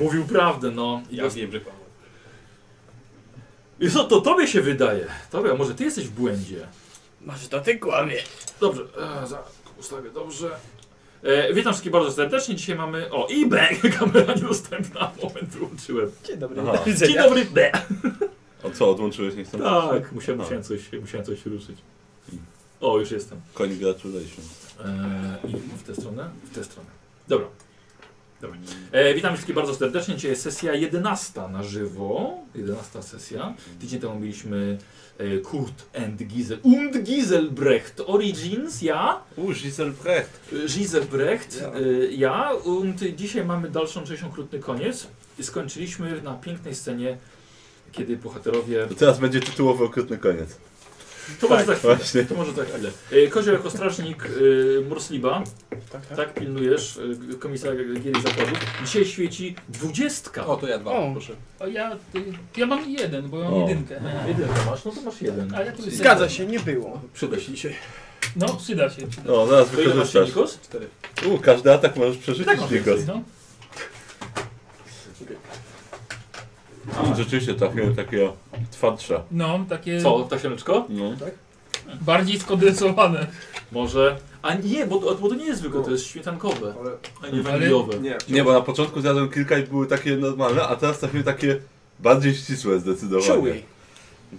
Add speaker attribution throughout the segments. Speaker 1: Mówił prawdę, no. I
Speaker 2: Ja
Speaker 1: dos-
Speaker 2: wiem, że kłamał.
Speaker 1: I co, to tobie się wydaje. Tobie, a może ty jesteś w błędzie.
Speaker 3: Może to ty kłamie.
Speaker 1: Dobrze, e, za, ustawię dobrze. E, witam wszystkich bardzo serdecznie. Dzisiaj mamy. O, i B! Kamera niedostępna. Moment, wyłączyłem.
Speaker 3: Dzień dobry.
Speaker 4: Aha.
Speaker 3: Do
Speaker 1: Dzień
Speaker 3: widzenia.
Speaker 1: dobry, B!
Speaker 4: O co, odłączyłeś nie chcąc?
Speaker 1: Tak, musiałem,
Speaker 4: Aha.
Speaker 1: musiałem, coś, musiałem coś ruszyć. O, już jestem.
Speaker 4: Congratulations.
Speaker 1: E, I w tę stronę? W tę stronę. Dobra. Dobra. E, witam wszystkich bardzo serdecznie. Dzisiaj jest sesja 11 na żywo. 11 sesja. Tydzień temu mieliśmy e, Kurt and Giesel. Und Gieselbrecht. Origins, ja.
Speaker 4: U, Gisel Precht.
Speaker 1: Giselbrecht,
Speaker 4: Ja.
Speaker 1: ja. ja. Und dzisiaj mamy dalszą część Okrutny Koniec. I skończyliśmy na pięknej scenie, kiedy bohaterowie... Tak.
Speaker 4: To teraz będzie tytułowy okrutny koniec.
Speaker 1: To może za chwilę.
Speaker 4: Właśnie.
Speaker 1: To może za chwilę. E, Kozioł jako strażnik e, Mursliba,
Speaker 3: Tak, tak.
Speaker 1: tak pilnujesz e, komisarza Gieri Zakładu. Dzisiaj świeci dwudziestka.
Speaker 2: O, to ja dwa,
Speaker 3: O.
Speaker 2: proszę.
Speaker 5: O, ja, y, ja mam jeden, bo ja mam
Speaker 4: O.
Speaker 5: jedynkę.
Speaker 1: Jedynkę masz, no to masz jeden.
Speaker 5: Ale tu jest
Speaker 3: Zgadza się, nie było.
Speaker 2: Przyda się dzisiaj.
Speaker 5: No, przyda się. Przyda.
Speaker 4: O, zaraz
Speaker 1: To ile masz
Speaker 4: wykorzystasz.
Speaker 1: Nikos?
Speaker 2: Cztery.
Speaker 4: U, każdy atak możesz
Speaker 5: Tak,
Speaker 4: przerzucić,
Speaker 5: mam
Speaker 4: Nikos.
Speaker 5: więcej, no.
Speaker 4: I Rzeczywiście trafiłem takiego twardsza.
Speaker 5: no, takie
Speaker 1: Co, tasiemeczko?
Speaker 4: No.
Speaker 5: bardziej skondensowane.
Speaker 1: Może... A nie, bo, to- bo to nie jest zwykłe, to jest śmietankowe,
Speaker 2: Ale
Speaker 1: a nie waniliowe.
Speaker 2: nie.
Speaker 4: Nie, bo na początku zjadłem kilka i były takie normalne, a teraz trafiły takie bardziej ścisłe zdecydowanie.
Speaker 3: Czuły.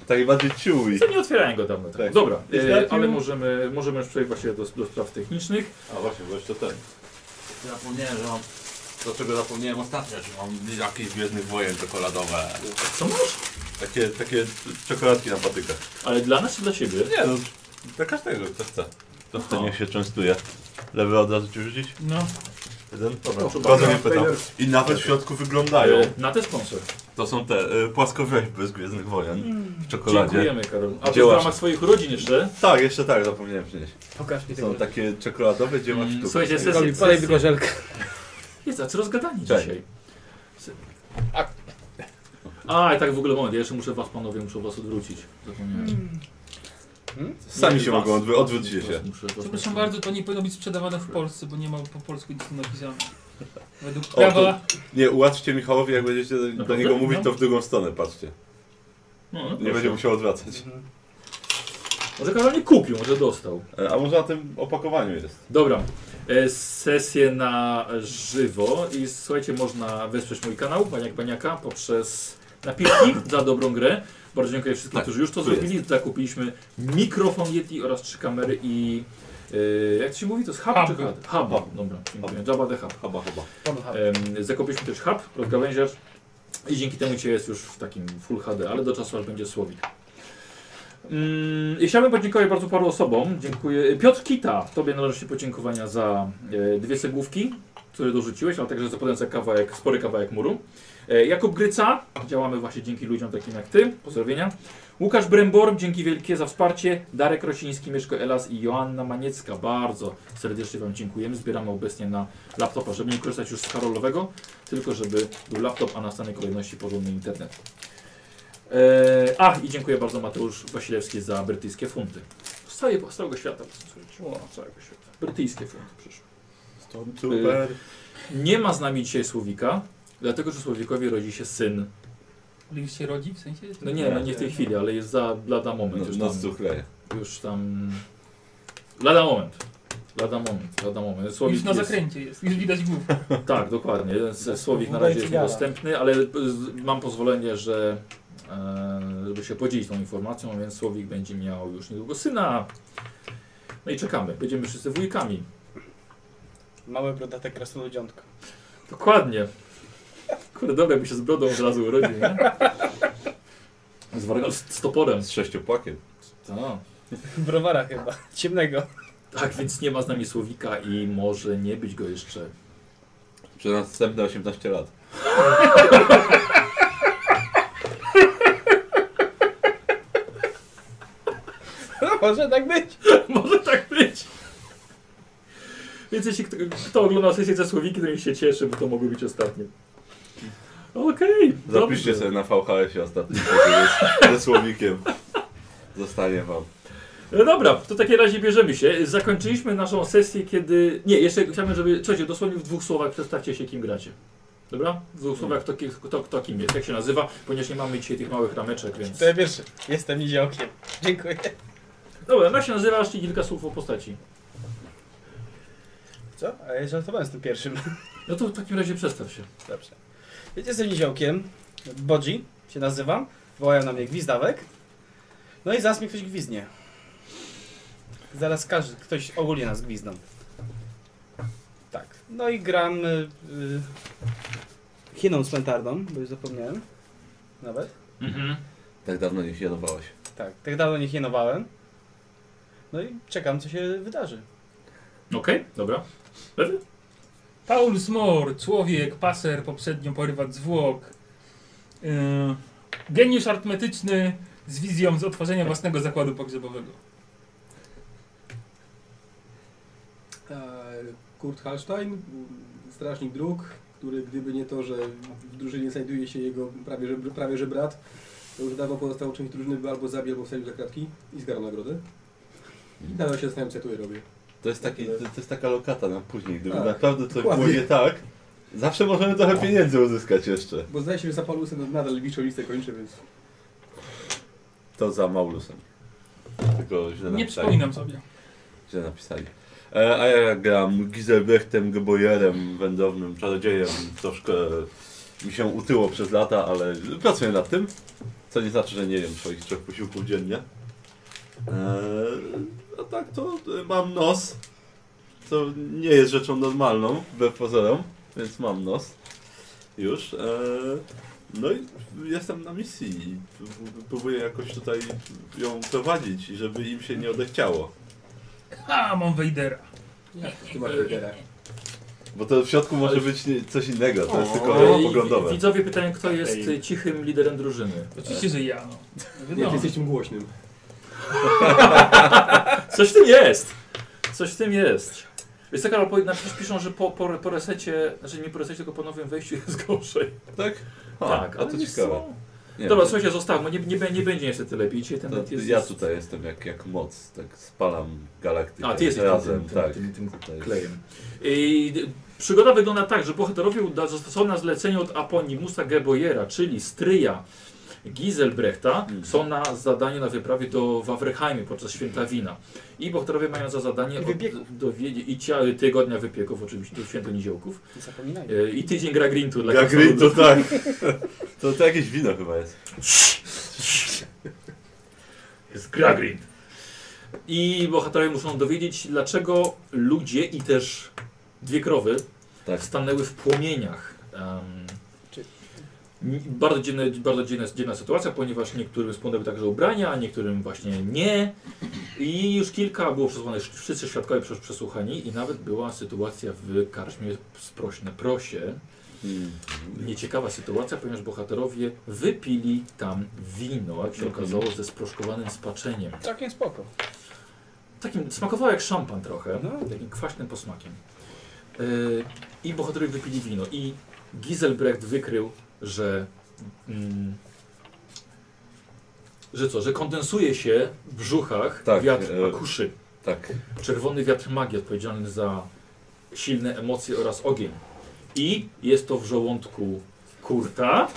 Speaker 4: Takie bardziej chewy.
Speaker 1: Co nie otwierałem go dawno.
Speaker 4: Tak.
Speaker 1: Dobra, e,
Speaker 4: Trafił.
Speaker 1: ale możemy, możemy już przejść właśnie do, do spraw technicznych.
Speaker 4: A właśnie, bo jeszcze ten.
Speaker 2: Zapomniałem, że mam... Dlaczego zapomniałem ostatnio, że mam jakieś Gwiezdnych Wojen czekoladowe.
Speaker 1: Co masz?
Speaker 4: Takie, takie czekoladki na patykach.
Speaker 1: Ale dla nas czy dla siebie?
Speaker 4: Nie no, dla każdego, kto chce. To chce,
Speaker 1: Aha.
Speaker 4: niech się częstuje. Lewy od razu ci wrzucić?
Speaker 5: No,
Speaker 4: Jeden? Dobra,
Speaker 1: No,
Speaker 4: bardzo mnie
Speaker 2: dobra.
Speaker 4: pytam. I nawet w środku wyglądają.
Speaker 1: E, Na te sponsor.
Speaker 4: To są te y, płaskorzeźby z Gwiezdnych Wojen w czekoladzie.
Speaker 1: Dziękujemy Karol. A to w
Speaker 4: Dziełaś.
Speaker 1: ramach swoich urodzin jeszcze.
Speaker 4: Tak, jeszcze tak, zapomniałem przynieść.
Speaker 3: Pokaż mi
Speaker 4: Są
Speaker 3: tego.
Speaker 4: takie czekoladowe, gdzie masz
Speaker 1: Mm,
Speaker 4: tu.
Speaker 1: słuchajcie, sesja-
Speaker 3: Robi, podaj tylko żelkę.
Speaker 1: Jest tacy rozgadani
Speaker 4: Cześć.
Speaker 1: dzisiaj. Se- A, a i tak w ogóle moment, ja jeszcze muszę was panowie, muszę was odwrócić. Zapomniałem.
Speaker 4: Sami
Speaker 1: Nie,
Speaker 4: się
Speaker 1: was.
Speaker 4: mogą odwrócić, odwróćcie
Speaker 1: Was
Speaker 4: się.
Speaker 1: muszę- was tak-
Speaker 5: przepraszam
Speaker 1: muszę-
Speaker 5: bardzo, to nie powinno być sprzedawane w Polsce, bo nie ma po polsku nic napisane. Według
Speaker 4: to-
Speaker 5: prawa...
Speaker 4: Nie, ułatwcie Michałowi, jak będziecie do, do
Speaker 1: Naprawdę?
Speaker 4: niego mówić,
Speaker 5: No.
Speaker 4: to w drugą stronę patrzcie.
Speaker 1: No, no,
Speaker 4: Nie będzie
Speaker 1: proszę.
Speaker 4: musiał odwracać.
Speaker 3: Mhm.
Speaker 1: Może Karol nie kupił, może dostał.
Speaker 4: E, A może na tym opakowaniu jest?
Speaker 1: Dobra. E, Sesję na żywo i słuchajcie, można wesprzeć mój kanał Paniak Paniaka poprzez napiski za dobrą grę. Bardzo dziękuję wszystkim,
Speaker 4: Tak,
Speaker 1: którzy już to
Speaker 4: tu jest.
Speaker 1: zrobili. Zakupiliśmy mikrofon Yeti oraz trzy kamery i e, jak to się mówi, to jest hub,
Speaker 5: Hub.
Speaker 1: czy hub? Hub.
Speaker 4: Hub.
Speaker 1: Dobra, dziękuję. Java the hub.
Speaker 4: Chyba, chyba.
Speaker 1: Em, zakupiliśmy też hub, rozgałęziacz i dzięki temu cię jest już w takim full HD, ale do czasu aż będzie słowik. Mm, i chciałbym podziękować bardzo paru osobom. Dziękuję. Piotr Kita, tobie należy się podziękowania za e, dwie cegłówki, które dorzuciłeś, ale także za potem za kawałek, spory kawałek muru. E, Jakub Gryca, działamy właśnie dzięki ludziom takim jak ty. Pozdrowienia. Łukasz Brembor, dzięki wielkie za wsparcie. Darek Rosiński, Mieszko Elas i Joanna Maniecka. Bardzo serdecznie Wam dziękujemy. Zbieramy obecnie na laptopa, żeby nie korzystać już z Karolowego, tylko żeby był laptop, a na stanej kolejności porządny internet. Eee, a i dziękuję bardzo Mateusz Wasilewski za brytyjskie funty. Z, całej, z całego świata. Z całego świata. Brytyjskie funty przyszły.
Speaker 4: Stormtrooper.
Speaker 1: Nie ma z nami dzisiaj Słowika, dlatego że Słowikowi rodzi się syn.
Speaker 5: Link się rodzi, w sensie...
Speaker 1: No nie, no nie w tej chwili, ale jest za lada moment. już
Speaker 4: No,
Speaker 1: tam,
Speaker 4: nas cuchleje.
Speaker 1: już tam... Lada moment. Lada moment, lada moment. Słowik
Speaker 5: Już na
Speaker 1: jest-
Speaker 5: zakręcie jest, już widać głów.
Speaker 1: Tak, dokładnie. Jeden ze Słowik na razie jest niedostępny, ale z- mam pozwolenie, że e, żeby się podzielić tą informacją, więc Słowik będzie miał już niedługo syna. No i czekamy. Będziemy wszyscy wujkami.
Speaker 3: Małe brodate krasnoludziątko.
Speaker 1: Dokładnie. Kurde, dobra, by się z brodą od razu urodził, nie? Z, wargo- z toporem.
Speaker 4: Z sześciopakiem.
Speaker 1: Tak.
Speaker 3: Browara chyba. Ciemnego.
Speaker 1: tak, więc nie ma z nami Słowika i może nie być go jeszcze.
Speaker 4: Przez następne 18 lat.
Speaker 3: No, może tak być.
Speaker 1: Może tak być. Więc jeśli kto, kto oglądał sesję ze Słowiki, to niech się cieszy, bo to mogły być ostatnie. Okej,
Speaker 4: Zapiszcie
Speaker 1: dobrze.
Speaker 4: sobie na VHS-ie ostatni podcast ze słowikiem. Zostanie wam.
Speaker 1: No dobra, to w takim razie bierzemy się. Zakończyliśmy naszą sesję, kiedy... Nie, jeszcze chciałbym, żeby... Słuchajcie, dosłownie w dwóch słowach przedstawcie się, kim gracie. Dobra? W dwóch słowach to, ki- to, to kim jest, jak się nazywa, ponieważ nie mamy dzisiaj tych małych rameczek, więc...
Speaker 3: To ja pierwszy. Jestem niziołkiem. Dziękuję.
Speaker 1: Dobra, jak się nazywasz i kilka słów o postaci.
Speaker 3: Co? A ja żartowałem z tym pierwszym.
Speaker 1: No to w takim razie przestaw się.
Speaker 3: Dobrze. Więc jestem niziołkiem. Bodzi się nazywam. Wołają na mnie gwizdawek. No i zaraz mi ktoś gwizdnie. Zaraz każdy, ktoś ogólnie nas gwizdną. Tak. No i gram y, y, chiną cmentarną, bo już zapomniałem. Nawet.
Speaker 1: Mhm.
Speaker 4: Tak dawno nie siadowałeś.
Speaker 3: Tak, tak dawno nie chienowałem. No i czekam, co się wydarzy.
Speaker 1: Okej, dobra. Lewy?
Speaker 5: Paulus Mor, człowiek, paser, poprzednio porywacz zwłok. Yy, geniusz artmetyczny z wizją z otworzenia własnego zakładu pogrzebowego.
Speaker 6: E, Kurt Hallstein, strażnik dróg, który gdyby nie to, że w drużynie znajduje się jego prawie że, prawie że brat, to już dawno pozostał część drużyny, by albo zabił, albo wsadził za kratki i zgarł nagrodę. I nadal się zastanawiam, co ja tutaj robię.
Speaker 4: To jest, taki, to, to jest taka lokata na później. Gdyby
Speaker 6: Tak,
Speaker 4: naprawdę coś
Speaker 6: dokładnie.
Speaker 4: było nie tak, zawsze możemy trochę pieniędzy uzyskać jeszcze.
Speaker 6: Bo zdaje się, że za Paulusem nadal liczą listę kończę, więc...
Speaker 4: To za Maulusem. Tylko źle
Speaker 5: Nie
Speaker 4: napisali.
Speaker 5: przypominam sobie.
Speaker 4: Źle napisali. E, a ja gram Gizelbrechtem, Gebojerem, wędownym czarodziejem. Troszkę mi się utyło przez lata, ale pracuję nad tym. Co nie znaczy, że nie jem swoich trzech posiłków dziennie. E, a tak to e, mam nos, co nie jest rzeczą normalną, wbrew pozorom, więc mam nos już. E, no i jestem na misji i pró- próbuję jakoś tutaj ją prowadzić, i żeby im się nie odechciało.
Speaker 5: A, mam Wejdera.
Speaker 6: Jak ty masz lidera?
Speaker 4: Bo to w środku może być nie- coś innego, to jest tylko
Speaker 1: Ej,
Speaker 4: poglądowe.
Speaker 1: No Widzowie pytają, kto jest y, cichym liderem drużyny.
Speaker 5: Oczywiście, że ja. No.
Speaker 6: Nie, ty
Speaker 5: Wiadomo.
Speaker 6: jesteś tym głośnym.
Speaker 1: Coś w tym jest! Coś w tym jest. tak, Jest taka, bo na przykład piszą, że po, po, po resecie, znaczy nie po resecie, tylko po nowym wejściu jest gorzej.
Speaker 4: Tak? A,
Speaker 1: tak,
Speaker 4: a to
Speaker 1: wiesz
Speaker 4: ciekawe.
Speaker 1: co?
Speaker 4: Nie,
Speaker 1: Dobra,
Speaker 4: to-
Speaker 1: słuchajcie, zostawmy, nie, nie, bę- nie będzie niestety lepiej. Dzisiaj ten net
Speaker 4: to
Speaker 1: jest...
Speaker 4: ja tutaj jestem jak, jak moc, tak spalam galaktykę
Speaker 1: A, ty jesteś
Speaker 4: razem,
Speaker 1: tym, tym,
Speaker 4: tak.
Speaker 1: tym, tym,
Speaker 4: Tutaj jest-
Speaker 1: klejem. I d- przygoda wygląda tak, że bohaterowie uda- zostaną na zlecenie od Aponimusa Gebojera, czyli stryja Giselbrechta,
Speaker 4: Mhm.
Speaker 1: są na zadaniu na wyprawie do Wawreheimie podczas święta wina. I bohaterowie mają za zadanie od,
Speaker 3: Wypieków.
Speaker 1: dowiedzie- i cia- tygodnia wypieków, oczywiście, do święto niziołków.
Speaker 3: Nie zapominaj.
Speaker 1: E, I tydzień gra Grintu dla
Speaker 4: Jak Green to
Speaker 1: krasnoludów.
Speaker 4: tak. To, to jakieś wino chyba jest.
Speaker 1: Jest gra Grint. I bohaterowie muszą dowiedzieć, dlaczego ludzie i też dwie krowy
Speaker 4: Tak.
Speaker 1: stanęły w płomieniach. Em,
Speaker 3: Czy-
Speaker 1: n- bardzo dziwne, bardzo dziwna, dziwna sytuacja, ponieważ niektórym spłonęły także ubrania, a niektórym właśnie nie. I już kilka było przesłuchanych, wszyscy świadkowie przes- przesłuchani i nawet była sytuacja w karczmie sprośne prosie.
Speaker 4: Mm.
Speaker 1: Nieciekawa sytuacja, ponieważ bohaterowie wypili tam wino, jak się
Speaker 4: Mhm.
Speaker 1: okazało, ze sproszkowanym spaczeniem.
Speaker 3: Całkiem spoko.
Speaker 1: Takim smakowało jak szampan trochę,
Speaker 3: No.
Speaker 1: takim kwaśnym posmakiem. Yy, I bohaterowie wypili wino. I Giselbrecht wykrył, że. Mm, że co, że kondensuje się w brzuchach
Speaker 4: Tak,
Speaker 1: wiatr
Speaker 4: e,
Speaker 1: akuszy.
Speaker 4: Tak.
Speaker 1: Czerwony wiatr magii odpowiedzialny za silne emocje oraz ogień. I jest to w żołądku Kurta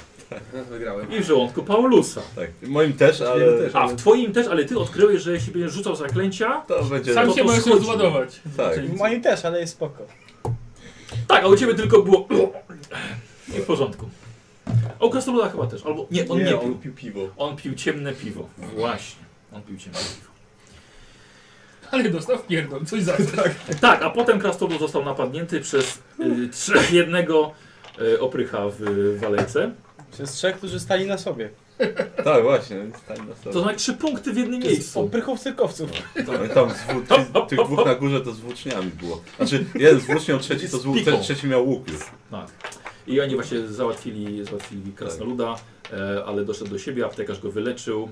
Speaker 6: Raz wygrałem.
Speaker 1: i w żołądku Paulusa.
Speaker 4: tak. Moim też, ale.
Speaker 6: Jego też.
Speaker 1: A w twoim Znaczy, też, ale ty odkryłeś, że jeśli będziesz rzucał zaklęcia,
Speaker 4: To będzie.
Speaker 5: Sam
Speaker 1: to
Speaker 5: się możesz
Speaker 1: skutne.
Speaker 5: rozładować. Znaczy,
Speaker 4: Tak.
Speaker 5: Czyli-
Speaker 3: W moim też, ale jest spoko.
Speaker 1: Tak, a u ciebie tylko było. I w porządku. A u Krasnoluda chyba też. Albo nie, on nie, pił.
Speaker 6: pił piwo.
Speaker 1: On pił ciemne piwo. Właśnie. On pił ciemne piwo.
Speaker 5: Ale dostał w pierdol, coś za tak.
Speaker 1: Tak, a potem Krasnolud został napadnięty przez y, trzech jednego y, oprycha w y, walejce.
Speaker 3: Przez trzech, którzy stali na sobie.
Speaker 4: Tak, właśnie. Stań na sobie.
Speaker 1: To znaczy trzy punkty w jednym
Speaker 3: To jest
Speaker 1: miejscu.
Speaker 3: oprychów cyrkowców.
Speaker 4: No i Tam z włó- ty, tych dwóch na górze to z włóczniami było. Znaczy, jeden z włócznią, trzeci to z
Speaker 1: Z piką.
Speaker 4: włócznią, trzeci miał łuk już.
Speaker 1: Tak. I oni właśnie załatwili, załatwili Krasnoluda, e, ale doszedł do siebie, aptekarz go wyleczył.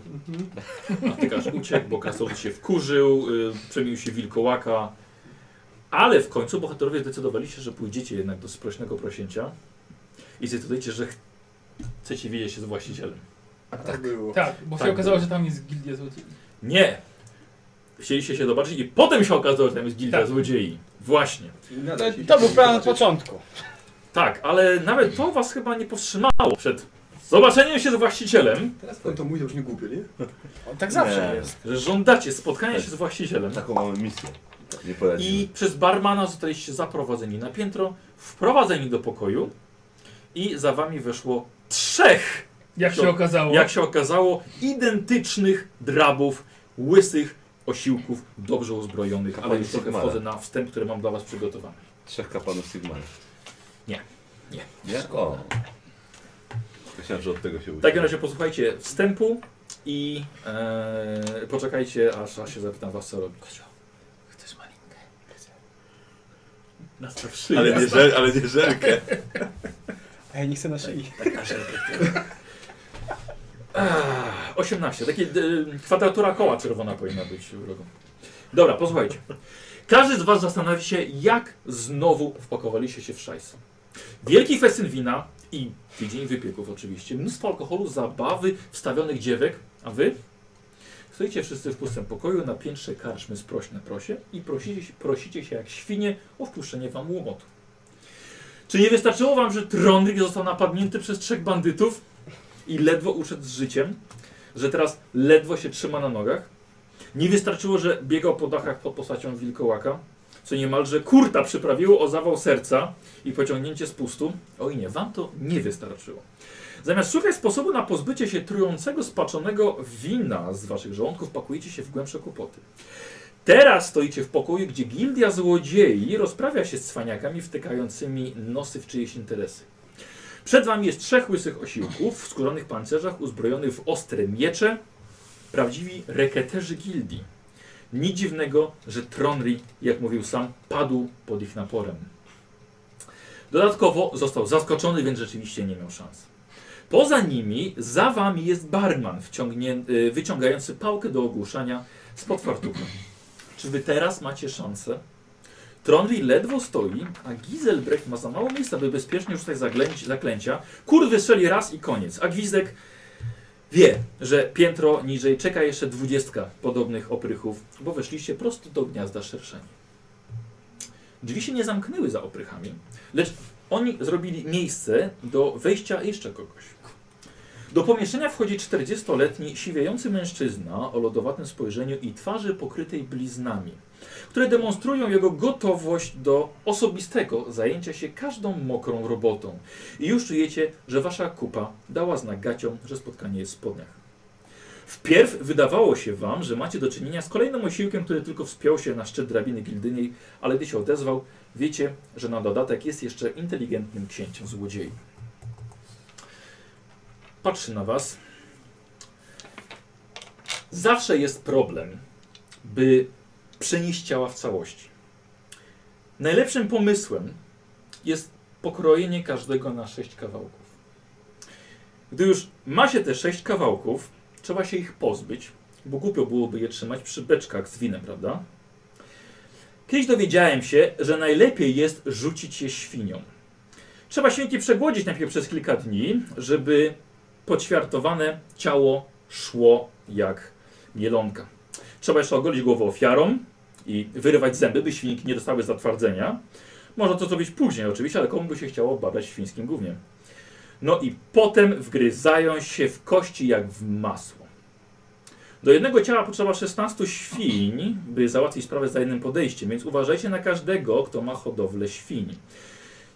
Speaker 1: Aptekarz uciekł, bo krasnolud się wkurzył, y, przemienił się w wilkołaka. Ale w końcu bohaterowie zdecydowali się, że pójdziecie jednak do sprośnego prosięcia i zdecydujecie, że ch- chcecie wiedzieć się z właścicielem.
Speaker 6: Tak było.
Speaker 5: Tak, bo się
Speaker 1: Tak.
Speaker 5: okazało, że tam jest gildia złodziei.
Speaker 1: Nie! Chcieliście się zobaczyć i potem się okazało, że tam jest gildia
Speaker 5: Tak.
Speaker 1: złodziei. Właśnie.
Speaker 6: I nadal
Speaker 3: To,
Speaker 6: się
Speaker 3: to
Speaker 6: się
Speaker 3: był plan od
Speaker 6: zobaczyć.
Speaker 3: początku.
Speaker 1: Tak, ale nawet to was chyba nie powstrzymało przed zobaczeniem się z właścicielem,
Speaker 6: Teraz pan to mówi, to już nie głupio, nie?
Speaker 3: O, tak zawsze
Speaker 4: Nie.
Speaker 3: jest.
Speaker 1: że żądacie spotkania się z właścicielem.
Speaker 4: Taką mamy misję. Nie poradzimy.
Speaker 1: I przez barmana zostaliście zaprowadzeni na piętro, wprowadzeni do pokoju i za wami weszło trzech
Speaker 5: Jak się
Speaker 1: To-
Speaker 5: okazało.
Speaker 1: jak się okazało, identycznych drabów, łysych osiłków, dobrze uzbrojonych, ale
Speaker 4: Panie
Speaker 1: już trochę
Speaker 4: Sigmara.
Speaker 1: wchodzę na wstęp, który mam dla was przygotowany.
Speaker 4: Trzech kapłanów Sigmara.
Speaker 1: Nie. Nie.
Speaker 4: Nie? O. Myślałem, że od tego się
Speaker 1: W
Speaker 4: uczy.
Speaker 1: takim razie posłuchajcie wstępu i e, poczekajcie, aż, aż się zapytam was, co robić.
Speaker 5: Chcesz malinkę?
Speaker 1: Nas tak
Speaker 4: Ale nie, żel, ale nie żelkę.
Speaker 3: Ej, nie chcę na szyi.
Speaker 1: 18. Takie e, kwadratura koła czerwona powinna być wrogą. Dobra, posłuchajcie. Każdy z was zastanowi się, jak znowu wpakowaliście się w szajs. Wielki festyn wina i tydzień wypieków oczywiście, mnóstwo alkoholu, zabawy, wstawionych dziewek, a wy? Stoicie wszyscy w pustym pokoju na piętrze karczmy z proś na prosie i prosicie, się- prosicie się jak świnie o wpuszczenie wam łomotu. Czy nie wystarczyło wam, że Trondrik został napadnięty przez trzech bandytów i ledwo uszedł z życiem? że teraz ledwo się trzyma na nogach. Nie wystarczyło, że biegał po dachach pod postacią wilkołaka, co niemalże kurta przyprawiło o zawał serca i pociągnięcie spustu. Oj nie, wam to nie wystarczyło. Zamiast szukać sposobu na pozbycie się trującego, spaczonego wina z waszych żołądków, pakujecie się w głębsze kłopoty. Teraz stoicie w pokoju, gdzie gildia złodziei rozprawia się z cwaniakami wtykającymi nosy w czyjeś interesy. Przed wami jest trzech łysych osiłków w skórzanych pancerzach, uzbrojonych w ostre miecze, prawdziwi reketerzy gildii. Nic dziwnego, że Tronri, jak mówił sam, padł pod ich naporem. Dodatkowo został zaskoczony, więc rzeczywiście nie miał szans. Poza nimi, za wami jest barman wciągnię- y, wyciągający pałkę do ogłuszania spod fartucha. Czy wy teraz macie szansę? Tronri ledwo stoi, a Giselbrecht ma za mało miejsca, by bezpiecznie rzucać zaglęć, zaklęcia. Kur wystrzeli raz i koniec, a Gwizdek wie, że piętro niżej czeka jeszcze dwudziestka podobnych oprychów, bo weszliście prosto do gniazda szerszeni. Drzwi się nie zamknęły za oprychami, lecz oni zrobili miejsce do wejścia jeszcze kogoś. Do pomieszczenia wchodzi 40-letni siwiejący mężczyzna o lodowatym spojrzeniu i twarzy pokrytej bliznami które demonstrują jego gotowość do osobistego zajęcia się każdą mokrą robotą. I już czujecie, że wasza kupa dała znak gaciom, że spotkanie jest w spodniach. Wpierw wydawało się wam, że macie do czynienia z kolejnym osiłkiem, który tylko wspiął się na szczyt drabiny gildyniej, ale gdy się odezwał, wiecie, że na dodatek jest jeszcze inteligentnym księciem złodziei. Patrzy na was. Zawsze jest problem, by przenieść ciała w całości. Najlepszym pomysłem jest pokrojenie każdego na sześć kawałków. Gdy już ma się te sześć kawałków, trzeba się ich pozbyć, bo głupio byłoby je trzymać przy beczkach z winem, prawda? Kiedyś dowiedziałem się, że najlepiej jest rzucić je świniom. Trzeba świnki przegłodzić najpierw przez kilka dni, żeby poćwiartowane ciało szło jak mielonka. Trzeba jeszcze ogolić głowę ofiarom i wyrywać zęby, by świnki nie dostały zatwardzenia. Można to zrobić później oczywiście, ale komu by się chciało badać świńskim głównie. No i potem wgryzają się w kości jak w masło. Do jednego ciała potrzeba 16 świń, by załatwić sprawę za jednym podejściem, więc uważajcie na każdego, kto ma hodowlę świń.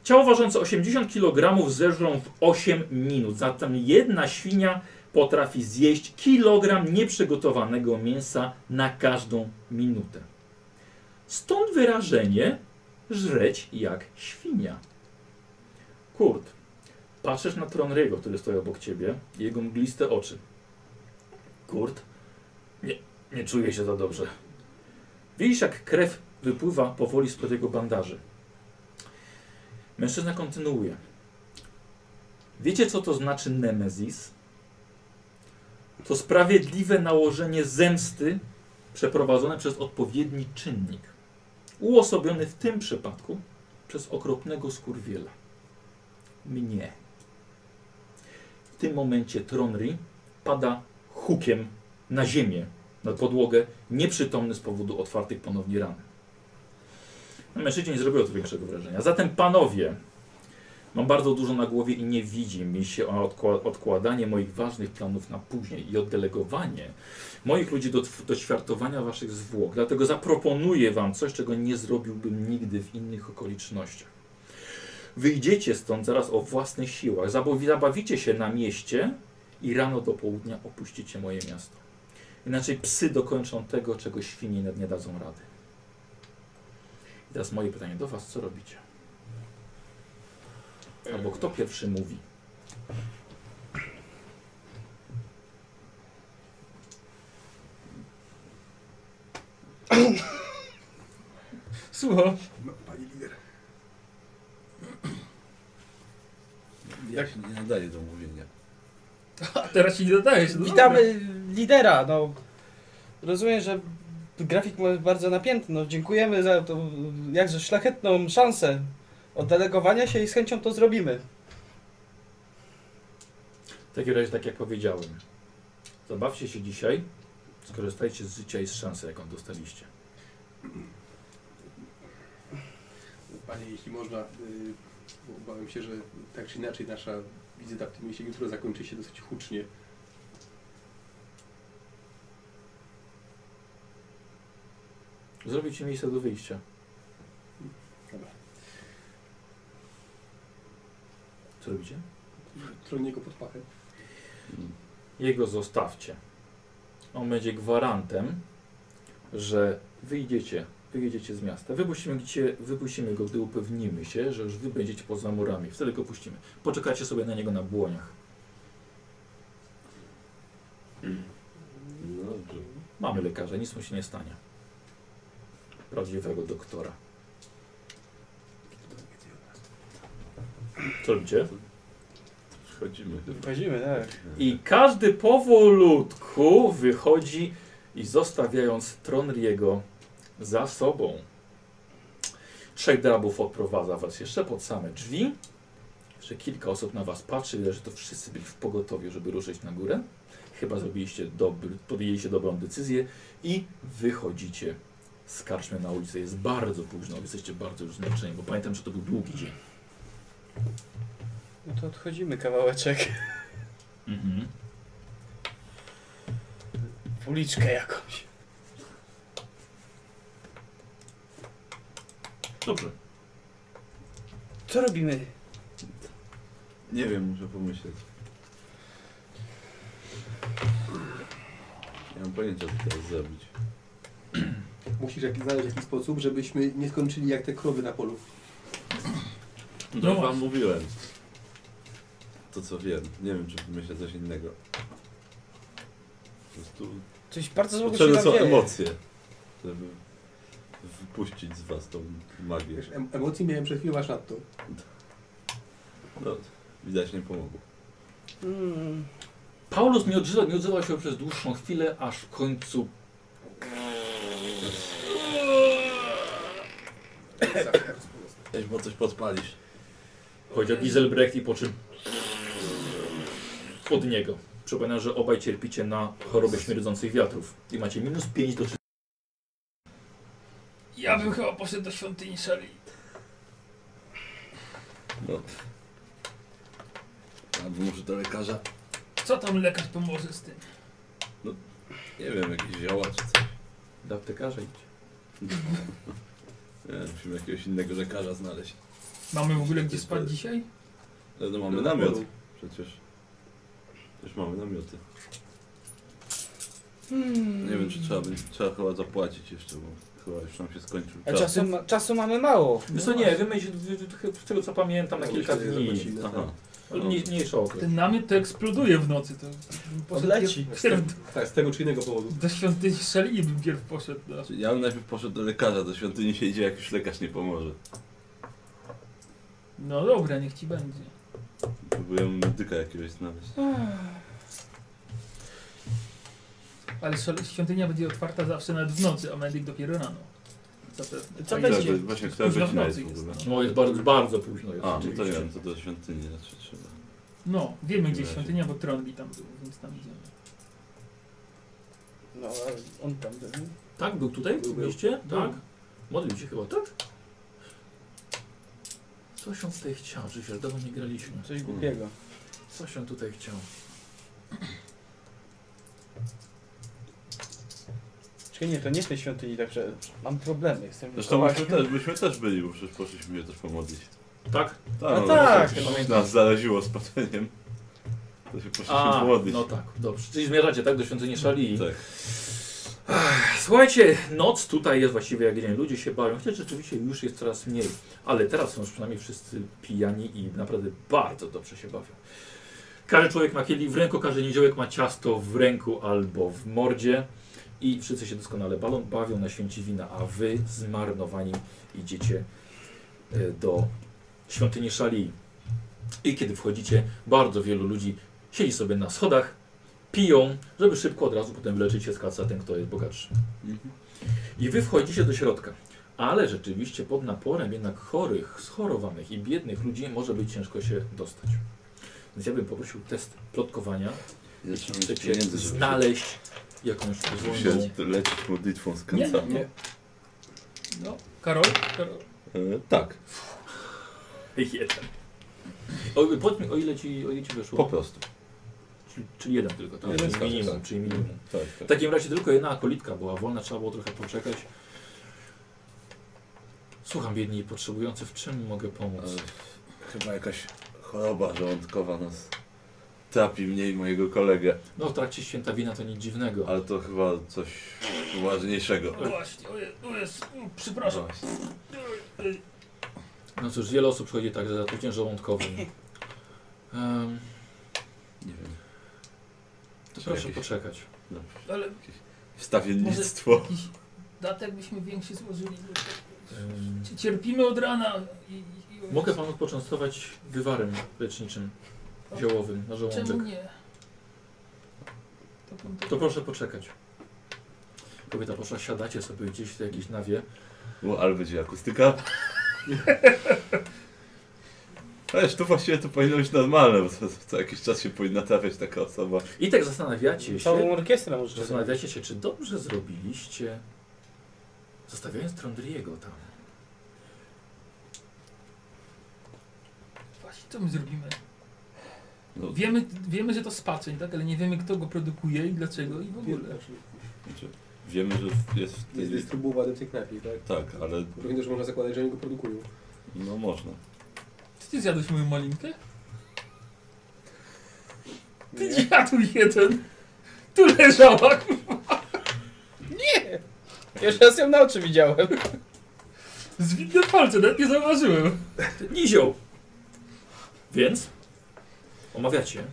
Speaker 1: Ciało ważące 80 kg zeżrą w 8 minut, zatem jedna świnia potrafi zjeść kilogram nieprzygotowanego mięsa na każdą minutę. Stąd wyrażenie żreć jak świnia. Kurt, patrzysz na Tronrygo, który stoi obok ciebie, i jego mgliste oczy. Kurt, nie, nie czuje się za dobrze. Widzisz, jak krew wypływa powoli spod jego bandaży. Mężczyzna kontynuuje. Wiecie, co to znaczy Nemezis? to sprawiedliwe nałożenie zemsty przeprowadzone przez odpowiedni czynnik, uosobiony w tym przypadku przez okropnego skurwiela. Mnie. W tym momencie Tronri pada hukiem na ziemię, na podłogę, nieprzytomny z powodu otwartych ponownie ran. Na Mężczyźnie nie zrobiło to większego wrażenia. Zatem panowie, Mam bardzo dużo na głowie i nie widzi mi się a odkła- odkładanie moich ważnych planów na później i oddelegowanie moich ludzi do, tw- do świartowania waszych zwłok. Dlatego zaproponuję wam coś, czego nie zrobiłbym nigdy w innych okolicznościach. Wyjdziecie stąd zaraz o własnych siłach, zabawi- zabawicie się na mieście i rano do południa opuścicie moje miasto. Inaczej psy dokończą tego, czego świnie nie dadzą rady. I teraz moje pytanie do was, co robicie? Albo kto pierwszy mówi?
Speaker 5: Słucham.
Speaker 6: Pani lider.
Speaker 4: Ja się nie nadaje do mówienia.
Speaker 5: A teraz się nie
Speaker 3: Tak
Speaker 5: dodajesz. No
Speaker 3: Witamy lidera, no. Rozumiem, że grafik ma bardzo napięty, no dziękujemy za tą jakże szlachetną szansę oddelegowania się i z chęcią to zrobimy.
Speaker 1: W takim razie, tak jak powiedziałem, zabawcie się dzisiaj, skorzystajcie z życia i z szansy, jaką dostaliście.
Speaker 6: Panie, jeśli można, y, bo obawiam się, że tak czy inaczej nasza wizyta w tym mieście jutro zakończy się dosyć hucznie.
Speaker 1: Zrobicie miejsce do wyjścia.
Speaker 6: Dobra.
Speaker 1: Co robicie?
Speaker 6: Troniego pod pachę.
Speaker 1: Jego zostawcie. On będzie gwarantem, że wyjdziecie, wyjedziecie z miasta. Wypuścimy, gdzie, wypuścimy go, gdy upewnimy się, że już wy będziecie poza murami. Wtedy go puścimy. Poczekacie sobie na niego na błoniach.
Speaker 4: No dobrze.
Speaker 1: Mamy lekarza, nic mu się nie stanie. Prawdziwego doktora. Co robicie?
Speaker 4: Wchodzimy.
Speaker 3: Wchodzimy, tak.
Speaker 1: I każdy powolutku wychodzi i zostawiając Tronriego za sobą. Trzech drabów odprowadza was jeszcze pod same drzwi. Jeszcze kilka osób na was patrzy, widać, że to wszyscy byli w pogotowiu, żeby ruszyć na górę. Chyba zrobiliście dobry, podjęliście dobrą decyzję i wychodzicie z karczmy na ulicę. Jest bardzo późno, jesteście bardzo już zmęczeni, bo pamiętam, że to był długi dzień.
Speaker 3: No to odchodzimy kawałeczek.
Speaker 1: Mhm.
Speaker 3: W uliczkę jakąś.
Speaker 1: Dobrze.
Speaker 3: Co robimy?
Speaker 4: Nie wiem, muszę pomyśleć. Nie mam pojęcia, co teraz zrobić.
Speaker 6: Musisz jak, znaleźć jakiś sposób, żebyśmy nie skończyli jak te krowy na polu.
Speaker 4: No,
Speaker 5: No
Speaker 4: wam
Speaker 5: właśnie.
Speaker 4: mówiłem. To co wiem. Nie wiem, czy myślę coś innego. Po prostu
Speaker 3: Coś bardzo złego się
Speaker 4: potrzebne
Speaker 3: tam
Speaker 4: są
Speaker 3: dzieje.
Speaker 4: emocje, żeby wypuścić z was tą magię.
Speaker 6: Wiesz, em- emocji miałem przed chwilą aż nadto.
Speaker 4: No, widać nie pomogło.
Speaker 3: Mm,
Speaker 1: Paulus nie odzywa, nie odzywał się przez dłuższą chwilę, aż w końcu
Speaker 5: No
Speaker 4: Weź, bo coś podpalisz.
Speaker 1: Powiedział Giselbrecht i po czym od niego. Przypominam, że obaj cierpicie na chorobę śmierdzących wiatrów i macie minus 5 do 3.
Speaker 5: Ja bym chyba poszedł do świątyni Szali.
Speaker 4: No. Albo może do lekarza.
Speaker 5: Co tam lekarz pomoże z tym?
Speaker 4: Nie wiem, jakieś zioła czy coś.
Speaker 1: Do aptekarza idź.
Speaker 4: Nie, musimy jakiegoś innego lekarza znaleźć.
Speaker 5: Mamy w ogóle gdzie spać dzisiaj?
Speaker 4: No, no mamy namiot. Przecież. Przecież mamy namioty. Nie wiem, czy trzeba, będzie, trzeba chyba zapłacić jeszcze, bo chyba już nam się skończył
Speaker 3: a
Speaker 4: czas.
Speaker 3: czasu, ma, czasu mamy mało.
Speaker 1: Wiesz No co, nie, wymyśl, wy- wy- wy- z tego co pamiętam, na
Speaker 6: No,
Speaker 1: kilka
Speaker 6: myślę, że
Speaker 1: dni.
Speaker 6: zobaczymy.
Speaker 4: Aha.
Speaker 1: Ale mniej- Mniejszy okres.
Speaker 5: Ten namiot to eksploduje w nocy. To bym poszedł
Speaker 3: Odleci.
Speaker 5: pierw- pierw
Speaker 6: Tak, z tego czy innego powodu.
Speaker 5: do świątyni Szali i bym pierw poszedł. No.
Speaker 4: Znaczy, Ja bym najpierw poszedł do lekarza, do świątyni się idzie, jak już lekarz nie pomoże.
Speaker 5: no dobra, niech ci będzie.
Speaker 4: Próbuję medyka jakiegoś znaleźć.
Speaker 5: Ale szal- świątynia będzie otwarta zawsze nawet w nocy, a medyk dopiero rano. Zapewne.
Speaker 3: Co
Speaker 4: Tak,
Speaker 5: A
Speaker 3: będzie?
Speaker 5: ile-
Speaker 4: Właśnie, która
Speaker 5: Późno w
Speaker 4: godzina
Speaker 5: nocy
Speaker 4: jest w
Speaker 5: jest.
Speaker 4: ogóle?
Speaker 5: no.
Speaker 1: No jest bardzo, bardzo późno jest.
Speaker 4: A, no to nie
Speaker 1: oczywiście.
Speaker 4: wiem, to do świątyni raczej trzeba.
Speaker 5: No, wiemy gdzie
Speaker 4: Razie.
Speaker 5: jest świątynia, bo Tronli tam był, więc tam idziemy.
Speaker 3: No, a on tam był.
Speaker 1: Tak, był tutaj Tak? w
Speaker 5: Tak?
Speaker 6: Był, był.
Speaker 1: mieście?
Speaker 5: Był.
Speaker 1: Tak. Modlił się chyba, tak? Coś on tutaj chciał, że się dawno nie graliśmy.
Speaker 3: Coś głupiego.
Speaker 1: Coś on tutaj chciał.
Speaker 3: Czekaj, nie, to nie w tej świątyni, także mam problemy. Jestem
Speaker 4: Zresztą myśmy też, myśmy też byli, bo przecież poszliśmy je też pomodlić.
Speaker 1: Tak?
Speaker 3: No tak,
Speaker 4: przecież
Speaker 1: pamiętam.
Speaker 4: nas zaraziło spaczeniem. To się poszliśmy
Speaker 1: A,
Speaker 4: pomodlić.
Speaker 1: no tak, dobrze. Czyli zmierzacie tak do świątyni Szali.
Speaker 4: Tak.
Speaker 1: Słuchajcie, noc tutaj jest właściwie jak dzień. Ludzie się bawią, chociaż rzeczywiście już jest coraz mniej. Ale teraz są już przynajmniej wszyscy pijani i naprawdę bardzo dobrze się bawią. Każdy człowiek ma kielich w ręku, każdy niedziałek ma ciasto w ręku albo w mordzie. I wszyscy się doskonale balą, bawią na święci wina, a wy zmarnowani idziecie e, do świątyni Szali. I kiedy wchodzicie, bardzo wielu ludzi siedzi sobie na schodach, piją, żeby szybko od razu potem wyleczyć się z kaca ten, kto jest bogatszy.
Speaker 4: Mhm.
Speaker 1: I wy wchodzicie do środka. Ale rzeczywiście pod naporem jednak chorych, schorowanych i biednych ludzi może być ciężko się dostać. Więc ja bym poprosił test plotkowania,
Speaker 4: Ile trzeba mieć
Speaker 1: żeby
Speaker 4: pieniędzy, żeby się-
Speaker 1: znaleźć jakąś
Speaker 4: żeby
Speaker 1: złą
Speaker 4: się leczyć modlitwą z kancami.
Speaker 6: Nie.
Speaker 5: No, Karol? Karol?
Speaker 4: E, tak,
Speaker 1: Jeden. O, powiedz mi, o ile ci, o ile ci wyszło?
Speaker 4: po prostu.
Speaker 1: Czyli, czyli jeden tylko, tak?
Speaker 4: Jeden
Speaker 1: Czyli
Speaker 4: tak,
Speaker 1: minimum,
Speaker 4: tak.
Speaker 1: czyli minimum.
Speaker 4: Tak,
Speaker 1: W
Speaker 4: tak.
Speaker 1: takim razie tylko jedna akolitka była wolna, trzeba było trochę poczekać. Słucham biedni i potrzebujący, w czym mogę pomóc?
Speaker 4: Ale E, chyba jakaś choroba żołądkowa nas trapi mnie i mojego kolegę,
Speaker 1: No w trakcie święta wina to nic dziwnego.
Speaker 4: ale to chyba coś poważniejszego.
Speaker 5: O, właśnie, o, Je- o jest, o, przepraszam.
Speaker 4: Właśnie.
Speaker 1: No cóż, wiele osób przychodzi także za tydzień żołądkowym. Em,
Speaker 4: Nie wiem.
Speaker 1: to
Speaker 4: Czy
Speaker 1: proszę
Speaker 4: jakieś-
Speaker 1: poczekać.
Speaker 5: Ale
Speaker 4: Wstawiennictwo.
Speaker 5: jakiś datek byśmy większy złożyli.
Speaker 1: Em,
Speaker 5: Cię- Cierpimy od rana. I, i, i
Speaker 1: mogę panu poczęstować wywarem leczniczym, ziołowym na żołądek.
Speaker 5: Czemu nie? To pan
Speaker 1: To proszę poczekać. Kobieta poszła, siadacie sobie gdzieś w jakiejś nawie.
Speaker 4: No, ale będzie akustyka. Wiesz, tu właściwie to powinno być normalne, bo co, co jakiś czas się powinna trafiać taka osoba.
Speaker 1: I tak zastanawiacie się.
Speaker 3: Całą orkiestrę może zrobić.
Speaker 1: Zastanawiacie się, czy dobrze zrobiliście, zostawiając Trondriego tam.
Speaker 5: Właśnie, co my zrobimy?
Speaker 4: No,
Speaker 5: Wiemy, wiemy, że to spaceń, tak? Ale nie wiemy, kto go produkuje i dlaczego i w ogóle.
Speaker 4: znaczy, wiemy, że jest w
Speaker 6: Jest
Speaker 4: tej...
Speaker 6: dystrybuowany w tej knajpie, tak?
Speaker 4: Tak, ale
Speaker 6: Również można zakładać, że oni go produkują.
Speaker 4: no można.
Speaker 5: Czy ty zjadłeś moją malinkę? Ty zjadł jeden. Tu leżała.
Speaker 3: Pierwszy raz ją na oczy widziałem.
Speaker 5: Zwinne palce, nawet nie zauważyłem.
Speaker 1: Nizioł! Więc omawiacie.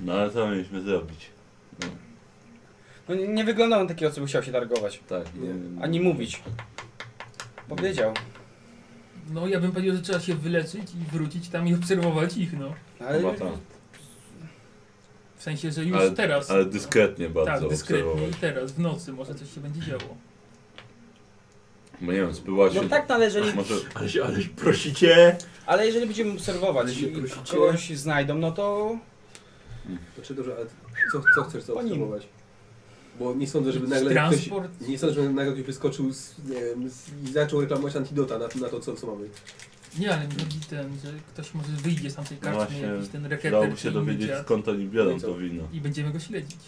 Speaker 4: No ale co mieliśmy zrobić?
Speaker 3: No nie, nie wyglądał on taki, o co musiał się targować.
Speaker 4: Tak, nie-
Speaker 3: Ani mówić. Powiedział.
Speaker 5: No, ja bym powiedział, że trzeba się wyleczyć i wrócić tam i obserwować ich, no.
Speaker 3: Ale
Speaker 4: Chyba tak.
Speaker 5: W sensie, że już
Speaker 4: Ale-
Speaker 5: teraz.
Speaker 4: Ale dyskretnie bardzo
Speaker 5: Tak, dyskretnie i
Speaker 4: obserwować.
Speaker 5: teraz, w nocy, może coś się będzie działo.
Speaker 4: Bo nie wiem, spyła się...
Speaker 3: No tak, no, ale jeżeli,
Speaker 4: Może...
Speaker 1: Ale, ale prosicie!
Speaker 3: ale jeżeli będziemy
Speaker 1: Ale
Speaker 3: obserwować
Speaker 1: się
Speaker 3: i
Speaker 1: prosicie.
Speaker 3: kogoś znajdą, no to
Speaker 6: Znaczy dobrze, ale co, co chcesz
Speaker 3: Po nim.
Speaker 6: zaobserwować? Bo nie sądzę, No, żeby nagle ktoś,
Speaker 5: Transport.
Speaker 6: nie sądzę, żeby nagle ktoś wyskoczył z, nie wiem, z, i zaczął reklamować antidota na, na to, co, co mamy.
Speaker 5: Nie, ale mi chodzi ten, że ktoś może wyjdzie z tamtej karczmy,
Speaker 4: właśnie,
Speaker 5: jakiś ten reketer
Speaker 4: Dałoby
Speaker 5: czy
Speaker 4: się
Speaker 5: inny
Speaker 4: dowiedzieć
Speaker 5: dziad
Speaker 4: skąd oni
Speaker 6: No
Speaker 4: biorą
Speaker 6: i co?
Speaker 4: to wino.
Speaker 5: i będziemy go śledzić.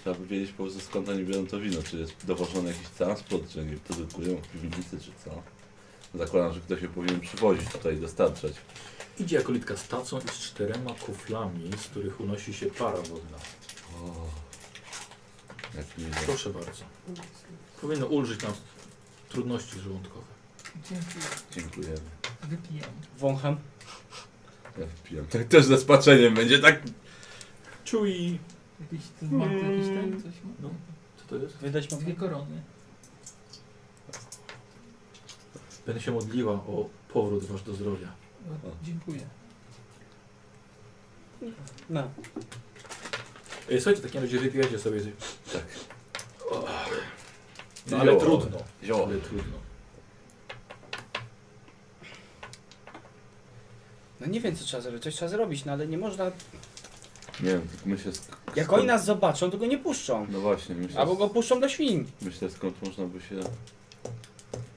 Speaker 4: Trzeba by wiedzieć po prostu skąd oni biorą to wino. Czy jest dowożony jakiś transport, czy nie produkują w piwnicy, czy co. Zakładam, że ktoś je powinien przywozić tutaj i dostarczać.
Speaker 1: Idzie jakolitka z tacą i z czterema kuflami, z których unosi się para wodna.
Speaker 4: O, jak miło.
Speaker 1: Proszę bardzo. Powinno ulżyć nam trudności żołądkowe.
Speaker 5: Dziękuję.
Speaker 4: Dziękujemy.
Speaker 5: Wypijam.
Speaker 3: wącham.
Speaker 4: Ja wypijam. Tak też ze spaczeniem będzie tak.
Speaker 1: Czuj!
Speaker 5: Jakiś ten, ma, jakiś ten, coś ma.
Speaker 1: No. Co to jest?
Speaker 3: Wydać mu
Speaker 5: Dwie korony.
Speaker 1: Będę się modliła o powrót wasz do zdrowia.
Speaker 5: O, dziękuję.
Speaker 3: No.
Speaker 1: Ej, Słuchajcie, w takim razie wypijacie sobie.
Speaker 4: Tak.
Speaker 1: No, ale
Speaker 4: Zioło.
Speaker 1: trudno.
Speaker 4: Zioło.
Speaker 1: Ale trudno.
Speaker 3: no nie wiem co trzeba zrobić, coś trzeba zrobić, no ale nie można.
Speaker 4: Nie wiem, tylko myślę sk-
Speaker 3: Jak
Speaker 4: skąd-
Speaker 3: oni nas zobaczą, to go nie puszczą.
Speaker 4: No właśnie, myślę,
Speaker 3: Albo go puszczą do świn.
Speaker 4: myślę skąd można by się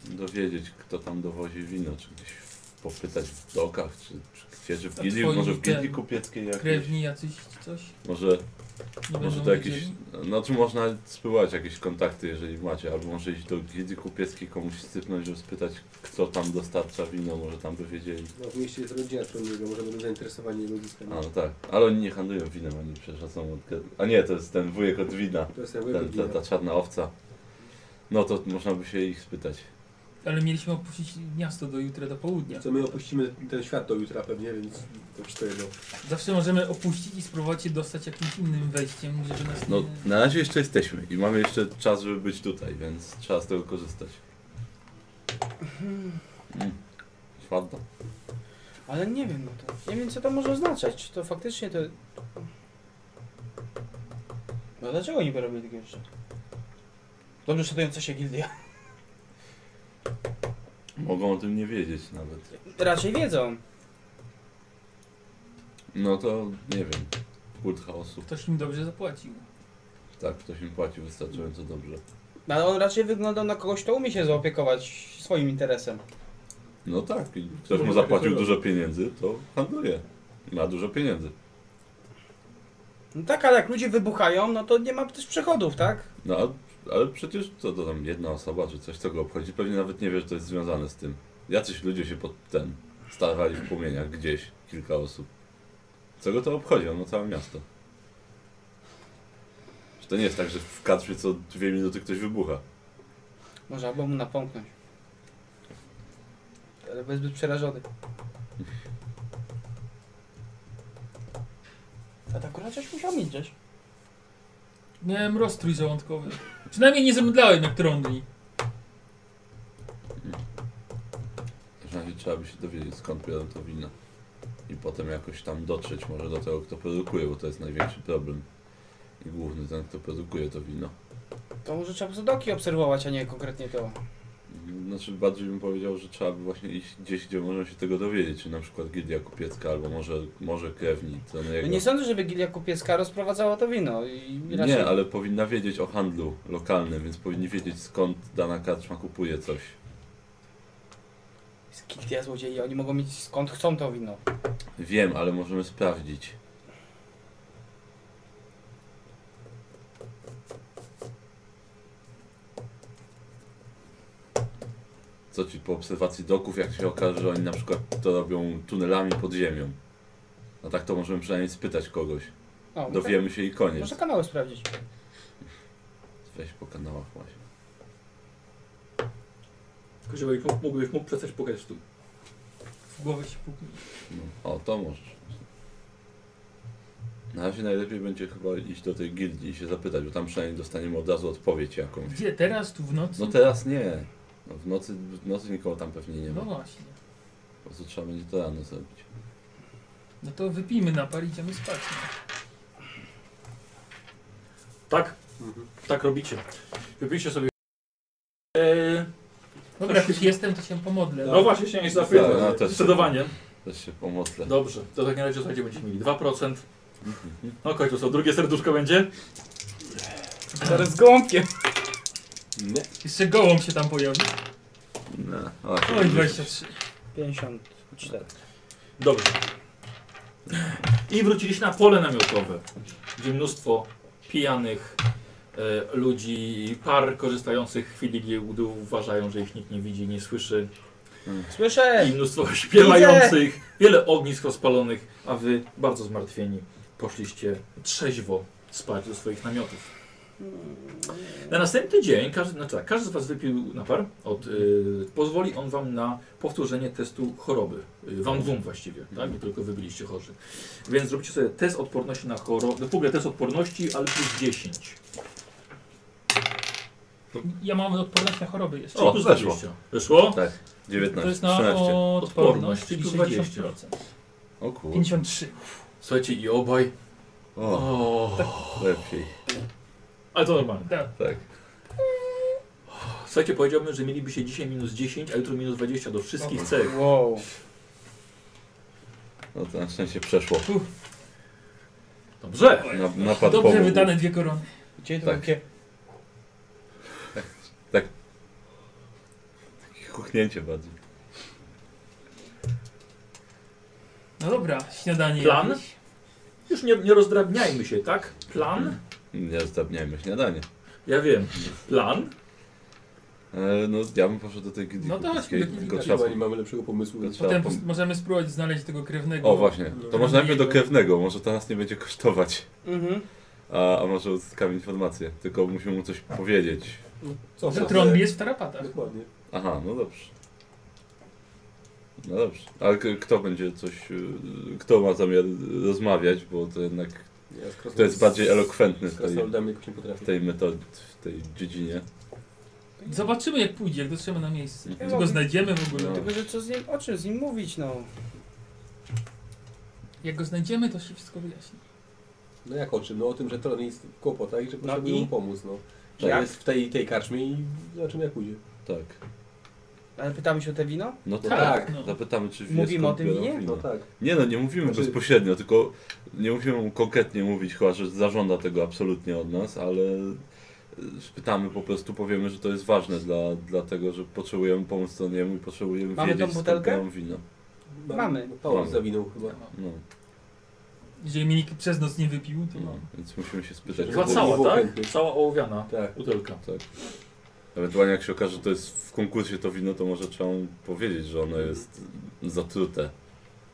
Speaker 4: dowiedzieć, kto tam dowozi wino, czy gdzieś popytać w dokach, czy, czy kwieczy w
Speaker 5: A
Speaker 4: gildii,
Speaker 5: twoi
Speaker 4: może w
Speaker 5: ten-
Speaker 4: gildii kupieckiej jakiejś.
Speaker 5: Krewni jacyś coś?
Speaker 4: Może,
Speaker 5: Nie
Speaker 4: może
Speaker 5: będą
Speaker 4: to jakieś,
Speaker 5: wiedzieli?
Speaker 4: no czy można spyłać jakieś kontakty, jeżeli macie, albo może iść do gildii kupieckiej komuś sypnąć, żeby spytać, kto tam dostarcza wino, może tam by wiedzieli.
Speaker 6: No, w mieście jest rodzina Troniego, może będą zainteresowani jego
Speaker 4: A,
Speaker 6: uzyskami.
Speaker 4: no tak, ale oni nie handlują winem, oni przecież są od... A nie, to jest ten wujek od wina,
Speaker 6: To jest jakby
Speaker 4: ten, ta, ta czarna owca. No to można by się ich spytać.
Speaker 5: Ale mieliśmy opuścić miasto do jutra do południa.
Speaker 6: Co my opuścimy ten świat do jutra pewnie, więc to wszystko jedno.
Speaker 5: Zawsze możemy opuścić i spróbować się dostać jakimś innym wejściem, żeby nas
Speaker 4: No,
Speaker 5: nie...
Speaker 4: na razie jeszcze jesteśmy i mamy jeszcze czas, żeby być tutaj, więc trzeba z tego korzystać. Mm. Ładno.
Speaker 3: Ale nie wiem, no to, nie wiem co to może oznaczać, czy to faktycznie to... No dlaczego oni by robili takie rzeczy? Dobrze szanująca się gildia.
Speaker 4: Mogą o tym nie wiedzieć nawet.
Speaker 3: Raczej wiedzą.
Speaker 4: No to nie wiem. Kult chaosu.
Speaker 5: Ktoś im dobrze zapłacił.
Speaker 4: Tak, ktoś im płacił wystarczająco dobrze.
Speaker 3: No, ale on raczej wyglądał na kogoś, kto umie się zaopiekować swoim interesem.
Speaker 4: No tak, i ktoś mu zapłacił dużo pieniędzy, to handluje. Ma dużo pieniędzy.
Speaker 3: No tak, ale jak ludzie wybuchają, no to nie ma też przechodów, tak?
Speaker 4: No a, ale przecież co to tam jedna osoba czy coś, co go obchodzi, pewnie nawet nie wie, że to jest związane z tym. Jacyś ludzie się pod ten starali w płomieniach gdzieś, kilka osób. Co go to obchodzi? On ma całe miasto. Że To nie jest tak, że w kadrze co dwie minuty ktoś wybucha.
Speaker 3: Może albo mu napomknąć. Ale był zbyt przerażony. A tak akurat coś musiał mieć gdzieś.
Speaker 5: Miałem roztrój żołądkowy. Przynajmniej nie zemdlałem jak trądli.
Speaker 4: W razie trzeba by się dowiedzieć skąd biorą to wino. I potem jakoś tam dotrzeć może do tego, kto produkuje, bo to jest największy problem. I główny ten, kto produkuje to wino.
Speaker 3: To może trzeba po prostu doki obserwować, a nie konkretnie to.
Speaker 4: Znaczy bardziej bym powiedział, że trzeba by właśnie iść gdzieś, gdzie można się tego dowiedzieć, czy na przykład Gildia Kupiecka, albo może, może Krewni, to
Speaker 3: No
Speaker 4: jego.
Speaker 3: nie sądzę, żeby Gilia Kupiecka rozprowadzała to wino i i raczej...
Speaker 4: Nie, ale powinna wiedzieć o handlu lokalnym, więc powinni wiedzieć skąd dana karczma kupuje coś.
Speaker 3: Gildia złodzieje, oni mogą mieć skąd chcą to wino.
Speaker 4: Wiem, ale możemy sprawdzić. Co ci po obserwacji doków, jak się okaże, że oni na przykład to robią tunelami pod ziemią. No tak to możemy przynajmniej spytać kogoś.
Speaker 3: O,
Speaker 4: Dowiemy się i
Speaker 3: No, tak.
Speaker 4: koniec.
Speaker 3: Można kanały sprawdzić.
Speaker 4: Weź po kanałach właśnie.
Speaker 1: Koziołek, mógłbyś mógł przestać pukać w stół.
Speaker 5: W głowę się puknął.
Speaker 4: No, o, to możesz. Na razie najlepiej będzie chyba iść do tej gildii i się zapytać, bo tam przynajmniej dostaniemy od razu odpowiedź jakąś.
Speaker 5: Gdzie? Teraz? Tu w nocy?
Speaker 4: No teraz nie. No, w, nocy, w nocy nikogo tam pewnie nie ma.
Speaker 5: No właśnie.
Speaker 4: Po prostu trzeba będzie to rano zrobić.
Speaker 5: No to wypijmy napar i idziemy spać. No.
Speaker 1: Tak,
Speaker 6: Mhm.
Speaker 1: tak robicie. Wypijcie sobie. Eee,
Speaker 5: Dobra, jak już jestem, to się pomodlę.
Speaker 1: no właśnie, się nie zapytam.
Speaker 4: Tak, no to-
Speaker 1: Zdecydowanie.
Speaker 4: Też się pomoclę.
Speaker 5: No.
Speaker 1: Dobrze, to w takim razie słuchajcie, będziecie mieli 2%. No kończę, co drugie serduszko będzie?
Speaker 3: Teraz gołąbkiem.
Speaker 4: Nie.
Speaker 5: Jeszcze gołąb się tam pojawi.
Speaker 4: No, właśnie.
Speaker 5: Oj, 23.
Speaker 3: 54.
Speaker 1: Dobrze. I wróciliście na pole namiotowe, gdzie mnóstwo pijanych e, ludzi, par korzystających w chwili, gdy uważają, że ich nikt nie widzi, nie słyszy.
Speaker 3: Słyszę!
Speaker 1: i mnóstwo śpiewających, wiele ognisk rozpalonych, a wy bardzo zmartwieni poszliście trzeźwo spać do swoich namiotów. Na następny dzień, każdy, znaczy tak, każdy z was wypił napar, od, y, pozwoli on wam na powtórzenie testu choroby, y, wam dwóm właściwie, tak, nie tylko wy byliście chorzy. Więc zrobicie sobie test odporności na chorobę, no w ogóle test odporności, ale plus 10.
Speaker 5: Ja mam odporność na choroby jeszcze.
Speaker 4: O,
Speaker 1: Plus
Speaker 4: weszło.
Speaker 1: 20. Weszło?
Speaker 4: Tak, 19,
Speaker 5: to jest na
Speaker 4: 13.
Speaker 1: Odporność,
Speaker 5: odporność, czyli
Speaker 1: plus
Speaker 5: 60%.
Speaker 4: O kur...
Speaker 5: 53.
Speaker 1: Słuchajcie i obaj.
Speaker 4: O,
Speaker 1: O,
Speaker 4: lepiej.
Speaker 1: ale to normalne.
Speaker 5: Tak.
Speaker 4: Tak.
Speaker 1: Słuchajcie, powiedziałbym, że mieliby się dzisiaj minus 10, a jutro minus 20 do wszystkich
Speaker 5: Dobra.
Speaker 1: cech.
Speaker 3: Wow.
Speaker 4: No to na szczęście przeszło.
Speaker 1: Dobrze.
Speaker 4: Na, napad
Speaker 5: Dobrze
Speaker 4: pomógł.
Speaker 5: wydane dwie korony.
Speaker 3: Gdzie to
Speaker 4: Tak.
Speaker 3: takie...
Speaker 4: Kuchnięcie bardziej.
Speaker 5: No dobra, śniadanie.
Speaker 1: Plan?
Speaker 5: jakieś.
Speaker 1: Już nie, nie rozdrabniajmy się, tak? Plan?
Speaker 4: Nie zdabniajmy śniadanie.
Speaker 1: Ja wiem. Plan?
Speaker 4: E, no, ja bym poszedł do tej gildii
Speaker 5: No to chodźmy
Speaker 4: kupickiej,
Speaker 5: do gildii
Speaker 4: tylko
Speaker 6: Chyba
Speaker 4: trzeba...
Speaker 6: nie mamy lepszego pomysłu.
Speaker 4: tylko trzeba
Speaker 5: Potem
Speaker 4: pom-
Speaker 5: pos- możemy spróbować znaleźć tego krewnego.
Speaker 4: O właśnie,
Speaker 5: no,
Speaker 4: to może najpierw do
Speaker 5: Krewnego.
Speaker 4: krewnego, może to nas nie będzie kosztować.
Speaker 3: Mhm.
Speaker 4: A, a może uzyskamy informację, tylko musimy mu coś powiedzieć.
Speaker 6: No, co,
Speaker 5: Że
Speaker 6: mamy?
Speaker 5: trąb jest w tarapatach.
Speaker 6: Dokładnie.
Speaker 4: Aha, no dobrze. No dobrze, ale k- kto będzie coś, y, kto ma zamiar y, rozmawiać, bo to jednak
Speaker 6: Ja z krasnolud-
Speaker 4: kto jest bardziej elokwentny
Speaker 6: Z
Speaker 4: w tej,
Speaker 6: krasnoludami jakoś nie
Speaker 4: w
Speaker 6: potrafię.
Speaker 4: tej metod, w tej dziedzinie.
Speaker 5: Zobaczymy jak pójdzie, jak dotrzemy na miejsce.
Speaker 4: Mhm.
Speaker 5: Czy go znajdziemy w ogóle?
Speaker 4: No.
Speaker 3: Tylko, że co z nim, o czym z nim mówić, no.
Speaker 5: Jak go znajdziemy, to się wszystko wyjaśni.
Speaker 6: No jak o czym? No o tym, że Tron jest w kłopotach i że potrzebuje
Speaker 3: i?
Speaker 6: mu pomóc, no. Że
Speaker 3: Jak?
Speaker 6: jest w tej, tej karczmie i zobaczymy jak pójdzie.
Speaker 4: Tak.
Speaker 3: Ale pytamy się o te wino?
Speaker 4: No
Speaker 6: No
Speaker 4: tak.
Speaker 6: tak.
Speaker 5: No.
Speaker 4: Zapytamy, czy wie,
Speaker 3: Mówimy
Speaker 4: skąd
Speaker 3: o tym
Speaker 4: biorą
Speaker 3: winie?
Speaker 4: wino.
Speaker 6: No tak.
Speaker 4: Nie no, nie mówimy
Speaker 6: Znaczy-
Speaker 4: bezpośrednio, tylko nie musimy mu konkretnie mówić, chyba że zażąda tego absolutnie od nas, ale y, spytamy po prostu, powiemy, że to jest ważne dla, dlatego, że potrzebujemy pomóc stronie i potrzebujemy
Speaker 3: Mamy tą
Speaker 4: wiedzieć, skąd
Speaker 3: butelkę?
Speaker 4: biorą wino.
Speaker 6: Ma-
Speaker 3: Mamy.
Speaker 6: Paweł
Speaker 4: Mamy.
Speaker 6: zawinął chyba.
Speaker 4: No,
Speaker 5: Jeżeli mi nikt przez noc nie wypił, to
Speaker 4: no, więc musimy się spytać.
Speaker 1: Była
Speaker 4: bo-
Speaker 1: cała, tak?
Speaker 6: chętnych.
Speaker 1: Cała ołowiana
Speaker 6: Tak.
Speaker 1: butelka.
Speaker 4: Ewentualnie jak się okaże, że to jest w konkursie to wino, to może trzeba mu powiedzieć, że ono jest zatrute.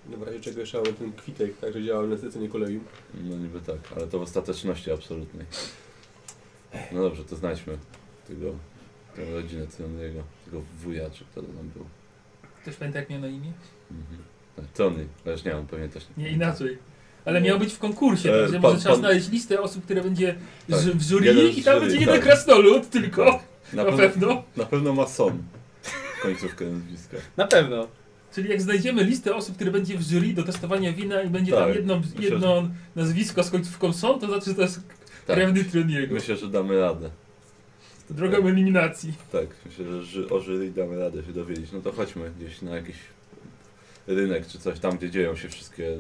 Speaker 6: No w razie czego jeszcze mamy ten kwitek, także działał na zlecenie kolegium.
Speaker 4: No niby tak, ale to w ostateczności absolutnej. No dobrze, to znajdźmy tego, tę rodzinę Trony'ego, tego wuja, czy kto to tam był.
Speaker 5: ktoś pamięta jak miał na imię?
Speaker 4: Mhm. Tak, Trony, chociaż nie on pewnie też nie
Speaker 5: Nie
Speaker 4: pamięta.
Speaker 5: inaczej. Ale miał być w konkursie,
Speaker 4: No. E,
Speaker 5: także
Speaker 4: pan-
Speaker 5: może trzeba
Speaker 4: pan-
Speaker 5: znaleźć listę osób, które będzie
Speaker 4: Tak.
Speaker 5: ż- w jury
Speaker 4: Jeden z
Speaker 5: i tam
Speaker 4: jury,
Speaker 5: będzie jeden
Speaker 4: tak.
Speaker 5: krasnolud tylko,
Speaker 4: Na,
Speaker 5: na
Speaker 4: pewno,
Speaker 5: pewno.
Speaker 4: na pewno mason. Końcówkę nazwiska.
Speaker 3: Na pewno.
Speaker 5: Czyli jak znajdziemy listę osób, które będzie w jury do testowania wina i będzie tam
Speaker 4: Tak.
Speaker 5: jedno,
Speaker 4: Myślę,
Speaker 5: jedno nazwisko z końcówką są, to znaczy, że to jest
Speaker 4: Tak.
Speaker 5: krewny Troniego.
Speaker 4: Myślę, że damy radę.
Speaker 5: Drogą eliminacji.
Speaker 4: Tak, myślę, że ży, o jury damy radę się dowiedzieć. No to chodźmy gdzieś na jakiś rynek czy coś tam, gdzie dzieją się wszystkie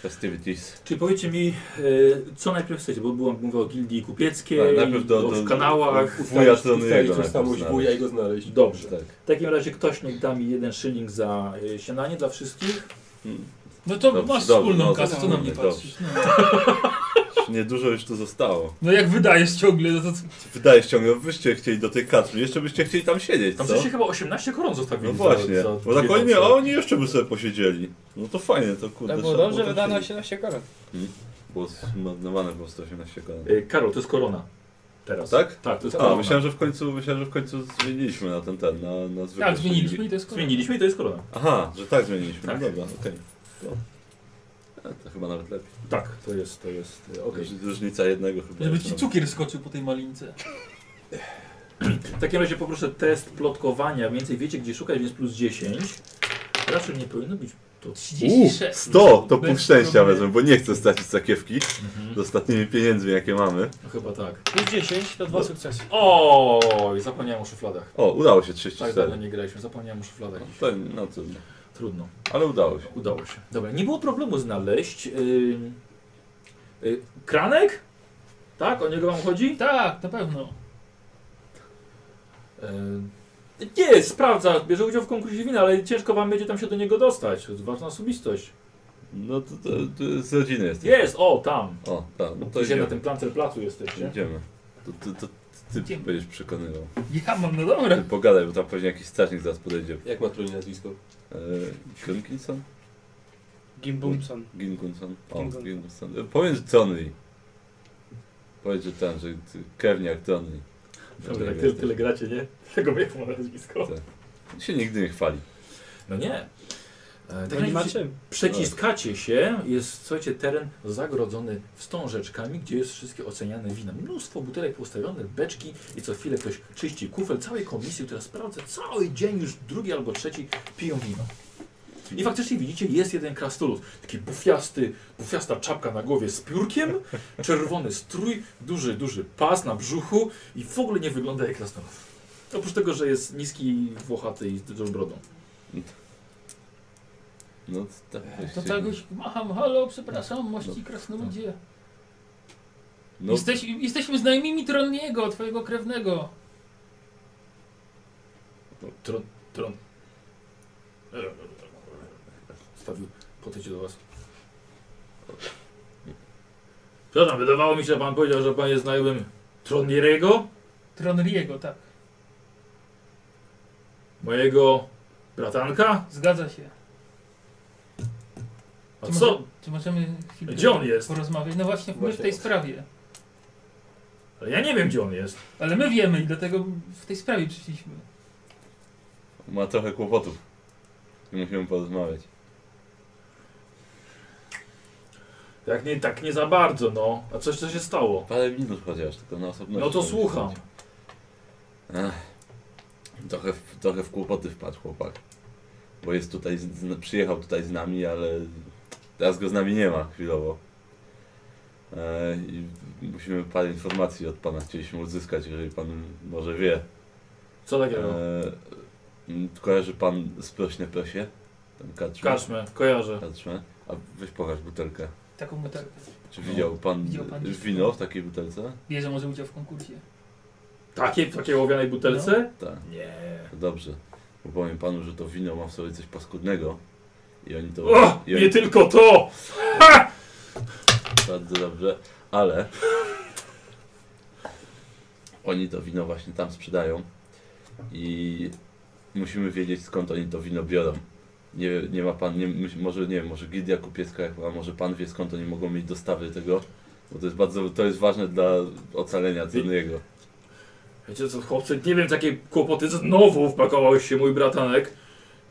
Speaker 4: festivities.
Speaker 1: Czyli powiedzcie mi, y, co najpierw chcecie, bo byłam mowa o gildii kupieckiej,
Speaker 4: Tak, najpierw do-
Speaker 1: o-
Speaker 4: do-
Speaker 1: w kanałach.
Speaker 4: Wuja
Speaker 6: Ustalić-
Speaker 4: Trony'ego
Speaker 6: ustalić tożsamość
Speaker 4: najpierw
Speaker 6: wuja i go znaleźć.
Speaker 1: Dobrze.
Speaker 4: Tak.
Speaker 1: W takim razie ktoś niech da mi jeden szyling za y, śniadanie dla wszystkich.
Speaker 4: Mm.
Speaker 5: No to
Speaker 4: Dobrze,
Speaker 5: masz
Speaker 4: dobrze,
Speaker 5: wspólną
Speaker 4: no,
Speaker 5: kasę, co na mnie
Speaker 4: dobrze.
Speaker 5: patrzysz. No.
Speaker 4: Niedużo już tu zostało.
Speaker 5: no jak wydajesz ciągle, no to co?
Speaker 4: Wydaje się ciągle, byście chcieli do tej katry, jeszcze byście chcieli tam siedzieć,
Speaker 1: Tam
Speaker 4: co?
Speaker 1: przecież chyba 18 koron zostawili.
Speaker 4: No właśnie,
Speaker 1: za- za
Speaker 4: bo tak
Speaker 1: jedną
Speaker 4: oni,
Speaker 1: osobę.
Speaker 4: oni jeszcze by sobie posiedzieli. No to fajnie, to kurde.
Speaker 3: To Tak było
Speaker 4: trzeba
Speaker 3: dobrze,
Speaker 4: tam
Speaker 3: wydano
Speaker 4: siedzieć.
Speaker 3: 18 koron.
Speaker 4: Było zmarnowane po prostu 18 kolan.
Speaker 1: Y, Karol, to jest korona. Teraz.
Speaker 4: Tak?
Speaker 1: Tak, to jest
Speaker 4: A,
Speaker 1: korona.
Speaker 4: myślałem, że w końcu, myślałem, że w końcu zmieniliśmy na ten ten, na, na zwykłe.
Speaker 5: Tak, zmieniliśmy i to jest kolor.
Speaker 1: Zmieniliśmy i to jest korona.
Speaker 4: Aha, że tak zmieniliśmy.
Speaker 1: Tak.
Speaker 4: No dobra, okej. No. To, a, to chyba nawet lepiej.
Speaker 1: Tak, to jest, to jest, y, okej.
Speaker 4: Róż- Różnica jednego chyba.
Speaker 5: Żeby
Speaker 4: jest
Speaker 5: ci
Speaker 4: tam.
Speaker 5: cukier skoczył po tej malince.
Speaker 1: W takim razie poproszę test plotkowania. Więcej wiecie, gdzie szukać, więc plus 10. Raczej nie powinno być to.
Speaker 5: 36.
Speaker 4: 100 to punkt
Speaker 5: Bez
Speaker 4: szczęścia
Speaker 5: problemu.
Speaker 4: wezmę, bo nie chcę stracić sakiewki z ostatnimi pieniędzmi, jakie mamy.
Speaker 1: No Chyba tak.
Speaker 3: Plus 10 to
Speaker 4: No.
Speaker 3: dwa sukcesy.
Speaker 1: Oj, zapomniałem o szufladach.
Speaker 4: O, udało się
Speaker 1: Tak dawno
Speaker 4: 34.
Speaker 1: nie graliśmy, zapomniałem o szufladach.
Speaker 4: To, no trudno.
Speaker 1: Trudno,
Speaker 4: Ale udało się.
Speaker 1: udało się. Dobra, nie było problemu znaleźć. ym, y, kranek? Tak, o niego wam chodzi?
Speaker 5: Tak, na pewno.
Speaker 1: Yy, nie, sprawdza, bierze udział w konkursie wina, ale ciężko wam będzie tam się do niego dostać. To jest ważna osobistość.
Speaker 4: No to, to, to z rodziny jest.
Speaker 1: Jest, o, tam.
Speaker 4: O, tak, no to
Speaker 1: Gdzie na
Speaker 4: idziemy.
Speaker 1: tym plancerplacu jesteście.
Speaker 4: Idziemy. To, to, to ty
Speaker 5: Idziemy.
Speaker 4: będziesz przekonywał.
Speaker 5: Ja mam, no
Speaker 4: Ty
Speaker 5: dobra.
Speaker 4: pogadaj, bo tam pewnie jakiś strażnik zaraz podejdzie.
Speaker 6: Jak ma Tronie nazwisko?
Speaker 4: E, Grimkinson?
Speaker 3: Gimbumson.
Speaker 4: Gingunson? O,
Speaker 3: Gingunson.
Speaker 4: Gingunson. E, Powiedz Johnny. Powiedz, że ten, że ty- krewniak Johnny.
Speaker 1: Dobra, tak tyle, tyle gracie, nie? Tego jak ma nazwisko.
Speaker 4: Się nigdy nie chwali.
Speaker 1: No nie. E,
Speaker 3: To
Speaker 1: tak
Speaker 3: nie ma
Speaker 1: jak
Speaker 3: czym.
Speaker 1: przeciskacie się, jest, słuchajcie, teren zagrodzony wstążeczkami, gdzie jest wszystkie oceniane wina. Mnóstwo butelek postawionych, beczki i co chwilę ktoś czyści kufel całej komisji, która sprawdza cały dzień, już drugi albo trzeci piją wino. I faktycznie widzicie, jest jeden krasnolud, taki bufiasty, bufiasta czapka na głowie z piórkiem, czerwony strój, duży, duży pas na brzuchu i w ogóle nie wygląda jak krasnolud. Oprócz tego, że jest niski, włochaty i z dużą brodą.
Speaker 4: No to tak.
Speaker 5: To
Speaker 1: E,
Speaker 4: właściwie.
Speaker 5: czegoś macham, halo, przepraszam, mości krasnoludzie.
Speaker 4: No,
Speaker 5: Jesteś, jesteśmy znajomymi Troniego, twojego krewnego.
Speaker 1: No, Tron. Tron. tak Stawił Podejdzie do was. Przepraszam, wydawało mi się, że pan powiedział, że pan jest znajomym Tronierego,
Speaker 5: Tronriego, tak.
Speaker 1: mojego bratanka.
Speaker 5: Zgadza się.
Speaker 1: A
Speaker 5: Czy
Speaker 1: co?
Speaker 5: Może, czy możemy chwilę
Speaker 1: Gdzie on jest?
Speaker 5: porozmawiać? No właśnie, my w
Speaker 6: Właśnie.
Speaker 5: tej sprawie.
Speaker 1: Ale ja nie wiem, gdzie on jest.
Speaker 5: Ale my wiemy i dlatego w tej sprawie przyszliśmy.
Speaker 4: Ma trochę kłopotów. Musimy porozmawiać.
Speaker 1: Tak nie, tak nie za bardzo, no. A coś, co się stało?
Speaker 4: Parę minut chociaż, tylko na osobności.
Speaker 1: No to słucham.
Speaker 4: Ech, trochę, w- trochę w kłopoty wpadł chłopak. Bo jest tutaj, z, z, przyjechał tutaj z nami, ale teraz go z nami nie ma chwilowo. E, I musimy parę informacji od pana chcieliśmy uzyskać, jeżeli pan może wie.
Speaker 1: Co takiego?
Speaker 5: No.
Speaker 4: E, m, kojarzy pan sprośnie prosie? Ten karczmę?
Speaker 1: Kaczmy, kojarzę.
Speaker 4: Karczmę. A weź pokaż butelkę.
Speaker 5: Taką butelkę.
Speaker 4: Czy widział pan,
Speaker 5: No. Widział pan dziś-
Speaker 4: wino w takiej butelce?
Speaker 5: Bierze może udział w konkursie.
Speaker 1: Takie, w takiej ołowianej butelce?
Speaker 4: Tak.
Speaker 1: Nie.
Speaker 4: To Dobrze. Bo powiem panu, że to wino ma w sobie coś paskudnego. I oni to.
Speaker 1: O,
Speaker 4: i oni
Speaker 1: nie tylko to!
Speaker 4: bardzo dobrze, ale. Oni to wino właśnie tam sprzedają. I musimy wiedzieć skąd oni to wino biorą. Nie, nie ma pan, nie, myś- może nie wiem, może Gildia Kupiecka, a może pan wie skąd oni mogą mieć dostawy tego. Bo to jest bardzo, to jest ważne dla ocalenia cennego.
Speaker 1: Wiecie co, chłopcy, nie wiem, takie kłopoty znowu wpakowałeś się, mój bratanek.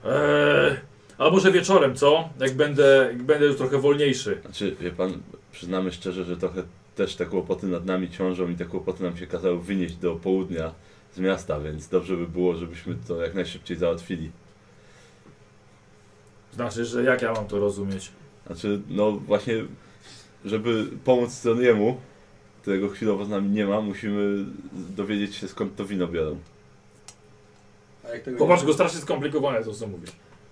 Speaker 1: Eee, a może wieczorem, co? Jak będę, jak będę już trochę wolniejszy.
Speaker 4: Znaczy, wie pan, przyznamy szczerze, że trochę też te kłopoty nad nami ciążą i te kłopoty nam się kazały wynieść do południa z miasta, więc dobrze by było, żebyśmy to jak najszybciej załatwili.
Speaker 1: Znaczy, że jak ja mam to rozumieć?
Speaker 4: Znaczy, no właśnie, żeby pomóc Stroniemu, którego chwilowo z nami nie ma, musimy dowiedzieć się skąd to wino biorą.
Speaker 6: A jak, tego
Speaker 1: Popatrz,
Speaker 6: nie-
Speaker 1: go strasznie skomplikowane to, co mówisz.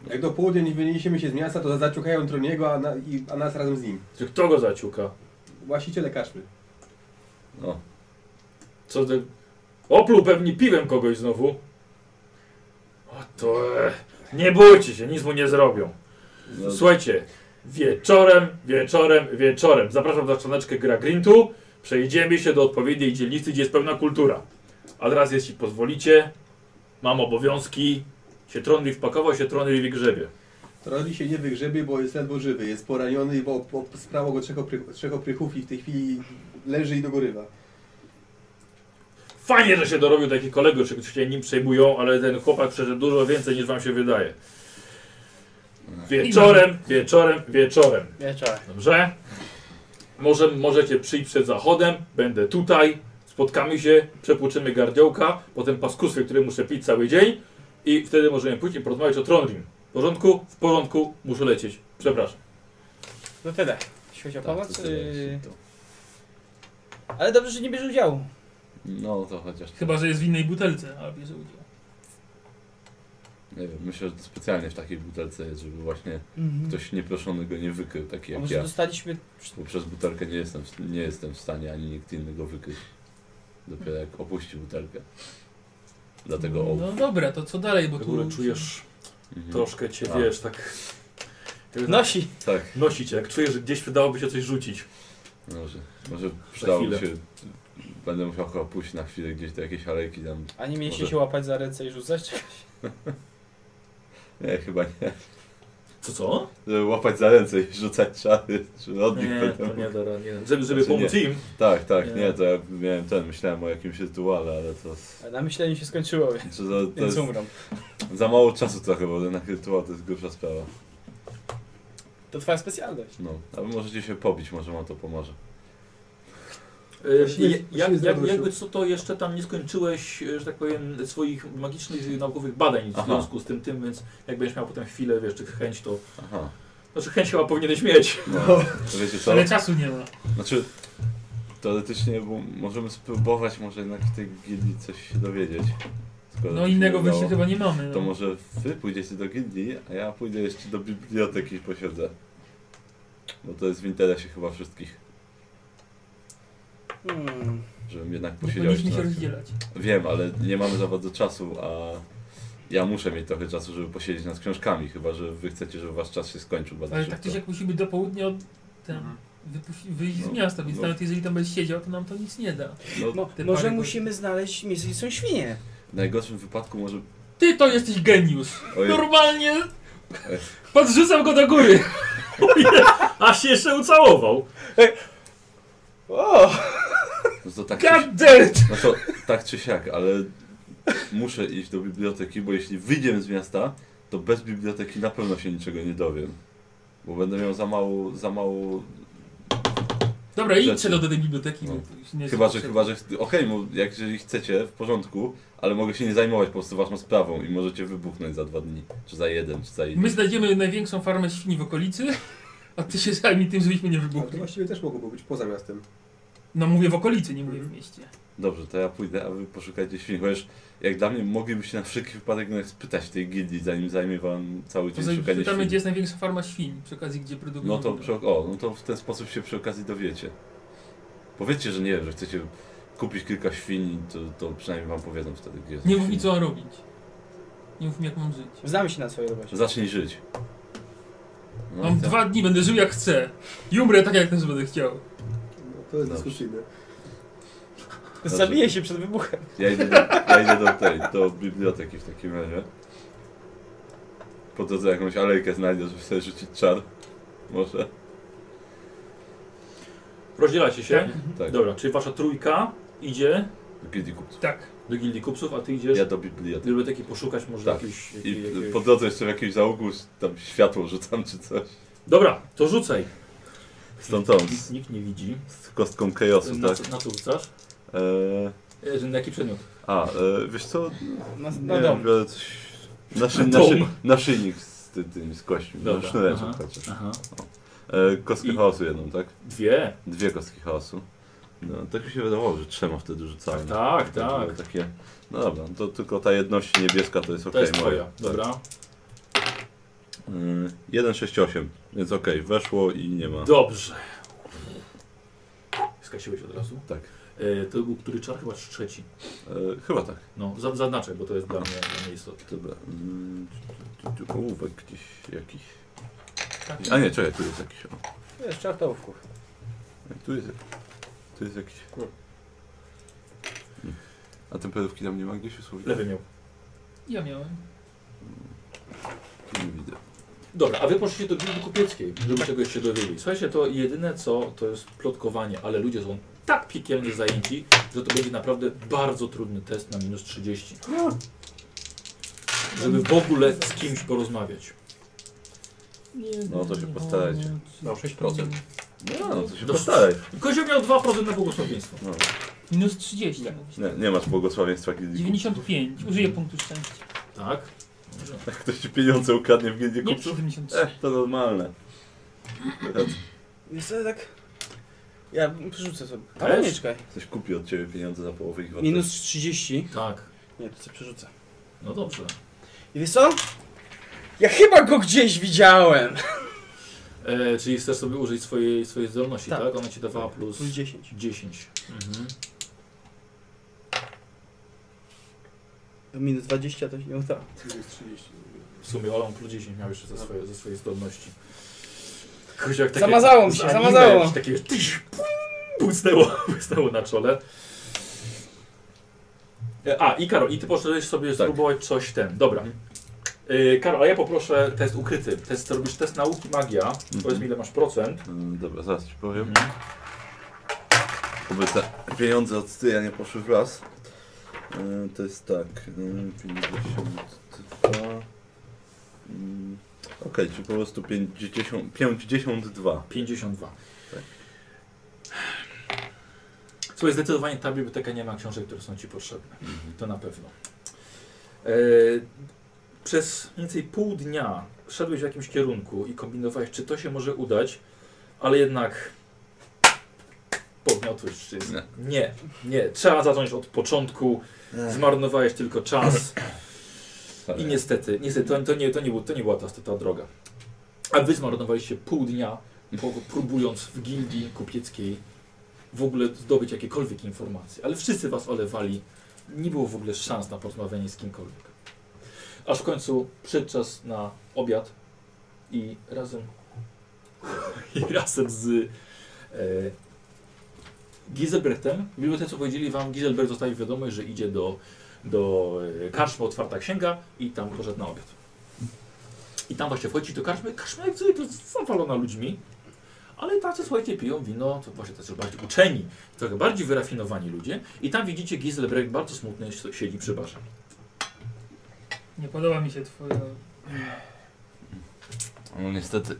Speaker 6: jak do południa nie wyniesiemy się z miasta, to zaciukają Troniego, a, na, i, a nas razem z nim.
Speaker 1: Czy kto go zaciuka?
Speaker 6: Właściciele kaszmy.
Speaker 4: O,
Speaker 1: Co ty... Opluł pewnie piwem kogoś znowu. O to... E, nie bójcie się, nic mu nie zrobią.
Speaker 4: no,
Speaker 1: Słuchajcie, wieczorem, wieczorem, wieczorem. Zapraszam na czaneczkę Gra Grintu. Przejdziemy się do odpowiedniej dzielnicy, gdzie jest pełna kultura. A teraz, jeśli pozwolicie, mam obowiązki. Się tronli wpakował, się tronli wygrzebie.
Speaker 6: Troli się nie wygrzebie, bo jest ledwo żywy. Jest poraniony, bo bo sprało go trzech, oprych, trzech oprychów i w tej chwili leży i dogorywa.
Speaker 1: Fajnie, że się dorobił takich kolegów, że się nim przejmują, ale ten chłopak przeżył dużo więcej niż wam się wydaje. Wieczorem, wieczorem, wieczorem.
Speaker 3: Wieczorem.
Speaker 1: Dobrze? Może, możecie przyjść przed zachodem, będę tutaj, spotkamy się, przepłuczymy gardziołka, potem paskustwie, które muszę pić cały dzień i wtedy możemy pójść i porozmawiać o Trondrim. W porządku? W porządku, muszę lecieć. Przepraszam.
Speaker 3: No tyle. Jeśli chodzi o
Speaker 4: tak,
Speaker 3: pomoc.
Speaker 4: to tyle,
Speaker 3: y,
Speaker 4: to-
Speaker 3: Ale dobrze, że nie bierze udziału.
Speaker 4: No to chociaż.
Speaker 5: Chyba, że jest w innej butelce, ale bierze udział.
Speaker 4: tak. Nie wiem, myślę, że to specjalnie w takiej butelce jest, żeby właśnie
Speaker 3: Mhm.
Speaker 4: ktoś nieproszony go nie wykrył, taki
Speaker 3: A
Speaker 4: jak
Speaker 3: może
Speaker 4: ja.
Speaker 3: dostaliśmy.
Speaker 4: Bo przez butelkę nie jestem, nie jestem w stanie ani nikt inny go wykryć. Dopiero jak opuści butelkę. Dlatego o.
Speaker 5: No dobra, to co dalej, bo
Speaker 1: W
Speaker 5: tu...
Speaker 1: ogóle czujesz,
Speaker 4: Mhm.
Speaker 1: troszkę cię,
Speaker 4: A.
Speaker 1: wiesz, tak... tak
Speaker 3: Nosi.
Speaker 4: Tak,
Speaker 1: Nosi cię, jak czujesz, że gdzieś wydałoby się coś rzucić.
Speaker 4: może, może przydałoby
Speaker 1: chwilę.
Speaker 4: się. Będę musiał chyba pójść na chwilę gdzieś do jakiejś alejki tam.
Speaker 3: A nie mieliście
Speaker 4: Może.
Speaker 3: się łapać za ręce i rzucać?
Speaker 4: Nie, chyba nie.
Speaker 1: Co, co?
Speaker 4: Żeby łapać za ręce i rzucać czary, czy odbić
Speaker 1: Nie,
Speaker 4: będę
Speaker 1: to
Speaker 4: mógł.
Speaker 1: nie da rady, nie. Żeby, żeby
Speaker 4: Znaczy nie.
Speaker 1: pomóc im.
Speaker 4: Tak, tak,
Speaker 1: Nie.
Speaker 4: nie. to ja miałem ten, myślałem o jakimś rytuale, ale to.
Speaker 3: Ale na myśleniu się skończyło, więc
Speaker 4: Czy to, to jest
Speaker 3: umrą.
Speaker 4: za mało czasu trochę, bo jednak rytuał to jest grubsza sprawa.
Speaker 3: To twoja specjalność.
Speaker 4: No, a wy możecie się pobić, może wam to pomoże.
Speaker 1: Y,
Speaker 6: Musimy-
Speaker 1: je-
Speaker 6: musimy
Speaker 1: Jak,
Speaker 6: z
Speaker 1: jak,
Speaker 6: radością.
Speaker 1: jakby co to jeszcze tam nie skończyłeś, y, że tak powiem, swoich magicznych y, naukowych badań w
Speaker 4: Aha.
Speaker 1: związku z tym tym, więc jak będziesz miał potem chwilę, wiesz, czy chęć to.
Speaker 4: Aha.
Speaker 1: Znaczy chęć chyba powinieneś mieć.
Speaker 4: No, to wiecie co?
Speaker 5: Ale czasu nie ma.
Speaker 4: Znaczy, teoretycznie bo możemy spróbować może jednak w tej gildii coś się dowiedzieć. Skoro
Speaker 5: No
Speaker 4: to się
Speaker 5: innego
Speaker 4: nie
Speaker 5: wyjścia
Speaker 4: udało,
Speaker 5: chyba nie mamy.
Speaker 4: To
Speaker 5: No.
Speaker 4: może wy pójdziecie do gildii, a ja pójdę jeszcze do biblioteki i posiedzę. Bo to jest w interesie chyba wszystkich,
Speaker 3: Hmm.
Speaker 4: żebym jednak
Speaker 5: Nie
Speaker 4: posiedział
Speaker 5: powinniśmy
Speaker 4: jeszcze
Speaker 5: się
Speaker 4: na
Speaker 5: rozdzielać.
Speaker 4: Wiem, ale nie mamy za bardzo czasu, a Ja muszę mieć trochę czasu, żeby posiedzieć nad książkami, chyba że wy chcecie, żeby wasz czas się skończył bardzo
Speaker 5: Ale tak
Speaker 4: szybko.
Speaker 5: czy siak musimy do południa od, tam,
Speaker 2: Mhm.
Speaker 5: wypuści, wyjść z
Speaker 4: No,
Speaker 5: miasta, więc
Speaker 4: no.
Speaker 5: nawet jeżeli tam będziesz siedział, to nam to nic nie da.
Speaker 4: No,
Speaker 3: Mo,
Speaker 5: Te
Speaker 3: może
Speaker 5: pary-
Speaker 3: musimy znaleźć miejsce, gdzie są świnie.
Speaker 4: w najgorszym wypadku może...
Speaker 5: Ty to jesteś geniusz!
Speaker 4: Ojej.
Speaker 5: Normalnie
Speaker 4: Ej.
Speaker 5: podrzucam go do góry.
Speaker 1: Aż się jeszcze ucałował.
Speaker 3: O!
Speaker 4: No to tak, czy,
Speaker 5: God damn it!
Speaker 4: no to tak czy siak, ale muszę iść do biblioteki, bo jeśli wyjdziemy z miasta, to bez biblioteki na pewno się niczego nie dowiem. Bo będę miał za mało, za mało
Speaker 5: Dobra, idźcie
Speaker 4: Rzeczy.
Speaker 5: do tej biblioteki.
Speaker 4: No.
Speaker 5: bo to już nie
Speaker 4: Chyba,
Speaker 5: jest
Speaker 4: że,
Speaker 5: potrzebne.
Speaker 4: chyba, że, okej, bo jak jeżeli chcecie, w porządku, ale mogę się nie zajmować po prostu waszą sprawą i możecie wybuchnąć za dwa dni, czy za jeden, czy za
Speaker 5: My
Speaker 4: jeden.
Speaker 5: znajdziemy największą farmę świni w okolicy, a ty się zajmij tym, żebyśmy nie
Speaker 6: Ale to
Speaker 5: wybuchli.
Speaker 6: właściwie też mogłoby być poza miastem.
Speaker 5: No mówię w okolicy, nie mówię w mieście.
Speaker 4: Dobrze, to ja pójdę, a wy poszukajcie świn, chociaż jak dla mnie moglibyście na wszelki wypadek nawet spytać tej gildii, zanim zajmie wam cały
Speaker 5: To
Speaker 4: dzień
Speaker 5: sobie
Speaker 4: szukanie
Speaker 5: pytamy,
Speaker 4: świn.
Speaker 5: gdzie jest największa farma świń, przy okazji gdzie produkują.
Speaker 4: No to,
Speaker 5: wino.
Speaker 4: przy, o, no to w ten sposób się przy okazji dowiecie. Powiedzcie, że nie wiem, że chcecie kupić kilka świn, i to, to przynajmniej wam powiedzą wtedy, gdzie są
Speaker 5: Nie mów
Speaker 4: świnie.
Speaker 5: mi co mam robić. Nie mów mi jak mam żyć.
Speaker 3: Znamy się na swojej robocie.
Speaker 4: Zacznij żyć. No i
Speaker 5: Mam
Speaker 4: tak.
Speaker 5: dwa dni, będę żył jak chcę. I umrę tak jak też będę chciał.
Speaker 6: No, to jest
Speaker 4: Dobrze.
Speaker 6: dyskusyjne.
Speaker 4: Dobrze.
Speaker 3: Zabiję się przed wybuchem.
Speaker 4: Ja idę do, ja idę do tej, do biblioteki w takim razie. Po drodze jakąś alejkę znajdę, żeby sobie rzucić czar. Może?
Speaker 1: Rozdzielacie się?
Speaker 4: Tak.
Speaker 1: Dobra, czyli wasza trójka idzie
Speaker 4: Do gildii kupców.
Speaker 5: Tak.
Speaker 1: do gildii kupców, a ty idziesz
Speaker 4: Ja do
Speaker 1: do
Speaker 4: biblioteki.
Speaker 1: biblioteki poszukać może
Speaker 4: Tak.
Speaker 1: jakiejś...
Speaker 4: I
Speaker 1: jakiej- jakiej-
Speaker 4: po drodze jeszcze w jakimś załogu tam światło rzucam czy coś.
Speaker 1: Dobra, to rzucaj.
Speaker 4: Stąd on,
Speaker 1: Nikt,
Speaker 4: z,
Speaker 1: nikt nie widzi.
Speaker 4: z kostką chaosu,
Speaker 1: Na,
Speaker 4: tak.
Speaker 1: co- na co rzucasz?
Speaker 4: Eee,
Speaker 1: E, Na jaki przedmiot?
Speaker 4: a, e, wiesz co?
Speaker 3: No,
Speaker 4: Nie
Speaker 3: no
Speaker 4: wiem,
Speaker 3: dobra.
Speaker 4: biorę coś... Naszy,
Speaker 1: Dom.
Speaker 4: naszy, naszyjnik z ty, tym, z kością. No,
Speaker 1: Dobra,
Speaker 4: sznureczek
Speaker 1: aha.
Speaker 4: chociaż.
Speaker 1: Aha.
Speaker 4: E, kostkę
Speaker 1: I-
Speaker 4: chaosu jedną, tak?
Speaker 1: Dwie.
Speaker 4: Dwie kostki chaosu. No, tak mi się wydawało, że trzema wtedy rzucałem.
Speaker 1: Tak,
Speaker 4: To
Speaker 1: tak.
Speaker 4: było Takie, no dobra, to tylko ta jedność niebieska to jest
Speaker 1: To
Speaker 4: okej
Speaker 1: jest twoja.
Speaker 4: Tak.
Speaker 1: Dobra.
Speaker 4: Y, 168, więc okej, weszło i nie ma.
Speaker 1: Dobrze. Skasiłeś od razu?
Speaker 4: Tak.
Speaker 1: E, to był który czar? Chyba trzeci.
Speaker 4: E, chyba tak.
Speaker 1: No, za- zaznaczę, bo to jest dla mnie, dla mnie istotne.
Speaker 4: Dobra. Mm, tu- tu- tu Ołówek gdzieś jakiś.
Speaker 5: tak.
Speaker 4: A nie, czekaj, tu jest jakiś. O,
Speaker 3: Wiesz, czartołówków.
Speaker 4: tu jest, tu jest jakiś. Mm. A temperówki tam nie ma gdzieś usługi?
Speaker 1: Lewy miał.
Speaker 5: Ja miałem.
Speaker 4: Tu nie widzę.
Speaker 1: Dobra, a wy poszliście do gminy kupieckiej, żeby czegoś się dowiedzieć. Słuchajcie, to jedyne co, to jest plotkowanie, ale ludzie są tak piekielnie zajęci, że to będzie naprawdę bardzo trudny test na minus 30. Żeby w ogóle z kimś porozmawiać.
Speaker 4: No to się postarajcie.
Speaker 6: No, 6%.
Speaker 4: No, no to się
Speaker 1: No,
Speaker 4: postaraj.
Speaker 1: Kozioł miał 2% na błogosławieństwo.
Speaker 4: No.
Speaker 5: Minus 30. mówisz.
Speaker 4: Nie, nie masz błogosławieństwa gildii.
Speaker 5: 95. Użyję punktu szczęścia.
Speaker 1: Tak? Dobrze.
Speaker 4: Jak ktoś ci pieniądze ukradnie w gildii
Speaker 5: Nie
Speaker 4: kupców?
Speaker 5: 73.
Speaker 4: E, to normalne.
Speaker 3: Wiesz co, tak... Ja przerzucę sobie.
Speaker 1: Też?
Speaker 3: Ale nie, czekaj.
Speaker 4: Coś kupi od ciebie pieniądze za połowę ich wartości.
Speaker 3: Minus 30.
Speaker 1: Tak.
Speaker 3: Nie, to co przerzucę.
Speaker 1: No dobrze.
Speaker 3: I wiesz co? Ja chyba go gdzieś widziałem.
Speaker 1: E, czyli chcesz sobie użyć swojej, swojej zdolności, tak.
Speaker 3: Tak.
Speaker 1: Ona ci dawała plus
Speaker 3: Plus 10.
Speaker 1: 10. Mhm.
Speaker 3: To minus 20 to się nie udało.
Speaker 6: To jest 30.
Speaker 1: W sumie Ola plus 10 miał jeszcze ze, swoje, ze swojej zdolności. Kozioł jak takie-
Speaker 3: Zamazało mi
Speaker 1: z
Speaker 3: się,
Speaker 1: anime
Speaker 3: zamazało.
Speaker 1: jakieś Takie tyś, pum, błysnęło, błysnęło na czole. E, A, i Karol, i ty poszedłeś sobie
Speaker 4: Tak.
Speaker 1: spróbować coś ten. Dobra. E, Karol, a ja poproszę test ukryty. Test, robisz test nauki magia. Powiedz mi ile masz procent. Mhm.
Speaker 4: Mm, Dobra, zaraz ci powiem. Oby te pieniądze od Styja nie poszły w las. E, To jest tak. e, 52. Mm, Okej, czyli po prostu 50, 52.
Speaker 1: 52.
Speaker 4: Tak.
Speaker 1: Słuchaj, zdecydowanie ta biblioteka nie ma książek, które są Ci potrzebne.
Speaker 4: Mhm.
Speaker 1: To na pewno. E, przez mniej więcej pół dnia szedłeś w jakimś kierunku i kombinowałeś, czy to się może udać, ale jednak podmiotłeś czy
Speaker 4: Nie.
Speaker 1: Nie, nie. Trzeba zacząć od początku. Zmarnowałeś tylko czas. I niestety, niestety to, to, nie, to, nie, był, to nie była ta, ta droga. A wy zmarnowaliście pół dnia, po, próbując w gildii kupieckiej w ogóle zdobyć jakiekolwiek informacje. Ale wszyscy was olewali. Nie było w ogóle szans na porozmawianie z kimkolwiek. Aż w końcu przyszedł czas na obiad i razem i razem z e, Giselbrechtem, mimo tego co powiedzieli wam, Giselbrecht zostawił wiadomość, że idzie do, do e, karczmy Otwarta Księga i tam poszedł na obiad. I tam właśnie wchodzi do karczmy, karczma jak zwykle jest zawalona ludźmi, ale tacy słuchajcie piją wino, to właśnie tacy bardziej uczeni, trochę bardziej wyrafinowani ludzie i tam widzicie Giselbrecht bardzo smutny siedzi przy barze.
Speaker 5: Nie podoba mi się twoja...
Speaker 2: No niestety.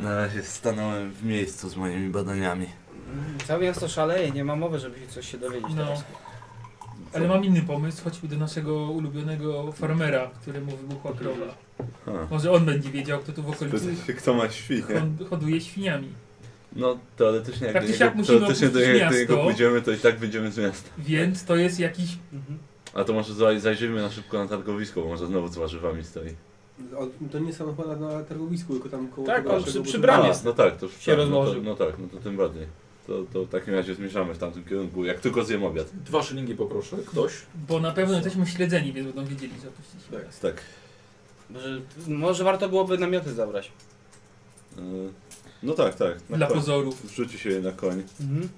Speaker 2: Na razie stanąłem w miejscu z moimi badaniami.
Speaker 3: Mm, Całe miasto szaleje, nie ma mowy, żeby się coś się dowiedzieć
Speaker 5: No.
Speaker 3: teraz.
Speaker 5: Ale mam inny pomysł, chodźmy do naszego ulubionego farmera, któremu wybuchła krowa.
Speaker 4: Ha.
Speaker 5: Może on będzie wiedział, kto tu w okolicy
Speaker 4: Pytaj się, Kto ma świnie?
Speaker 5: hon- hoduje świniami.
Speaker 4: No teoretycznie jak
Speaker 5: Tak
Speaker 4: do
Speaker 5: czy
Speaker 4: niego,
Speaker 5: siak musimy
Speaker 4: teoretycznie do
Speaker 5: opuścić
Speaker 4: niego, do
Speaker 5: miasto.
Speaker 4: niego pójdziemy, to i tak wyjdziemy z miasta.
Speaker 5: Więc to jest jakiś...
Speaker 3: Mhm.
Speaker 4: A to może zaj- zajrzyjmy na szybko na targowisko, bo może znowu z warzywami stoi.
Speaker 6: O, To nie samochód na targowisku, tylko tam koło...
Speaker 3: Tak,
Speaker 6: tego
Speaker 3: on
Speaker 6: naszego
Speaker 3: przy- przy
Speaker 6: budynku.
Speaker 3: bramie.
Speaker 4: A, no tak, to
Speaker 3: Się
Speaker 4: tak, no, to,
Speaker 3: rozmnożył.
Speaker 4: no tak, no to tym bardziej. To, to w takim razie zmierzamy w tamtym kierunku, jak tylko zjem obiad.
Speaker 1: Dwa szylingi poproszę, ktoś.
Speaker 5: Bo na pewno jesteśmy śledzeni, więc będą wiedzieli, że opuściliśmy.
Speaker 6: Tak.
Speaker 4: Tak.
Speaker 3: Może, może warto byłoby namioty zabrać.
Speaker 4: y, No tak, tak. na
Speaker 5: Dla
Speaker 4: koń.
Speaker 5: pozorów.
Speaker 4: Wrzuci się je na koń.
Speaker 3: Mhm.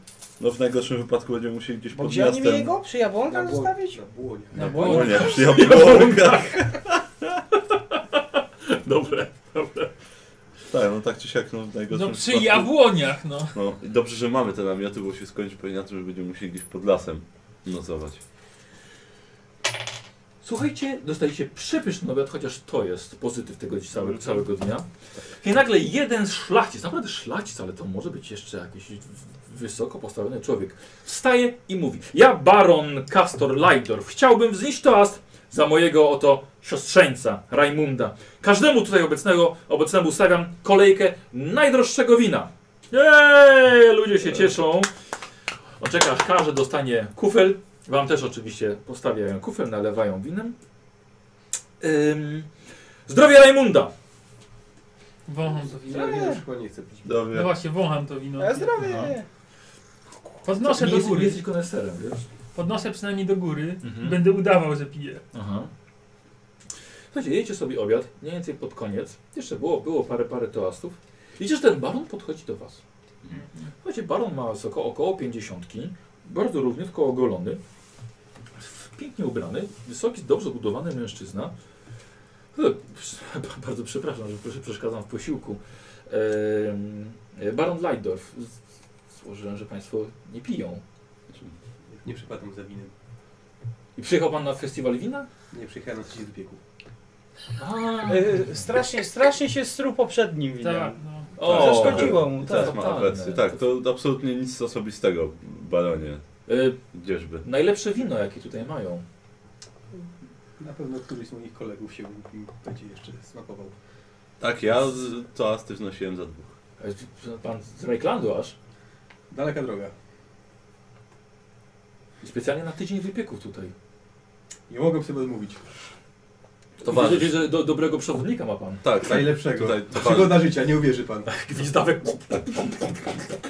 Speaker 4: No w najgorszym wypadku będziemy musieli gdzieś
Speaker 3: Bo
Speaker 4: pod
Speaker 3: gdzie oni mieli
Speaker 4: miastem.
Speaker 3: go? Przy jabłonkach
Speaker 6: Na błoń-
Speaker 3: zostawić?
Speaker 6: Na błonie.
Speaker 5: Na
Speaker 4: O
Speaker 5: błonie.
Speaker 4: nie, przy jabłonkach.
Speaker 1: Dobre.
Speaker 4: Tak, no tak czy siak, no w najgorszym
Speaker 5: No przy
Speaker 4: wypadku-
Speaker 5: jabłoniach, no.
Speaker 4: No i dobrze, że mamy te namioty, bo się skończy bo inaczej będziemy musieli gdzieś pod lasem nocować.
Speaker 1: Słuchajcie, dostaliście przepyszny obiad, chociaż to jest pozytyw tego całego, całego dnia. I nagle jeden z szlachcic, naprawdę szlachcic, ale to może być jeszcze jakiś w- wysoko postawiony człowiek, wstaje i mówi Ja, baron Castor Lajdorf, chciałbym wznieść toast za mojego oto siostrzeńca Rajmunda. Każdemu tutaj obecnego, obecnemu stawiam kolejkę najdroższego wina. Jej, ludzie się cieszą. Oczekasz, każdy dostanie kufel. Wam też oczywiście postawiają kufel, nalewają winem. Ym, zdrowie Rajmunda!
Speaker 5: Wącham to wino.
Speaker 6: Ja już chyba nie chcę pić.
Speaker 5: No
Speaker 4: Dobrze.
Speaker 5: właśnie, wącham to wino.
Speaker 3: Ja zdrowie!
Speaker 5: Podnoszę
Speaker 1: nie
Speaker 5: do
Speaker 1: jesteś, nie
Speaker 5: góry.
Speaker 1: jesteś koneserem, wiesz?
Speaker 5: Podnoszę przynajmniej do góry
Speaker 1: Mhm.
Speaker 5: i będę udawał, że piję.
Speaker 1: Aha. Słuchajcie, jecie sobie obiad, mniej więcej pod koniec. Jeszcze było, było parę, parę toastów. Widzicie, że ten baron podchodzi do was. Słuchajcie, baron ma z oko, około pięćdziesiątki, bardzo równiutko ogolony, pięknie ubrany, wysoki, dobrze budowany mężczyzna. E, prz- Bardzo przepraszam, że prze- przeszkadzam w posiłku. Em, e, Baron Leidorf. Złożyłem, że Państwo nie piją.
Speaker 6: Nie przypadam za winem.
Speaker 1: I przyjechał Pan na festiwal wina? E,
Speaker 6: Nie przyjechałem na trzeci do pieku.
Speaker 3: Y, strasznie, strasznie się struł poprzednim
Speaker 5: Tak,
Speaker 3: winem.
Speaker 5: no.
Speaker 1: O,
Speaker 3: Zaszkodziło mu,
Speaker 4: I
Speaker 3: tak.
Speaker 4: teraz ma awersję. Tak, to absolutnie nic osobistego, baronie.
Speaker 1: E,
Speaker 4: Gdzieżby.
Speaker 1: Najlepsze wino, jakie tutaj mają.
Speaker 6: Na pewno któryś z moich kolegów się im będzie jeszcze smakował.
Speaker 4: Tak, ja z- toasty wnosiłem za dwóch.
Speaker 1: E, Pan z Rejklandu aż.
Speaker 6: Daleka droga.
Speaker 1: I specjalnie na tydzień wypieków tutaj.
Speaker 6: Nie mogę sobie odmówić.
Speaker 1: Widzę, widzę, że do, dobrego przewodnika ma Pan.
Speaker 4: Tak, tak.
Speaker 6: Najlepszego.
Speaker 4: Tutaj towarzysz,
Speaker 6: Przygoda życia, nie uwierzy pan.
Speaker 1: Gwizdawek.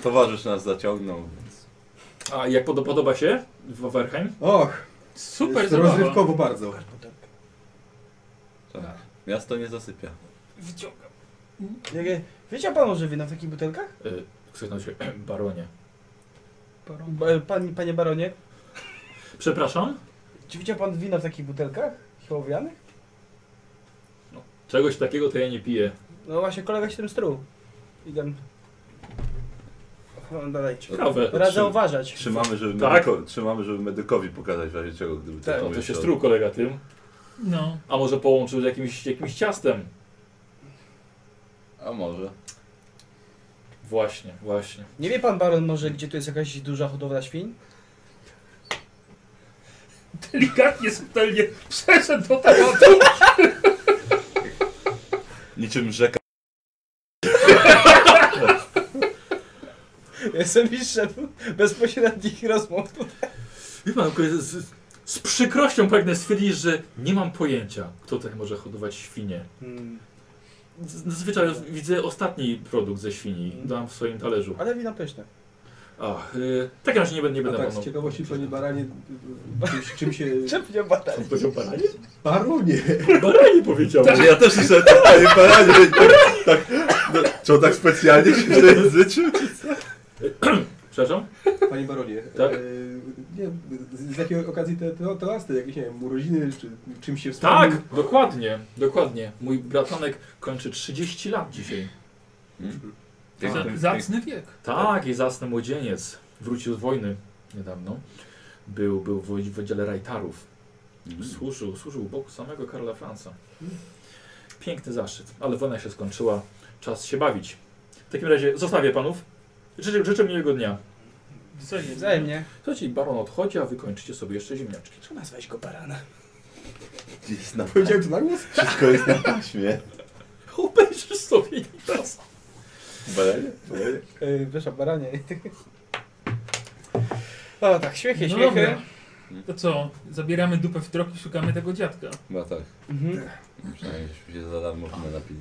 Speaker 4: towarzysz nas zaciągnął.
Speaker 1: A jak pod, podoba się w Overheim?
Speaker 6: Och,
Speaker 5: Super
Speaker 6: jest
Speaker 5: zabawa.
Speaker 6: rozrywkowo bardzo.
Speaker 4: Tak. Miasto nie zasypia.
Speaker 5: Wyciągam.
Speaker 3: Jakie- Wiedział y, pan może wina w takich butelkach?
Speaker 1: Krzyknął się baronie.
Speaker 5: Parą.
Speaker 3: Ba- Pan, panie baronie,
Speaker 1: Przepraszam?
Speaker 3: czy widział pan wina w takich butelkach? Hołowianych?
Speaker 1: Czegoś takiego to ja nie piję.
Speaker 3: No właśnie, kolega się tym struł. Idę. No, dalej.
Speaker 1: Ciekawe.
Speaker 3: Radzę uważać.
Speaker 4: Trzymamy żeby,
Speaker 1: Tak?
Speaker 4: medyko, trzymamy, żeby medykowi pokazać w razie czego, gdyby
Speaker 1: Tak,
Speaker 4: to
Speaker 1: no to się struł kolega tym.
Speaker 5: No.
Speaker 1: A może połączył z jakimś, jakimś ciastem?
Speaker 4: A może.
Speaker 1: Właśnie, właśnie.
Speaker 3: Nie wie pan baron może, gdzie tu jest jakaś duża hodowla świń?
Speaker 5: Delikatnie, subtelnie przeszedł do tematu.
Speaker 4: Niczym rzeka.
Speaker 3: Jestem mistrzem bezpośrednich rozmów.
Speaker 1: Wie pan, z, z- z przykrością pragnę stwierdzić, że nie mam pojęcia, kto tutaj może hodować świnie.
Speaker 3: Hmm.
Speaker 1: Z- Zazwyczaj widzę ostatni produkt ze świni. Dam w swoim talerzu.
Speaker 3: Ale wina pyszne.
Speaker 1: Ach, y, w takim razie nie będę, nie
Speaker 6: A
Speaker 1: będę
Speaker 6: tak, z
Speaker 1: panu-
Speaker 6: ciekawości, panie baranie, czymś, czym się...
Speaker 3: Czepnie badali.
Speaker 1: Powiedział baranie?
Speaker 6: Baronie!
Speaker 1: No, Baranie powiedział.
Speaker 4: Ja też słyszałem tak, panie Baranie, tak, tak, no, czy on tak specjalnie się życzył?
Speaker 1: Przepraszam?
Speaker 6: Panie baronie,
Speaker 1: Tak?
Speaker 6: e, nie, z, z jakiej okazji te, te toasty, jakieś, nie wiem, urodziny, czy czymś się wspomnił?
Speaker 1: Tak, dokładnie, dokładnie. Mój bratanek kończy 30 lat dzisiaj.
Speaker 5: Za- Zacny wiek.
Speaker 1: Tak, i zasny młodzieniec. Wrócił z wojny niedawno. Był, był w w oddziale rajtarów. Mm. Służył, służył u boku samego Karla Franca. Piękny zaszczyt, ale wojna się skończyła. Czas się bawić. W takim razie zostawię panów. Życzę, życzę miłego dnia.
Speaker 5: Wzajemnie.
Speaker 3: Wzajemnie.
Speaker 1: Słuchajcie, baron odchodzi, a wy kończycie sobie jeszcze ziemniaczki.
Speaker 3: Czemu nazwałeś go barana?
Speaker 4: Jest na,
Speaker 6: Powiedział to na głos?
Speaker 4: wszystko jest na taśmie.
Speaker 1: Obejrzysz sobie teraz.
Speaker 4: Baranie? Baranie?
Speaker 3: Yy, przepraszam, baranie. O tak, śmiechy,
Speaker 5: No
Speaker 3: śmiechy.
Speaker 5: dobra. To co? Zabieramy dupę w trok i szukamy tego dziadka.
Speaker 4: No tak,
Speaker 3: Mhm.
Speaker 4: przynajmniej żeśmy się za darmo chyba napili.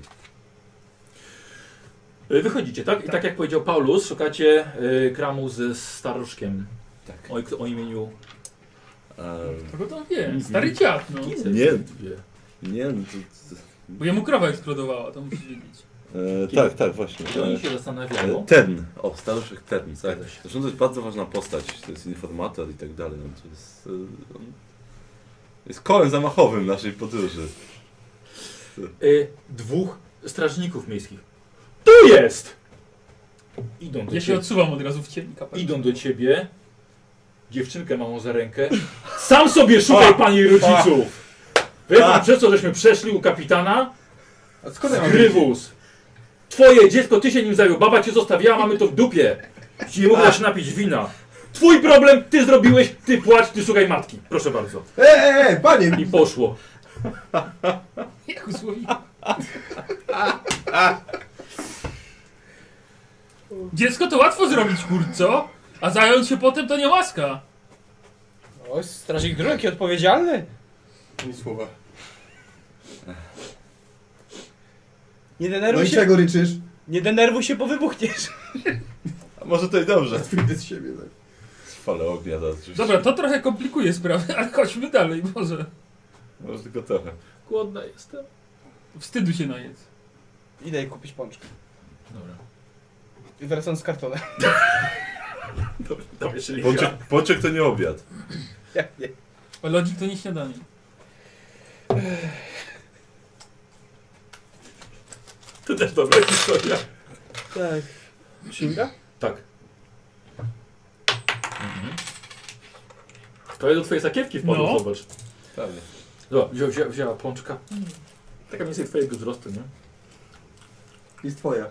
Speaker 1: Y, Wychodzicie, tak? I tak jak powiedział Paulus, szukacie y, kramu ze staruszkiem
Speaker 4: Tak.
Speaker 1: o, o imieniu
Speaker 4: Ehm,
Speaker 5: Kogo to wie? Stary dziad, no.
Speaker 1: Kizer.
Speaker 4: Nie.
Speaker 1: Wie.
Speaker 4: nie, no to...
Speaker 5: Bo jemu krowa eksplodowała, to musisz wiedzieć.
Speaker 4: to e, tak, tak, właśnie.
Speaker 1: I
Speaker 4: E,
Speaker 1: oni się zastanawiają.
Speaker 4: Ten, o, staruszek ten, tak. Zresztą to jest bardzo ważna postać, to jest informator i tak dalej. On to jest, y, on jest kołem zamachowym naszej podróży.
Speaker 1: Y, dwóch strażników miejskich. Tu jest! Idą do,
Speaker 5: Ja się
Speaker 1: ciebie,
Speaker 5: odsuwam od razu w ciemni kapelusz.
Speaker 1: idą do ciebie. Dziewczynkę małą za rękę. Sam sobie szukaj pan jej rodziców! Wie pan przez co żeśmy przeszli u kapitana?
Speaker 6: A skąd ja mam wiedzieć?
Speaker 1: Grywus! Twoje dziecko, ty się nim zajął. Baba cię zostawiła, mamy to w dupie. Ci nie mogła się napić wina. Twój problem, ty zrobiłeś, ty płacz, ty szukaj matki. Proszę bardzo.
Speaker 6: E, e, e, panie!
Speaker 1: I poszło.
Speaker 5: Jak usłowi. Dziecko to łatwo zrobić, kurco. A zająć się potem to nie łaska.
Speaker 3: O, strażnik drugi odpowiedzialny.
Speaker 6: Ani słowa.
Speaker 3: Nie
Speaker 6: No
Speaker 3: denerwuj
Speaker 6: i
Speaker 3: się,
Speaker 6: czego ryczysz?
Speaker 3: nie denerwuj się, bo wybuchniesz.
Speaker 4: A może to i dobrze.
Speaker 6: Wyjdę z siebie, tak.
Speaker 4: Fale ognia to oczywiście.
Speaker 5: Dobra, to trochę komplikuje sprawę, ale chodźmy dalej, Boże.
Speaker 4: Może tylko trochę.
Speaker 1: Głodna jestem.
Speaker 5: Wstydu się najedz.
Speaker 3: Idę jej kupić pączkę.
Speaker 1: Dobra.
Speaker 3: I wracam z kartonem.
Speaker 1: Tam jeszcze nie
Speaker 4: Pączek, pączek to nie obiad.
Speaker 3: Ja, nie.
Speaker 5: A lodzik to nie śniadanie.
Speaker 1: To też dobra historia.
Speaker 3: Tak. Sięga?
Speaker 1: Tak. Mhm. To jest do twojej sakiewki wpadło,
Speaker 5: No.
Speaker 1: zobacz.
Speaker 4: Tak.
Speaker 1: Zobacz, wzięła, wzięła, wzięła pączka. Taka mniej więcej twojego wzrostu, nie?
Speaker 6: Jest twoja.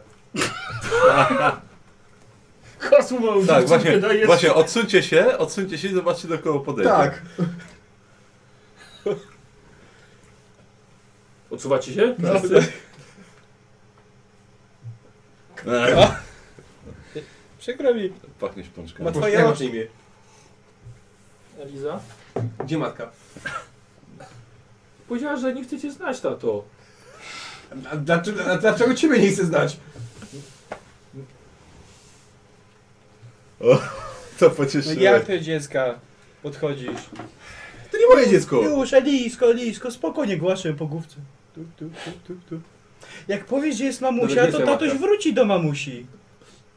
Speaker 5: Kosmo ma
Speaker 4: Tak, właśnie,
Speaker 5: dajesz.
Speaker 4: właśnie odsuńcie się, odsuńcie się i zobaczcie do kogo podejdzie.
Speaker 6: Tak.
Speaker 1: Odsuwacie się?
Speaker 4: E,
Speaker 3: Przykro mi.
Speaker 4: Pachniesz pączką.
Speaker 3: Ma
Speaker 6: Jak
Speaker 3: twoje
Speaker 6: masz na
Speaker 3: oczy.
Speaker 6: imię?
Speaker 1: Eliza?
Speaker 6: Gdzie matka?
Speaker 3: No
Speaker 1: Powiedziała, że nie chcecie znać, tato.
Speaker 6: A dlaczego, a dlaczego ciebie nie chcę znać?
Speaker 4: To
Speaker 3: No
Speaker 4: pocieszyło.
Speaker 3: jak ty dziecka podchodzisz?
Speaker 6: To nie moje dziecko!
Speaker 3: Już, Elisko, Elisko, spokojnie głaszczę po główce. Tu, tu, tu, tu, tu. Jak powiesz, że jest
Speaker 6: Dobra,
Speaker 3: mamusia,
Speaker 6: nie
Speaker 3: to
Speaker 6: jestem
Speaker 3: tatoś
Speaker 6: matka.
Speaker 3: wróci do mamusi.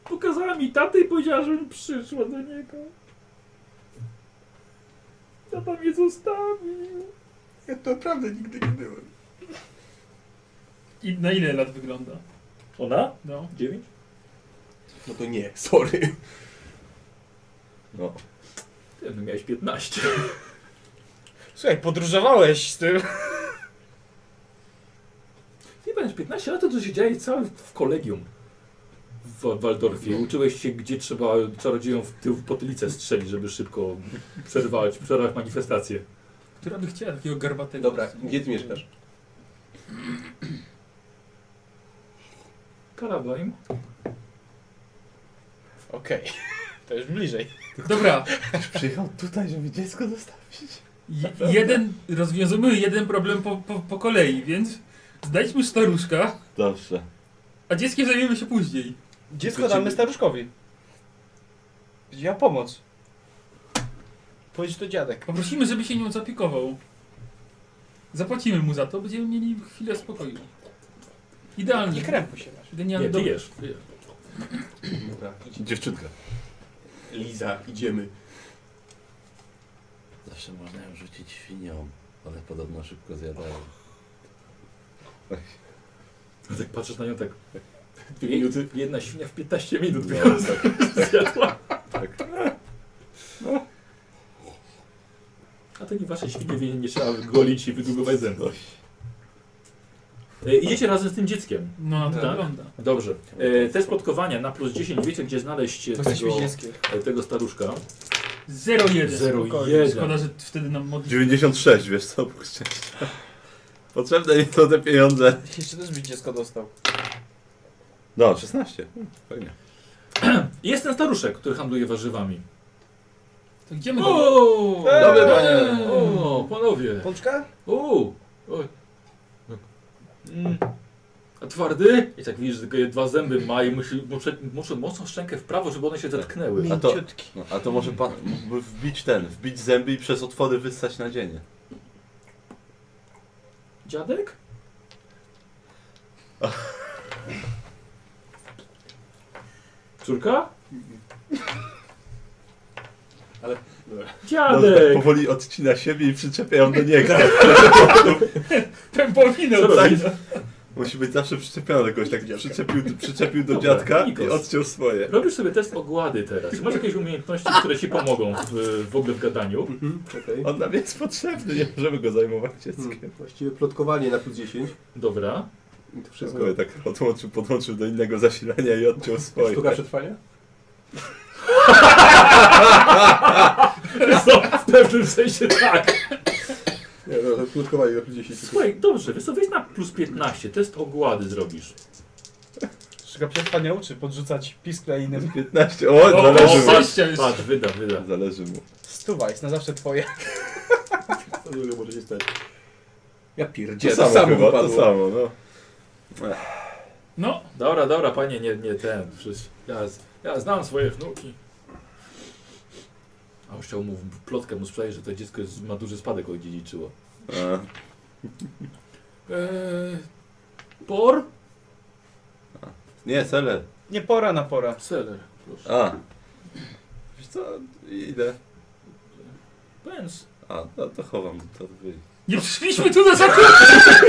Speaker 1: Pokazała mi tatę i powiedziała, żebym przyszła do niego. Tata mnie zostawił.
Speaker 6: Ja to naprawdę nigdy nie byłem.
Speaker 5: I na ile lat wygląda?
Speaker 1: Ona?
Speaker 5: No.
Speaker 1: Dziewięć?
Speaker 6: No to nie, sorry.
Speaker 4: No.
Speaker 1: Ty, no miałeś 15.
Speaker 3: Słuchaj, podróżowałeś z tym.
Speaker 1: Nie będziesz 15 lat, to co się dzieje całe w kolegium w Waldorfie. Uczyłeś się, gdzie trzeba czarodziejom w tył w potylicę strzelić, żeby szybko przerwać, przerwać manifestację.
Speaker 5: Która by chciała takiego garbatego?
Speaker 6: Dobra, gdzie ty mieszkasz?
Speaker 1: Karabajm.
Speaker 3: Okej, to już bliżej.
Speaker 5: Dobra,
Speaker 4: Przyjechał tutaj, żeby dziecko zostawić.
Speaker 5: Je- jeden, rozwiązujemy jeden problem po, po, po kolei, więc znajdźmy staruszka,
Speaker 4: Dobrze.
Speaker 5: a dzieckiem zajmiemy się później.
Speaker 3: Dziecko damy staruszkowi. Ja pomoc. Powiedz to dziadek.
Speaker 5: Poprosimy, żeby się nią zaopiekował. Zapłacimy mu za to, będziemy mieli chwilę spokoju. Idealnie.
Speaker 3: Nie krępuj się masz.
Speaker 5: Genialny
Speaker 1: Nie, ty
Speaker 5: dom.
Speaker 1: jesz. Ty jesz.
Speaker 6: Dobra.
Speaker 4: Dziewczynka.
Speaker 6: Liza, idziemy.
Speaker 4: Zawsze można ją rzucić świnią, ale podobno szybko zjadają.
Speaker 1: Tak patrzysz na nią tak. Dwie minuty, jedna świnia w 15 minut
Speaker 4: No,
Speaker 1: no.
Speaker 4: tak,
Speaker 1: zjadła.
Speaker 4: tak.
Speaker 1: A to nie wasze świnie, więc nie trzeba golić i wydługować zębów. E, idziecie razem z tym dzieckiem.
Speaker 5: No na to
Speaker 1: Tak.
Speaker 5: wygląda.
Speaker 1: Dobrze. E, test podkowania na plus 10. Wiecie, gdzie znaleźć e,
Speaker 3: To jesteś
Speaker 1: tego,
Speaker 3: dzieckiem.
Speaker 1: e, tego staruszka?
Speaker 5: 0-1.
Speaker 1: Zero
Speaker 3: spokojnie.
Speaker 1: jeden.
Speaker 5: Szkoda, że wtedy nam modli.
Speaker 4: 96, wiesz co, punkt szczęścia. Potrzebne mi są te pieniądze.
Speaker 3: Jeszcze też byś dziecko dostał.
Speaker 4: No, 16. Hmm, Fajnie.
Speaker 1: Jest ten staruszek, który handluje warzywami.
Speaker 5: To idziemy do...
Speaker 1: O,
Speaker 3: Eee!
Speaker 4: Dobry
Speaker 1: panie. O, panowie.
Speaker 3: Pączka?
Speaker 1: O, oj. Mm. A twardy? I tak widzisz, że tylko dwa zęby ma i musi, muszę, muszę mocno szczękę w prawo, żeby one się zatknęły.
Speaker 3: Tak.
Speaker 4: A to-
Speaker 3: Mięciutki.
Speaker 4: No, a to może pan mógłby wbić ten, wbić zęby i przez otwory wyssać nadzienie.
Speaker 1: Dziadek? Córka?
Speaker 6: Ale- dobra.
Speaker 4: No, tak
Speaker 1: Dziadek!
Speaker 4: powoli odcina siebie i przyczepia ją do niego.
Speaker 5: Pępowinę
Speaker 1: Co
Speaker 5: oddaję.
Speaker 1: robisz?
Speaker 4: Musi być zawsze przyczepiony do kogoś, tak
Speaker 6: Dziadka.
Speaker 4: przyczepił, przyczepił do
Speaker 1: Dobra,
Speaker 4: dziadka i
Speaker 1: Nikos.
Speaker 4: odciął swoje.
Speaker 1: Robisz sobie test ogłady teraz. Masz jakieś umiejętności, które ci pomogą w, w ogóle w gadaniu?
Speaker 6: Mhm, okej.
Speaker 4: On nam jest potrzebny, nie możemy go zajmować
Speaker 6: Hmm.
Speaker 4: dzieckiem.
Speaker 6: Właściwie plotkowanie na plus 10.
Speaker 1: Dobra.
Speaker 6: I to wszystko.
Speaker 4: Wszystko je tak odłączył, podłączył do innego zasilania i odciął swoje.
Speaker 6: Sztuka przetrwania?
Speaker 1: Wiesz co, No, w pewnym sensie tak.
Speaker 6: Nie, no, to plotkowanie na plus 10.
Speaker 1: Słuchaj, dobrze, wiesz co, weź na plus 15, test ogłady zrobisz.
Speaker 3: Sztuka przetrwania uczy podrzucać piskle innym.
Speaker 4: 15, o,
Speaker 1: No,
Speaker 5: O, o,
Speaker 4: zależy mu.
Speaker 5: szczęście jest.
Speaker 1: Patrz, wyda, wyda.
Speaker 4: Zależy mu.
Speaker 3: Stuwa jest na zawsze twoje.
Speaker 6: To dużo może się stać.
Speaker 2: Ja
Speaker 4: To
Speaker 2: pierdzielę,
Speaker 4: samo chyba, to samo, no.
Speaker 5: No,
Speaker 1: Dobra, dobra, panie, nie, nie ten. Przecież ja, z- ja znam swoje wnuki. A już chciał mu plotkę mu sprzedać, że to dziecko jest, ma duży spadek odziedziczyło.
Speaker 4: A,
Speaker 1: Eee, por?
Speaker 4: nie, seller.
Speaker 3: Nie pora na pora.
Speaker 1: Seller, proszę.
Speaker 4: A. Wiesz co, idę.
Speaker 1: Pens.
Speaker 4: A, no to chowam, to wyjdzie.
Speaker 5: nie przyszliśmy tu na zakupy!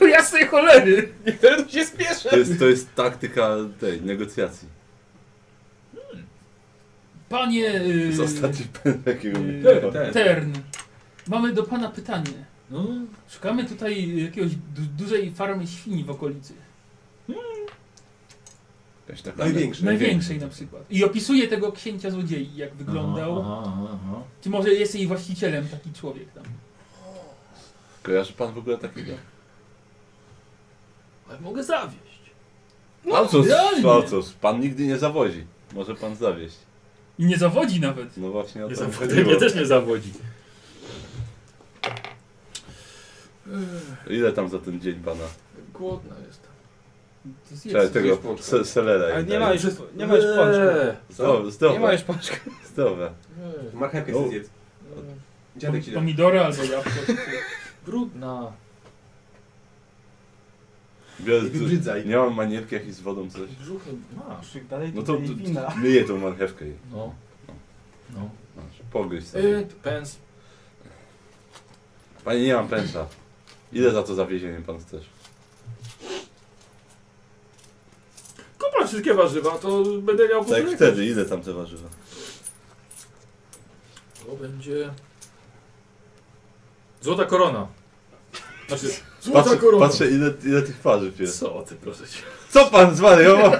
Speaker 5: Do jasnej cholery!
Speaker 3: Niektóre tu się spieszę.
Speaker 4: To jest, to jest taktyka tej negocjacji.
Speaker 5: Panie...
Speaker 4: To
Speaker 5: Yy,
Speaker 4: jest ostatni pen, jakiego mi
Speaker 1: Ten,
Speaker 5: Tern. Mamy do pana pytanie.
Speaker 1: No,
Speaker 5: Szukamy tutaj jakiegoś du dużej farmy świni w okolicy.
Speaker 4: Jakaś taka-
Speaker 6: Największy.
Speaker 5: Największej na przykład. I opisuje tego księcia złodziei, jak wyglądał.
Speaker 1: Aha, aha, aha.
Speaker 5: Czy może jest jej właścicielem taki człowiek tam?
Speaker 4: Kojarzy pan w ogóle takiego?
Speaker 1: Ale mogę zawieść.
Speaker 4: No, a cóż,
Speaker 5: realnie.
Speaker 4: a cóż, pan nigdy nie zawozi. Może pan zawieść.
Speaker 5: I nie zawodzi nawet.
Speaker 4: No właśnie o
Speaker 1: Nie
Speaker 4: to mi
Speaker 1: zawodzi.
Speaker 4: chodziło.
Speaker 1: Mnie też nie zawodzi.
Speaker 4: Ile tam za ten dzień pana?
Speaker 1: Głodna jestem.
Speaker 5: To jest
Speaker 4: Trzeba
Speaker 5: jest.
Speaker 4: tego
Speaker 6: jest pączka.
Speaker 4: se- selera.
Speaker 3: Ale
Speaker 4: im
Speaker 3: nie
Speaker 4: dać.
Speaker 3: ma już, nie ma już pączka.
Speaker 4: Zdrowe,
Speaker 3: Nie ma już pączka.
Speaker 4: zdrowe.
Speaker 6: Marchewkę
Speaker 4: O.
Speaker 6: chcę zjedz. Dziadek ci da.
Speaker 5: Pomidory albo jabłko.
Speaker 1: Brudna.
Speaker 4: Biorę,
Speaker 6: Nie wybrzydzaj.
Speaker 4: nie mam manierki jakiejś z wodą coś.
Speaker 1: Brzuch masz.
Speaker 3: Dalej
Speaker 4: No to,
Speaker 3: tutaj
Speaker 4: to,
Speaker 3: wina.
Speaker 4: to myję tą marchewkę. i
Speaker 1: No. No.
Speaker 4: Masz, pogryź sobie.
Speaker 1: Y, pens.
Speaker 4: Panie, nie mam pęcza. Ile za to zawiezienie pan chcesz?
Speaker 1: Kupa wszystkie warzywa, to będę miał
Speaker 4: Tak
Speaker 1: podrękę.
Speaker 4: jak wtedy, ile tam te warzywa?
Speaker 1: To będzie... Złota korona. Znaczy, złota
Speaker 4: Patrzę,
Speaker 1: korona.
Speaker 4: patrzę ile, ile tych warzyw jest.
Speaker 1: Co ty, proszę cię.
Speaker 4: Co pan zwariował?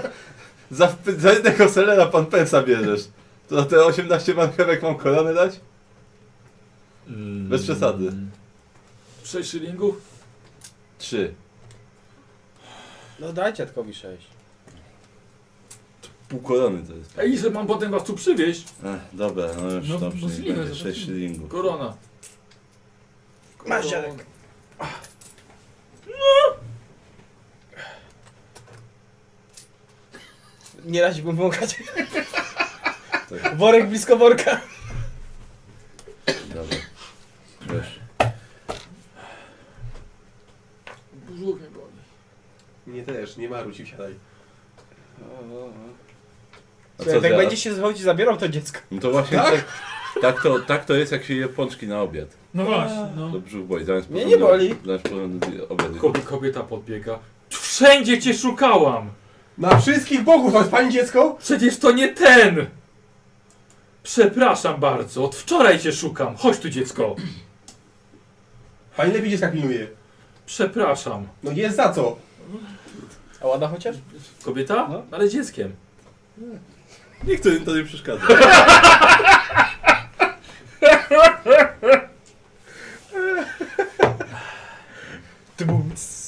Speaker 4: Za, za jednego selera pan pensa bierzesz. To za te 18 marchewek mam koronę dać?
Speaker 1: Mm.
Speaker 4: Bez przesady.
Speaker 1: Sześć szylingów?
Speaker 4: Trzy.
Speaker 3: No daj dziadkowi sześć.
Speaker 4: Pół korony to jest.
Speaker 1: Ej, że mam potem was tu przywieźć.
Speaker 4: Ech, dobra, no już
Speaker 5: No,
Speaker 4: dobrze, niech
Speaker 5: możliwe,
Speaker 4: będzie
Speaker 5: że
Speaker 4: 6
Speaker 5: tak.
Speaker 4: szylingów.
Speaker 1: Korona.
Speaker 3: Masz, dziadek. Nie raziłbym wąchać.
Speaker 4: Tak.
Speaker 3: Worek blisko worka.
Speaker 4: Dobra. Wiesz.
Speaker 1: Brzuch mnie boli.
Speaker 6: Nie też, nie marudź i wsiadaj.
Speaker 4: A
Speaker 3: Słuchaj, jak
Speaker 4: zjadł?
Speaker 3: będzie się zchodzić zabierał to dziecko.
Speaker 4: No to właśnie tak? Tak, to, tak to jest, jak się je pączki na obiad.
Speaker 5: No właśnie, no.
Speaker 4: To brzuch boli. Zamiast
Speaker 3: Mnie
Speaker 4: porządnego-
Speaker 3: nie boli.
Speaker 4: Zamiast porządnego obiadu.
Speaker 1: Kobie, kobieta podbiega. Wszędzie cię szukałam!
Speaker 6: Na wszystkich bogów, a pani dziecko?
Speaker 1: Przecież to nie ten! Przepraszam bardzo, od wczoraj cię szukam. Chodź tu dziecko.
Speaker 6: Pani lepiej dziecka pilnuje.
Speaker 1: Przepraszam.
Speaker 6: No jest za co?
Speaker 3: A ładna chociaż?
Speaker 1: Kobieta?
Speaker 3: No.
Speaker 1: Ale dzieckiem.
Speaker 4: Nikt to, to nie przeszkadza.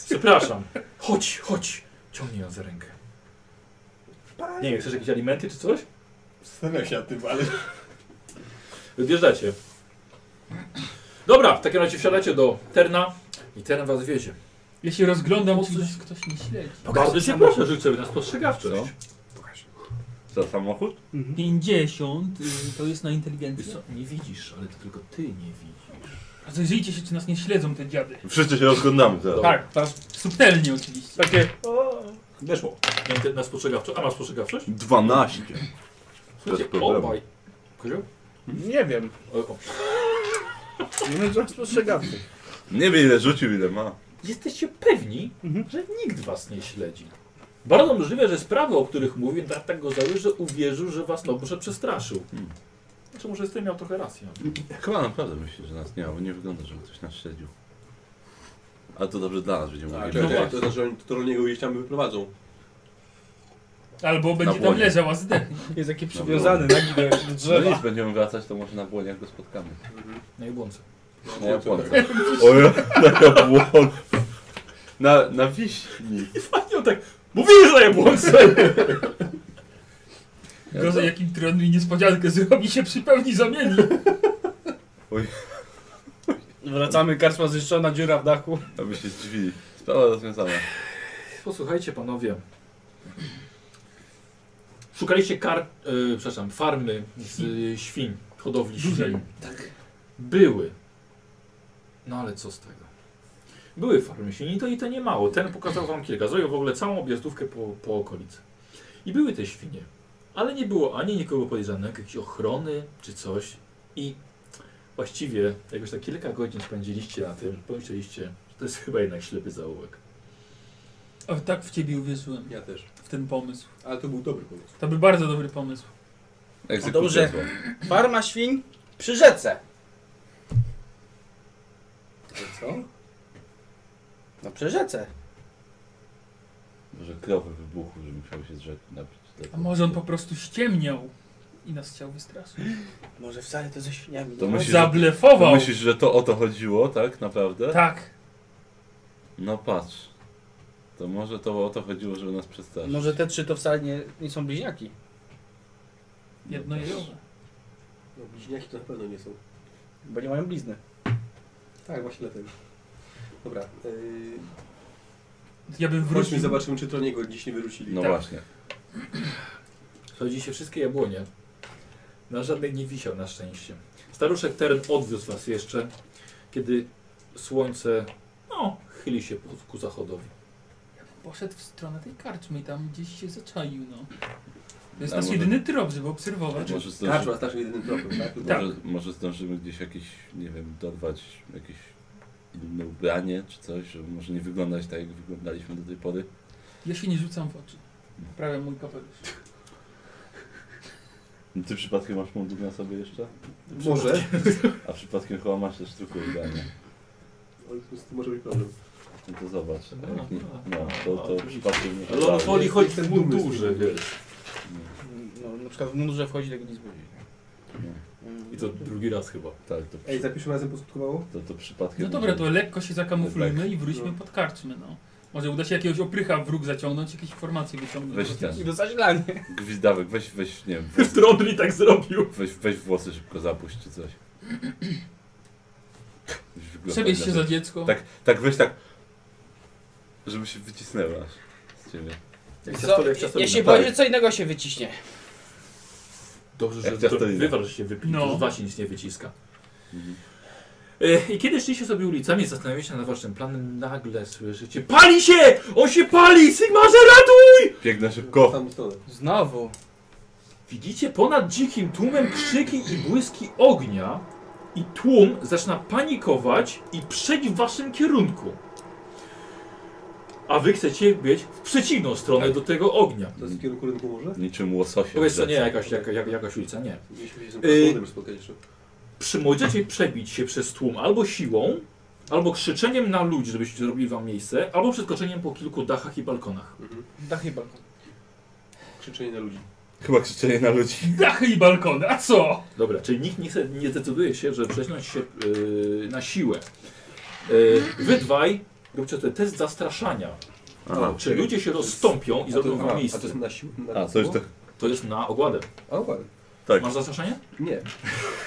Speaker 1: Przepraszam. Chodź, chodź. Ciągnij ją za rękę. Nie wiem, chcesz jakieś alimenty czy coś?
Speaker 6: Zastanawiam się nad tym, ale...
Speaker 1: Odjeżdżacie. Dobra, w takim razie wsiadacie do Terna i Tern was wiezie.
Speaker 5: Ja się rozglądam, czy nas ktoś nie śledzi.
Speaker 1: Bardzo cię proszę, rzuć sobie na spostrzegawczość.
Speaker 4: Co? Za samochód?
Speaker 5: 50 y, to jest na
Speaker 1: Wiesz
Speaker 5: inteligencję.
Speaker 1: co, nie widzisz, ale to tylko ty nie widzisz.
Speaker 5: Rozejrzyjcie się, czy nas nie śledzą te dziady.
Speaker 4: Wszyscy się rozglądamy teraz.
Speaker 1: Dobra.
Speaker 5: Tak, tak. Subtelnie oczywiście.
Speaker 4: Tak.
Speaker 3: Takie.
Speaker 1: Weszło. Na te- Na spostrzegawczość. A masz spostrzegawczość?
Speaker 4: 12.
Speaker 1: Słuchajcie,
Speaker 4: Bez problemu.
Speaker 1: obaj. Kozioł?
Speaker 3: Nie wiem.
Speaker 1: O, o.
Speaker 3: Nie wiem, że spostrzegawczy.
Speaker 4: Nie wiem ile rzucił, ile ma.
Speaker 1: Jesteście pewni,
Speaker 3: Mhm.
Speaker 1: że nikt was nie śledzi. Bardzo możliwe, że sprawy, o których mówię, tak, tak go zały, że uwierzył, że was Nobrze przestraszył.
Speaker 4: Hmm.
Speaker 1: Znaczy, może z tym miał trochę rację.
Speaker 4: Chyba naprawdę myśli, że nas nie ma, bo nie wygląda, żeby ktoś nas śledził. Ale to dobrze dla nas, będziemy
Speaker 6: A,
Speaker 4: mogli
Speaker 6: to,
Speaker 1: no
Speaker 6: to,
Speaker 1: właśnie.
Speaker 6: to, to, że oni- to rolniego gdzieś tam wyprowadzą.
Speaker 5: Albo będzie tam
Speaker 4: błonie.
Speaker 5: leżał, a zdechnie.
Speaker 3: Jest taki przywiązany nagi do, do
Speaker 4: No
Speaker 3: drzewa.
Speaker 4: nic, będziemy wracać, to może na błoniach go spotkamy.
Speaker 1: Na jabłonce.
Speaker 4: Na Japonce. O, ja, na jabłon. Na, na wiśni.
Speaker 1: Panią tak, mówiłeś na jabłonce!
Speaker 4: Ja
Speaker 5: Gorzej
Speaker 4: tak.
Speaker 5: jakim tron i niespodziankę zrobi się przy pełni zamieni.
Speaker 4: No
Speaker 3: Wracamy, karczma zniszczona, dziura w dachu.
Speaker 4: Aby się drzwi. Sprawa rozwiązana.
Speaker 1: Posłuchajcie panowie. Szukaliście kar, e, przepraszam, farmy z e, świń, hodowli
Speaker 5: Dużej.
Speaker 1: świń.
Speaker 5: Tak.
Speaker 1: Były. No ale co z tego? Były farmy świń i to, i to nie mało. Ten pokazał wam kilka. Zrobił w ogóle całą objazdówkę po, po okolicy. I były te świnie. Ale nie było ani nikogo podejrzanego, jakiejś ochrony czy coś. I właściwie jakoś tak kilka godzin spędziliście na tym. Pomyśleliście, że to jest chyba jednak ślepy zaułek.
Speaker 5: O, tak w ciebie uwierzyłem,
Speaker 6: Ja też.
Speaker 5: w ten pomysł.
Speaker 6: Ale to był dobry pomysł.
Speaker 5: To był bardzo dobry pomysł.
Speaker 4: Egzekucja
Speaker 3: Dobrze.
Speaker 4: zła.
Speaker 3: Farma świń przy rzece.
Speaker 6: Co?
Speaker 3: No przy rzece.
Speaker 4: Może krowy wybuchły, że musiał się z rzeki napić.
Speaker 5: A może on po prostu ściemniał i nas chciał wystraszyć.
Speaker 3: Może wcale to ze świniami.
Speaker 4: To
Speaker 3: nie
Speaker 4: myślisz, to
Speaker 5: Zablefował!
Speaker 4: myślisz, że to o to chodziło, tak naprawdę?
Speaker 5: Tak.
Speaker 4: No patrz. To może to o to chodziło, żeby nas przestraszyć.
Speaker 3: Może te trzy to wcale nie, nie są bliźniaki.
Speaker 5: Jednojejowe.
Speaker 6: No bliźniaki to na pewno nie są.
Speaker 3: Bo nie mają blizny.
Speaker 6: Tak, właśnie dlatego. Dobra. Yy,
Speaker 5: Ja bym
Speaker 6: wróćmy,
Speaker 5: wrócił.
Speaker 6: zobaczymy czy Troniego dziś nie wyrzucili.
Speaker 4: No
Speaker 5: tak.
Speaker 4: właśnie.
Speaker 1: Chodzi się wszystkie jabłonie. Na żadnej nie wisiał na szczęście. Staruszek teren odwiózł was jeszcze, kiedy słońce no, chyli się ku- ku zachodowi.
Speaker 5: Poszedł w stronę tej karczmy i tam gdzieś się zaczaił, no. To jest
Speaker 4: A
Speaker 5: nasz
Speaker 4: może-
Speaker 5: jedyny trop, żeby obserwować.
Speaker 4: Może zdążymy,
Speaker 6: Kaczma starszy jedynym tropem, tak?
Speaker 5: Znaczy, Tak.
Speaker 4: Może, może zdążymy gdzieś jakieś, nie wiem, dorwać jakieś inne ubranie czy coś, żeby może nie wyglądać tak, jak wyglądaliśmy do tej pory.
Speaker 5: Ja się nie rzucam w oczy. Prawie mój kapelusz.
Speaker 4: No Ty przypadkiem masz mundur na sobie jeszcze?
Speaker 6: Może.
Speaker 4: A przypadkiem chyba masz też tylko ubranie.
Speaker 6: Oj, tu z tym może być problem.
Speaker 4: No to zobacz.
Speaker 1: No,
Speaker 4: jak nie,
Speaker 1: no,
Speaker 4: no, to, to
Speaker 1: oczywiście.
Speaker 4: przypadkiem nie
Speaker 1: Ale on
Speaker 4: ubranie.
Speaker 1: woli chodzić w
Speaker 6: Jestem dumny z
Speaker 1: mundurze,
Speaker 6: tego.
Speaker 1: wiesz.
Speaker 3: No, na przykład w mundurze wchodzi, tego nie zbudzi.
Speaker 4: No,
Speaker 1: I to drugi raz chyba.
Speaker 4: Tak, to,
Speaker 6: Ej,
Speaker 4: przy,
Speaker 6: za pierwszym razem poskutkowało?
Speaker 4: to, to przypadkiem...
Speaker 5: No dobra, to lekko się zakamuflujmy i wróćmy
Speaker 6: No.
Speaker 5: pod karczmy, no. Może uda się jakiegoś oprycha w róg zaciągnąć, jakieś informacje wyciągnąć.
Speaker 4: Weź ten.
Speaker 3: I dostać lanie.
Speaker 4: Gwizdawek, weź, weź, nie wiem,
Speaker 1: Trondli tak zrobił.
Speaker 4: weź, weź włosy szybko zapuść czy coś. Już wygląda
Speaker 5: Przebieź się
Speaker 4: inaczej.
Speaker 5: za dziecko.
Speaker 4: Tak, tak weź tak, żeby się wycisnęła z ciebie.
Speaker 1: Jak
Speaker 3: Co,
Speaker 1: ciasto, jak ciasto
Speaker 3: jeśli
Speaker 4: tak.
Speaker 3: będzie co innego się wyciśnie.
Speaker 1: Dobrze,
Speaker 4: Jak
Speaker 1: że
Speaker 4: ciasto
Speaker 1: to
Speaker 4: idzie.
Speaker 1: wywar, że się wypili,
Speaker 5: No.
Speaker 1: to z was się nic nie wyciska.
Speaker 4: Mhm.
Speaker 1: E, I kiedy szliście sobie ulicami, zastanawiacie się nad waszym planem, nagle słyszycie PALI SIĘ! On się pali! Sigmarze ratuj!
Speaker 4: Biegnę szybko.
Speaker 6: Tam stronę.
Speaker 3: Znowu.
Speaker 1: Widzicie ponad dzikim tłumem krzyki i błyski ognia i tłum zaczyna panikować i przeć w waszym kierunku. A wy chcecie biec w przeciwną stronę do tego ognia.
Speaker 6: To jest w kierunku rynku może?
Speaker 4: Niczym łososie.
Speaker 1: Powiedz co
Speaker 4: w
Speaker 1: nie,
Speaker 4: rzece.
Speaker 1: jakaś, jaka, jaka, jakaś ulica, nie.
Speaker 6: Mieliśmy się z
Speaker 1: Y-
Speaker 6: tym yy... spotkać jeszcze.
Speaker 1: Przy, możecie przebić się przez tłum albo siłą, albo krzyczeniem na ludzi, żebyście zrobili wam miejsce, albo przeskoczeniem po kilku dachach i balkonach.
Speaker 3: Dachy balkon.
Speaker 6: Mhm. Krzyczenie na ludzi.
Speaker 4: Chyba krzyczenie na ludzi.
Speaker 5: Dachy i balkony, a co?
Speaker 1: Dobra, czyli nikt nie, chce- nie decyduje się, żeby przesunąć się yy, na siłę. Yy, wy dwaj róbcie ten test zastraszania.
Speaker 4: Aha.
Speaker 1: Czy ludzie się rozstąpią i
Speaker 6: A to,
Speaker 1: zrobią
Speaker 6: a,
Speaker 1: wam
Speaker 6: a to
Speaker 1: miejsce?
Speaker 6: jest na siłę? Na
Speaker 4: A, to już to,
Speaker 1: To jest na ogładę.
Speaker 6: A, ładnie.
Speaker 4: tak.
Speaker 1: Masz zastraszanie?
Speaker 6: Nie.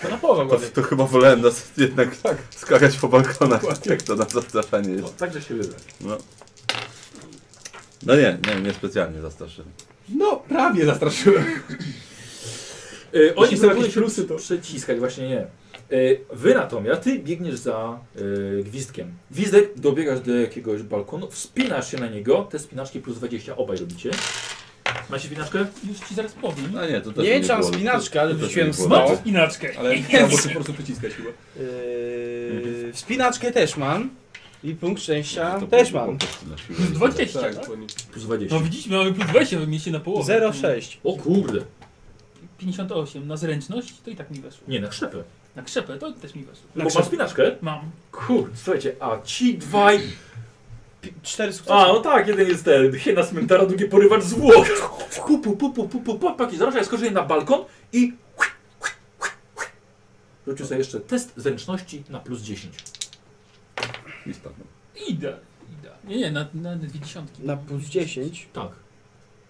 Speaker 3: To na połowę
Speaker 4: To,
Speaker 3: ładnie.
Speaker 4: to chyba wolałem nas jednak tak skakać po balkonach, jak to na zastraszanie jest.
Speaker 6: Tak,
Speaker 1: Także się wyda.
Speaker 4: No. No nie, nie, nie specjalnie zastraszyłem.
Speaker 6: No, prawie zastraszyłem.
Speaker 1: Yy, oni
Speaker 6: Jeśli są
Speaker 1: próbują
Speaker 6: jakieś
Speaker 1: się
Speaker 6: plusy, to-
Speaker 1: przyciskać, właśnie nie. Yy, wy natomiast, ty biegniesz za yy, gwizdkiem. Gwizdek, dobiegasz do jakiegoś balkonu, wspinasz się na niego, te spinaczki plus 20 obaj robicie. Macie spinaczkę?
Speaker 5: Już ci zaraz powiem.
Speaker 4: No nie, to też
Speaker 3: Nie
Speaker 4: było-
Speaker 3: liczam spinaczkę, ale
Speaker 4: to też
Speaker 3: wrzuciłem
Speaker 4: nie było
Speaker 3: sto.
Speaker 4: lepiej.
Speaker 5: Inaczkę.
Speaker 6: Ale trzeba było się po prostu przyciskać chyba.
Speaker 3: Yy, wspinaczkę też mam. I punkt szczęścia
Speaker 4: To
Speaker 3: też
Speaker 4: było
Speaker 3: mam.
Speaker 4: po prostu na siłę.
Speaker 5: Plus 20,
Speaker 6: Tak,
Speaker 5: tak?
Speaker 6: dokładnie.
Speaker 1: Plus 20.
Speaker 5: No widzisz, mamy plus 20, mieście na połowę.
Speaker 3: 0,6.
Speaker 1: O kurde.
Speaker 5: 58 na zręczność, to i tak mi weszło.
Speaker 1: Nie, na krzepę.
Speaker 5: Na krzepę, to też mi weszło.
Speaker 1: Bo
Speaker 3: Na
Speaker 1: masz
Speaker 3: krzepę.
Speaker 1: spinaczkę?
Speaker 5: Mam.
Speaker 1: Kurde, słuchajcie, a ci dwaj...
Speaker 3: 4 sukcesy.
Speaker 1: A, no tak, jeden jest ten, hiena cmentara, drugi porywacz zwłok. Pu, pu, pu, pu, pu, pu, paki, zaraz ja skoczyłem na balkon i... Rzucił sobie jeszcze test zręczności na plus 10.
Speaker 4: I spadłem.
Speaker 5: Idę. Idę. Nie, nie, na, na dwie dziesiątki.
Speaker 3: Na plus 10?
Speaker 1: Tak.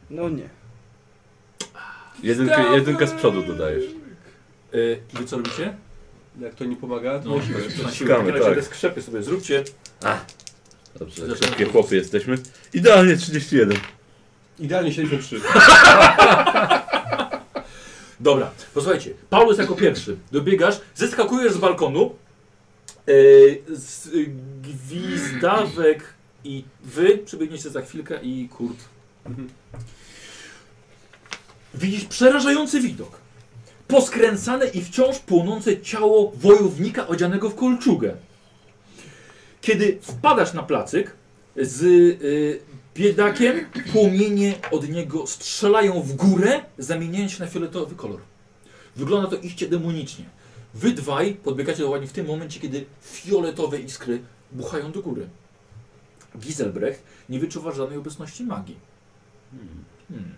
Speaker 3: No nie.
Speaker 4: Jedynkę, jedynkę z przodu dodajesz.
Speaker 1: Yy, wy co robicie?
Speaker 6: Jak to nie pomaga, to
Speaker 1: No,
Speaker 6: musimy.
Speaker 1: na siłę.
Speaker 4: Ściskamy,
Speaker 1: Tak. razie
Speaker 4: tak.
Speaker 1: te skrzepy sobie zróbcie.
Speaker 4: Dobrze,
Speaker 1: Zaczynamy.
Speaker 4: szybkie chłopy jesteśmy. Idealnie 31.
Speaker 6: Idealnie 73.
Speaker 1: Dobra, posłuchajcie. Paulus jako pierwszy. Dobiegasz, zeskakujesz z balkonu. Yy, z, y, gwizdawek i wy przybiegniecie za chwilkę i kurt.
Speaker 6: Mhm.
Speaker 1: Widzisz przerażający widok. Poskręcane i wciąż płonące ciało wojownika odzianego w kolczugę. Kiedy wpadasz na placyk z y, biedakiem, płomienie od niego strzelają w górę, zamieniając się na fioletowy kolor. Wygląda to iście demonicznie. Wy dwaj podbiegacie dokładnie w tym momencie, kiedy fioletowe iskry buchają do góry. Giselbrecht nie wyczuwa żadnej obecności magii. Hmm.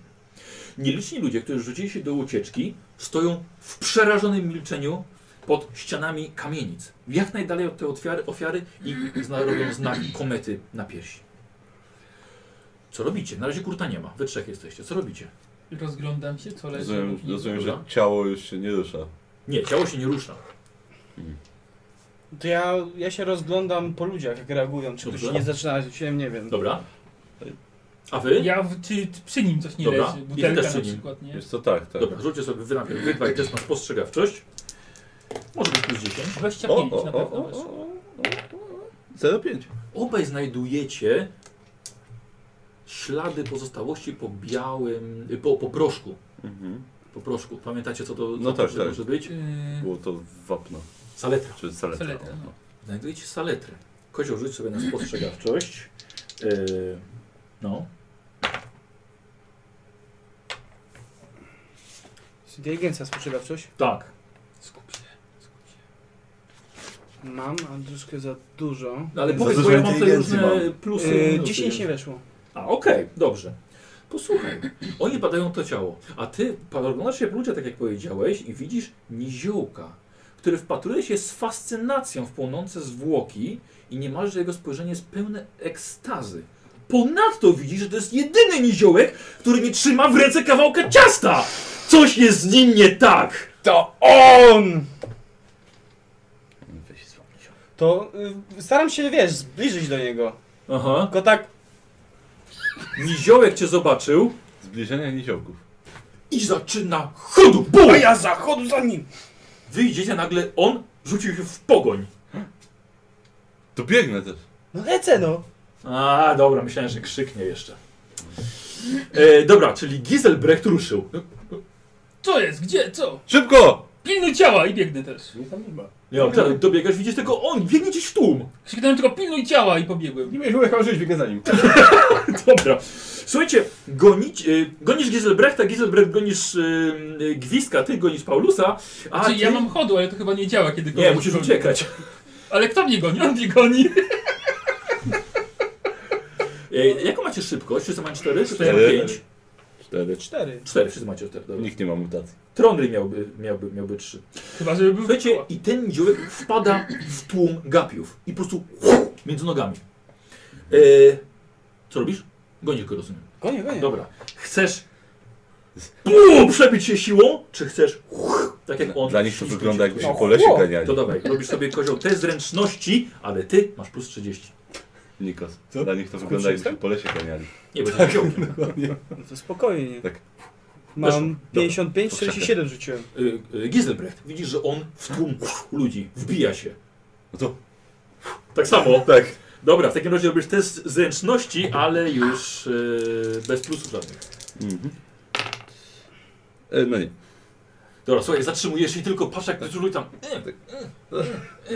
Speaker 1: Nieliczni ludzie, którzy rzucili się do ucieczki, stoją w przerażonym milczeniu pod ścianami kamienic. Jak najdalej od tej ofiary, ofiary i zna- robią znak komety na piersi. Co robicie? Na razie kurta nie ma. Wy trzech jesteście. Co robicie?
Speaker 5: Rozglądam się, co leży.
Speaker 4: Rozumiem,
Speaker 5: obok mnie.
Speaker 4: rozumiem że
Speaker 1: Dobra.
Speaker 4: ciało już się nie rusza.
Speaker 1: Nie, ciało się nie rusza.
Speaker 3: To ja, ja się rozglądam po ludziach, jak reagują. Czy ktoś
Speaker 1: Dobrze.
Speaker 3: nie zaczyna się, nie wiem.
Speaker 1: Dobra. A wy?
Speaker 5: Ja, w- czy czy przy nim coś nie
Speaker 1: Dobra.
Speaker 5: leży?
Speaker 1: Ja
Speaker 5: Butelka
Speaker 1: też przy
Speaker 5: na
Speaker 1: nim.
Speaker 5: przykład, nie?
Speaker 4: Wiesz co, tak, tak.
Speaker 1: Dobra, rzućcie sobie wy najpierw. Wy dwaj też masz spostrzegawczość. Może być plus 10.
Speaker 5: 25 na pewno weszło.
Speaker 4: 0,5.
Speaker 1: Obaj znajdujecie ślady pozostałości po białym, y, po, po proszku.
Speaker 4: Mhm.
Speaker 1: Po proszku. Pamiętacie co to, co
Speaker 4: No
Speaker 1: to
Speaker 4: tak, tak.
Speaker 1: może być?
Speaker 5: Yy,
Speaker 4: Było to wapno,
Speaker 1: Saletra.
Speaker 4: czy saletra.
Speaker 5: Saletra,
Speaker 4: o,
Speaker 5: no.
Speaker 4: no.
Speaker 1: Znajdujecie saletrę. Kozioł, rzuć sobie na spostrzegawczość. Yy, no.
Speaker 3: Inteligencja spostrzegawczość?
Speaker 1: Tak.
Speaker 5: skup się, skup się.
Speaker 3: Mam, ale troszkę za dużo.
Speaker 1: No, ale
Speaker 4: Za
Speaker 1: powiedz,
Speaker 4: dużo
Speaker 1: bo ja mam te
Speaker 4: inteligencji
Speaker 1: różne
Speaker 4: mam.
Speaker 1: plusy.
Speaker 4: E,
Speaker 3: Yy,
Speaker 1: minusy.
Speaker 3: 10 nie weszło.
Speaker 1: A, okej, dobrze. Posłuchaj, oni badają to ciało, a ty oglądasz się w ludzie, tak jak powiedziałeś, i widzisz niziołka, który wpatruje się z fascynacją w płonące zwłoki i niemalże jego spojrzenie jest pełne ekstazy. Ponadto widzisz, że to jest jedyny niziołek, który nie trzyma w ręce kawałka ciasta! Coś jest z nim nie tak!
Speaker 3: To on!
Speaker 4: no. Weź słabnie.
Speaker 3: To y, staram się, wiesz, zbliżyć do niego.
Speaker 1: Aha.
Speaker 3: Tylko tak,
Speaker 1: Niziołek cię zobaczył,
Speaker 4: Zbliżenia niziołków.
Speaker 1: i zaczyna chodu, bum!
Speaker 3: A ja zachodu za nim!
Speaker 1: Wyjdziecie, nagle on rzucił się w pogoń.
Speaker 4: To biegnę też.
Speaker 3: No lecę no!
Speaker 1: A, dobra, myślałem, że krzyknie jeszcze. E, dobra, czyli Giselbrecht ruszył.
Speaker 5: Co jest? Gdzie? Co?
Speaker 4: Szybko!
Speaker 5: Pilnuj ciała i biegnę też.
Speaker 6: Mnie tam nie ma.
Speaker 1: Nie, on teraz dobiegasz, widzisz tylko on, biegnie gdzieś w tłum.
Speaker 5: Krzyknąłem tylko pilnuj ciała i pobiegłem.
Speaker 6: Nie będziesz mówił, chyba żyć, biegnę za nim.
Speaker 1: Dobra. Słuchajcie, gonić, y, gonisz Giselbrechta, Giselbrecht gonisz y, y, Gwizdka, ty gonisz Paulusa, a
Speaker 5: Czyli
Speaker 1: ty...
Speaker 5: Znaczy, ja mam chodu, ale to chyba nie działa, kiedy go
Speaker 1: Nie, musisz uciekać.
Speaker 5: Ale kto mnie goni? On mnie goni.
Speaker 1: Y, jaką macie szybkość? Wszyscy mają 4, czy
Speaker 5: Cztery.
Speaker 1: mają 5?
Speaker 4: Cztery.
Speaker 3: Cztery.
Speaker 1: 4, wszyscy macie 4, dobra.
Speaker 4: Nikt nie ma mutacji.
Speaker 1: Trondry miałby, miałby, miałby 3.
Speaker 5: Chyba, żeby był
Speaker 1: Słuchajcie,
Speaker 5: Wiecie...
Speaker 1: i ten dziółek wpada w tłum gapiów i po prostu między nogami. E, co robisz? Gonisz go, rozumiem.
Speaker 3: Konie, konie.
Speaker 1: Dobra. Chcesz bum, przebić się siłą, czy chcesz tak jak on?
Speaker 4: Dla nich to
Speaker 1: iść
Speaker 4: wygląda jakby
Speaker 1: szybciej?
Speaker 4: się po lesie
Speaker 3: chłop.
Speaker 4: ganiali.
Speaker 1: To dawaj, robisz sobie kozioł test zręczności, ale ty masz plus 30.
Speaker 4: Nikos.
Speaker 6: Co?
Speaker 4: Dla nich to wygląda jakby się po lesie ganiali.
Speaker 1: Nie, będziesz tak. koziołkiem.
Speaker 3: No to spokojnie.
Speaker 4: Tak.
Speaker 1: Weszło.
Speaker 3: Mam
Speaker 1: Dobra.
Speaker 3: 55, 47 rzuciłem.
Speaker 1: Y, y, Giselbrecht, widzisz, że on w tłum ludzi wbija się.
Speaker 4: No to...
Speaker 1: Tak samo.
Speaker 4: Tak.
Speaker 1: Dobra, w takim razie robisz test zręczności, ale już y, bez plusów żadnych.
Speaker 4: Mhm. E, no nie.
Speaker 1: Dobra, słuchaj, zatrzymujesz się i tylko patrz jak ty żuluj tam.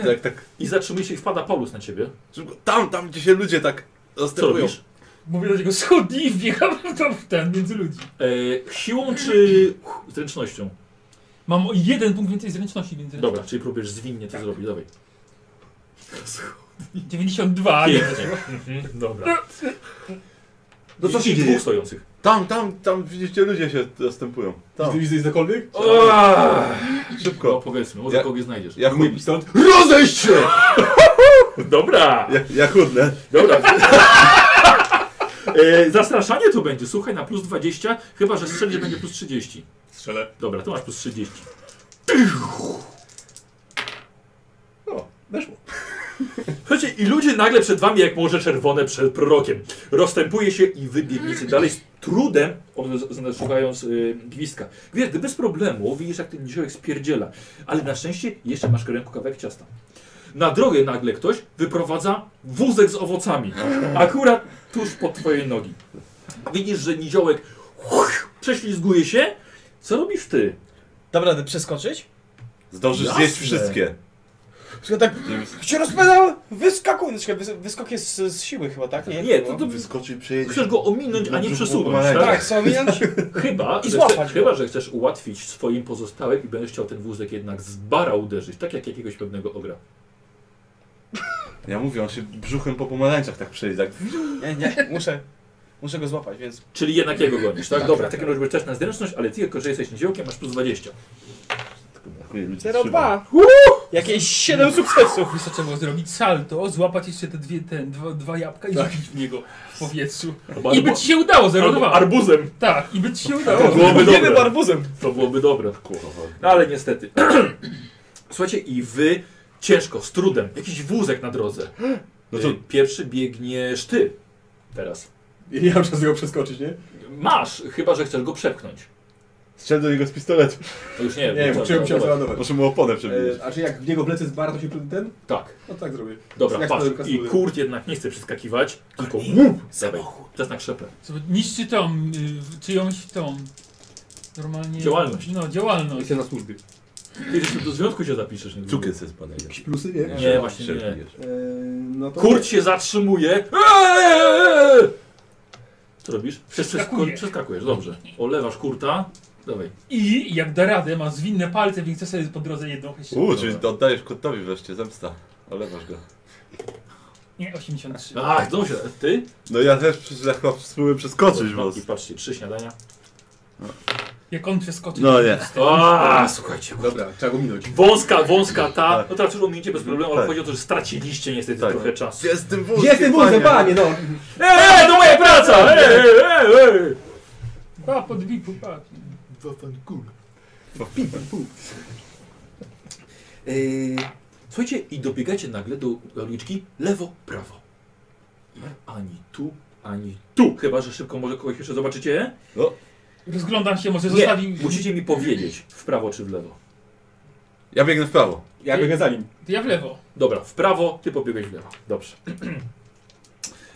Speaker 4: Tak, tak.
Speaker 1: I zatrzymuje się i wpada Paulus na ciebie.
Speaker 4: Szybko. Tam, tam gdzie się ludzie tak
Speaker 1: Co
Speaker 4: zastępują.
Speaker 1: robisz?
Speaker 5: Mówię do niego schudnij i wbiegam w to- w ten między ludzi.
Speaker 1: E, siłą czy zręcznością?
Speaker 5: Mam o jeden punkt więcej zręczności między
Speaker 1: Dobra, czyli próbujesz zwinnie to
Speaker 4: Tak.
Speaker 1: zrobić, dawaj.
Speaker 5: 92, ale
Speaker 1: Pięknie. Dobra.
Speaker 4: Mhm. No co się
Speaker 1: Widzisz
Speaker 4: dzieje?
Speaker 1: dwóch stojących.
Speaker 4: Tam, tam, tam widzicie ludzie się zastępują. Tam.
Speaker 6: Widzisz cokolwiek?
Speaker 1: No
Speaker 4: Szybko.
Speaker 1: powiedzmy, może
Speaker 4: Ja-
Speaker 1: kogoś znajdziesz.
Speaker 4: Ja,
Speaker 6: Mój
Speaker 4: chud...
Speaker 6: pistolet.
Speaker 4: Rozejść się!
Speaker 1: Dobra,
Speaker 4: Ja, ja chudnę.
Speaker 1: dobra. E, zastraszanie to będzie, słuchaj, na plus 20, chyba że strzelisz będzie plus 30.
Speaker 2: Strzelę.
Speaker 1: Dobra, to masz plus 30.
Speaker 6: O, weszło.
Speaker 1: Słuchajcie, i ludzie nagle przed wami, jak morze czerwone przed prorokiem, rozstępuje się i wybiegniecie dalej z trudem, od- z- z- szukając y, gwizdka. Wiesz, gdy bez problemu widzisz, jak ten niziołek spierdziela, ale na szczęście jeszcze masz w ręku kawałek ciasta. Na drogę nagle ktoś wyprowadza wózek z owocami, akurat tuż pod twojej nogi. Widzisz, że niziołek huch, prześlizguje się. Co robisz ty?
Speaker 3: Dam radę przeskoczyć?
Speaker 4: Zdążysz
Speaker 1: Jasne.
Speaker 4: zjeść wszystkie.
Speaker 3: Tylko tak się rozpędzał, wyskakuj! No, czekaj, wys- wyskok jest z, z siły chyba, tak? Nie,
Speaker 1: Nie,
Speaker 3: było.
Speaker 1: to, to
Speaker 4: Wyskoczy, przejedzie.
Speaker 1: chcesz go ominąć, a nie przesunąć,
Speaker 4: Tak.
Speaker 1: tak?
Speaker 3: Tak, co minąć?
Speaker 1: Chyba,
Speaker 3: I
Speaker 1: że
Speaker 3: złapać
Speaker 1: chce,
Speaker 3: go.
Speaker 1: chyba, że chcesz ułatwić swoim pozostałym i będziesz chciał ten wózek jednak z bara uderzyć, tak jak jakiegoś pewnego ogra.
Speaker 4: Ja mówię, on się brzuchem po pomarańczach tak przejedzie. Tak.
Speaker 3: Nie, nie, muszę. Muszę go złapać, więc
Speaker 1: Czyli jednak jego gonisz, tak? Dobra, w takim razie też na zręczność, ale ty jako, że jesteś niziołkiem, masz plus 20.
Speaker 4: Brakuje ludzi trzyma.
Speaker 3: 0,2. Jakieś 7 sukcesów.
Speaker 5: Wiesz co trzeba było zrobić? Salto, złapać jeszcze te dwie, ten, dwa, dwa jabłka i rzucić w niego w powietrzu.
Speaker 1: Tak. Albo,
Speaker 5: I by ci się udało, 0,2.
Speaker 1: arbuzem.
Speaker 5: Tak, i by ci się
Speaker 1: To
Speaker 5: udało.
Speaker 1: byłoby
Speaker 3: Wiemy
Speaker 1: dobre.
Speaker 3: barbuzem.
Speaker 1: To byłoby dobre.
Speaker 4: Kurwa.
Speaker 1: No ale niestety. Słuchajcie, i wy ciężko, z trudem, jakiś wózek na drodze.
Speaker 4: No to
Speaker 1: Y, Pierwszy biegniesz ty teraz.
Speaker 6: I nie mam czasu go przeskoczyć, nie?
Speaker 1: Masz, chyba, że chcesz go przepchnąć.
Speaker 4: strzel do niego z pistoletu.
Speaker 1: To już nie
Speaker 6: Nie,
Speaker 1: co-
Speaker 6: bo chciałem się
Speaker 1: dobra.
Speaker 6: załadować.
Speaker 4: Proszę mu oponę
Speaker 6: E,
Speaker 4: przebić.
Speaker 6: A czy jak w niego wlecę z bar, to się ten?
Speaker 1: Tak.
Speaker 6: No tak zrobię.
Speaker 1: Dobra,
Speaker 6: Jak
Speaker 1: patrz.
Speaker 6: to
Speaker 1: I
Speaker 6: kasuje?
Speaker 1: kurt jednak nie chce przeskakiwać, tylko łup! Dawaj, czas na krzepę.
Speaker 5: Zobacz, Niszczy tą, y, czyjąś tą. Normalnie.
Speaker 1: Działalność.
Speaker 5: No, działalność.
Speaker 6: Jestem na służbie.
Speaker 1: Ty jeszcze do związku się zapiszesz. Nie
Speaker 4: Cukier sobie spadaje.
Speaker 6: Jakieś plusy, nie?
Speaker 1: Nie,
Speaker 4: Strzel-
Speaker 1: właśnie
Speaker 4: strzel-
Speaker 1: nie.
Speaker 6: E, no to...
Speaker 1: Kurt się zatrzymuje. Eee! Co robisz? Przeskakuj,
Speaker 5: Przeskakuję.
Speaker 1: przeskakujesz, dobrze. Olewasz kurta. Dawaj.
Speaker 5: I jak da radę, ma zwinne palce, więc chce sobie po drodze jedną chyślę.
Speaker 4: U, czyli oddajesz kotowi wreszcie, zemsta. Olewasz go.
Speaker 5: Nie, 83.
Speaker 1: Ach, dobrze. Ty?
Speaker 4: No ja też przez- ja chyba spróbuję przeskoczyć
Speaker 1: No,
Speaker 4: was.
Speaker 1: I patrzcie, trzy śniadania.
Speaker 5: Jak on przeskoczy.
Speaker 4: No nie.
Speaker 1: A, słuchajcie.
Speaker 6: Dobra, trzeba go minąć.
Speaker 1: Wąska, wąska ta.
Speaker 4: Tak.
Speaker 1: No teraz już ominięcie bez problemu, ale
Speaker 4: Tak.
Speaker 1: chodzi o to, że straciliście niestety
Speaker 4: Tak.
Speaker 1: trochę czasu.
Speaker 4: Jestem wózkiem,
Speaker 6: Jestem wózem, panie, no!
Speaker 1: Eee, to moja praca! Eee, eee, eee!
Speaker 5: Pa, podbiku, pa.
Speaker 1: Yy, Słuchajcie, i dobiegacie nagle do uliczki lewo, prawo. Ani tu, ani tu. Chyba, że szybko może kogoś jeszcze zobaczycie.
Speaker 4: No.
Speaker 5: Rozglądam się, może
Speaker 1: Nie.
Speaker 5: zostawi...
Speaker 1: Musicie mi powiedzieć w prawo czy w lewo.
Speaker 4: Ja biegnę w prawo.
Speaker 5: Ja biegnę
Speaker 6: za nim.
Speaker 5: To ja w lewo.
Speaker 1: Dobra, w prawo, ty pobiegłeś w lewo. Dobrze.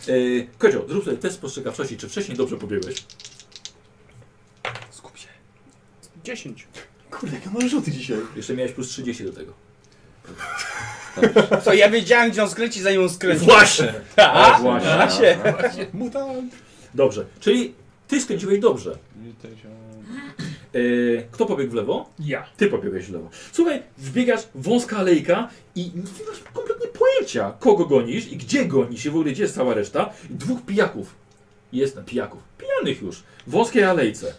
Speaker 1: Yy, Kodzio, zrób sobie test spostrzegawczości, czy wcześniej dobrze pobiegłeś.
Speaker 3: 10.
Speaker 6: Kurde, jakie mam rzuty dzisiaj.
Speaker 1: Jeszcze miałeś plus 30 do tego.
Speaker 3: Co, ja wiedziałem, gdzie on skręci, zanim on skręci.
Speaker 1: Właśnie! No
Speaker 3: A,
Speaker 1: Właśnie.
Speaker 3: a się.
Speaker 6: Mutant.
Speaker 1: Tak. Dobrze, czyli ty skręciłeś dobrze. Yy, kto pobiegł w lewo?
Speaker 5: Ja.
Speaker 1: Ty pobiegłeś w lewo. Słuchaj, wbiegasz wąska alejka i nie masz kompletnie pojęcia, kogo gonisz i gdzie gonisz i w ogóle gdzie jest cała reszta. I dwóch pijaków. Jest na pijaków. Pijanych już. W wąskiej alejce.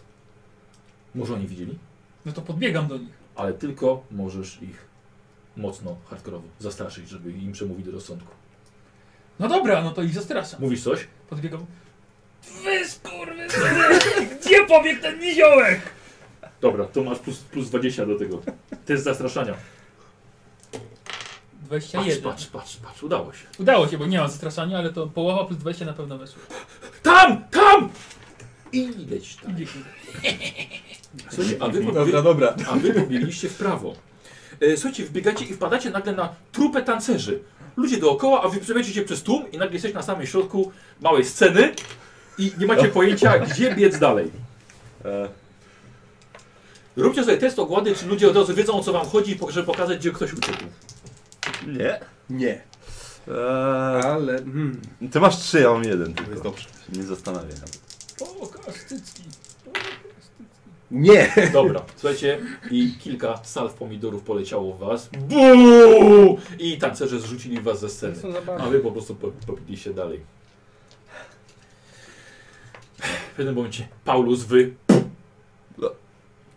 Speaker 1: Może oni widzieli?
Speaker 5: No to podbiegam do nich.
Speaker 1: Ale tylko możesz ich mocno, hardkorowo zastraszyć, żeby im przemówić do rozsądku.
Speaker 5: No dobra, no to ich zastraszam.
Speaker 1: Mówisz coś?
Speaker 5: Podbiegam. Wy skurwysyny! Gdzie pobiegł ten niziołek?
Speaker 1: Dobra, to masz plus, plus 20 do tego. Test zastraszania. Patrz,
Speaker 5: 21.
Speaker 1: patrz, patrz, patrz, udało się.
Speaker 5: Udało się, bo nie mam zastraszania, ale to połowa plus 20 na pewno weszło.
Speaker 1: Tam! Tam! I leć tam.
Speaker 5: Idzie się.
Speaker 1: Słuchajcie, a wy, wy,
Speaker 6: Dobra, dobra.
Speaker 1: A wy pobiegliście w prawo. E, słuchajcie, wbiegacie i wpadacie nagle na trupę tancerzy. Ludzie dookoła, a wy przebiegniecie przez tłum i nagle jesteście na samym środku małej sceny i nie macie pojęcia, gdzie biec dalej.
Speaker 4: E,
Speaker 1: Róbcie sobie test ogłady, czy ludzie od razu wiedzą, o co wam chodzi, po- żeby pokazać, gdzie ktoś uciekł.
Speaker 4: nie.
Speaker 6: Nie.
Speaker 4: E,
Speaker 6: Ale... Hmm.
Speaker 4: ty masz trzy, ja mam jeden tylko.
Speaker 6: jest dobrze.
Speaker 4: Się Nie zastanawiam.
Speaker 5: O, kasztycki. O, kasztycki.
Speaker 6: Nie!
Speaker 1: Dobra, słuchajcie, i kilka salw pomidorów poleciało w was. Buu! I tancerze zrzucili was ze sceny.
Speaker 3: Są zabawne.
Speaker 1: A wy po prostu po- popiliście dalej. W pewnym momencie Paulus, wy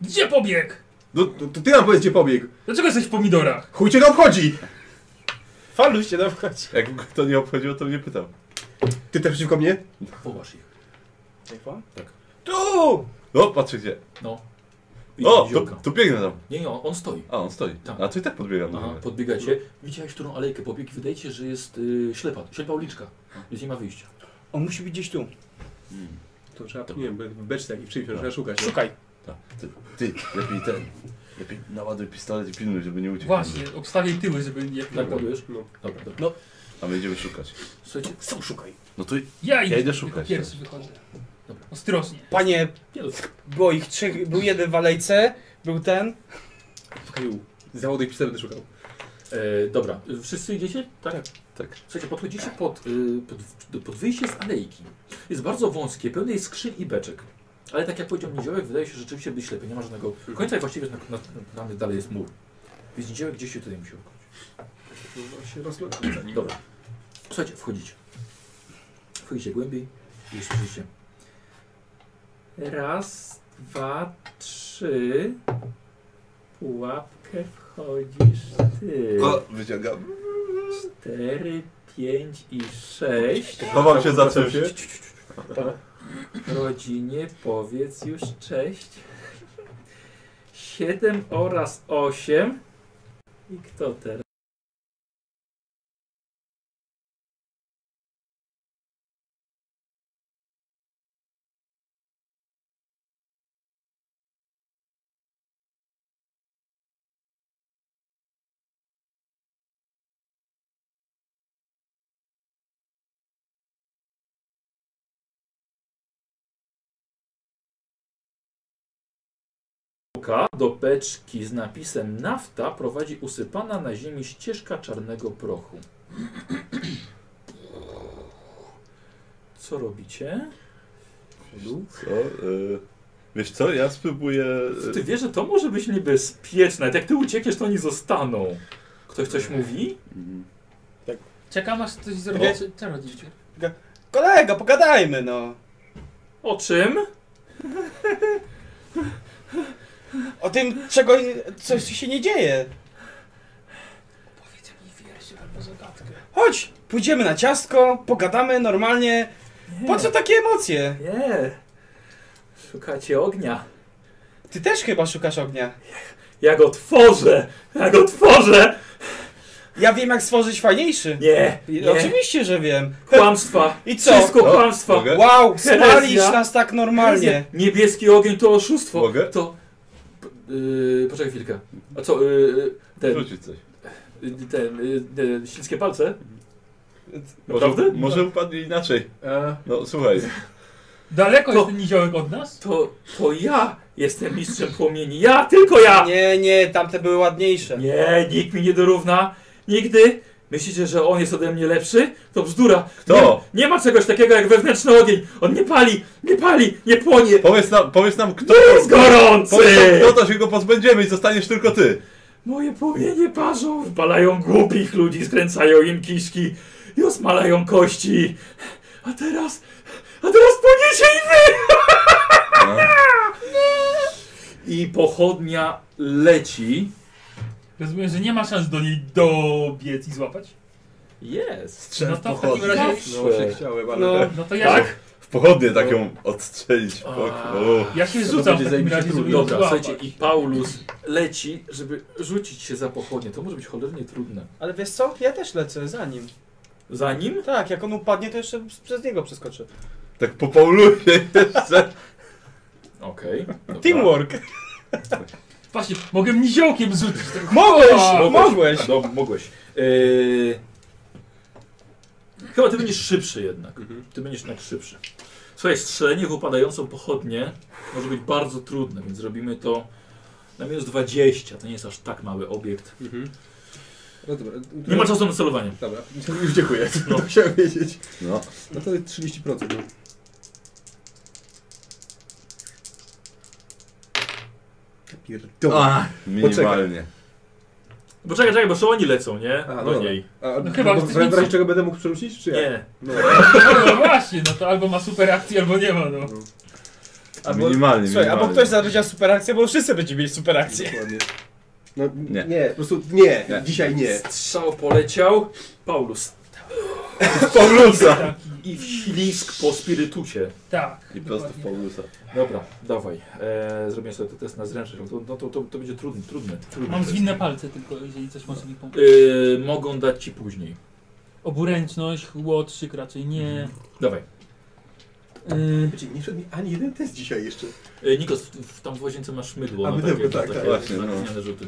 Speaker 5: Gdzie pobiegł?
Speaker 6: No to, to ty nam powiedz, gdzie pobiegł.
Speaker 5: Dlaczego jesteś w pomidorach?
Speaker 6: Chuj cię to obchodzi!
Speaker 3: Falu się na wchodzi.
Speaker 4: Jak go to nie obchodziło, to mnie pytał.
Speaker 6: Ty też przeciwko mnie?
Speaker 1: wołasz ich.
Speaker 3: Tu!
Speaker 4: O, patrzcie gdzie.
Speaker 1: No.
Speaker 4: O, to,
Speaker 1: Widziałka.
Speaker 4: to biegnę tam.
Speaker 1: Nie, nie, on stoi.
Speaker 4: A, on stoi.
Speaker 1: Tam.
Speaker 4: A to i tak podbiegam do
Speaker 1: Aha,
Speaker 4: niego.
Speaker 1: podbiegacie. Widziałeś, którą alejkę pobiegł i wydaje ci się, że jest y, ślepa, ślepa uliczka, więc nie ma wyjścia.
Speaker 3: On musi być gdzieś tu.
Speaker 6: To trzeba, nie wiem, w beczce jakiejś czymś, trzeba szukać.
Speaker 3: Szukaj.
Speaker 4: Tak. Ty, ty, lepiej ten. Lepiej naładuj pistolet i pilnuj, żeby nie uciekł.
Speaker 5: Właśnie, obstawię tyły, żeby nie...
Speaker 1: Tak ładujesz?
Speaker 6: No.
Speaker 1: Dobra, dobra.
Speaker 4: A my idziemy szukać.
Speaker 1: Słuchajcie,
Speaker 3: Sam szukaj.
Speaker 4: No to i-
Speaker 5: Ja idę,
Speaker 4: Ja idę szukać,
Speaker 5: Pierwszy wychodzę. Dobra. Ostrożnie.
Speaker 3: Panie,
Speaker 1: nie, no,
Speaker 3: było ich trzech, był jeden w alejce, był ten.
Speaker 6: Pokoju. Załaduj pistolet będę szukał.
Speaker 1: e, dobra. Wszyscy idziecie? Tak?
Speaker 4: tak.
Speaker 1: Słuchajcie, podchodzicie pod, y, pod, pod wyjście z alejki. Jest bardzo wąskie, pełne jest skrzyń i beczek. Ale tak jak powiedział Niziołek, wydaje się rzeczywiście być ślepy. Nie ma żadnego końca i właściwie na, na, na, dalej jest mur. Więc Niziołek gdzieś się tutaj musi ukryć.
Speaker 6: No, się rozglądam za nim.
Speaker 1: Dobra. Słuchajcie, wchodzicie. Wchodzicie głębiej i słyszycie. Raz, dwa, trzy. Pułapkę wchodzisz ty.
Speaker 4: O, wyciągam.
Speaker 1: Cztery, pięć i sześć.
Speaker 4: Chowam się za czymś.
Speaker 1: Rodzinie powiedz już cześć. Siedem oraz osiem. I kto teraz? Puka do beczki z napisem nafta prowadzi usypana na ziemi ścieżka czarnego prochu. Co robicie?
Speaker 4: Co? Y, wiesz co, ja spróbuję...
Speaker 1: Ty wiesz, że to może być niebezpieczne. Jak ty uciekniesz, to oni zostaną. Ktoś coś mówi?
Speaker 4: Mm.
Speaker 5: Czekam aż coś zrobi.
Speaker 3: Nie.
Speaker 5: Co- Co rodzicie?
Speaker 3: Kolega, pogadajmy no.
Speaker 1: O czym?
Speaker 3: O tym, czego, coś się nie dzieje.
Speaker 5: Powiedz mi wiersz albo zagadkę.
Speaker 3: Chodź, pójdziemy na ciastko, pogadamy normalnie. Po co takie emocje?
Speaker 1: Nie. Szukacie ognia.
Speaker 3: Ty też chyba szukasz ognia.
Speaker 1: Ja go tworzę! Ja go tworzę!
Speaker 3: Ja wiem, jak stworzyć fajniejszy.
Speaker 1: Nie,
Speaker 3: I-
Speaker 1: nie.
Speaker 3: Oczywiście, że wiem.
Speaker 1: Kłamstwa.
Speaker 3: I co?
Speaker 1: Wszystko
Speaker 4: O,
Speaker 1: kłamstwa.
Speaker 4: No, mogę?
Speaker 3: Wow,
Speaker 1: Herezja.
Speaker 3: spalisz nas tak normalnie.
Speaker 1: Niebieski ogień to oszustwo.
Speaker 4: Mogę?
Speaker 1: To... P- Yy, poczekaj chwilkę. A co, yy, ten,
Speaker 4: Rzucić coś.
Speaker 1: yy, ten, yy, te śliskie palce?
Speaker 4: Może,
Speaker 1: Naprawdę?
Speaker 4: może upadnie inaczej.
Speaker 6: A,
Speaker 4: No słuchaj,
Speaker 5: Daleko
Speaker 1: To-
Speaker 5: jest ten niziołek od nas?
Speaker 1: To, to ja jestem mistrzem płomieni. Ja, tylko ja!
Speaker 3: Nie, nie, tamte były ładniejsze.
Speaker 1: Nie, nikt mi nie dorówna. Nigdy. Myślicie, że on jest ode mnie lepszy? To bzdura.
Speaker 4: Kto?
Speaker 1: Nie, nie ma czegoś takiego jak wewnętrzny ogień. On nie pali, nie pali, nie płonie.
Speaker 4: powiedz nam, powiedz nam kto...
Speaker 1: Jest gorący!
Speaker 4: Powiedz nam kto, to się go pozbędziemy i zostaniesz tylko ty.
Speaker 1: Moje płomienie parzą, wypalają głupich ludzi, skręcają im kiszki i osmalają kości. A teraz, a teraz płonie i wy!
Speaker 4: No.
Speaker 1: I pochodnia leci.
Speaker 5: Rozumiem, że nie ma szans do niej dobiec i złapać?
Speaker 1: Jest.
Speaker 5: No to w takim
Speaker 4: pochodnie.
Speaker 5: razie...
Speaker 6: no właśnie chciałem, ale...
Speaker 3: No.
Speaker 5: No to ja,
Speaker 1: Tak?
Speaker 4: W pochodnie tak ją odstrzelić. O, o.
Speaker 5: ja się
Speaker 6: To
Speaker 5: rzucam w
Speaker 6: będzie
Speaker 5: takim
Speaker 6: zajebiście
Speaker 5: razie, żeby
Speaker 6: trudne.
Speaker 5: ją
Speaker 1: Dobra,
Speaker 5: złapać.
Speaker 1: słuchajcie, i Paulus leci, żeby rzucić się za pochodnię. To może być cholernie trudne.
Speaker 3: Ale wiesz co? Ja też lecę za nim.
Speaker 1: Za nim?
Speaker 3: Tak, jak on upadnie, to jeszcze przez niego przeskoczę.
Speaker 4: Tak po Paulusie jeszcze.
Speaker 1: Okej. dobra.
Speaker 3: Teamwork!
Speaker 5: Właśnie, mogę niziołkiem rzucić.
Speaker 3: Mogłeś!
Speaker 5: A,
Speaker 3: Mogłeś!
Speaker 1: No, mogłeś. Yy... Chyba ty będziesz szybszy jednak.
Speaker 6: Mhm.
Speaker 1: Ty będziesz jednak szybszy. Słuchaj, strzelenie w upadającą pochodnię może być bardzo trudne, więc robimy to na minus 20. To nie jest aż tak mały obiekt.
Speaker 6: Mhm. No dobra.
Speaker 1: Nie ma czasu na celowanie.
Speaker 6: Dobra, już dziękuję. No. To chciałem wiedzieć.
Speaker 4: No.
Speaker 6: No to jest 30%. No. Ja Pierdolę.
Speaker 4: A, minimalnie.
Speaker 1: Bo czekaj, czekaj, bo jeszcze oni lecą, nie?
Speaker 6: A, no
Speaker 1: Do
Speaker 6: dobra.
Speaker 1: niej.
Speaker 6: A,
Speaker 5: No chyba,
Speaker 6: bo
Speaker 5: że
Speaker 6: w
Speaker 5: nic-
Speaker 6: razie czego będę mógł przerzucić, czy jak?
Speaker 1: Nie.
Speaker 6: No.
Speaker 5: No, no właśnie, no to albo ma super akcję, albo nie ma, no.
Speaker 3: Albo,
Speaker 4: Minimalnie,
Speaker 3: słuchaj, albo
Speaker 4: minimalnie.
Speaker 3: ktoś zarobił superakcję, bo wszyscy będziemy mieli superakcję.
Speaker 6: Dokładnie. No,
Speaker 4: Nie.
Speaker 6: nie. nie, po prostu nie,
Speaker 4: Nie.
Speaker 6: dzisiaj nie.
Speaker 1: Strzał poleciał. Paulus.
Speaker 4: Paulusa!
Speaker 5: Taki,
Speaker 1: I ślisk po spirytusie.
Speaker 5: tak.
Speaker 4: I prosto w
Speaker 5: dokładnie.
Speaker 4: Paulusa.
Speaker 1: Dobra, dawaj. E, zrobię sobie ten test na zręczność. No to, no to, to, to będzie trudny, trudny. trudny
Speaker 5: Mam
Speaker 1: test.
Speaker 5: zwinne palce tylko, jeżeli coś może mi pomóc.
Speaker 1: Y, mogą dać ci później.
Speaker 5: Oburęczność, łotrzyk raczej nie.
Speaker 1: Dawaj. Mhm.
Speaker 5: Y,
Speaker 6: Wiecie, nie wszedł mi ani jeden test dzisiaj jeszcze.
Speaker 1: Y, Nikos, w, w, tam w łazience masz mydło.
Speaker 6: A,
Speaker 1: no,
Speaker 6: mydło,
Speaker 1: takie,
Speaker 6: tak,
Speaker 1: takie
Speaker 6: tak,
Speaker 4: właśnie,
Speaker 1: na
Speaker 4: no.
Speaker 1: zmianę rzuty.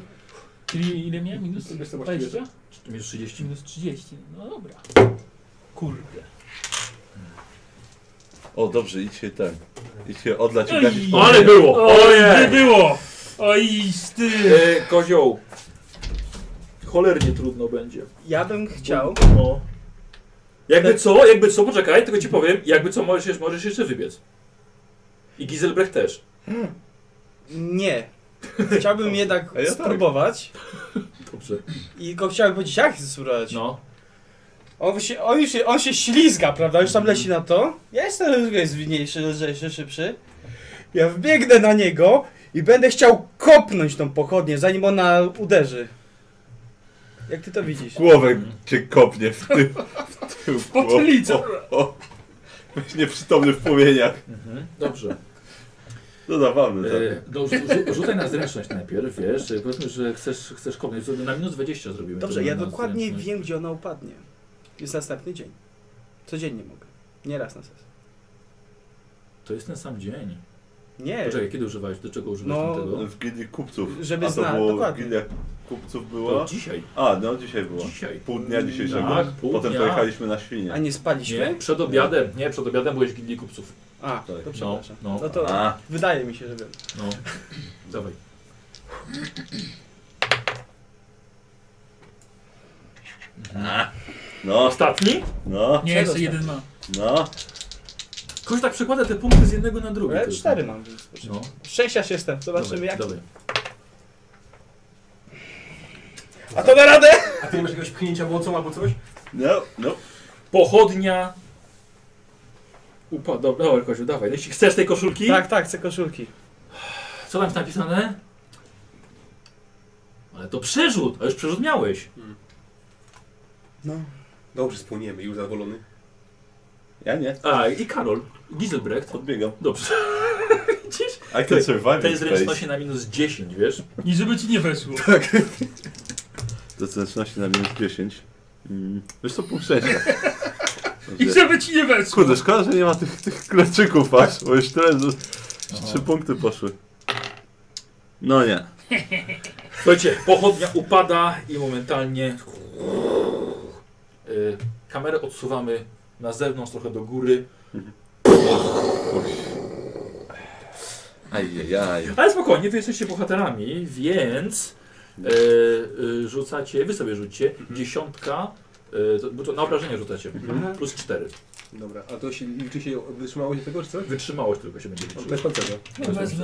Speaker 5: Czyli ile miałem? Minus
Speaker 6: Wiesz co, masz
Speaker 5: 20?
Speaker 1: Czy Minus 30.
Speaker 5: Minus 30. No dobra. Kurde.
Speaker 4: O, dobrze, idź się ten. Idź się odlać i
Speaker 5: Oj.
Speaker 4: gasić
Speaker 5: O,
Speaker 1: Ale było!
Speaker 5: nie
Speaker 1: Ojej!
Speaker 5: było! Oj, ty!
Speaker 1: E, kozioł. Cholernie trudno będzie.
Speaker 3: Ja bym chciał.
Speaker 1: No. Jakby co, jakby co, poczekaj, tylko ci powiem, jakby co możesz, jeszcze- możesz jeszcze wybiec. I Giselbrecht też.
Speaker 3: Nie. Chciałbym jednak
Speaker 4: A ja tak.
Speaker 3: spróbować
Speaker 1: Dobrze.
Speaker 3: i go chciałbym powiedzieć, jak spróbować.
Speaker 1: No.
Speaker 3: On, się, on, już, się- on się ślizga, prawda? Już tam leci na to. Ja jestem troszkę zwinniejszy, lżejszy, szybszy. Ja wbiegnę na niego i będę chciał kopnąć tą pochodnię, zanim ona uderzy. Jak ty to widzisz?
Speaker 4: Głowę cię kopnie w tył. W tył w
Speaker 5: Potylicę.
Speaker 4: O, o. Byś nieprzytomny w płomieniach.
Speaker 1: Mhm. Dobrze.
Speaker 4: No zabawne to.
Speaker 3: Tak.
Speaker 1: E, no, rzu- rzu- rzucaj na zręczność najpierw, wiesz, e, powiedzmy, że chcesz, chcesz kopnąć, to na minus 20 zrobimy.
Speaker 3: Dobrze,
Speaker 1: to na-
Speaker 3: ja
Speaker 1: na
Speaker 3: dokładnie
Speaker 1: zręczność.
Speaker 3: wiem, gdzie ona upadnie. Jest następny dzień. Codziennie mogę. Nie raz na sesję.
Speaker 1: To jest ten sam dzień.
Speaker 3: Nie,
Speaker 1: Poczekaj, kiedy używałeś, do czego używałeś
Speaker 3: No,
Speaker 1: tego?
Speaker 4: W gildii kupców.
Speaker 3: Żeby
Speaker 4: A to
Speaker 3: zna-
Speaker 4: było
Speaker 3: dokładnie.
Speaker 4: w gildii kupców
Speaker 1: To
Speaker 4: było.
Speaker 1: dzisiaj,
Speaker 4: A, no dzisiaj było.
Speaker 1: dzisiaj.
Speaker 4: Pół dnia dzisiejszego.
Speaker 1: Tak, pół
Speaker 4: Potem
Speaker 1: dnia.
Speaker 4: pojechaliśmy na
Speaker 3: a
Speaker 4: świnie.
Speaker 3: nie spaliśmy?
Speaker 1: Nie, przed obiadem, nie, przed obiadem byłeś w gildii kupców.
Speaker 3: A,
Speaker 4: Tak.
Speaker 3: to
Speaker 1: No,
Speaker 3: przepraszam.
Speaker 1: no,
Speaker 3: No to
Speaker 4: A,
Speaker 3: wydaje mi się, że wiem.
Speaker 1: no. Dawaj.
Speaker 4: no,
Speaker 1: Ostatni?
Speaker 4: no,
Speaker 5: Nie, jeszcze jeden ma.
Speaker 4: no.
Speaker 1: Ktoś tak przekłada te punkty z jednego na drugi.
Speaker 3: Ale
Speaker 1: tylko.
Speaker 3: E, cztery mam, więc
Speaker 1: No,
Speaker 3: Szczęścia jestem, zobaczymy
Speaker 1: dawaj,
Speaker 3: jak.
Speaker 1: dawaj.
Speaker 3: A to na radę!
Speaker 6: A ty nie masz jakiegoś pchnięcia mocą albo coś?
Speaker 4: No, no.
Speaker 1: Pochodnia. Upa, dobra, dobra, Koziu, dawaj. Jeśli chcesz tej koszulki,
Speaker 3: Tak, tak, chcę koszulki.
Speaker 1: co tam jest napisane? Ale to przerzut, a już przerzut miałeś.
Speaker 3: No.
Speaker 6: Dobrze, spłoniemy, już zadowolony.
Speaker 4: Ja nie,
Speaker 1: A, i Karol, Giselbrecht.
Speaker 4: podbiegam.
Speaker 1: Dobrze.
Speaker 4: I can survive
Speaker 1: To
Speaker 4: in
Speaker 1: jest
Speaker 4: space.
Speaker 1: ręczności na minus 10, wiesz?
Speaker 5: I żeby ci nie weszło.
Speaker 4: To jest zręczności na minus 10. Mm, Wiesz co, pół szczęścia.
Speaker 5: I żeby ci nie weszło.
Speaker 4: Kurde, szkoda, że nie ma tych, tych kleczyków aż, bo już tyle, że trzy punkty poszły. No nie.
Speaker 1: Słuchajcie, pochodnia upada i momentalnie y, kamerę odsuwamy na zewnątrz, trochę do góry.
Speaker 4: Ajajaj.
Speaker 1: Ale spokojnie, wy jesteście bohaterami, więc e, e, rzucacie, wy sobie rzućcie, dziesiątka, e, to, bo to na obrażenie rzucacie, plus cztery.
Speaker 6: Dobra, a to się liczy się wytrzymało się tego, czy co?
Speaker 1: Wytrzymałość tylko się będzie liczyła.
Speaker 6: Bez pancerza.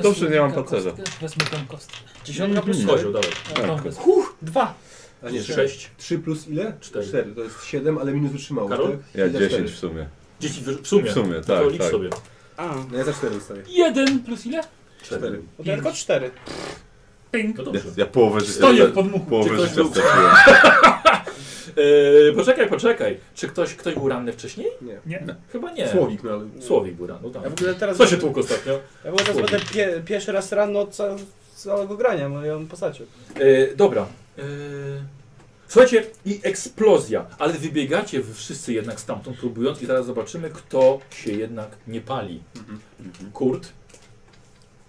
Speaker 4: Dobrze, nie mam
Speaker 5: tę
Speaker 4: pancerza.
Speaker 5: kostkę, Wezmę tą kostkę.
Speaker 3: Dziesiątka plus
Speaker 4: Mhm.
Speaker 1: Kozioł, dawaj.
Speaker 5: A, tą
Speaker 4: Tak.
Speaker 5: wezmę.
Speaker 3: Huh, dwa.
Speaker 6: A nie,
Speaker 1: Sześć.
Speaker 6: 3 plus ile?
Speaker 1: Cztery.
Speaker 6: 4. To jest 7, ale minus wytrzymało.
Speaker 1: Karol?
Speaker 6: Tak?
Speaker 4: Ja
Speaker 6: I za
Speaker 4: 10
Speaker 6: cztery.
Speaker 4: w sumie.
Speaker 1: Dzieci w, w sumie.
Speaker 4: W sumie, tak,
Speaker 1: to licz
Speaker 4: tak.
Speaker 1: sobie.
Speaker 3: A,
Speaker 6: No ja za 4 dostaję.
Speaker 5: Jeden plus ile?
Speaker 1: Cztery.
Speaker 3: bo tylko cztery.
Speaker 5: Ping.
Speaker 1: No
Speaker 4: Ja,
Speaker 1: dobrze.
Speaker 4: ja połowę życia,
Speaker 5: Stoję w podmuchu.
Speaker 1: Czy
Speaker 4: połowę
Speaker 1: ktoś
Speaker 4: życia
Speaker 1: był?
Speaker 4: straciłem.
Speaker 1: E, poczekaj, poczekaj. Czy ktoś, ktoś był ranny wcześniej?
Speaker 6: Nie.
Speaker 5: Nie.
Speaker 1: Chyba nie.
Speaker 6: Słowik, no ale...
Speaker 1: Słowik był ranny,
Speaker 3: Ja w
Speaker 1: tak.
Speaker 3: ogóle teraz...
Speaker 1: Co się tłukł ostatnio?
Speaker 3: Ja w ogóle teraz będę pie, pierwszy raz ranny od ca- całego grania, moją postacią.
Speaker 1: E, dobra. E, słuchajcie, i eksplozja, ale wybiegacie wy wszyscy jednak stamtąd próbując i zaraz zobaczymy, kto się jednak nie pali.
Speaker 3: Mhm,
Speaker 1: Kurt.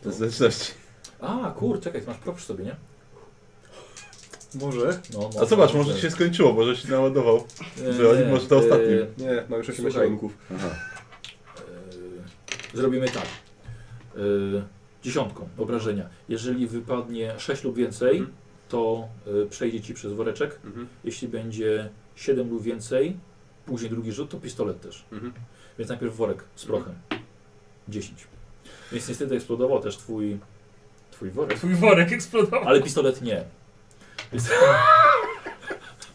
Speaker 4: To jest zręczności.
Speaker 1: A, Kurt, czekaj, masz prop przy sobie, nie?
Speaker 6: Może?
Speaker 1: No,
Speaker 4: A zobacz, może się skończyło, może się naładował. zrealiz- może to ostatni.
Speaker 1: E,
Speaker 6: Nie, mam już 18
Speaker 1: Słuchaj.
Speaker 6: ładunków.
Speaker 1: E, Zrobimy tak. E, Dziesiątką obrażenia. Jeżeli wypadnie 6 lub więcej,
Speaker 6: Mhm.
Speaker 1: to e, przejdzie ci przez woreczek.
Speaker 6: Mhm.
Speaker 1: Jeśli będzie 7 lub więcej, później drugi rzut, to pistolet też.
Speaker 6: Mhm.
Speaker 1: Więc najpierw worek z prochem. 10. Więc niestety eksplodował też twój, twój worek.
Speaker 5: Twój worek eksplodował.
Speaker 1: Ale pistolet nie. Pist-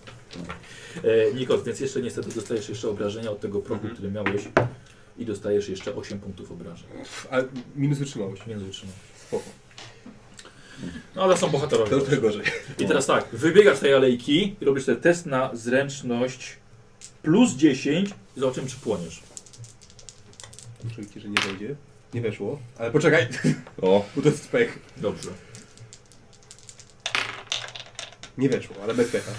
Speaker 1: E, Nikos, więc jeszcze niestety dostajesz jeszcze obrażenia od tego prochu,
Speaker 6: Mhm.
Speaker 1: który miałeś i dostajesz jeszcze 8 punktów obrażeń.
Speaker 6: A minus wytrzymałość.
Speaker 1: Między wytrzymał.
Speaker 6: Spoko.
Speaker 1: No ale są
Speaker 6: To już
Speaker 1: bohaterowie.
Speaker 6: trochę gorzej.
Speaker 1: I teraz tak, wybiegasz z tej alejki i robisz ten test na zręczność plus 10 i zobaczymy czy płoniesz.
Speaker 6: Oczywiście, że nie wejdzie. Nie weszło. Ale poczekaj,
Speaker 4: O,
Speaker 6: bo to jest pech.
Speaker 1: Dobrze.
Speaker 6: Nie weszło, ale bez pecha.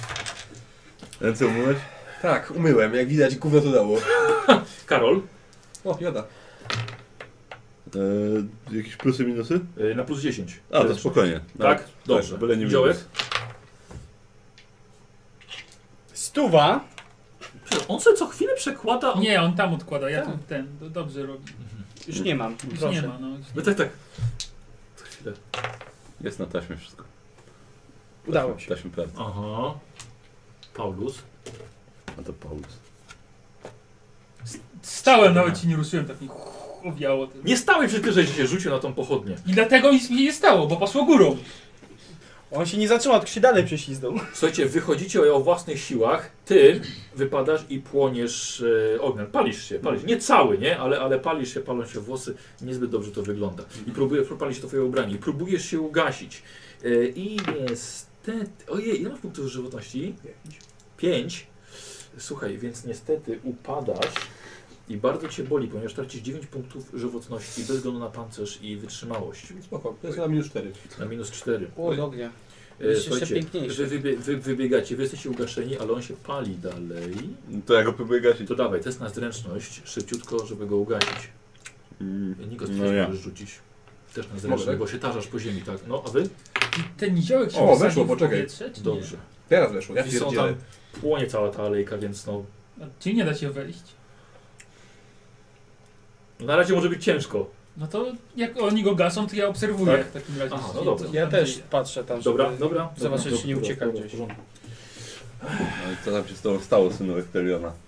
Speaker 4: ręce umyłeś?
Speaker 6: Tak, umyłem. Jak widać, gówno to dało.
Speaker 1: Karol,
Speaker 6: O, joda.
Speaker 4: E, jakieś plusy, minusy?
Speaker 1: y, na plus 10.
Speaker 4: A, to
Speaker 1: Zręczność.
Speaker 4: spokojnie.
Speaker 1: Tak? Dobrze.
Speaker 4: byle nie
Speaker 1: Dziołek?
Speaker 4: minus.
Speaker 3: Stuwa.
Speaker 1: Przecież On sobie co chwilę przekłada... on-
Speaker 5: Nie, on tam odkłada, ja tu ten, to dobrze robi.
Speaker 3: Już nie mam,
Speaker 5: Już
Speaker 3: proszę.
Speaker 5: nie ma, no.
Speaker 1: No tak, tak. Co chwilę.
Speaker 4: Jest na taśmie wszystko.
Speaker 3: Udało się.
Speaker 4: Taśmy prawda.
Speaker 1: Aha. Paulus.
Speaker 4: A to Paulus.
Speaker 5: Stałem, nawet ci nie ruszyłem, tak mi owiało. Ten.
Speaker 1: Nie stałeś przy tym, że się rzucił na tą pochodnię.
Speaker 5: I dlatego nic mi się nie stało, bo poszło górą.
Speaker 3: On się nie zatrzymał, tylko się dalej prześlizgnął.
Speaker 1: Słuchajcie, wychodzicie o własnych siłach, ty wypadasz i płoniesz e, ogniem. Palisz się, palisz. Nie cały, nie? Ale, ale palisz się, palą się włosy. Niezbyt dobrze to wygląda. I próbujesz propalić to twoje ubranie. I próbujesz się ugasić. E, I niestety... Ojej, ile masz punktów żywotności? Pięć. Słuchaj, więc niestety upadasz i bardzo cię boli, ponieważ tracisz 9 punktów żywotności bez względu na pancerz i wytrzymałość.
Speaker 6: Spoko, to jest na minus 4.
Speaker 1: Na minus 4.
Speaker 3: O, do ognia.
Speaker 1: E,
Speaker 3: Jest jeszcze
Speaker 1: słuchajcie,
Speaker 3: piękniejszy.
Speaker 1: Wy, wybie- wy wybiegacie, wy jesteście ugaszeni, ale on się pali dalej.
Speaker 4: No To ja go próbuję gasić.
Speaker 1: To dawaj, test na zręczność, szybciutko, żeby go ugasić.
Speaker 4: Mm.
Speaker 1: Nikos, ty
Speaker 4: No
Speaker 1: też
Speaker 4: ja.
Speaker 1: możesz rzucić. Też na
Speaker 6: Mogę?
Speaker 1: zręczność, bo się tarzasz po ziemi, tak? No, a wy?
Speaker 5: I ten niziołek się
Speaker 6: O,
Speaker 5: wysadził
Speaker 6: weszło,
Speaker 5: w
Speaker 6: poczekaj.
Speaker 5: powietrze, czy
Speaker 1: Dobrze.
Speaker 6: Teraz weszło, ja
Speaker 1: I są
Speaker 6: pierdzielę.
Speaker 1: tam, płonie cała ta alejka, więc no...
Speaker 5: Nie? A Czy nie da się wejść?
Speaker 1: no Na razie może być ciężko.
Speaker 5: No to jak oni go gasą, to ja obserwuję
Speaker 1: Tak?
Speaker 5: w takim razie.
Speaker 1: Aha, no
Speaker 5: co-
Speaker 1: dobra.
Speaker 5: co
Speaker 3: Ja
Speaker 5: tam
Speaker 3: też
Speaker 5: dzieje.
Speaker 3: patrzę tam, żeby
Speaker 1: Dobra, dobra.
Speaker 3: zobaczyć,
Speaker 1: dobra,
Speaker 3: czy nie
Speaker 1: dobra,
Speaker 3: ucieka
Speaker 1: dobra,
Speaker 3: gdzieś.
Speaker 1: w porządku.
Speaker 4: No i co tam się z tobą stało, synu Teriona?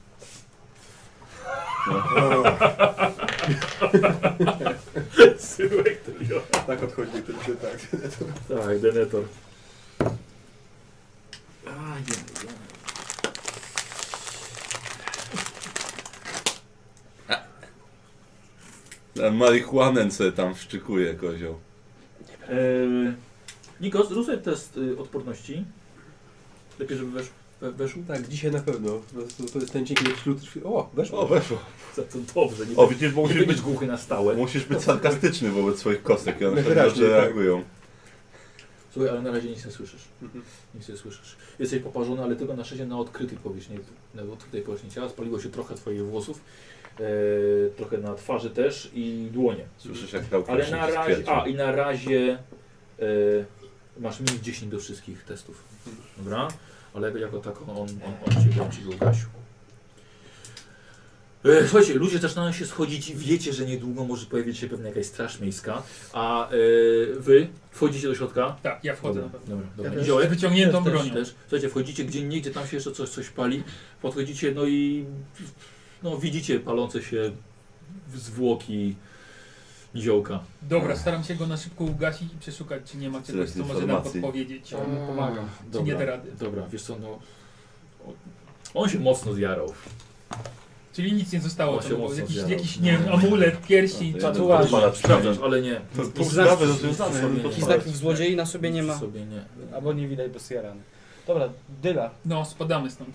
Speaker 1: Syłek to wziął.
Speaker 6: Tak odchodzi, to się tak.
Speaker 1: Tak, denetor. A, nie, nie.
Speaker 4: Ten E, Marihuanę sobie tam szczykuje, kozioł.
Speaker 1: Eee, Nikos, zrób sobie test y, odporności. Lepiej, żeby wesz, we, weszł.
Speaker 6: Tak, dzisiaj na pewno. To, to jest ten dzień, kiedy wśród... O, weszło.
Speaker 4: O, weszło.
Speaker 1: Za to dobrze, nie,
Speaker 4: O, widzisz, bo
Speaker 1: nie
Speaker 4: musisz
Speaker 1: będziesz
Speaker 4: być,
Speaker 1: głuchy na stałe.
Speaker 4: musisz być sarkastyczny wobec swoich kostek i one tak
Speaker 6: Wyraźnie,
Speaker 4: dobrze
Speaker 6: tak.
Speaker 4: reagują.
Speaker 1: Słuchaj, ale na razie nic nie słyszysz.
Speaker 6: Mhm.
Speaker 1: Nic nie słyszysz. Jesteś poparzony, ale tylko na szczęście na odkrytej powierzchni, na odkrytej powierzchni ciała. Spaliło się trochę twoich włosów, e, trochę na twarzy też i dłonie.
Speaker 4: Słyszysz jak dał
Speaker 1: Ale
Speaker 4: krzyczy
Speaker 1: na
Speaker 4: z
Speaker 1: razie,
Speaker 4: kwiatu.
Speaker 1: a i na razie e, masz minus 10 do wszystkich testów. Dobra? Ale jako tako on, on, on cię, on cię ugasił. E, Słuchajcie, ludzie zaczynają się schodzić i wiecie, że niedługo może pojawić się pewna jakaś straż miejska, a e, wy wchodzicie do środka.
Speaker 5: Tak, ja wchodzę
Speaker 1: Dobra,
Speaker 5: na pewno.
Speaker 1: dobra,
Speaker 5: Ja
Speaker 1: dobra.
Speaker 5: też.
Speaker 1: Niziołek?
Speaker 5: Z wyciągniętą
Speaker 1: Też,
Speaker 5: bronią.
Speaker 1: Też. Słuchajcie, wchodzicie gdzie nie, gdzie tam się jeszcze coś, coś pali, podchodzicie, no i no, widzicie palące się zwłoki niziołka.
Speaker 5: Dobra, staram się go na szybko ugasić i przeszukać, czy nie ma
Speaker 4: Tyle
Speaker 5: czegoś, co może nam
Speaker 4: informacji.
Speaker 5: podpowiedzieć.
Speaker 3: Ja mu pomagam.
Speaker 5: Czy nie da rady.
Speaker 1: Dobra, wiesz co, no... On się mocno zjarał.
Speaker 5: Czyli nic nie zostało.
Speaker 1: On się
Speaker 5: To był
Speaker 1: mocno
Speaker 5: jakiś,
Speaker 1: zjarał. No, tak.
Speaker 5: jakiś nie wiem, amulet, pierścień,
Speaker 4: To ja
Speaker 5: czy...
Speaker 4: bym pozwalał,
Speaker 1: Sprawdzasz,
Speaker 4: sprawdzam.
Speaker 1: ale nie.
Speaker 4: To
Speaker 3: Jakiś
Speaker 4: sprawy
Speaker 1: znak-
Speaker 4: rozwiązane.
Speaker 1: znak-
Speaker 4: nie, nie,
Speaker 3: Jakiś
Speaker 4: nie.
Speaker 3: takich złodziei na sobie nie ma.
Speaker 1: Sobie nie. No,
Speaker 3: Albo nie widać, bo sjarany. Dobra, dyla.
Speaker 5: No, spadamy stąd.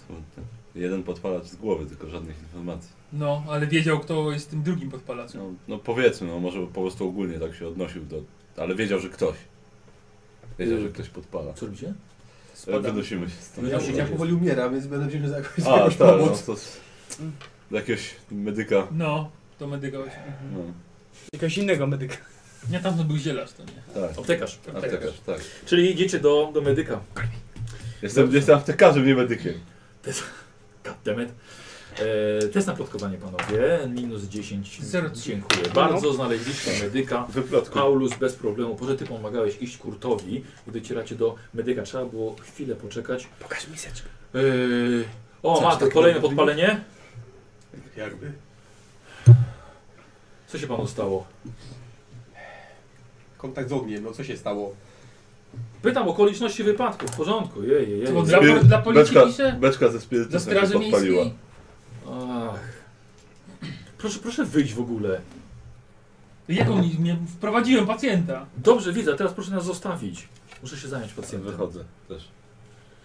Speaker 4: Jeden podpalacz z głowy, tylko żadnych informacji.
Speaker 5: No, ale wiedział, kto jest tym drugim podpalaczem.
Speaker 4: No, no powiedzmy, no może po prostu ogólnie tak się odnosił do... Ale wiedział, że ktoś. Wiedział, że ktoś podpala.
Speaker 1: Co ludzie?
Speaker 4: E, Wynosimy się
Speaker 5: No
Speaker 4: stąd.
Speaker 6: Ja,
Speaker 1: Wynosimy
Speaker 6: ja powoli umieram, więc będę wziął za jakąś
Speaker 4: A,
Speaker 6: jakąś
Speaker 4: tak, no,
Speaker 6: pomoc.
Speaker 4: to... Do jakiegoś medyka.
Speaker 5: No, to medyka właśnie.
Speaker 4: No,
Speaker 3: Jakiegoś innego medyka.
Speaker 5: Nie, tam to był zielarz, to nie.
Speaker 4: tak.
Speaker 1: Aptekarz.
Speaker 4: Aptekarz, tak.
Speaker 1: Czyli idziecie do, do medyka.
Speaker 4: Jestem, jestem aptekarzem, nie medykiem.
Speaker 1: Goddammit. E, test na plotkowanie panowie. Minus 10.
Speaker 5: Zero trzy. No.
Speaker 1: Dziękuję bardzo. Znaleźliście medyka.
Speaker 4: Wyplotku.
Speaker 1: Paulus bez problemu. Boże, ty pomagałeś iść Kurtowi, gdy docieracie do medyka. Trzeba było chwilę poczekać.
Speaker 3: Pokaż miseczkę.
Speaker 1: Yy... O,
Speaker 6: Co,
Speaker 1: ma
Speaker 6: czy
Speaker 1: to
Speaker 6: tak
Speaker 1: kolejne
Speaker 6: robił?
Speaker 1: podpalenie.
Speaker 6: Jakby.
Speaker 1: Co się panu stało?
Speaker 6: Kontakt z ogniem, no co się stało?
Speaker 1: Pytam okoliczności wypadku. W porządku. Jej, jej, jej.
Speaker 5: To dla, dla policji
Speaker 4: beczka,
Speaker 5: pisze?
Speaker 4: beczka ze spirytusem
Speaker 5: Dla
Speaker 4: tak się
Speaker 5: straży
Speaker 4: podpaliła.
Speaker 5: miejskiej?
Speaker 1: Ach. Proszę, proszę wyjść w ogóle.
Speaker 5: Jak on mnie wprowadziłem pacjenta?
Speaker 1: Dobrze, widzę, teraz proszę nas zostawić. Muszę się zająć
Speaker 4: Ja
Speaker 1: pacjentem.
Speaker 4: wychodzę też.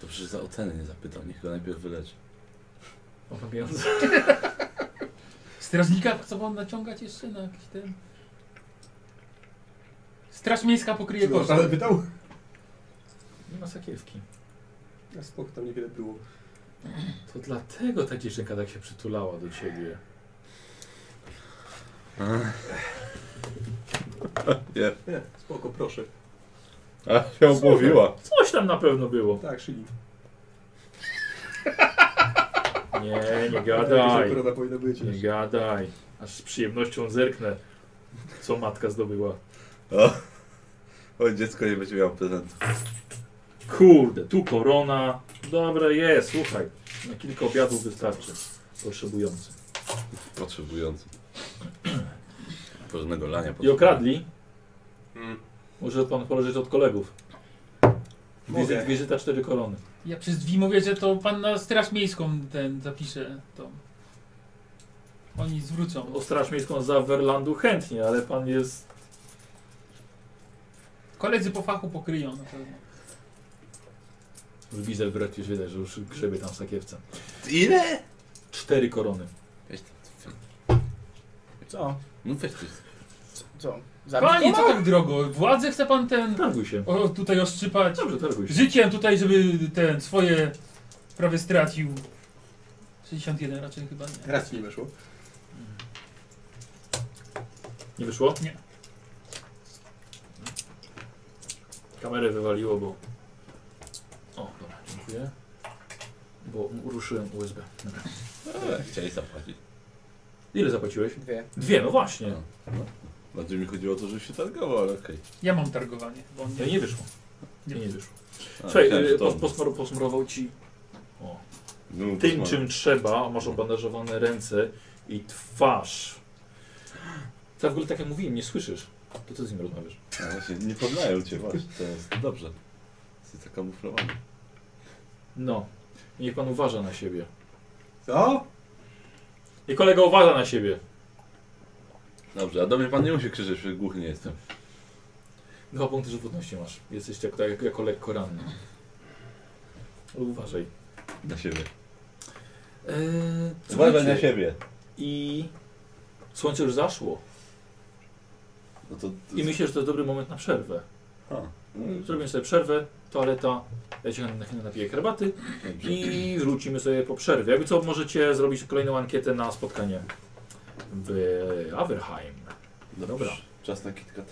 Speaker 4: To przecież za ocenę nie zapytał, niech go najpierw wyleczy.
Speaker 1: Mam pieniądze.
Speaker 5: Strażnika chcą on naciągać jeszcze na jakiś ten... Straż miejska pokryje
Speaker 6: Czy
Speaker 5: koszty.
Speaker 6: No, ale pytał?
Speaker 1: Nie ma sakiewki.
Speaker 6: Ja spoko, tam niewiele było.
Speaker 1: To dlatego ta dziewczynka tak się przytulała do ciebie.
Speaker 4: Nie.
Speaker 6: Nie, spoko, proszę.
Speaker 4: A się obłowiła.
Speaker 1: Coś tam na pewno było.
Speaker 6: Tak, szyli.
Speaker 1: Nie, nie
Speaker 6: Jakaś
Speaker 1: gadaj.
Speaker 6: Korona powinna być.
Speaker 1: Nie gadaj. Aż z przyjemnością zerknę, co matka zdobyła.
Speaker 4: O. Oj, dziecko nie będzie miało prezentu.
Speaker 1: Kurde, tu korona. Dobra, jest, słuchaj. Na kilka obiadów wystarczy. Potrzebujący.
Speaker 4: Potrzebujący. Porządnego lania.
Speaker 1: I okradli.
Speaker 6: Mm.
Speaker 1: Może pan poleżeć od kolegów. Wizy,
Speaker 6: Mogę.
Speaker 1: wizyta cztery korony.
Speaker 5: Ja przez drzwi mówię, że to pan na straż miejską ten zapisze to. Oni zwrócą.
Speaker 1: O Straż Miejską z Werlandu chętnie, ale pan jest...
Speaker 5: Koledzy po fachu pokryją na pewno.
Speaker 1: Widzę wreszcie, już widać, że już grzebie tam w sakiewce.
Speaker 4: Ile?
Speaker 1: Cztery korony.
Speaker 3: Co?
Speaker 4: No weź ty.
Speaker 3: Co?
Speaker 5: Panie,
Speaker 3: go?
Speaker 5: co tak drogo? Władzę chce pan ten
Speaker 1: Targuj się.
Speaker 5: o, tutaj oszczypać.
Speaker 1: Dobrze, targuj się.
Speaker 5: Życiem tutaj, żeby ten swoje prawie stracił. 61 raczej chyba nie.
Speaker 6: Raz ci nie weszło.
Speaker 1: Nie wyszło?
Speaker 5: Nie.
Speaker 1: Kamerę wywaliło, bo... O, dobra, dziękuję. Bo ruszyłem USB. Dobra.
Speaker 4: E, chcieli zapłacić.
Speaker 1: Ile zapłaciłeś?
Speaker 3: Dwie.
Speaker 1: Dwie, no właśnie.
Speaker 4: Bardziej mi chodziło o to, żeby się targował, ale okej.
Speaker 5: Ja mam targowanie, bo on
Speaker 1: No
Speaker 5: nie.
Speaker 1: i nie wyszło. Nie,
Speaker 5: Nie.
Speaker 1: nie wyszło.
Speaker 4: A,
Speaker 1: Słuchaj,
Speaker 4: Tak. myślałem,
Speaker 1: y,
Speaker 4: że to
Speaker 1: pos,
Speaker 4: on.
Speaker 1: posmar, posmarował ci
Speaker 4: No, bo
Speaker 1: tym,
Speaker 4: smak.
Speaker 1: czym trzeba. Masz obandażowane ręce i twarz. Ja w ogóle tak jak mówiłem, nie słyszysz. To co z nim rozmawiasz?
Speaker 4: A, no właśnie, nie poznają cię właśnie, to jest dobrze. Jesteś zakamuflowany.
Speaker 1: No. Niech pan uważa na siebie.
Speaker 6: Co?
Speaker 1: I kolega uważa na siebie.
Speaker 4: Dobrze, a do mnie pan nie musi krzyczeć, że głuchy nie jestem.
Speaker 1: Dwa punkty żywotności masz. Jesteś tak, tak jak- jako lekko ranny. E, Uważaj.
Speaker 4: Na siebie.
Speaker 1: Eee,
Speaker 4: Uważaj na
Speaker 1: słuchajcie,
Speaker 4: siebie.
Speaker 1: I słońce już zaszło.
Speaker 4: No to...
Speaker 1: I myślę, że to jest dobry moment na przerwę.
Speaker 4: No A.
Speaker 1: Zrobimy sobie przerwę, toaleta, ja się na chwilę napiję herbaty i wrócimy sobie po przerwie. Jakby co, możecie zrobić kolejną ankietę na spotkanie w Averheim. Dobra.
Speaker 4: Czas na KitKat.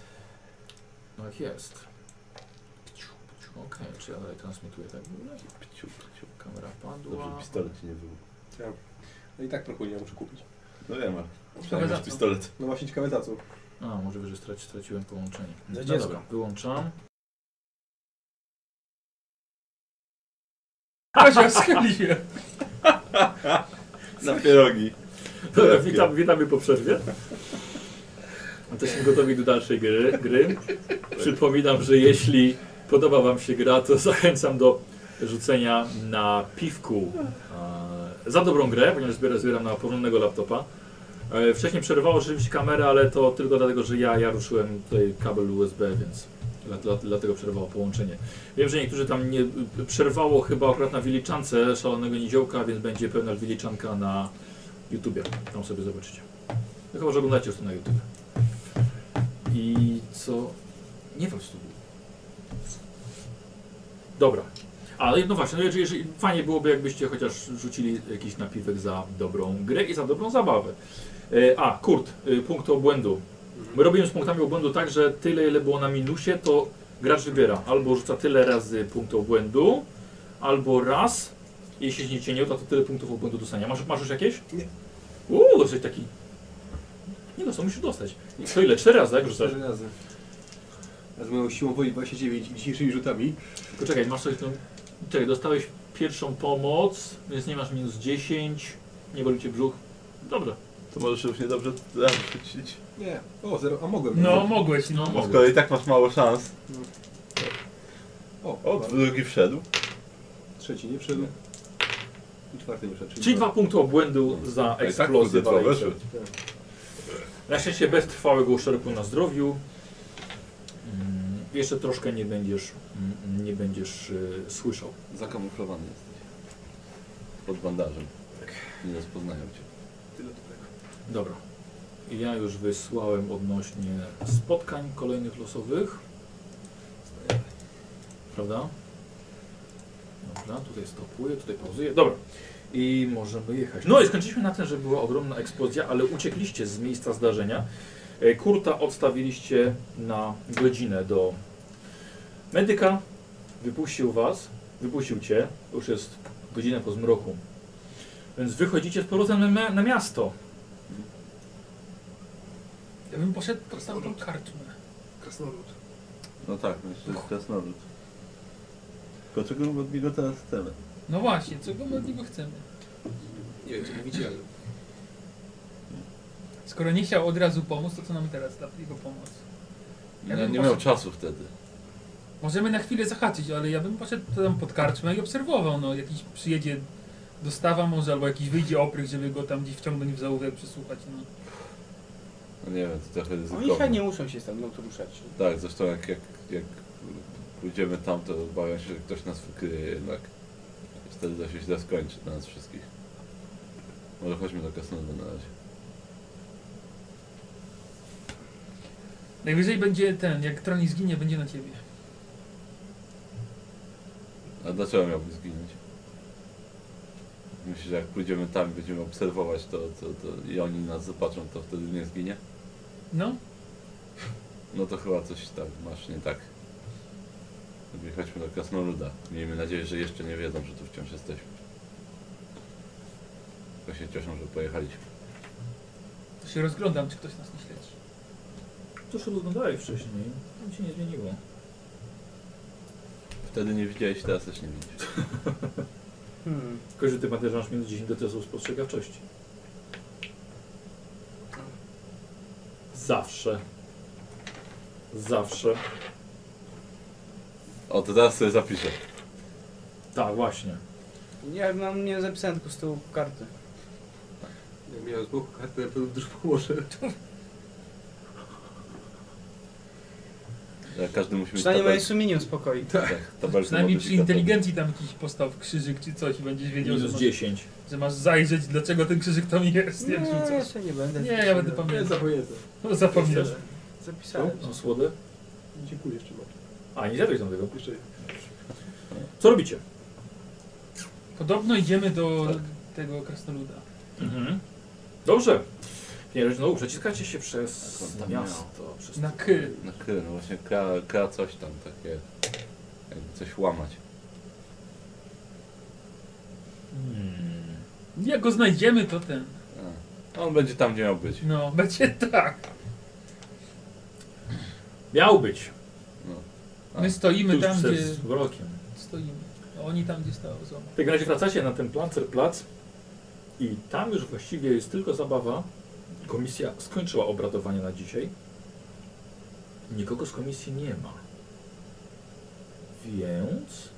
Speaker 1: Tak jest. Okej, czy ja dalej transmituję tak w ogóle?
Speaker 4: Pciu, pciu.
Speaker 1: Kamera
Speaker 4: Dobrze,
Speaker 1: padła.
Speaker 4: pistolet ci nie był.
Speaker 6: No i tak prokuje, muszę kupić.
Speaker 4: No wiem, ale
Speaker 5: Ciekawe
Speaker 4: przynajmniej
Speaker 5: za
Speaker 4: masz
Speaker 5: co.
Speaker 4: pistolet.
Speaker 6: No właśnie ciekawe za co.
Speaker 1: A, możliwe, że straci, straciłem połączenie.
Speaker 3: Za
Speaker 1: No
Speaker 3: dziecko.
Speaker 1: dobra, wyłączam.
Speaker 5: Kasia, schyli się.
Speaker 4: Na pierogi.
Speaker 1: Dobra, No, witam, witamy po przerwie. Jesteśmy gotowi do dalszej gry. gry. Przypominam, że jeśli podoba Wam się gra, to zachęcam do rzucenia na piwku e, za dobrą grę, ponieważ zbieram, zbieram na porządnego laptopa. E, Wcześniej przerywało oczywiście kamerę, ale to tylko dlatego, że ja, ja ruszyłem tutaj kabel USB, więc dla- dla- dlatego przerwało połączenie. Wiem, że niektórzy tam nie przerwało chyba akurat na Wiliczance szalonego niziołka, więc będzie pełna Wiliczanka na YouTubie. Tam sobie zobaczycie. No chyba, że oglądacie już to na YouTube. I co? Nie wiem, co to było. Dobra. A no właśnie, no jeżeli, jeżeli, fajnie byłoby, jakbyście chociaż rzucili jakiś napiwek za dobrą grę i za dobrą zabawę. E, a, Kurt, y, punkt obłędu. My robimy z punktami obłędu tak, że tyle, ile było na minusie, to gracz wybiera. Albo rzuca tyle razy punkt obłędu, albo raz. Jeśli się cię nie uda, to tyle punktów obłędu dostania. Masz, masz już jakieś?
Speaker 6: Nie.
Speaker 1: Uuu, jesteś taki. Nie no, co musisz dostać. To ile? Cztery razy, tak? Rzucasz.
Speaker 6: Cztery razy. A z moją siłą woli 29 i dzisiejszymi rzutami.
Speaker 1: Tylko czekaj, masz coś. No, czekaj, dostałeś pierwszą pomoc, więc nie masz minus 10, nie boli cię brzuch. Dobra.
Speaker 4: To możesz już niedobrze rzucić.
Speaker 6: Nie. O, zero. A mogłem.
Speaker 5: No, mogłeś, no.
Speaker 4: Bo z kolei tak masz mało szans.
Speaker 6: O,
Speaker 4: O,
Speaker 6: o
Speaker 4: drugi wszedł.
Speaker 6: trzeci nie wszedł. I czwarty nie wszedł.
Speaker 1: Czyli dwa punkty obłędu za
Speaker 4: A i tak
Speaker 1: eksplozję.
Speaker 4: kurde, dwa
Speaker 1: walejce.
Speaker 4: weszły.
Speaker 1: Na szczęście bez trwałego uszczerbku na zdrowiu. Mm, jeszcze troszkę nie będziesz, mm, nie będziesz y, słyszał.
Speaker 4: Zakamuflowany jesteś. Pod bandażem. Nie rozpoznają cię.
Speaker 6: Tyle do tego.
Speaker 1: Dobra. Ja już wysłałem odnośnie spotkań kolejnych losowych. Prawda? Dobra, tutaj stopuję, tutaj pauzuję. Dobra. I możemy jechać. No i skończyliśmy na tym, że była ogromna eksplozja, ale uciekliście z miejsca zdarzenia. E, Kurta odstawiliście na godzinę do medyka. Wypuścił was, wypuścił cię. Już jest godzina po zmroku. Więc wychodzicie z powrotem na, na miasto.
Speaker 5: Ja bym poszedł pod tamtą karczmę.
Speaker 6: Krasnolud.
Speaker 4: No tak, no jeszcze krasnolud. Tylko czego od niego teraz chcemy?
Speaker 5: No właśnie, czego my od niego chcemy?
Speaker 6: Nie wiem, co mówicie, ale...
Speaker 5: Skoro nie chciał od razu pomóc, to co nam teraz da jego pomoc? Ja
Speaker 4: No,
Speaker 5: bym
Speaker 4: nie
Speaker 5: poszedł.
Speaker 4: miał czasu wtedy.
Speaker 5: Możemy na chwilę zahaczyć, ale ja bym poszedł tam pod karczmę i obserwował, no jakiś przyjedzie dostawa może, albo jakiś wyjdzie oprych, żeby go tam gdzieś wciągnąć w załówek, przesłuchać, no.
Speaker 4: No nie wiem, to trochę
Speaker 3: Oni
Speaker 4: ryzykowne.
Speaker 3: chyba nie muszą się stamtąd ruszać.
Speaker 4: Tak, zresztą jak, jak, jak pójdziemy tam, to obawiam się, że ktoś nas wykryje jednak. Wtedy to się źle skończy dla nas wszystkich. Może chodźmy do krasnoluda na razie.
Speaker 5: Najwyżej będzie ten, jak Troni zginie, będzie na ciebie.
Speaker 4: A dlaczego miałby zginąć? Myślę, że jak pójdziemy tam i będziemy obserwować to, to, to i oni nas zobaczą, to wtedy nie zginie?
Speaker 5: No,
Speaker 4: No to chyba coś tak masz nie tak. Lepiej Chodźmy do Krasnoluda. Miejmy nadzieję, że jeszcze nie wiedzą, że tu wciąż jesteśmy. Tylko się cieszą, że pojechaliśmy.
Speaker 5: to się rozglądam, czy ktoś nas nie śledzi.
Speaker 1: To się oglądałeś wcześniej, tam się nie zmieniło.
Speaker 4: Wtedy nie widziałeś, teraz też nie widzisz.
Speaker 3: Hmm.
Speaker 1: Tylko, że ty Mateusz masz minus 10 do testu spostrzegawczości. Zawsze. Zawsze.
Speaker 4: O, to teraz sobie zapiszę.
Speaker 1: Tak, właśnie.
Speaker 3: Ja mam nie zapisałem tylko z tyłu karty.
Speaker 6: Jak miałem z boku kartę, to już położę.
Speaker 4: Że Każdy musi mieć
Speaker 3: Przynajmniej
Speaker 4: tabel...
Speaker 3: moje sumienie uspokoi.
Speaker 4: tak, tabelkę
Speaker 5: Przynajmniej przy
Speaker 4: modyfikatową.
Speaker 5: inteligencji tam jakiś postaw krzyżyk czy coś i będziesz wiedział, że
Speaker 1: Minus
Speaker 5: masz,
Speaker 1: 10.
Speaker 5: że masz zajrzeć, dlaczego ten krzyżyk tam jest, jak
Speaker 3: Nie,
Speaker 5: rzucasz.
Speaker 3: jeszcze nie będę.
Speaker 5: Nie, ja będę
Speaker 6: Nie,
Speaker 5: pamiętał.
Speaker 6: zapomnę.
Speaker 5: No, Zapomniesz.
Speaker 3: Zapisałem.
Speaker 1: Są słode?
Speaker 6: Dziękuję jeszcze bardzo.
Speaker 1: A, nie zjadłeś tam tego.
Speaker 6: Jeszcze
Speaker 1: Co robicie?
Speaker 5: Podobno idziemy do tego krasnoluda.
Speaker 1: Mhm. Dobrze. Nie, no znowu przeciskacie się przez
Speaker 4: Tak, on tam
Speaker 1: miasto. Przez...
Speaker 5: Na ky.
Speaker 4: No kurde, no właśnie kra, kra coś tam takie. Jakby coś łamać.
Speaker 1: Hmm.
Speaker 5: Jak go znajdziemy, to ten.
Speaker 4: A. no On będzie tam, gdzie miał być.
Speaker 5: No, będzie tak.
Speaker 1: Miał być.
Speaker 4: A,
Speaker 5: My stoimy
Speaker 1: Tuż
Speaker 5: tam,
Speaker 1: przed
Speaker 5: gdzie
Speaker 1: rokiem.
Speaker 5: stoimy. A Oni tam, gdzie stało złama.
Speaker 1: W takim razie wracacie na ten Plancerplatz i tam już właściwie jest tylko zabawa. Komisja skończyła obradowanie na dzisiaj. Nikogo z komisji nie ma. Więc...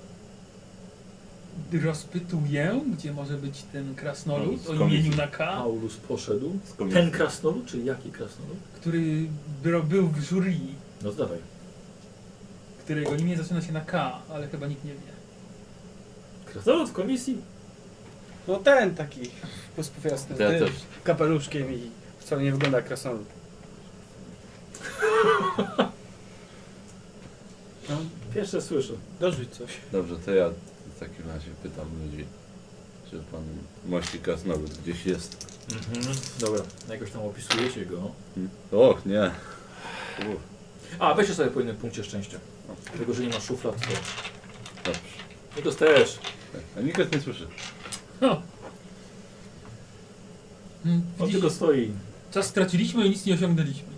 Speaker 5: Rozpytuję, gdzie może być ten krasnolud
Speaker 4: No, z
Speaker 5: o
Speaker 4: komisji.
Speaker 5: imieniu na K,
Speaker 1: Paulus poszedł.
Speaker 4: Z komisji.
Speaker 1: Ten krasnolud, czy jaki krasnolud?
Speaker 5: który bro- był w jury,
Speaker 1: No zdawaj.
Speaker 5: którego imię zaczyna się na K, ale chyba nikt nie wie.
Speaker 1: Krasnolud w komisji?
Speaker 3: No ten taki pospójasny,
Speaker 4: Ja też.
Speaker 3: kapeluszkiem i wcale nie wygląda jak krasnolud. No,
Speaker 1: Pierwsze słyszę.
Speaker 3: dorzuć coś.
Speaker 4: Dobrze, to ja w takim razie pytam ludzi, czy pan mości krasnolud gdzieś jest.
Speaker 1: Mhm. Dobra, jakoś tam opisujecie go.
Speaker 4: Hmm. Och, nie. Uff,
Speaker 1: A, weźcie sobie po innym punkcie szczęścia. Tego, że nie ma szuflad, to...
Speaker 4: dobrze.
Speaker 1: Nikos też.
Speaker 4: A nikt nie słyszy.
Speaker 5: Hmm,
Speaker 1: On
Speaker 5: widzisz,
Speaker 1: tylko stoi.
Speaker 5: czas straciliśmy i nic nie osiągnęliśmy.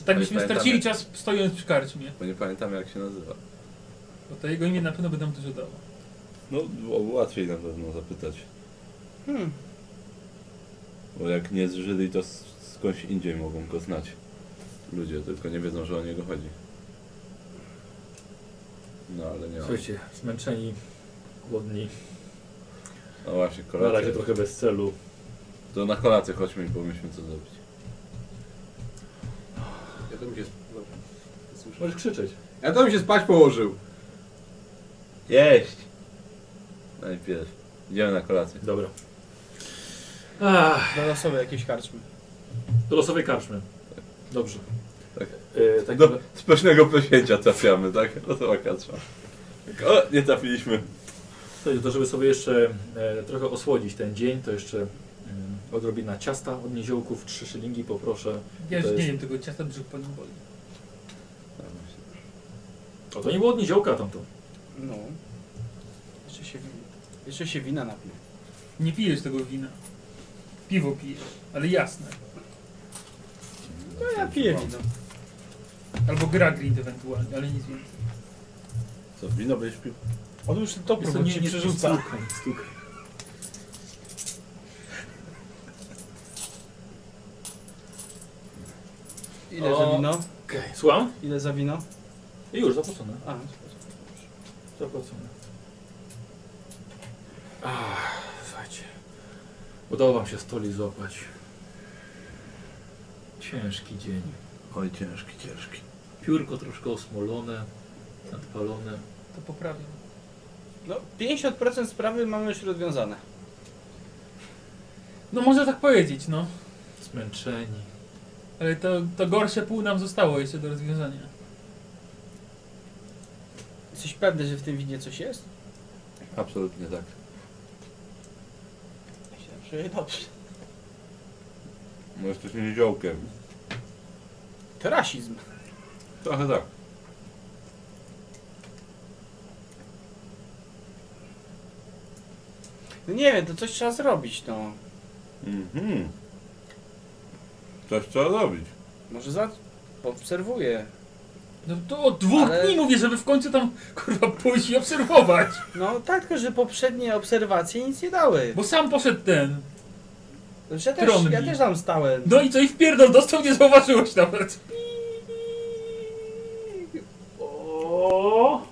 Speaker 5: Tak
Speaker 4: Ale
Speaker 5: byśmy
Speaker 4: pamiętamy.
Speaker 5: stracili czas stojąc przy karczmie,
Speaker 4: Bo nie pamiętam jak się nazywa.
Speaker 5: bo to jego imię na pewno by nam dużo dało.
Speaker 4: No, byłoby łatwiej na pewno zapytać.
Speaker 3: Hmm.
Speaker 4: Bo jak nie z Żydy, to s- skądś indziej mogą go znać. Ludzie tylko nie wiedzą, że o niego chodzi. No ale nie. mam.
Speaker 1: Słuchajcie, zmęczeni, głodni.
Speaker 4: No właśnie,
Speaker 1: Na razie
Speaker 4: kolacja.
Speaker 1: trochę bez celu.
Speaker 4: To na kolację chodźmy i pomyślmy co zrobić.
Speaker 6: Ja to mi się... no, słyszę.
Speaker 1: Możesz krzyczeć.
Speaker 6: Ja to mi się spać położył.
Speaker 4: Jeść! Najpierw. Idziemy na kolację.
Speaker 1: Dobra. Ach,
Speaker 3: Do losowej jakiejś karczmy.
Speaker 1: do losowej karczmy. Dobrze.
Speaker 4: Tak.
Speaker 1: E, tak
Speaker 4: Do spośnego prosięcia trafiamy, tak? No to katrza. O, nie trafiliśmy.
Speaker 1: Słuchajcie, to żeby sobie jeszcze e, trochę osłodzić ten dzień, to jeszcze mm, odrobina ciasta od niziołków, trzy szylingi poproszę.
Speaker 5: Ja już
Speaker 1: To
Speaker 5: nie
Speaker 1: jest-
Speaker 5: wiem, tego ciasta brzuch pani boli.
Speaker 1: O, to nie było od niziołka tamto.
Speaker 3: No. Jeszcze się, jeszcze się wina napije.
Speaker 5: Nie pijesz tego wina. Piwo pijesz, ale jasne.
Speaker 3: No ja piję wino.
Speaker 5: Albo Graglind ewentualnie, ale nic więcej.
Speaker 4: Co, wino będziesz pił?
Speaker 3: On już to
Speaker 1: Jest
Speaker 3: próbuje ci przerzuca.
Speaker 1: Stukaj, stukaj.
Speaker 3: Ile za
Speaker 1: O.
Speaker 3: wino?
Speaker 1: Okej, Słucham?
Speaker 3: Ile za wino?
Speaker 1: I już, zapłacone.
Speaker 3: A,
Speaker 1: Zapłacone. Ach, słuchajcie. Udało wam się stoli złapać. Ciężki dzień.
Speaker 4: Oj, ciężki, ciężki.
Speaker 1: Piórko troszkę osmolone, nadpalone.
Speaker 5: To poprawiam.
Speaker 3: no 50% sprawy mamy już rozwiązane.
Speaker 5: No można tak powiedzieć, no.
Speaker 1: Zmęczeni.
Speaker 5: Ale to, to gorsze pół nam zostało jeszcze do rozwiązania.
Speaker 3: Jesteś pewny, że w tym winie coś jest?
Speaker 4: Absolutnie tak.
Speaker 3: Myślałem, że dobrze.
Speaker 4: No jesteśmy niziołkiem.
Speaker 3: To rasizm.
Speaker 4: Trochę tak.
Speaker 3: No nie wiem, to coś trzeba zrobić, no.
Speaker 4: Mhm. Coś trzeba robić.
Speaker 3: Może za... obserwuję.
Speaker 5: No to od dwóch
Speaker 3: Ale-
Speaker 5: dni mówię, żeby w końcu tam kurwa pójść i obserwować.
Speaker 3: No tak, tylko że poprzednie obserwacje nic nie dały.
Speaker 5: Bo sam poszedł ten.
Speaker 3: Znaczy, Ja też,
Speaker 5: Trąbi.
Speaker 3: ja też tam stałem.
Speaker 5: No i co i wpierdol dostał, nie zauważyłeś nawet.
Speaker 1: O,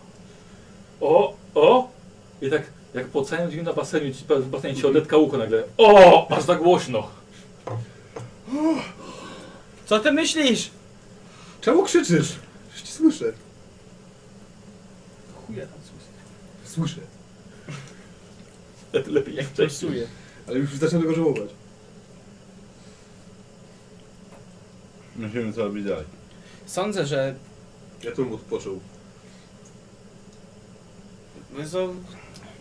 Speaker 1: o, o. I tak jak po całym dniu na basenie, ci- w basenie ci odetka ucho nagle. O, aż za głośno.
Speaker 3: Co ty myślisz?
Speaker 6: Czemu krzyczysz? Przecież ci słyszę.
Speaker 5: Chuja tam słyszę.
Speaker 6: Słyszę.
Speaker 1: Lepiej jak wcześniej.
Speaker 3: Czuję.
Speaker 6: Ale już zaczynam tego żałować.
Speaker 4: No Musimy to robić dalej.
Speaker 3: Sądzę, że
Speaker 2: Ja tu bym odpoczął.
Speaker 3: No to,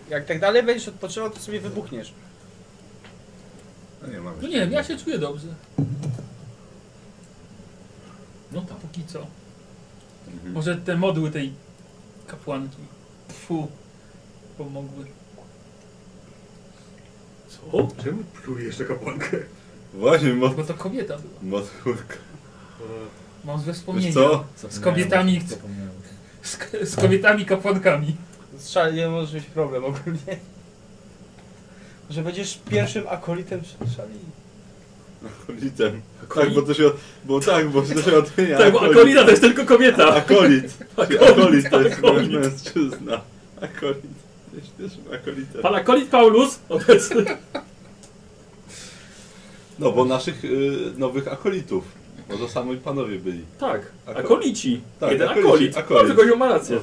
Speaker 3: jak tak dalej będziesz odpoczywał, to sobie wybuchniesz.
Speaker 7: No nie mamy.
Speaker 5: No nie wiem, ja się czuję dobrze. No tak, póki co.
Speaker 4: Mhm.
Speaker 5: Może te modły tej kapłanki. Fu. Pomogły.
Speaker 7: Co? Czemu plujesz na kapłankę?
Speaker 4: Właśnie, mo...
Speaker 5: Bo to kobieta była.
Speaker 4: Motorka.
Speaker 5: Mam złe wspomnienia.
Speaker 4: Wiesz co?
Speaker 5: Z kobietami.
Speaker 1: Zapomniałem.
Speaker 5: Z, z kobietami kapłankami.
Speaker 3: Strzał, nie może mieć problem ogólnie. Może będziesz pierwszym akolitem przy szali.
Speaker 4: Akolitem. Tak, bo to się... Bo tak, bo to się odmienia.
Speaker 1: Tak, bo
Speaker 4: Akolit.
Speaker 1: Akolina to jest tylko kobieta.
Speaker 4: Akolit. Akolit,
Speaker 1: Akolit,
Speaker 4: to jest
Speaker 1: akolit.
Speaker 4: mężczyzna. Akolit. Jesteś też akolitem.
Speaker 1: Pan Akolit Paulus obecny.
Speaker 4: No bo naszych y, nowych akolitów. Bo to sami panowie byli.
Speaker 1: Tak,
Speaker 4: Ako-
Speaker 1: akolici.
Speaker 4: Tak,
Speaker 1: Jeden
Speaker 4: akolici,
Speaker 1: akolit.
Speaker 4: akolit.
Speaker 1: Może gościu ma rację.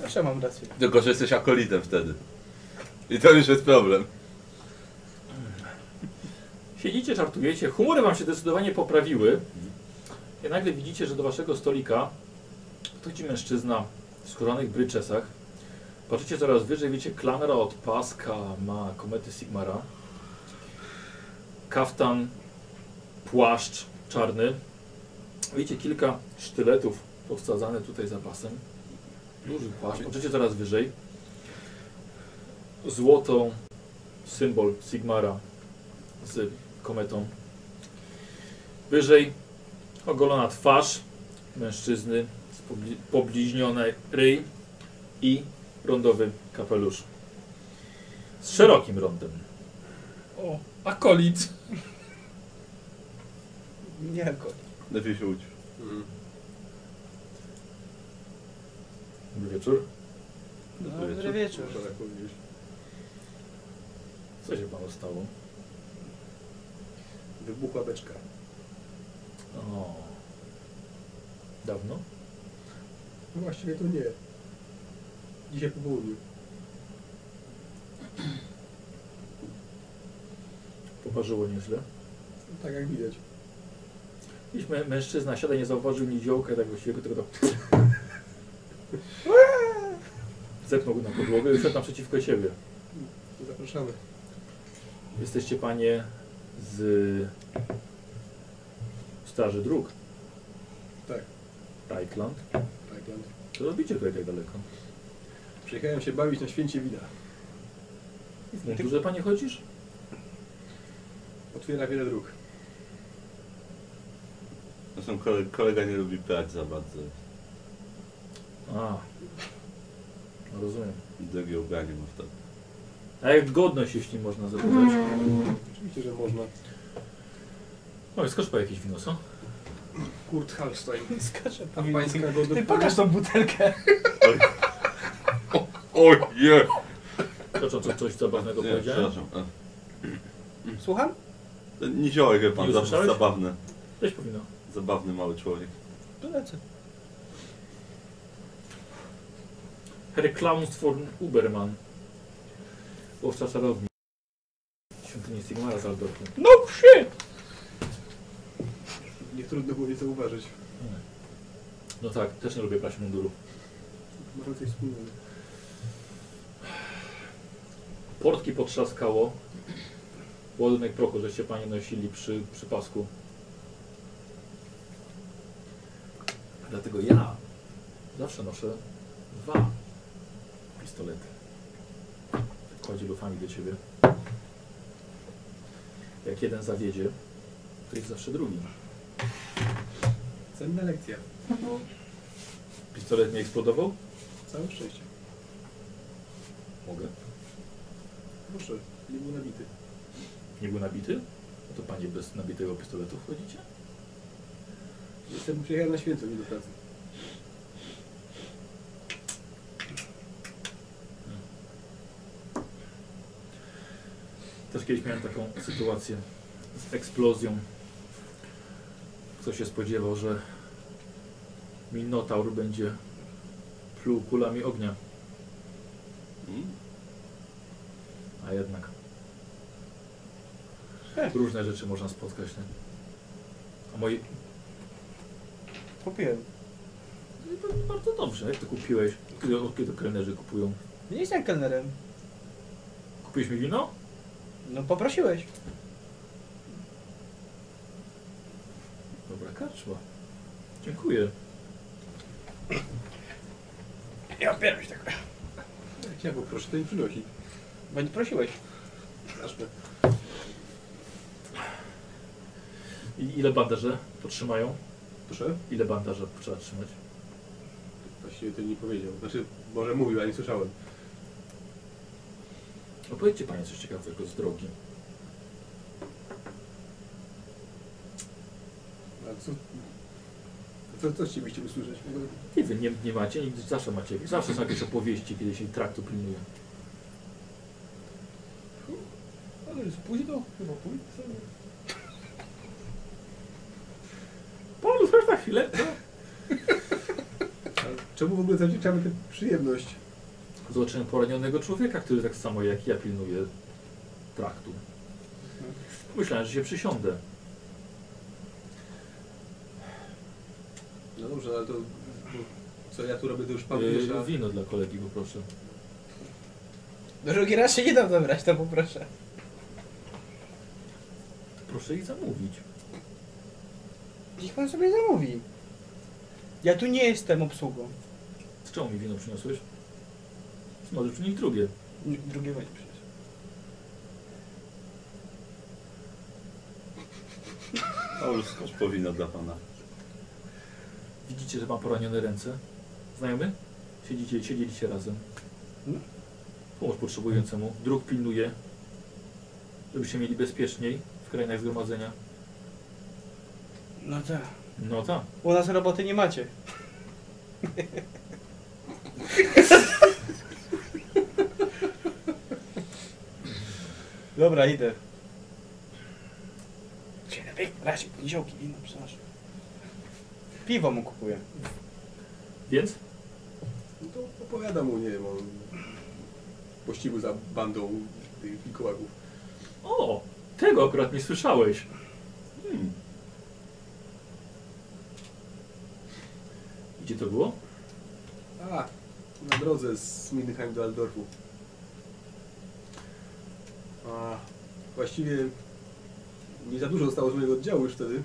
Speaker 3: Zawsze mam rację.
Speaker 4: Tylko, że jesteś akolitem wtedy. I to już jest problem.
Speaker 1: Siedzicie, żartujecie, humory wam się zdecydowanie poprawiły. I nagle widzicie, że do waszego stolika podchodzi mężczyzna w skórzanych bryczesach. Patrzycie coraz wyżej, wiecie, klamra od paska ma komety Sigmara. Kaftan, płaszcz czarny. Widzicie kilka sztyletów powsadzane tutaj zapasem. Duży płaszcz, patrzycie coraz wyżej. Złotą, symbol Sigmara z kometą. Wyżej ogolona twarz mężczyzny, spobli- pobliźniony ryj i rondowy kapelusz z szerokim rondem.
Speaker 5: O, akolit.
Speaker 3: Nie akolit.
Speaker 4: Lepiej się uć.
Speaker 6: Mm.
Speaker 1: Dobry wieczór.
Speaker 3: No,
Speaker 4: Dobry
Speaker 3: dobry wieczór.
Speaker 6: Można tak powiedzieć.
Speaker 1: Co się panu stało?
Speaker 6: Wybuchła beczka.
Speaker 1: O. Dawno?
Speaker 6: No właściwie to nie. Dzisiaj po południu.
Speaker 1: Poparzyło nieźle.
Speaker 6: Tak jak widać.
Speaker 1: Jakiś mę- mężczyzna siada, nie zauważył niziołka i tak właściwie tylko tak... Zepnął na podłogę i wszedł naprzeciwko ciebie.
Speaker 6: Zapraszamy.
Speaker 1: Jesteście panie z Straży Dróg.
Speaker 6: Tak.
Speaker 1: Reichland.
Speaker 6: Tajland.
Speaker 1: Co robicie tutaj tak daleko?
Speaker 6: Przyjechałem się bawić na święcie wina.
Speaker 1: W mundurze panie chodzisz?
Speaker 6: Otwiera wiele dróg.
Speaker 4: Zresztą kolega, kolega nie lubi brać za bardzo.
Speaker 1: A. No rozumiem.
Speaker 4: Drogie ubranie ma wtedy.
Speaker 1: A jak godność, jeśli można zapytać?
Speaker 6: Oczywiście, że można.
Speaker 1: No i skocz po jakieś wino, co?
Speaker 6: Kurt Halstein.
Speaker 3: Skaczę
Speaker 6: A
Speaker 3: po
Speaker 6: pańska godność...
Speaker 3: Ty pokaż tą butelkę.
Speaker 4: Oj, nie!
Speaker 1: Krocząc coś zabawnego powiedziałem.
Speaker 4: przepraszam. E,
Speaker 3: Słucham?
Speaker 4: to Niziołek, wie pan,
Speaker 1: Nie
Speaker 4: za-
Speaker 1: usłyszałeś?
Speaker 4: zabawny.
Speaker 1: Coś powinno.
Speaker 4: Zabawny mały człowiek.
Speaker 3: Polecę.
Speaker 1: Herklaus von Uberman. Łowca czarowni. Świątyni Sigmara z Aldorfem.
Speaker 3: No shit!
Speaker 6: Nie trudno było nie zauważyć.
Speaker 1: No tak, też nie lubię brać munduru.
Speaker 6: Może coś wspólnego.
Speaker 1: Portki potrzaskało. Ładunek prochu, żeście panie nosili przy, przy pasku. Dlatego ja zawsze noszę dwa pistolety. Kładzie lufami do ciebie. Jak jeden zawiedzie, to jest zawsze drugi.
Speaker 6: Cenna lekcja.
Speaker 1: Pistolet nie eksplodował?
Speaker 6: Całe szczęście.
Speaker 1: Mogę.
Speaker 6: Proszę, nie był nabity.
Speaker 1: Nie był nabity? No to panie bez nabitego pistoletu wchodzicie?
Speaker 6: Jestem przyjechałem na święto, nie do pracy.
Speaker 1: Też kiedyś miałem taką sytuację z eksplozją. Kto się spodziewał, że Minotaur będzie pluł kulami ognia,
Speaker 4: Mm.
Speaker 1: a jednak różne rzeczy można spotkać. Nie? A moi
Speaker 3: Kupiłem.
Speaker 1: No bardzo dobrze. Jak to kupiłeś? Od kiedy, od kiedy kelnerzy kupują?
Speaker 3: Nie jestem kelnerem.
Speaker 1: Kupiłeś mi wino?
Speaker 3: No poprosiłeś.
Speaker 1: Dobra, karczma. Dziękuję.
Speaker 3: Ja opieram się tak.
Speaker 6: Ja go proszę, to nie przynosi.
Speaker 3: Bo nie prosiłeś.
Speaker 6: Straszne.
Speaker 1: I ile bandaże potrzymają?
Speaker 6: Proszę?
Speaker 1: Ile bandaże trzeba trzymać?
Speaker 6: Właściwie to nie powiedział. Znaczy, może mówił, ale nie słyszałem.
Speaker 1: Opowiedzcie Panie coś ciekawego z drogi.
Speaker 6: A co... Co, co chcielibyście usłyszeć?
Speaker 1: Nie wiem, nie, nie macie, nigdy zawsze macie. Zawsze są jakieś opowieści, kiedy się traktu pilnuje.
Speaker 7: Ale już późno, chyba pójdę.
Speaker 1: Paulus, chodź na chwilę.
Speaker 6: A czemu w ogóle zawdzięczamy tę przyjemność?
Speaker 1: Zobaczyłem poranionego człowieka, który tak samo jak ja pilnuje traktu. Myślałem, że się przysiądę.
Speaker 6: No dobrze, ale to... bo Co ja tu robię, to już pan wiesz,
Speaker 1: Yy,
Speaker 6: a...
Speaker 1: wino dla kolegi poproszę.
Speaker 3: Drugi raz się nie dam dobrać, to poproszę.
Speaker 1: Proszę ich zamówić.
Speaker 3: Niech pan sobie zamówi. Ja tu nie jestem obsługą.
Speaker 1: Z czemu mi wino przyniosłeś? Może przynieść drugie.
Speaker 3: N- Drugiego nie przyniosę.
Speaker 4: Paulus, skocz powinno dla pana.
Speaker 1: Widzicie, że mam poranione ręce? Znajomy? Siedzicie, siedzieliście razem.
Speaker 3: Mhm.
Speaker 1: Pomóż potrzebującemu. Druk pilnuje, żebyście mieli bezpieczniej w krainach zgromadzenia.
Speaker 3: No tak.
Speaker 1: No tak.
Speaker 3: U nas roboty nie macie. Dobra, idę. Dzień dobry. Razie, niziołki, wino, przepraszam. Piwo mu kupuję.
Speaker 1: Więc?
Speaker 6: No to opowiada mu, nie wiem, o pościgu za bandą tych wilkołaków.
Speaker 1: O! Tego akurat nie słyszałeś.
Speaker 4: Hmm.
Speaker 1: Gdzie to było?
Speaker 6: A, na drodze z Mindenheim do Aldorfu. A, właściwie nie za dużo zostało z mojego oddziału już wtedy.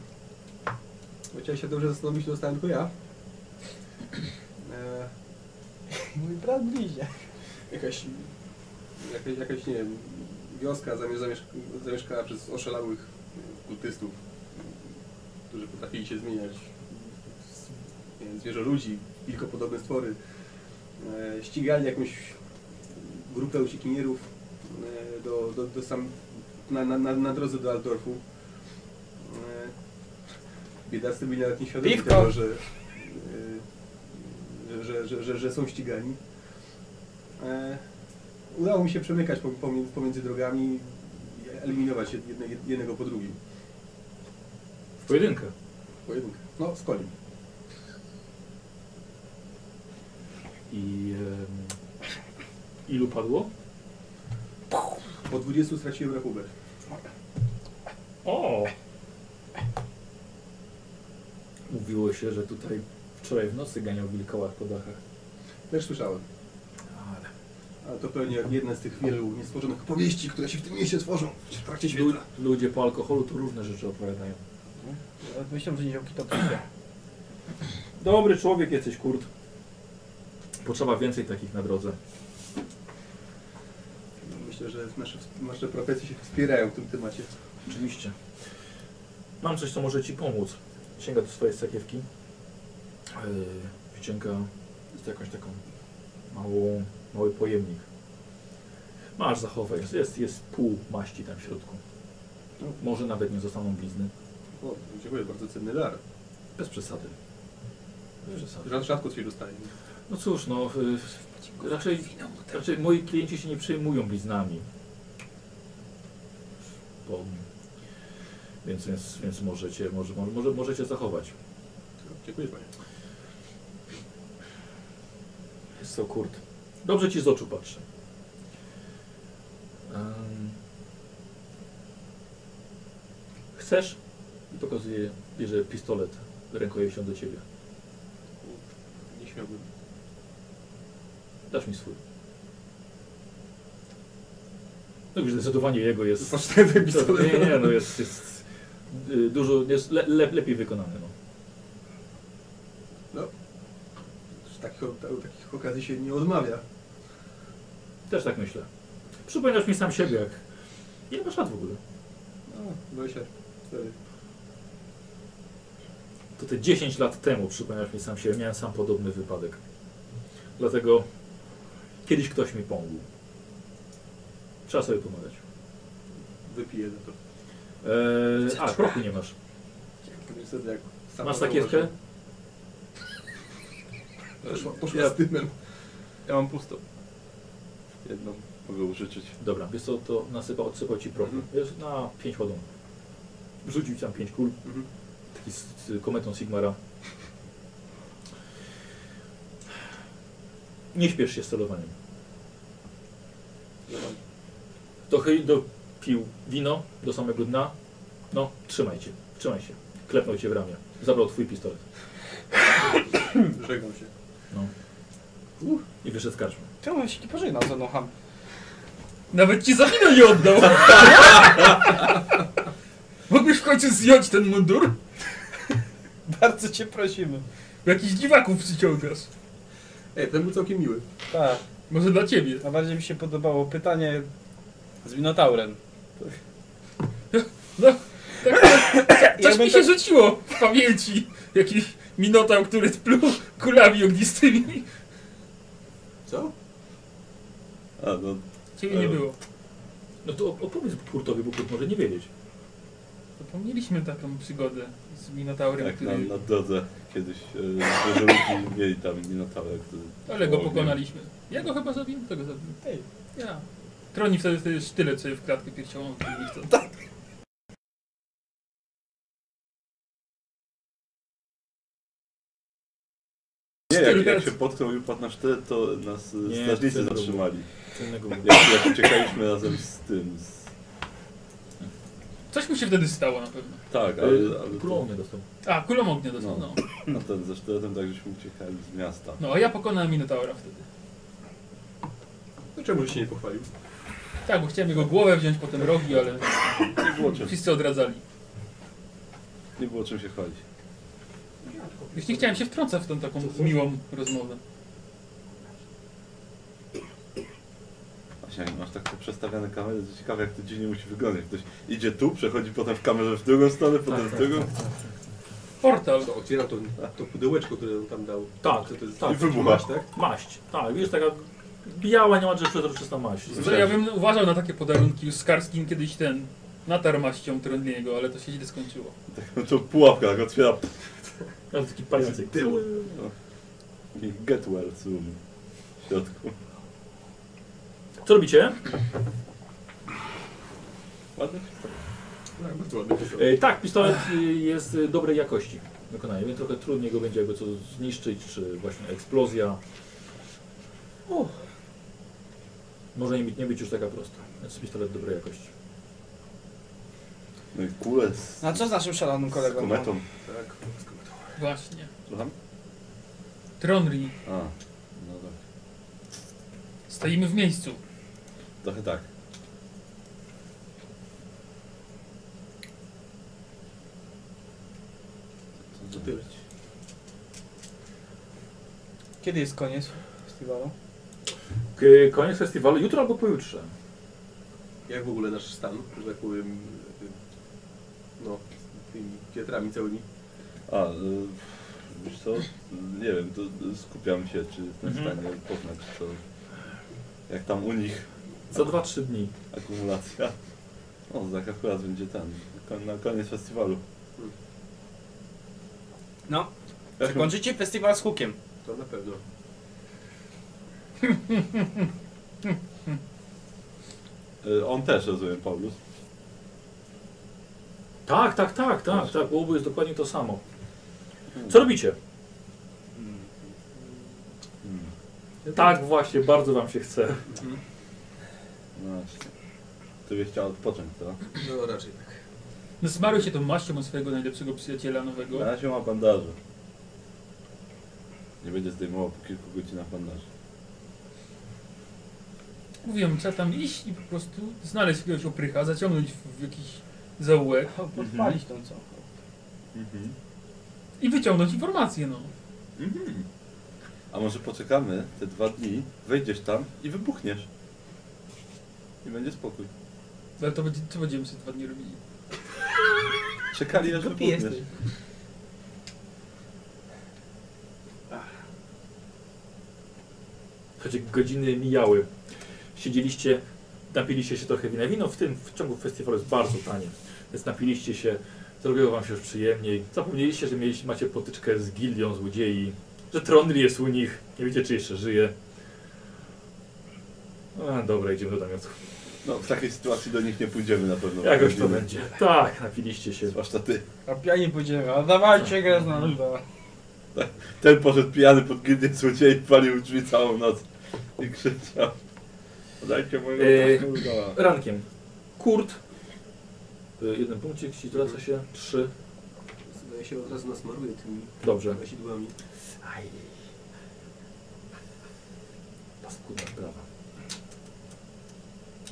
Speaker 6: Chociaż się dobrze zastanowić, to zostałem tylko ja. E,
Speaker 3: Mój brat bliźnie.
Speaker 6: jakaś, jakaś, jakaś, nie wiem, wioska zamie- zamieszk- zamieszkana przez oszalałych kultystów, którzy potrafili się zmieniać w- nie wiem, zwierzoludzi, wilkopodobne stwory. E, ścigali jakąś grupę uciekinierów e, do, do, do sam, na, na, na, na drodze do Aldorfu. E, biedacy byli nawet nieświadomi
Speaker 3: Piwko!
Speaker 6: tego, że, e, że, że, że, że są ścigani. E, Udało mi się przemykać po- pomie- pomiędzy drogami i eliminować jedne, jednego po drugim.
Speaker 1: W pojedynkę.
Speaker 6: Pojedynkę. No, z kolim.
Speaker 1: I... Em, ilu padło?
Speaker 6: Po 20 straciłem rachubę.
Speaker 1: O! Mówiło się, że tutaj wczoraj w nocy ganiał wilkołak po dachach.
Speaker 6: Też słyszałem.
Speaker 1: Ale...
Speaker 6: Ale to pewnie jak jedna z tych wielu niestworzonych powieści, które się w tym mieście tworzą w trakcie
Speaker 1: Lu-
Speaker 6: świata.
Speaker 1: ludzie po alkoholu to różne rzeczy opowiadają.
Speaker 3: Myślę, że niziołki to pije.
Speaker 1: Dobry człowiek jesteś, kurt. Potrzeba więcej takich na drodze.
Speaker 6: No, Myślę, że nasze, nasze profesje się wspierają w tym temacie.
Speaker 1: Oczywiście. Mam coś, co może ci pomóc. Sięga do swojej sakiewki. Yy, wyciąga z jakąś taką małą, mały pojemnik. Masz zachowaj. Jest, jest pół maści tam w środku. Może nawet nie zostaną blizny.
Speaker 6: O, dziękuję, bardzo cenny dar.
Speaker 1: Bez przesady. Bez przesady.
Speaker 6: Rzad- Rzadko coś dostaje.
Speaker 1: No cóż, no y, raczej, raczej moi klienci się nie przejmują bliznami. Bo, więc, więc, więc możecie, może, może, możecie zachować.
Speaker 6: Dziękuję panie.
Speaker 1: Jest to kurt. Dobrze ci z oczu patrzę. Em, chcesz? I pokazuje, bierze pistolet. Rękojeścią do ciebie.
Speaker 6: Niech
Speaker 1: miałbym. Dasz mi swój. No już zdecydowanie jego jest...
Speaker 7: Pocztowy pistolet.
Speaker 1: Nie, nie, no jest, jest y, dużo, jest le, le, lepiej wykonany. No.
Speaker 6: Z Takich, o takich okazji się nie odmawia.
Speaker 1: Też tak myślę. Przypominasz mi sam siebie, jak... Ile masz lat w ogóle?
Speaker 6: No, 24.
Speaker 1: To te 10 lat temu, przypominasz mi sam siebie, miałem sam podobny wypadek. Dlatego kiedyś ktoś mi pomógł. Trzeba sobie pomagać.
Speaker 6: Wypiję za to.
Speaker 1: Eee, a, prochu nie masz.
Speaker 6: Niestety jak sam
Speaker 1: Masz sakiewkę?
Speaker 6: Poszła, poszła z dymem.
Speaker 4: Ja mam pusto. Jedną mogę użyczyć.
Speaker 1: Dobra, wiesz co, to nasypa, odsypał ci prochu.
Speaker 6: Mhm.
Speaker 1: Wiesz, na 5 ładunków. Rzucił ci tam 5 kul.
Speaker 6: Mhm.
Speaker 1: Taki z, z kometą Sigmara. Nie śpiesz się z celowaniem. To chyj dopił wino do samego dna. No, trzymaj cię, trzymaj się. Klepnął cię w ramię. Zabrał twój pistolet.
Speaker 6: Żegnam się.
Speaker 1: I wyszedł z karczmy.
Speaker 3: Czemu on się nie pożegnał ze mną, ham?
Speaker 5: Nawet ci za wino nie oddał. Mógłbyś w końcu zdjąć ten mundur?
Speaker 3: Bardzo cię prosimy.
Speaker 5: Jakiś dziwaków przyciągasz.
Speaker 6: Ej, ten był całkiem miły.
Speaker 3: Tak.
Speaker 5: Może dla ciebie.
Speaker 3: Najbardziej mi się podobało pytanie z Minotaurem. No.
Speaker 5: Coś
Speaker 3: Jakby
Speaker 5: mi
Speaker 3: to-
Speaker 5: się rzuciło w pamięci. Jakiś minotał, który pluł kulami ognistymi.
Speaker 6: Co?
Speaker 4: A no,
Speaker 5: Ciebie nie było.
Speaker 1: No to op- opowiedz Kurtowi, bo Kurt może nie wiedzieć.
Speaker 5: Zapomnieliśmy taką przygodę z minotaurem,
Speaker 4: tak,
Speaker 5: który...
Speaker 4: na, na drodze kiedyś e, żołnierze mieli tam minotaurę, który...
Speaker 5: Ale go
Speaker 4: ogniem.
Speaker 5: pokonaliśmy. Ja go chyba zabiłem, tego zabiłem.
Speaker 3: Ej.
Speaker 5: Ja. Troni wtedy, wtedy sztylet sobie w klatkę piersiową. wbił i to-
Speaker 4: Nie, jak, jak
Speaker 5: Sztylet.
Speaker 4: się potknął i upadł na sztylet, to nas e,
Speaker 1: Nie,
Speaker 4: strażnicy
Speaker 1: sztylet.
Speaker 4: zatrzymali.
Speaker 1: Co innego mówię.
Speaker 4: Jak, jak uciekaliśmy razem z tym, z...
Speaker 5: Coś mu się wtedy stało na pewno.
Speaker 4: Tak, ale... ale
Speaker 1: Kulą mnie dostał.
Speaker 5: A, kulą ognia dostał, no. no.
Speaker 4: a ten ze sztyletem tak, żeśmy uciekali z miasta.
Speaker 5: a ja pokonałem minotaura wtedy.
Speaker 6: No czemu żeś się nie pochwalił?
Speaker 5: Tak, bo chciałem jego głowę wziąć, potem rogi, ale
Speaker 4: Nie było czym,
Speaker 5: wszyscy odradzali.
Speaker 4: nie było czym się chwalić.
Speaker 5: Już nie chciałem się wtrącać w tą taką miłą rozmowę.
Speaker 4: Właśnie, jak masz tak poprzestawiane kamery, to ciekawe jak to dziwnie musi wyglądać. Ktoś idzie tu, przechodzi potem w kamerze w drugą stronę, potem w drugą
Speaker 5: Portal.
Speaker 6: To otwieram to, to pudełeczko, które on tam dał.
Speaker 1: Tak,
Speaker 6: To, to jest
Speaker 1: tak.
Speaker 4: i wybucha.
Speaker 6: masz, tak?
Speaker 1: Maść. Tak, wiesz, taka biała, niemalże przezroczysta maść.
Speaker 5: Że Ja bym uważał na takie podarunki już z Karskim kiedyś ten natarł maścią Troniego, ale to się źle skończyło.
Speaker 4: No to pułapka, tak otwiera
Speaker 1: Ale taki pający.
Speaker 6: Tył.
Speaker 4: i get well soon w środku.
Speaker 1: Co robicie?
Speaker 4: Ładnie?
Speaker 6: Tak, bardzo ładny pistolet.
Speaker 1: E, tak, pistolet e, jest e, dobrej jakości wykonania, więc trochę trudniej go będzie jakby co zniszczyć, czy właśnie eksplozja. O. Może nie być, nie być już taka prosta. Więc pistolet dobrej jakości.
Speaker 4: No i kule z,
Speaker 3: A co z naszym szalonym
Speaker 4: z
Speaker 3: kolegą?
Speaker 4: kometą.
Speaker 6: Tak, z kometą.
Speaker 5: Właśnie.
Speaker 4: Słucham?
Speaker 5: Tronri,
Speaker 4: A, no tak.
Speaker 5: stoimy w miejscu.
Speaker 4: Trochę tak.
Speaker 6: To tyle.
Speaker 3: Kiedy jest koniec festiwalu?
Speaker 1: K- koniec festiwalu jutro albo pojutrze.
Speaker 6: Jak w ogóle nasz stan, że tak powiem, tym- no, z tymi pietrami całymi?
Speaker 4: A, y, wiesz co? Nie wiem, to y, skupiam się, czy jestem w
Speaker 1: Mhm.
Speaker 4: stanie poznać, co... Jak tam u nich
Speaker 1: Za 2-3 dni.
Speaker 4: akumulacja. O, tak akurat będzie ten, kon- na koniec festiwalu.
Speaker 3: No,
Speaker 4: Jak
Speaker 3: czy kończycie festiwal z hukiem?
Speaker 6: To na pewno.
Speaker 4: y, on też, rozumiem, Paulus.
Speaker 1: Tak, tak, tak, tak, tak. U obu jest dokładnie to samo. Co robicie?
Speaker 4: Hmm.
Speaker 1: Tak właśnie, bardzo wam się chce.
Speaker 4: No właśnie. Ty byś chciał odpocząć, co?
Speaker 6: No raczej tak.
Speaker 5: No zmarł się tą maścią od swojego najlepszego przyjaciela nowego.
Speaker 4: Na razie ma bandaże. Nie będzie zdejmował po kilku godzinach bandaży.
Speaker 5: Mówiłem, trzeba tam iść i po prostu znaleźć jakiegoś oprycha, zaciągnąć w w jakiś zaułek
Speaker 3: Podpalić tą co?
Speaker 4: Mhm.
Speaker 5: i wyciągnąć informacje, no.
Speaker 4: Mhm. A może poczekamy te dwa dni, wejdziesz tam i wybuchniesz. I będzie spokój.
Speaker 5: Ale to będzie, co będziemy sobie dwa dni robili?
Speaker 4: Czekali aż
Speaker 3: Głupi
Speaker 4: wybuchniesz.
Speaker 3: jesteś.
Speaker 1: Słuchajcie, godziny mijały. Siedzieliście, napiliście się trochę wina. Wino w tym w ciągu festiwalu jest bardzo tanie, więc napiliście się, zrobiło wam się już przyjemniej. Zapomnieliście, że mieliście, macie potyczkę z gildią złodziei, że Trondri jest u nich, nie wiecie czy jeszcze żyje. A, dobra, idziemy do namiotów.
Speaker 4: No w takiej sytuacji do nich nie pójdziemy na pewno.
Speaker 1: Jakoś to będzie. Tak, napiliście się.
Speaker 4: Zwłaszcza ty.
Speaker 3: A pianie pójdziemy, a dawajcie grę na luda.
Speaker 4: Ten poszedł pijany pod gildię złodziei, palił drzwi całą noc i krzyczał. Dajcie mojego
Speaker 1: Yy.
Speaker 4: krasnoluda.
Speaker 1: Rankiem. Kurt. Y, Jeden punkcik, ci wraca się. Trzy.
Speaker 6: Ja się od razu nasmaruję tymi
Speaker 1: Dobrze.
Speaker 6: sidłami.
Speaker 1: Aj. Paskudna sprawa.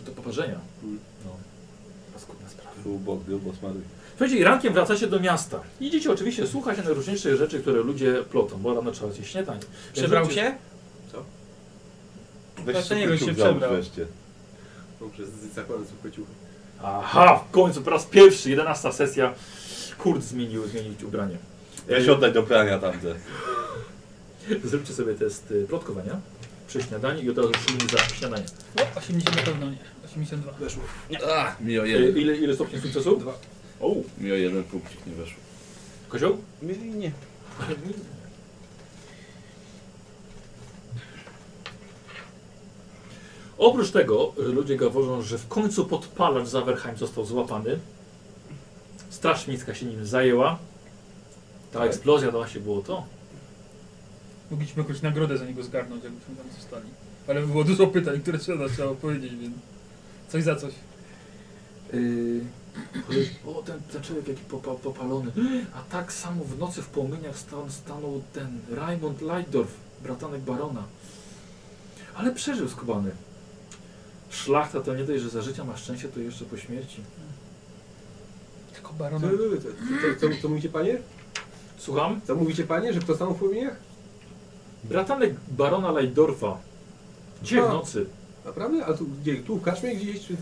Speaker 1: Do poparzenia.
Speaker 6: Mm.
Speaker 1: No. Paskudna sprawa.
Speaker 4: Tu bok, grubo smaruj.
Speaker 1: Słuchajcie, i rankiem wracacie do miasta. Idziecie oczywiście słuchać najróżniejszych rzeczy, które ludzie plotą, bo rano trzeba zjeść śniadań.
Speaker 3: Przebrał
Speaker 1: Wyrzucie-
Speaker 3: się?
Speaker 4: Weź
Speaker 3: Dlaczego
Speaker 4: szybko
Speaker 3: się
Speaker 4: ciuch
Speaker 3: przebrał?
Speaker 4: załóż wreszcie.
Speaker 6: Dobrze, No, z- zakładam zwykłe ciuchy.
Speaker 1: Aha, w końcu po raz pierwszy, 11 sesja. Kurt zmienił, zmienić ubranie. Yy.
Speaker 4: Weź oddać do prania tamte.
Speaker 1: Zróbcie sobie test y, plotkowania przy śniadaniu i od razu przyjmij za śniadanie.
Speaker 5: O, 80 na pewno nie, 82.
Speaker 6: Weszło.
Speaker 4: Ach, mi o
Speaker 1: Y,
Speaker 4: jeden.
Speaker 1: Ile, ile stopni sukcesu?
Speaker 6: Dwa.
Speaker 1: O,
Speaker 4: Mi o jeden punkcik nie weszło.
Speaker 1: kozioł?
Speaker 3: Nie, nie.
Speaker 1: Oprócz tego, że ludzie gaworzą, że w końcu podpalacz Zawerheim został złapany. Straż miejska się nim zajęła. Ta
Speaker 4: Tak.
Speaker 1: eksplozja to właśnie było to.
Speaker 5: Mogliśmy jakąś nagrodę za niego zgarnąć, jakbyśmy tam zostali. Ale było dużo pytań, które trzeba, trzeba odpowiedzieć, więc coś za coś.
Speaker 1: Yy, O, ten, ten człowiek jaki popa, popalony. A tak samo w nocy w płomieniach stan, stanął ten Raymond Leidorf, bratanek barona. Ale przeżył skubany. Szlachta to nie dość, że za życia ma szczęście, to jeszcze po śmierci.
Speaker 5: Tylko
Speaker 6: Co,
Speaker 5: barona.
Speaker 6: co, co, co, co mówicie panie?
Speaker 1: Słucham?
Speaker 6: Co mówicie panie, że kto sam w płomieniach?
Speaker 1: Bratanek barona Leidorfa. Gdzie w
Speaker 6: A.
Speaker 1: nocy?
Speaker 6: Naprawdę? A tu gdzie? Tu w kaczmie gdzieś? Czy...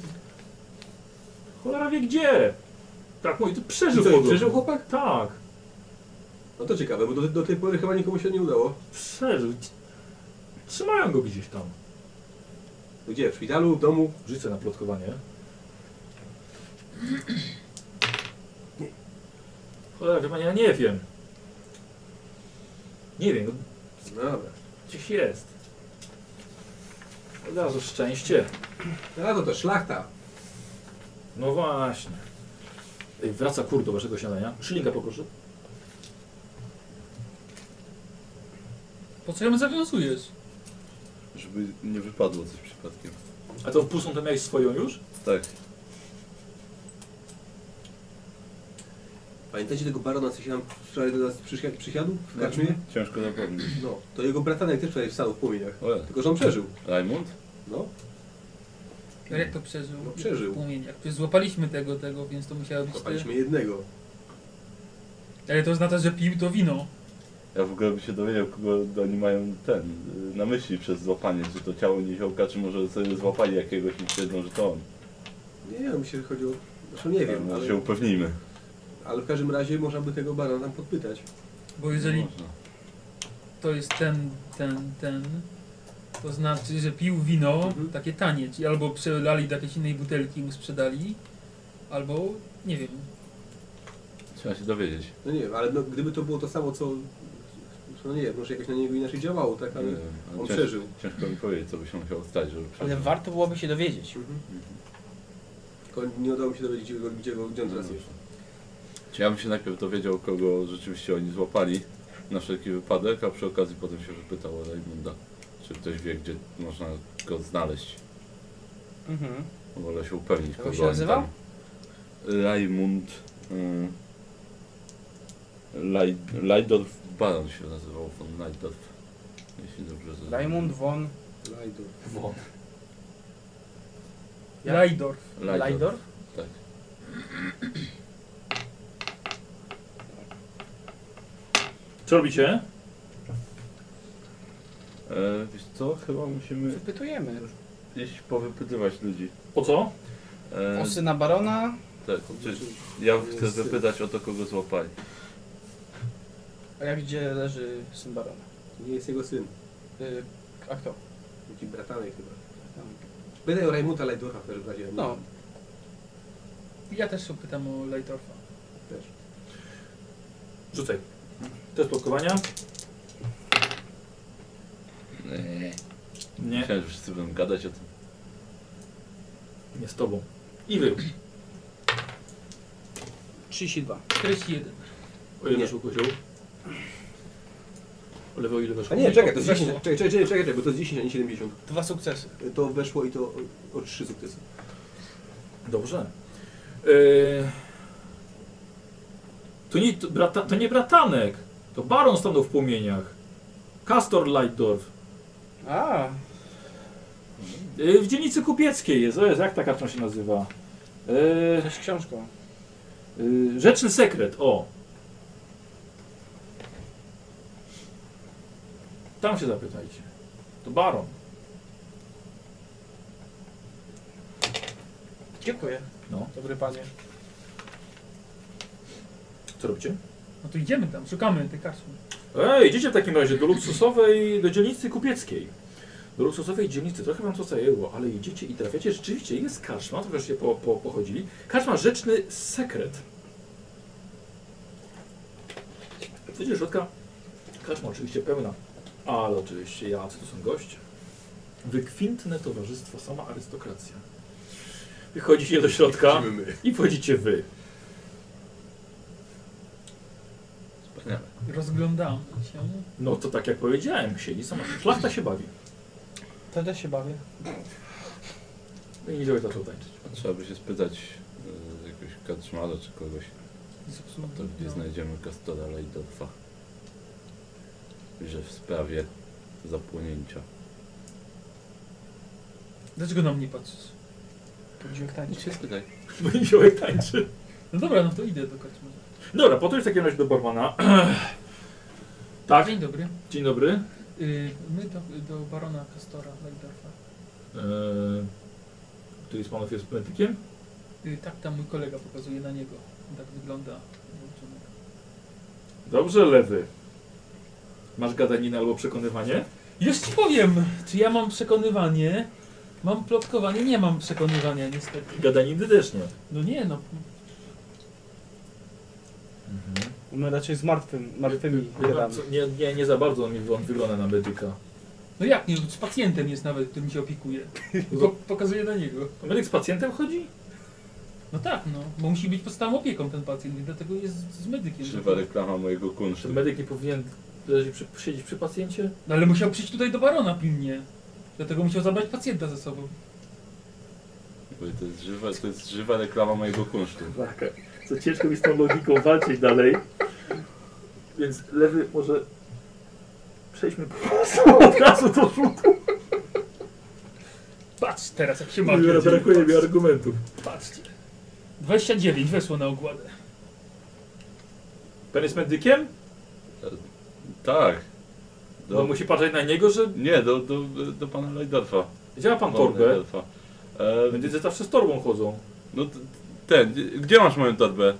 Speaker 1: Cholera wie gdzie? Tak mówi, to przeżył
Speaker 6: I co, i
Speaker 1: podobno.
Speaker 6: przeżył chłopak?
Speaker 1: Tak,
Speaker 6: No to ciekawe, bo do, do tej pory chyba nikomu się nie udało.
Speaker 1: przeżył. Trzymają go gdzieś tam.
Speaker 6: Gdzie? W szpitalu, w domu?
Speaker 1: Rzucę na plotkowanie. Cholera, wie pani, ja nie wiem. Nie wiem, no,
Speaker 6: No Dobra.
Speaker 1: gdzieś jest. Od razu szczęście.
Speaker 6: A Tak, to to szlachta.
Speaker 1: No właśnie. Ej, wraca kur do waszego śniadania. Szylinga poproszę.
Speaker 5: Po co ją zawiązujesz?
Speaker 4: Żeby nie wypadło coś przypadkiem.
Speaker 1: A to pustą to miałeś swoją już?
Speaker 4: Tak.
Speaker 6: Pamiętacie tego barona, co się nam wczoraj do nas przysiadł, przysiadł
Speaker 4: Tak.
Speaker 6: w kaczmie?
Speaker 4: Ciężko zapomnieć.
Speaker 6: No. To jego bratanek też wczoraj wstał w płomieniach.
Speaker 4: O, ja.
Speaker 6: Tylko, że on przeżył.
Speaker 4: Raimund?
Speaker 6: No.
Speaker 5: Ale jak to przeżył?
Speaker 6: No, przeżył.
Speaker 5: W płomieniach. Przecież złapaliśmy tego, tego, więc to musiało być ty.
Speaker 6: Złapaliśmy jednego.
Speaker 5: Ale to oznacza, że pił to wino.
Speaker 4: Ja w ogóle bym się dowiedział, kogo oni mają ten y, na myśli przez złapanie, czy to ciało niziołka, czy może sobie złapali jakiegoś i twierdzą, że to on.
Speaker 6: Nie wiem, mi się chodziło... Zresztą nie wiem,
Speaker 4: Może
Speaker 6: ale,
Speaker 4: Tak, się upewnijmy.
Speaker 6: ale w każdym razie można by tego barona tam podpytać.
Speaker 5: Bo
Speaker 6: No
Speaker 5: jeżeli
Speaker 4: No Można.
Speaker 5: to jest ten, ten, ten, to znaczy, że pił wino
Speaker 6: Mhm.
Speaker 5: takie tanie, czyli albo przelali do jakiejś innej butelki i mu sprzedali, albo nie wiem.
Speaker 4: Trzeba się dowiedzieć.
Speaker 6: No nie wiem, ale no, gdyby to było to samo, co... No nie wiem, może jakoś na niego inaczej działało, tak? Ale
Speaker 4: Nie wiem, E, ale
Speaker 6: on
Speaker 4: cięż-
Speaker 6: przeżył.
Speaker 4: Ciężko mi powiedzieć, co by się musiało stać, żeby przeżył.
Speaker 3: Ale warto byłoby się dowiedzieć.
Speaker 6: Mhm.
Speaker 4: Mhm.
Speaker 6: Tylko nie udało mi się dowiedzieć, gdzie go, gdzie go, gdzie on
Speaker 4: No
Speaker 6: teraz
Speaker 4: dobrze.
Speaker 6: jest.
Speaker 4: Czy ja bym się najpierw dowiedział, kogo rzeczywiście oni złapali na wszelki wypadek, a przy okazji potem się wypytał o Raimunda, czy ktoś wie, gdzie można go znaleźć.
Speaker 3: Mhm.
Speaker 4: Wolę się upewnić,
Speaker 3: Jak
Speaker 4: kogo
Speaker 3: on się
Speaker 4: oni
Speaker 3: nazywał?
Speaker 4: tam- Raimund... Y, Laj- Lajdorf Baron się nazywał, von Lajdorf. Jeśli dobrze zrozumiałem.
Speaker 3: Raimund von
Speaker 4: No
Speaker 6: Lajdor.
Speaker 1: Won.
Speaker 3: Jak?
Speaker 5: Lajdor.
Speaker 4: Lajdor.
Speaker 3: Lajdor.
Speaker 4: Tak.
Speaker 1: Co robicie?
Speaker 4: E, wiesz co, chyba musimy
Speaker 3: Wypytujemy
Speaker 4: gdzieś powypytywać ludzi.
Speaker 1: Po co?
Speaker 4: E,
Speaker 3: o syna barona.
Speaker 4: tak, czy, ja chcę wypytać o to, kogo złapali.
Speaker 3: A jak gdzie leży syn barona?
Speaker 6: Nie jest jego syn.
Speaker 3: Y, A kto?
Speaker 6: Jakiś bratanek chyba.
Speaker 3: Tam.
Speaker 6: Pytaj o Rajmuta Lajdora w każdym razie.
Speaker 3: No,
Speaker 5: Ja też się pytam o Lajdorfa.
Speaker 6: Też.
Speaker 1: Rzucaj. Test plotkowania?
Speaker 4: Nie.
Speaker 1: Nie.
Speaker 4: Myślałem, że wszyscy będą gadać o tym.
Speaker 1: Nie z tobą. I wy.
Speaker 3: 32.
Speaker 5: 41.
Speaker 1: O ile
Speaker 6: Nie.
Speaker 1: weszło kozioł? O lewo, o ile weszło?
Speaker 6: A nie, czekaj, to jest
Speaker 5: Weszło.
Speaker 6: 10, czekaj, czekaj, czekaj, czekaj, bo to jest 10, a nie 70.
Speaker 3: Dwa sukcesy.
Speaker 6: To weszło i to o, o 3 sukcesy.
Speaker 1: Dobrze. Yy... To, nie, to, brata, to nie bratanek. To baron stanął w płomieniach. Castor Lightdorf.
Speaker 3: A,
Speaker 1: Yy, w dzielnicy kupieckiej jest. O jest, jak ta karta się nazywa? Yy,
Speaker 3: coś z książką.
Speaker 1: yy, Rzeczny sekret, o. Tam się zapytajcie. To baron.
Speaker 3: Dziękuję.
Speaker 1: No.
Speaker 3: Dobry panie.
Speaker 1: Co robicie?
Speaker 5: No to idziemy tam, szukamy tej kasy.
Speaker 1: Ej, idziecie w takim razie do luksusowej, do dzielnicy kupieckiej. Do luksusowej dzielnicy, trochę wam to zajęło, ale idziecie i trafiacie. Rzeczywiście jest karczma, trochę się po, po, pochodzili. Karczma Rzeczny Sekret. Wchodzicie do środka, karczma oczywiście pełna, ale oczywiście jacy to są goście. Wykwintne towarzystwo, sama arystokracja. Wychodzicie do środka
Speaker 6: Siły
Speaker 1: i wchodzicie wy.
Speaker 4: Wspaniale.
Speaker 5: Rozglądamy się.
Speaker 1: No to tak jak powiedziałem, siedzi sama. Szlachta się bawi.
Speaker 3: To też się bawię.
Speaker 1: No i niedzielę zaczął tańczyć.
Speaker 4: A Trzeba by się spytać e, jakiegoś katrzmala czy kogoś,
Speaker 5: Zepsuł-
Speaker 4: to gdzie
Speaker 5: no.
Speaker 4: znajdziemy Kastora Lajdorfa. Że w sprawie zapłonięcia.
Speaker 5: Dlaczego na mnie patrzysz?
Speaker 3: Pójdziemy
Speaker 4: Nic No się spytaj.
Speaker 1: Bo niedzielek tańczy.
Speaker 5: No dobra, no to idę do karczmy.
Speaker 1: Dobra, potem w takim razie do barmana. tak,
Speaker 5: Dzień dobry.
Speaker 1: dzień dobry.
Speaker 5: Y, My do, do barona Kastora Lajdorfa.
Speaker 1: Eee, który z panów jest politykiem?
Speaker 5: Y, Tak tam mój kolega pokazuje na niego. Tak wygląda. włączony.
Speaker 1: Dobrze, lewy. Masz gadaninę albo przekonywanie?
Speaker 5: Już ci powiem, czy ja mam przekonywanie. Mam plotkowanie, nie mam przekonywania niestety.
Speaker 1: Gadaniny też nie.
Speaker 5: No nie no,
Speaker 3: My raczej z martwym, martwymi gadamy.
Speaker 1: Co- Mhm. Nie, nie, nie za bardzo on, mi- on wygląda na medyka.
Speaker 5: no jak nie, z pacjentem jest nawet, którym się opiekuje. Po, pokazuje na niego.
Speaker 1: To Medyk z pacjentem chodzi?
Speaker 5: No tak no, bo musi być pod stałą opieką ten pacjent i dlatego jest z medykiem.
Speaker 4: Krzywa reklama mojego kunsztu.
Speaker 1: Czy medyk nie powinien leżeć przy, siedzieć przy pacjencie?
Speaker 5: No ale musiał przyjść tutaj do barona pilnie. Dlatego musiał zabrać pacjenta ze sobą.
Speaker 4: Bo To jest żywa, to jest żywa reklama mojego kunsztu.
Speaker 1: Tak, co ciężko mi z tą logiką walczyć dalej. Więc lewy może... Przejdźmy po prostu od razu do rzutu.
Speaker 5: Patrz teraz jak się ma.
Speaker 1: Nie Brakuje mi argumentów.
Speaker 5: Patrzcie. 29 weszło na ogładę.
Speaker 1: Pan jest medykiem?
Speaker 4: Tak.
Speaker 1: No
Speaker 4: Do,
Speaker 1: musi patrzeć na niego, że
Speaker 4: nie, do, do, do pana Lajdorfa.
Speaker 1: działa pan
Speaker 4: Pana
Speaker 1: torbę.
Speaker 4: Lajdorfa. E,
Speaker 1: Medycy zawsze z torbą chodzą.
Speaker 4: no t- ten, gdzie masz moją torbę?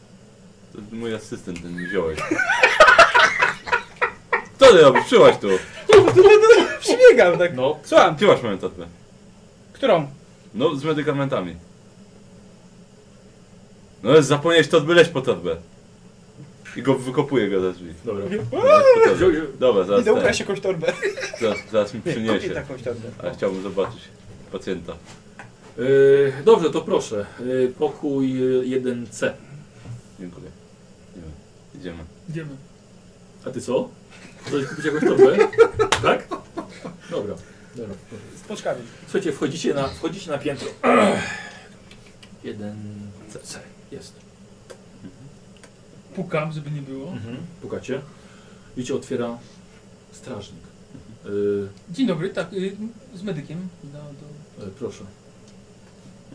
Speaker 4: To mój asystent ten mi wziąłeś. Co ty robisz? Przyłaś tu.
Speaker 3: Przybiegam tak.
Speaker 1: No,
Speaker 3: Słucham,
Speaker 4: Gdzie masz moją torbę?
Speaker 3: którą?
Speaker 4: No, z medykamentami. No, ale zapomniałeś torby, leź po torbę. I go wykopuję go za drzwi.
Speaker 1: dobra.
Speaker 4: Leź po torbę.
Speaker 1: Wziął- wziął-
Speaker 4: Dobra, zaraz,
Speaker 3: Idę
Speaker 4: ten,
Speaker 3: ukraść jakąś torbę.
Speaker 4: zaraz, zaraz mi
Speaker 3: Nie, tak. kupię
Speaker 4: przyniesie.
Speaker 3: taką torbę.
Speaker 4: Ale chciałbym zobaczyć pacjenta.
Speaker 1: Yy, dobrze, to proszę. Yy, pokój yy, 1C.
Speaker 4: Dziękuję. Idziemy. Idziemy.
Speaker 5: Idziemy.
Speaker 1: A ty co? Chcesz kupić jakąś torbę? tak? Dobra. dobra.
Speaker 3: Z poczkami.
Speaker 1: Słuchajcie, wchodzicie na, wchodzicie na piętro. 1C. Jest.
Speaker 5: Pukam, żeby nie było.
Speaker 1: Mhm. Pukacie. Widzicie, otwiera strażnik. Y,
Speaker 5: Dzień dobry, tak, y, z medykiem. No, to
Speaker 1: y, proszę.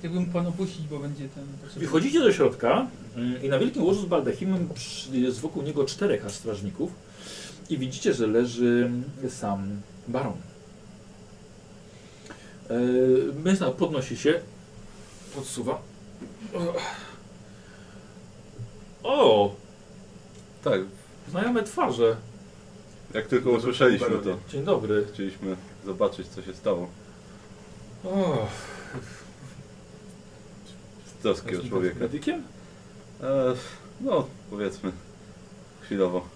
Speaker 5: jakby mógł pan opuścić, bo będzie ten... potrzebny.
Speaker 1: Wchodzicie do środka mm, i na wielkim łożu z baldachimem przy- jest wokół niego czterech aż strażników i widzicie, że leży sam baron. E, Mężczyzna podnosi się, podsuwa. O,
Speaker 4: Tak,
Speaker 1: znajome twarze.
Speaker 4: jak tylko usłyszeliśmy to,
Speaker 1: Dzień dobry.
Speaker 4: chcieliśmy zobaczyć co się stało
Speaker 1: O,
Speaker 4: z troski o człowieka.
Speaker 1: Medykiem?
Speaker 4: E, no, powiedzmy, chwilowo.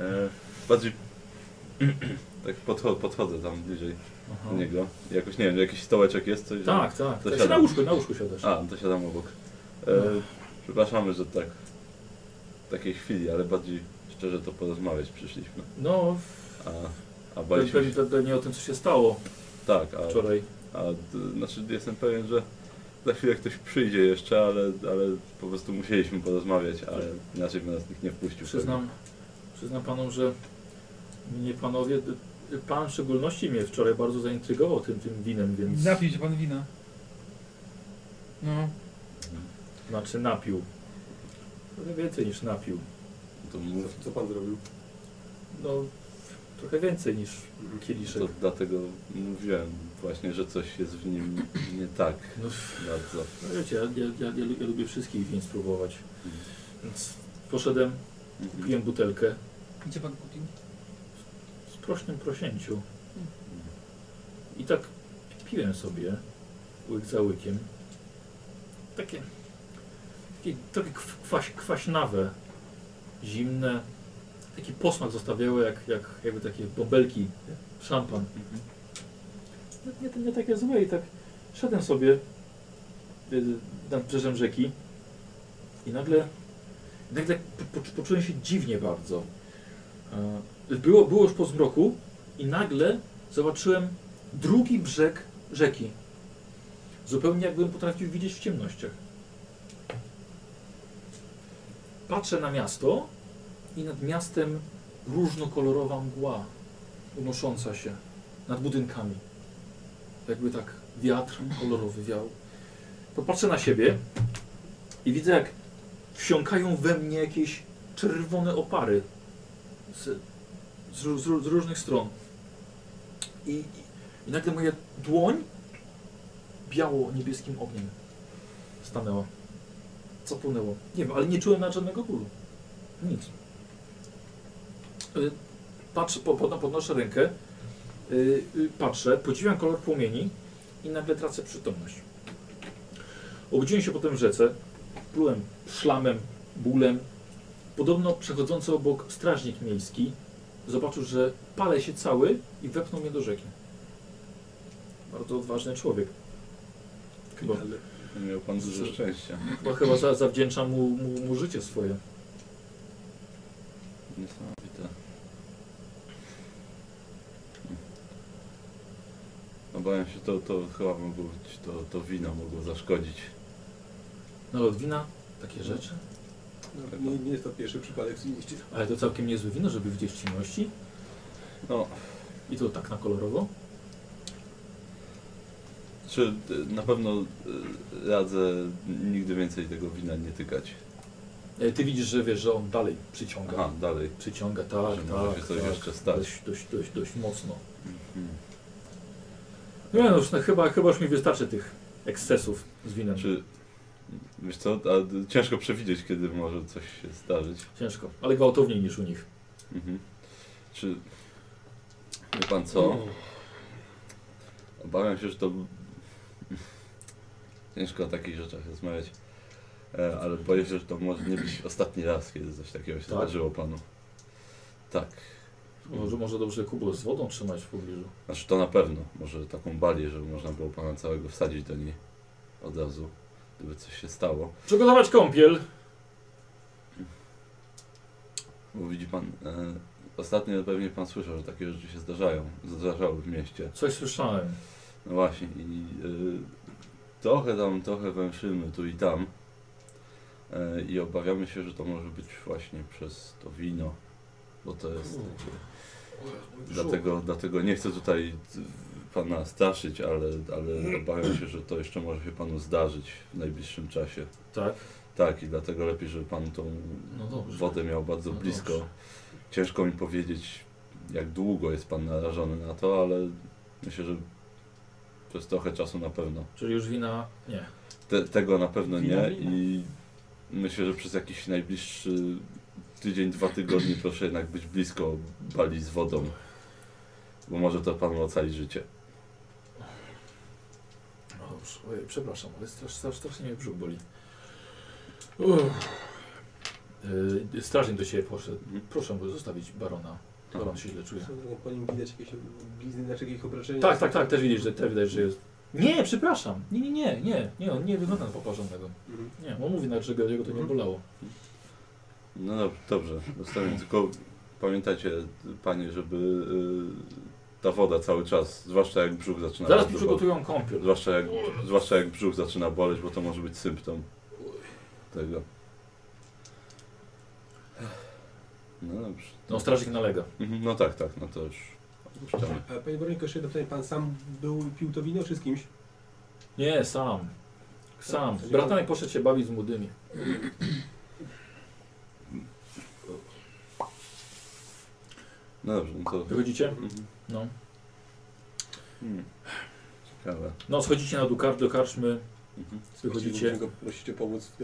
Speaker 4: E, bardziej tak podcho podchodzę tam bliżej
Speaker 1: Aha.
Speaker 4: do niego. Jakoś nie wiem, jakiś stołeczek jest, coś?
Speaker 1: No. Tak, tak.
Speaker 4: To
Speaker 1: tak.
Speaker 4: siadam.
Speaker 1: Na łóżku, na łóżku siadasz.
Speaker 4: A, to siadam obok. E,
Speaker 1: No.
Speaker 4: Przepraszamy, że tak w takiej chwili, ale bardziej szczerze to porozmawiać przyszliśmy.
Speaker 1: No,
Speaker 4: A, a
Speaker 1: pe-
Speaker 4: baliśmy
Speaker 1: pe-
Speaker 4: się,
Speaker 1: pe- pewnie o tym, co się stało
Speaker 4: tak, a,
Speaker 1: wczoraj.
Speaker 4: a d- znaczy jestem pewien, że za chwilę ktoś przyjdzie jeszcze, ale, ale po prostu musieliśmy porozmawiać, ale inaczej by nas nikt nie wpuścił.
Speaker 1: Tak. Przyznam, przyznam panom, że mnie panowie, y, pan w szczególności mnie wczoraj bardzo zaintrygował tym, tym winem, więc
Speaker 5: Napij się pan wina. No,
Speaker 1: znaczy napił. Trochę więcej niż napił.
Speaker 4: No To, mów-
Speaker 6: Co, co pan zrobił?
Speaker 1: No, trochę więcej niż kieliszek.
Speaker 4: to dlatego mówiłem właśnie, że coś jest w nim nie tak
Speaker 1: No, f-
Speaker 4: bardzo.
Speaker 1: no wiecie, ja, ja, ja, ja lu- ja lubię wszystkich win spróbować. Więc poszedłem,
Speaker 4: Mhm.
Speaker 1: kupiłem butelkę
Speaker 5: gdzie pan kupił?
Speaker 1: w prośnym prosięciu. I tak piłem sobie łyk za łykiem. Takie, takie, takie kwa- kwaś, kwaśnawe, zimne. Taki posmak zostawiały jak, jak jakby takie bąbelki, szampan. No, Nie, to nie takie złe i tak szedłem sobie y, nad brzeżem rzeki i nagle, nagle po, po, poczułem się dziwnie bardzo. E, Było, było już po zmroku i nagle zobaczyłem drugi brzeg rzeki. Zupełnie jakbym potrafił widzieć w ciemnościach. Patrzę na miasto i nad miastem różnokolorowa mgła unosząca się nad budynkami. Jakby tak wiatr kolorowy wiał. Popatrzę na siebie i widzę jak wsiąkają we mnie jakieś czerwone opary z, z, ró- z, ró- z różnych stron. I, i, I nagle moja dłoń biało-niebieskim ogniem stanęła. Zapłonęło. Nie wiem, ale nie czułem na żadnego bólu. Nic. Y, Patrzę, po, pod- podnoszę rękę, y, y, patrzę, podziwiam kolor płomieni i nagle tracę przytomność. Obudziłem się potem w rzece, plułem szlamem, bólem, Podobno przechodzący obok strażnik miejski zobaczył, że palę się cały i wepchnął mnie do rzeki. Bardzo odważny człowiek. Chyba,
Speaker 4: Miał pan dużo szczęścia.
Speaker 1: chyba, No chyba za, zawdzięcza mu, mu, mu życie swoje.
Speaker 4: Niesamowite. Obawiam No, się, to, to chyba mogło być, to, to wino mogło zaszkodzić.
Speaker 1: No ale od wina takie rzeczy.
Speaker 6: No, nie, nie jest to pierwszy przypadek w tym mieście.
Speaker 1: Ale to całkiem niezłe wino, żeby widzieć w ciemności.
Speaker 4: No,
Speaker 1: I to tak na kolorowo.
Speaker 4: czy y, na pewno y, radzę nigdy więcej tego wina nie tykać?
Speaker 1: E, Ty widzisz, że wiesz, że on dalej przyciąga.
Speaker 4: Aha, dalej.
Speaker 1: Przyciąga, tak,
Speaker 4: Że może się
Speaker 1: tak,
Speaker 4: coś
Speaker 1: tak.
Speaker 4: jeszcze stać.
Speaker 1: Dość, dość, dość, dość mocno.
Speaker 4: Mhm.
Speaker 1: Nie no, już, no chyba, chyba już mi wystarczy tych ekscesów z winem.
Speaker 4: Czy, Znaczy, wiesz co, a, ciężko przewidzieć, kiedy może coś się zdarzyć.
Speaker 1: Ciężko, ale gwałtowniej niż u nich.
Speaker 4: Mhm. Czy wie pan co? Obawiam się, że to ciężko o takich rzeczach rozmawiać. E, Ale boję się, że to może nie być ostatni raz, kiedy coś takiego się
Speaker 1: Tak?
Speaker 4: zdarzyło panu. Tak.
Speaker 1: Może, może dobrze kubę z wodą trzymać w pobliżu.
Speaker 4: Znaczy to na pewno. Może taką balię, żeby można było pana całego wsadzić do niej od razu, gdyby coś się stało.
Speaker 1: Przygotować kąpiel.
Speaker 4: Bo widzi pan, e, ostatnio pewnie pan słyszał, że takie rzeczy się zdarzają. Zdarzały w mieście.
Speaker 1: Coś słyszałem.
Speaker 4: No właśnie, i y, trochę tam, trochę węszymy tu i tam. Y, I obawiamy się, że to może być właśnie przez to wino, bo to jest takie Dlatego, dlatego nie chcę tutaj y, pana straszyć, ale, ale obawiam się, że to jeszcze może się panu zdarzyć w najbliższym czasie.
Speaker 1: Tak.
Speaker 4: Tak, i dlatego lepiej, żeby pan tą
Speaker 1: No dobrze.
Speaker 4: wodę miał bardzo
Speaker 1: No
Speaker 4: blisko.
Speaker 1: dobrze.
Speaker 4: Ciężko mi powiedzieć, jak długo jest pan narażony na to, ale myślę, że przez trochę czasu na pewno.
Speaker 1: Czyli już wina. Nie.
Speaker 4: Te, tego na pewno
Speaker 6: Wina,
Speaker 4: nie
Speaker 6: wina.
Speaker 4: i myślę, że przez jakiś najbliższy tydzień, dwa tygodnie proszę jednak być blisko bali z wodą, bo może to panu ocali życie.
Speaker 1: No dobrze. Ojej, przepraszam, ale strasz, strasz, strasznie mnie brzuch boli. Uff. Yy, strażnik do ciebie poszedł.
Speaker 4: Mhm.
Speaker 1: Proszę go zostawić barona. Baron się źle czuje.
Speaker 6: Swoją drogą, Po nim widać jakieś blizny, znaczy jakieś obrażenia.
Speaker 1: Tak, tak, tak, też widzisz, że też widać, że jest. Nie, przepraszam. Nie, nie, nie, nie, nie, on nie wygląda na poparzonego.
Speaker 6: Mhm.
Speaker 1: Nie, on mówi nawet, że go- jego to nie
Speaker 6: Mhm.
Speaker 1: bolało.
Speaker 4: No dob- dobrze, zostawiam tylko pamiętajcie panie, żeby y, ta woda cały czas, zwłaszcza jak brzuch zaczyna
Speaker 1: Zaraz mi
Speaker 4: bardzo boleć.
Speaker 1: przygotują kąpiel.
Speaker 4: Zwłaszcza jak, zwłaszcza jak brzuch zaczyna boleć, bo to może być symptom tego. No dobrze.
Speaker 1: No strażnik nalega.
Speaker 4: Mhm, No tak, tak, no to już opuszczamy.
Speaker 6: A Panie Boroniko, jeszcze jedno pytanie. Pan sam był i pił to wino czy z kimś?
Speaker 1: Nie, sam. Sam.
Speaker 4: Tak,
Speaker 1: Bratanek poszedł się bawić z młodymi.
Speaker 4: No dobrze, no to...
Speaker 1: Wychodzicie?
Speaker 4: Mhm.
Speaker 1: No.
Speaker 4: Hmm. Ciekawe.
Speaker 1: No, schodzicie na dukar, do karczmy,
Speaker 4: Mhm.
Speaker 1: wychodzicie.
Speaker 6: Chciałbym go prosić o pomoc w,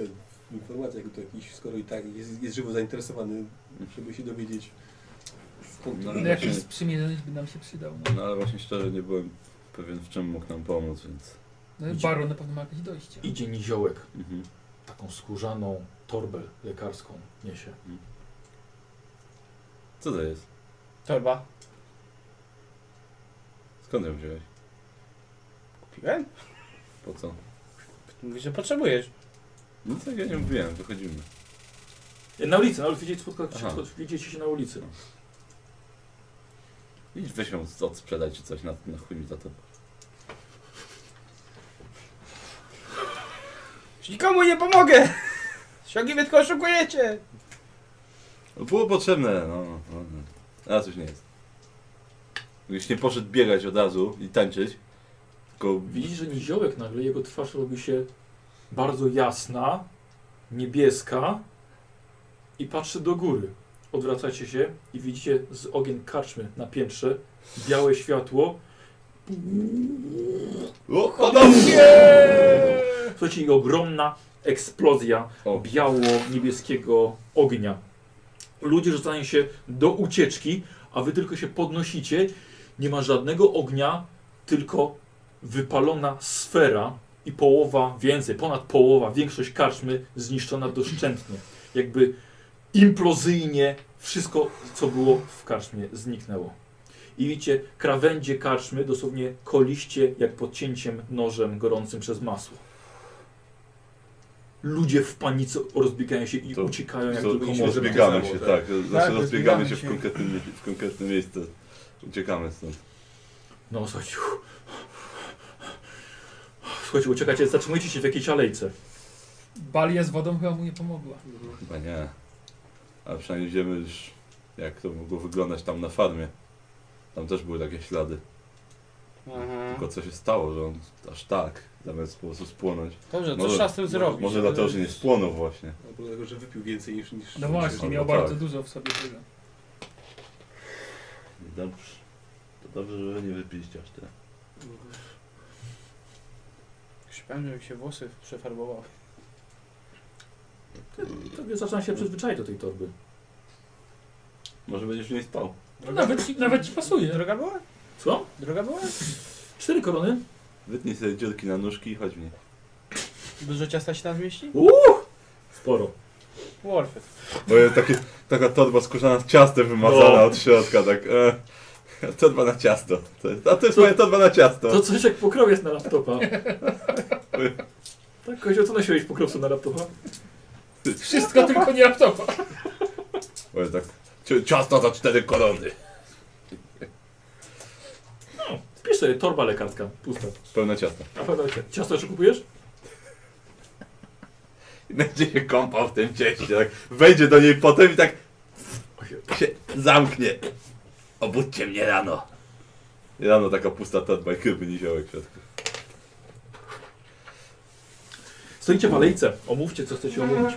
Speaker 6: w informacjach, to jakiś, skoro i tak jest, jest żywo zainteresowany, żeby się dowiedzieć. Skąd to
Speaker 4: No,
Speaker 5: No, jakiś sprzymierzeniec by nam się przydał. No.
Speaker 4: No ale właśnie szczerze nie byłem pewien w czym mógł nam pomóc, więc...
Speaker 5: No, i baron na pewno ma jakieś dojście.
Speaker 1: Idzie niziołek,
Speaker 4: Mhm.
Speaker 1: taką skórzaną torbę lekarską niesie.
Speaker 4: Co to jest?
Speaker 3: Torba.
Speaker 4: Skąd ją wziąłeś?
Speaker 3: Kupiłem?
Speaker 4: Po co?
Speaker 3: E? Mówisz, że potrzebujesz.
Speaker 4: Nic tak ja nie mówiłem, wychodzimy.
Speaker 1: Na ulicy, na ulicy, widzicie, spotka-
Speaker 4: Aha.
Speaker 1: spotka- widzicie się na ulicy.
Speaker 4: Idź weź ją odsprzedaj czy coś, na, na chuj mi za to.
Speaker 3: Już Nikomu nie pomogę! Siogi wy tylko oszukujecie!
Speaker 4: Było potrzebne, no. no, no. Teraz już nie jest. Gdybyś nie poszedł biegać od razu i tańczyć, tylko...
Speaker 1: Widzisz, że niziołek nagle, jego twarz robi się bardzo jasna, niebieska i patrzy do góry. Odwracacie się i widzicie z ogień karczmy na piętrze białe światło.
Speaker 4: O, podobnie!
Speaker 1: Słuchajcie, ogromna eksplozja
Speaker 4: O,
Speaker 1: biało-niebieskiego ognia. Ludzie rzucają się do ucieczki, a wy tylko się podnosicie. Nie ma żadnego ognia, tylko wypalona sfera i połowa, więcej, ponad połowa, większość karczmy zniszczona doszczętnie. Jakby implozyjnie wszystko, co było w karczmie, zniknęło. I widzicie, krawędzie karczmy dosłownie koliście jak podcięciem nożem gorącym przez masło. Ludzie w panice rozbiegają się i
Speaker 4: To-
Speaker 1: uciekają jak
Speaker 4: to-
Speaker 1: tylko
Speaker 4: to
Speaker 1: można.
Speaker 4: rozbiegamy się, tak. Znaczy rozbiegamy
Speaker 7: rozbiegamy
Speaker 4: się w
Speaker 7: się.
Speaker 4: konkretnym, w konkretnym miejscu. Uciekamy stąd.
Speaker 1: No słuchajcie. uff. Słuchajcie, uciekacie, zatrzymujecie się w jakiejś alejce.
Speaker 5: Balia z wodą chyba mu nie pomogła.
Speaker 4: Chyba nie. Ale przynajmniej wiemy już, jak to mogło wyglądać tam na farmie. Tam też były takie ślady. Tylko co się stało, że on aż tak, zamiast po prostu spłonąć.
Speaker 3: Dobrze, co
Speaker 4: Może-
Speaker 3: No trzeba z tym zrobić?
Speaker 4: Może dlatego, że nie spłonął właśnie.
Speaker 6: Albo dlatego, że wypił więcej niż... niż
Speaker 5: No właśnie,
Speaker 4: Albo
Speaker 5: miał
Speaker 4: tak.
Speaker 5: bardzo dużo w sobie tego.
Speaker 4: Dobrze. To dobrze, że wy nie wypiliście aż tyle.
Speaker 3: Przypomnę, że mi się włosy przefarbowały.
Speaker 1: Tobie zaczyna się przyzwyczaić do tej torby.
Speaker 4: Może będziesz nie spał.
Speaker 5: No, nawet, ci- No. nawet ci pasuje.
Speaker 3: Droga była?
Speaker 1: Co?
Speaker 3: Droga była?
Speaker 1: Cztery korony?
Speaker 4: Wytnij sobie dziurki na nóżki i chodź w nie.
Speaker 3: Dużo ciasta się tam zmieści?
Speaker 1: Sporo.
Speaker 3: Warfet.
Speaker 4: Bo jest takie, taka torba skórzana w ciasto wymazana
Speaker 1: No.
Speaker 4: od środka, tak. E, torba na ciasto. To jest, a to jest moja torba na ciasto.
Speaker 1: To coś jak pokrowiec na laptopa. tak, Kozio, co nosiłeś pokrowcu na laptopa?
Speaker 5: Wszystko tylko nie laptopa.
Speaker 4: Bo jest tak. ci- Ciasto za cztery korony.
Speaker 1: Wpisz sobie torba lekarska, pusta.
Speaker 4: Pełne ciasto.
Speaker 1: A pamiętajcie, ciasto jeszcze kupujesz?
Speaker 4: I będzie się kąpał w tym cieście, tak. Wejdzie do niej potem i tak się zamknie. Obudźcie mnie rano. I rano taka pusta torba i chyba niziołek w środku.
Speaker 1: Stoicie w alejce, omówcie co chcecie omówić.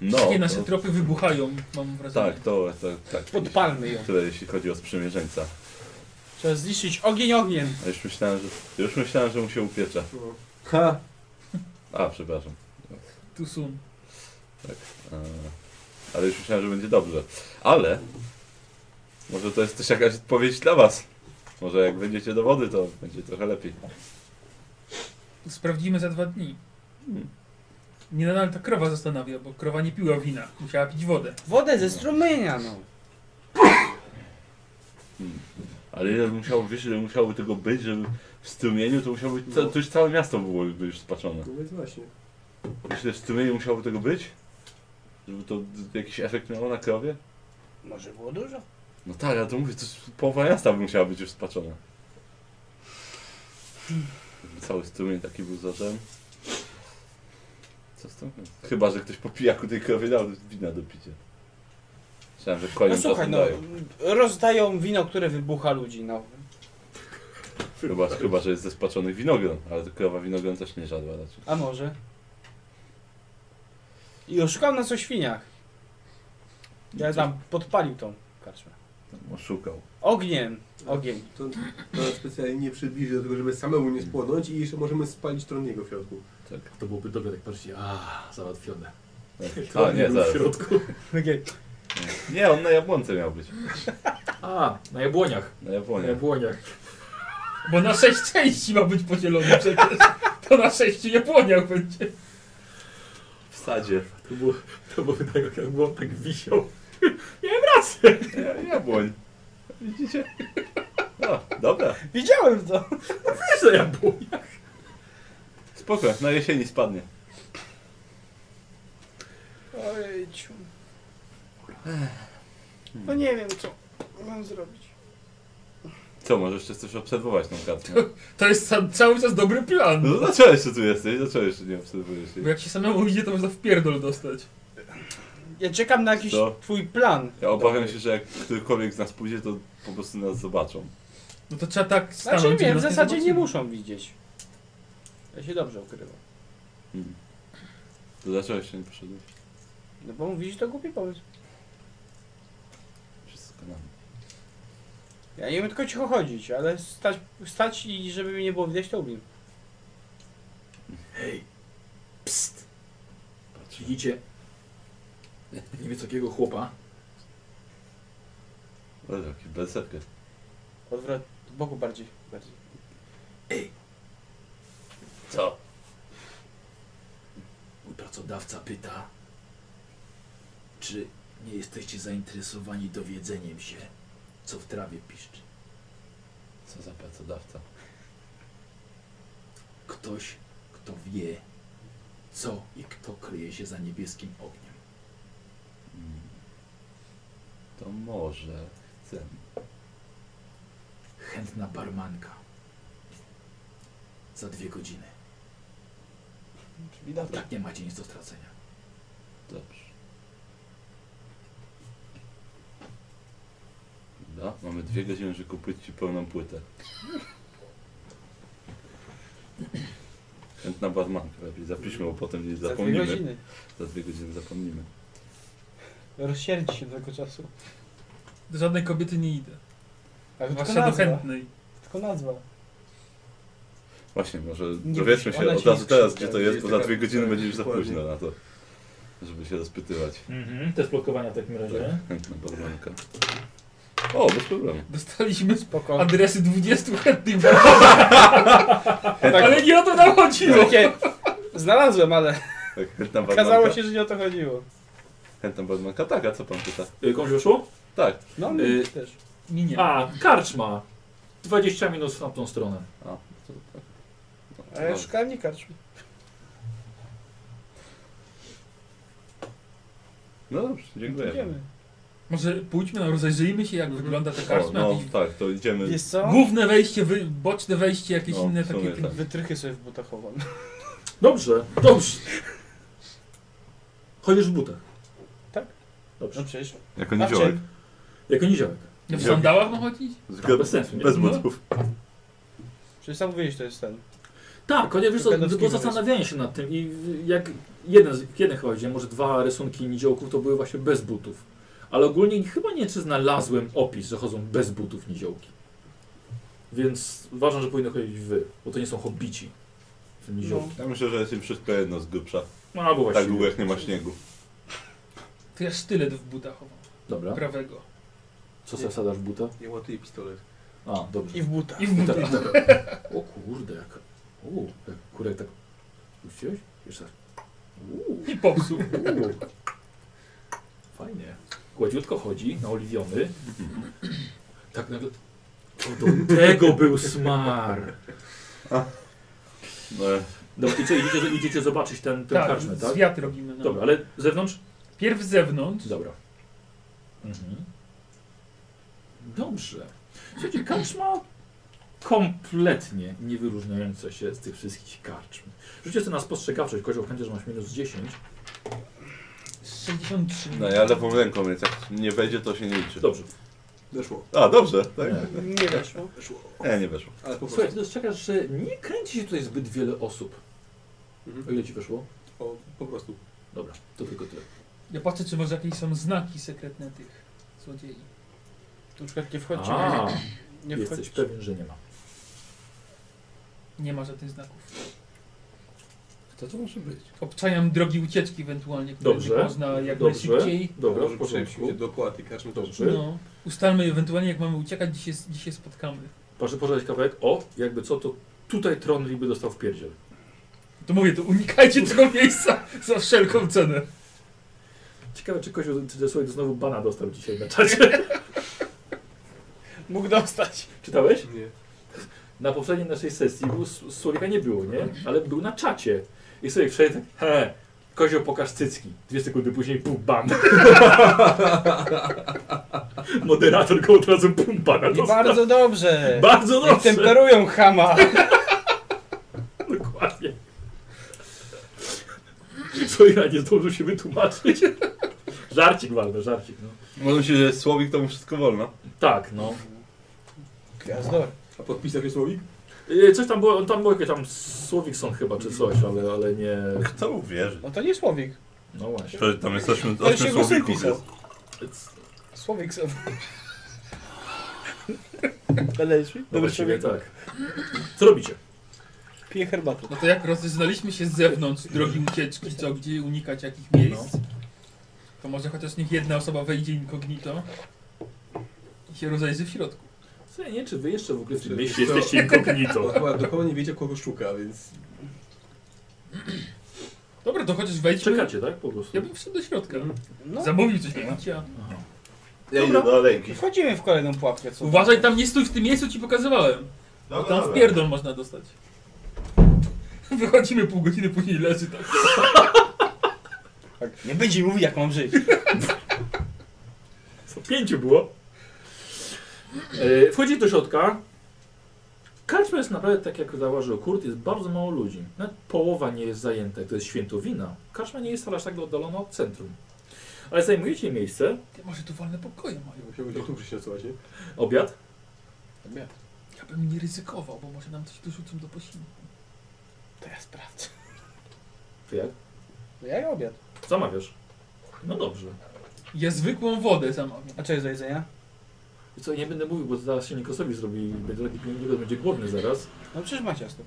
Speaker 4: No,
Speaker 5: Wszystkie nasze
Speaker 4: to,
Speaker 5: tropy wybuchają, mam wrażenie.
Speaker 4: tak, to, to tak.
Speaker 3: Podpalmy ją.
Speaker 4: Tyle jeśli chodzi o sprzymierzeńca.
Speaker 3: Trzeba zniszczyć ogień ogniem.
Speaker 4: A już myślałem, że, już myślałem, że mu się upiecze.
Speaker 6: Ha!
Speaker 4: A, przepraszam.
Speaker 5: Tu są.
Speaker 4: E, Ale już myślałem, że będzie dobrze. Ale może to jest też jakaś odpowiedź dla was. Może jak będziecie do wody, to będzie trochę lepiej.
Speaker 5: Sprawdzimy za dwa dni.
Speaker 4: Hmm.
Speaker 5: Mnie nadal ta krowa zastanawia, bo krowa nie piła wina. Musiała pić wodę.
Speaker 3: Wodę ze strumienia, no.
Speaker 4: Ale ile musiało, wiesz, ile musiałoby tego być, żeby w strumieniu to musiało być, ca- to już całe miasto byłoby już spaczone.
Speaker 6: No więc właśnie.
Speaker 4: Wiesz, ile w strumieniu musiałoby tego być? Żeby to d- jakiś efekt miało na krowie?
Speaker 3: Może było dużo?
Speaker 4: No tak, ale to mówię, to jest- połowa miasta by musiała być już spaczona. Żeby Cały strumień taki był zarzem. Co z tym? Chyba, że ktoś po pijaku tej krowie dał wina do picia. Myślałem, że koniec
Speaker 3: No słuchaj, no, rozdają wino, które wybucha ludzi, no.
Speaker 4: Chyba, chyba, że jest ze spaczonych winogron, ale to krowa winogron też nie żadła znaczy, raczej.
Speaker 3: A może? I oszukał nas o świniach. Ja tam podpalił tą karczmę.
Speaker 4: Oszukał.
Speaker 3: Ogniem. Ogień.
Speaker 6: To nawet specjalnie nie przybliży do tego, żeby samemu nie spłonąć i jeszcze możemy spalić tron jego w środku.
Speaker 4: Tak.
Speaker 1: To byłoby dobre, tak patrzcie, a załatwione.
Speaker 4: tak.
Speaker 1: To
Speaker 4: A, nie,
Speaker 1: był w
Speaker 4: zaraz.
Speaker 1: środku.
Speaker 3: Takie
Speaker 4: Nie, on na jabłonce miał być.
Speaker 1: A, na jabłoniach.
Speaker 4: Na
Speaker 1: Na
Speaker 4: jabłonie.
Speaker 1: jabłoniach.
Speaker 5: Bo na sześć części ma być podzielony przecież. To na sześciu jabłoniach będzie.
Speaker 4: W sadzie.
Speaker 1: To było, to było tak, jak jakby on tak wisiał.
Speaker 4: Ja- Jabłoń. Widzicie? O, dobra.
Speaker 3: Widziałem to.
Speaker 1: Wiesz, na jabłoniach.
Speaker 4: Spoko, na jesieni spadnie.
Speaker 3: Ojciu. No nie wiem, co mam zrobić.
Speaker 4: Co, może jeszcze chcesz obserwować tą kartę?
Speaker 5: To jest ca- cały czas dobry plan.
Speaker 4: No to dlaczego jeszcze tu jesteś? Dlaczego jeszcze nie obserwujesz
Speaker 5: Bo
Speaker 4: jej?
Speaker 5: jak się samemu idzie, to można w pierdol dostać.
Speaker 3: Ja czekam na jakiś
Speaker 4: Co?
Speaker 3: twój plan.
Speaker 4: Ja obawiam się, że jak którykolwiek z nas pójdzie, to po prostu nas zobaczą.
Speaker 5: No to trzeba tak stanąć.
Speaker 3: Znaczy
Speaker 5: i
Speaker 3: nie, w
Speaker 5: nas
Speaker 3: zasadzie nie
Speaker 5: zobaczymy.
Speaker 3: muszą widzieć. Ja się dobrze ukrywam.
Speaker 4: Hmm. To dlaczego jeszcze nie poszedłeś?
Speaker 3: No bo mówisz to głupi pomysł.
Speaker 4: Wszystko na mnie.
Speaker 3: Ja nie wiem tylko cicho chodzić, ale stać, stać i żeby mnie nie było widać, to umiem.
Speaker 1: Psst. Widzicie niewysokiego chłopa.
Speaker 4: Ale jaki berserker.
Speaker 3: Odwrot do boku bardziej. bardziej.
Speaker 4: Co?
Speaker 1: Mój pracodawca pyta, czy nie jesteście zainteresowani dowiedzeniem się, co w trawie piszczy.
Speaker 4: Co za pracodawca?
Speaker 1: Ktoś, kto wie, co i kto kryje się za niebieskim ogniem.
Speaker 4: Hmm. To może chcę.
Speaker 1: Chętna barmanka. Za dwie godziny.
Speaker 3: Czyli dobra.
Speaker 1: Tak nie macie nic do stracenia.
Speaker 4: Dobrze. Da? Mamy dwie godziny, żeby kupić ci pełną płytę. Chętna barmanka, lepiej zapiszmy, bo potem nie
Speaker 3: Za dwie
Speaker 4: zapomnimy.
Speaker 3: godziny.
Speaker 4: Za dwie godziny zapomnimy.
Speaker 3: Rozsierdzi się do tego czasu.
Speaker 5: Do żadnej kobiety nie idę.
Speaker 3: Ale tylko
Speaker 5: Zwłaszcza do
Speaker 3: nazwa.
Speaker 5: chętnej.
Speaker 3: Tylko nazwa.
Speaker 4: Właśnie, może
Speaker 3: Nie
Speaker 4: dowiedzmy
Speaker 3: wiem, ona
Speaker 4: się od
Speaker 3: ci
Speaker 4: razu
Speaker 3: nie
Speaker 4: teraz,
Speaker 3: skrzywdzi,
Speaker 4: gdzie to
Speaker 6: ale
Speaker 4: jest,
Speaker 6: jest
Speaker 4: bo za
Speaker 6: taka-
Speaker 4: dwie godziny
Speaker 6: tak,
Speaker 4: będzie już za
Speaker 6: dokładnie.
Speaker 4: późno na to, żeby się rozpytywać.
Speaker 1: Mhm, te splokowania w takim razie.
Speaker 4: Chętna barmanka. O, bez problemu.
Speaker 5: Dostaliśmy
Speaker 3: Spoko.
Speaker 5: adresy 20 chętnych,
Speaker 3: tak,
Speaker 5: ale nie o to nam chodziło.
Speaker 3: takie, znalazłem, ale
Speaker 4: Tak, chętna
Speaker 3: okazało
Speaker 4: barmanka.
Speaker 3: się, że nie o to chodziło.
Speaker 4: Chętna barmanka, tak, a co pan pyta?
Speaker 1: Y, Komuś wyszło?
Speaker 4: Tak.
Speaker 3: No,
Speaker 1: Y,
Speaker 3: my też.
Speaker 5: Nie, nie.
Speaker 1: A, karczma. 20 minut w tamtą stronę.
Speaker 4: A, to tak. No,
Speaker 3: A ja
Speaker 4: dobra.
Speaker 3: szukałem nie karczmy.
Speaker 4: No dobrze, dziękuję.
Speaker 3: Idziemy.
Speaker 5: Może pójdźmy, no rozejrzyjmy się, jak wygląda ta
Speaker 4: O,
Speaker 5: karczma.
Speaker 4: no
Speaker 5: jakieś
Speaker 4: tak, to idziemy.
Speaker 3: Wiesz co?
Speaker 5: Główne wejście, wy, boczne wejście, jakieś
Speaker 4: No,
Speaker 5: inne
Speaker 4: w sumie
Speaker 5: takie...
Speaker 4: tak.
Speaker 3: Wytrychy sobie w butach chowam.
Speaker 1: Dobrze, dobrze. Chodzisz w butach.
Speaker 3: Tak.
Speaker 1: Dobrze.
Speaker 3: No przecież.
Speaker 4: Jako
Speaker 3: A w czym?
Speaker 1: Jako niziołek.
Speaker 5: W sandałach ma chodzić?
Speaker 4: Zgod-
Speaker 1: bez sensu, nie?
Speaker 4: Bez
Speaker 1: No.
Speaker 4: butów.
Speaker 3: Przecież sam mówiłeś, to jest ten.
Speaker 1: Tak, chociaż wiesz co,
Speaker 3: Pedofilny
Speaker 1: bo
Speaker 3: rys.
Speaker 1: zastanawiałem się nad tym i jak jeden, z- jeden chyba widziałem, może dwa rysunki niziołków to były właśnie bez butów. Ale ogólnie chyba nie czy znalazłem opis, że chodzą bez butów niziołki. Więc uważam, że powinno chodzić wy, bo to nie są hobbici. Te niziołki.
Speaker 4: Ja myślę, że jest im wszystko jedno z grubsza.
Speaker 1: No, albo właśnie.
Speaker 4: Tak długo jak nie ma śniegu.
Speaker 5: To ja sztylet w butach chowam.
Speaker 1: Dobra.
Speaker 5: Prawego.
Speaker 1: Co sobie wsadzasz w buta?
Speaker 6: Ja łaty i pistolet.
Speaker 1: A, dobrze.
Speaker 3: I w buta.
Speaker 5: I w butach.
Speaker 1: Tak, dobra. O kurde, jak... U, jak kurek tak... Puściłeś? Jeszcze raz. Uuu.
Speaker 5: I popsuł.
Speaker 1: Uuu. Fajnie. Gładziutko chodzi, naoliwiony. Tak nagle... To do tego był smar!
Speaker 4: No, e,
Speaker 1: Dobra, i co, idziecie, idziecie zobaczyć ten, ten
Speaker 5: Tak,
Speaker 1: karczmę, tak?
Speaker 5: zwiat robimy. No.
Speaker 1: Dobra, ale zewnątrz?
Speaker 5: Pierw z zewnątrz.
Speaker 1: Dobra. Mhm. Dobrze. Słuchajcie, karczma kompletnie nie wyróżniająca się z tych wszystkich karczm. Rzućcie sobie na spostrzegawczość, kozioł chętnie, że masz minus 10.
Speaker 5: 63.
Speaker 4: no ja lewą ręką, więc jak nie wejdzie, to się nie liczy.
Speaker 1: Dobrze.
Speaker 6: Weszło.
Speaker 4: A, dobrze, tak?
Speaker 3: Nie weszło.
Speaker 4: Nie, nie weszło.
Speaker 6: Ale po
Speaker 1: Słuchaj,
Speaker 6: prostu.
Speaker 1: ty dostrzegasz, że nie kręci się tutaj zbyt wiele osób. O
Speaker 6: Mhm.
Speaker 1: ile ci wyszło?
Speaker 6: O, po prostu.
Speaker 1: Dobra, to tylko tyle.
Speaker 5: Ja patrzę, czy może jakieś są znaki sekretne tych złodziei.
Speaker 3: Tu na przykład nie wchodźcie.
Speaker 1: A,
Speaker 3: nie
Speaker 1: jesteś
Speaker 3: wchodźcie.
Speaker 1: pewien, że nie ma.
Speaker 5: Nie ma żadnych znaków.
Speaker 2: To to może być.
Speaker 5: Obczajam drogi ucieczki ewentualnie, które
Speaker 1: Dobrze.
Speaker 5: można jak
Speaker 1: Dobrze.
Speaker 5: najszybciej.
Speaker 1: Dobra,
Speaker 6: Może
Speaker 1: w porządku.
Speaker 6: przejdźmy do kłaty, kaczmy to.
Speaker 1: Dobrze.
Speaker 5: No, ustalmy ewentualnie, jak mamy uciekać, gdzie się, gdzie się spotkamy.
Speaker 1: Proszę pożegnać kawałek. O, jakby co, to tutaj tron niby dostał w pierdziel.
Speaker 5: To mówię, to unikajcie tego miejsca za wszelką cenę.
Speaker 1: Ciekawe, czy Kozio Cydzesłowiec znowu bana dostał dzisiaj na czacie.
Speaker 3: Mógł dostać.
Speaker 1: Czytałeś?
Speaker 6: Nie.
Speaker 1: Na poprzedniej naszej sesji był, s- Słowika nie było, nie? Ale był na czacie. I sobie wszedł, tak, he, Kozio pokaż cycki. Dwie sekundy później, pum, ban. Moderator go od razu, pum, bana
Speaker 3: I
Speaker 1: dostał.
Speaker 3: bardzo dobrze.
Speaker 1: Bardzo
Speaker 3: Jak
Speaker 1: dobrze.
Speaker 3: temperują chama.
Speaker 1: Dokładnie. Co ja nie zdążył się wytłumaczyć. Żarcik walny, żarcik, no.
Speaker 4: Może się, że jest słowik, to mu wszystko wolno.
Speaker 1: Tak, no.
Speaker 3: Gwiazdor.
Speaker 6: A podpisał się słowik?
Speaker 1: Y, Coś tam było, tam było jakieś tam Słowikson chyba, czy coś, ale, ale nie...
Speaker 4: Kto uwierzy?
Speaker 3: No to nie Słowik.
Speaker 1: No właśnie.
Speaker 4: To tam jest ośmiu,
Speaker 3: To
Speaker 4: ośmiu
Speaker 3: się głosy
Speaker 4: słowików.
Speaker 3: pisał.
Speaker 4: Jest.
Speaker 3: Słowik są. Należy?
Speaker 1: No
Speaker 3: Dobry
Speaker 1: właściwie
Speaker 3: człowiek.
Speaker 1: tak. Co robicie?
Speaker 3: Pije herbatę.
Speaker 5: No to jak rozeznaliśmy się z zewnątrz drogi ucieczki, co gdzie unikać jakich miejsc, to może chociaż niech jedna osoba wejdzie incognito i się rozejrzy w środku.
Speaker 1: Co ja nie, wiem, czy wy jeszcze w ogóle w tym
Speaker 6: Czy-
Speaker 1: mieście
Speaker 6: to-
Speaker 1: jesteście
Speaker 6: Bo
Speaker 1: incognito.
Speaker 6: chyba No, dokładnie wiecie kogo szuka, więc
Speaker 5: Dobra, to chociaż wejdźmy.
Speaker 1: Czekacie, tak? Po prostu.
Speaker 5: Ja bym wszedł do środka.
Speaker 3: No.
Speaker 5: Zamówił coś do picia.
Speaker 1: Aha.
Speaker 4: Ja idę do alejki.
Speaker 3: Wchodzimy w kolejną pułapkę. Co
Speaker 5: Uważaj, tam nie stój w tym miejscu, ci pokazywałem. Bo
Speaker 4: Dobra,
Speaker 5: tam No w
Speaker 4: dobra.
Speaker 5: pierdol można dostać. Wychodzimy pół godziny później leży tak.
Speaker 3: Tak. Nie będzie mi mówił jak mam żyć.
Speaker 1: Co, pięciu było. E, wchodzicie do środka. Karczma jest naprawdę, tak jak zauważył Kurt, jest bardzo mało ludzi. Nawet połowa nie jest zajęta, jak to jest świętowina. Karczma nie jest wcale aż tak oddalona od centrum. Ale zajmujecie miejsce,
Speaker 5: Ty, Może tu wolne pokoje mają.
Speaker 6: musiałbym się tu przysiacować, nie?
Speaker 1: obiad.
Speaker 5: Ja bym nie ryzykował, bo może nam coś dorzucą do posiłku.
Speaker 3: To ja sprawdzę.
Speaker 1: Ty jak?
Speaker 3: No ja i obiad.
Speaker 1: Zamawiasz. No dobrze.
Speaker 5: Ja zwykłą wodę zamawiam.
Speaker 3: A co jest do jedzenia?
Speaker 1: I co, nie będę mówił, bo zaraz się Nikosowi zrobi, będzie taki piękny, będzie głodny zaraz.
Speaker 3: No przecież ma ciasto.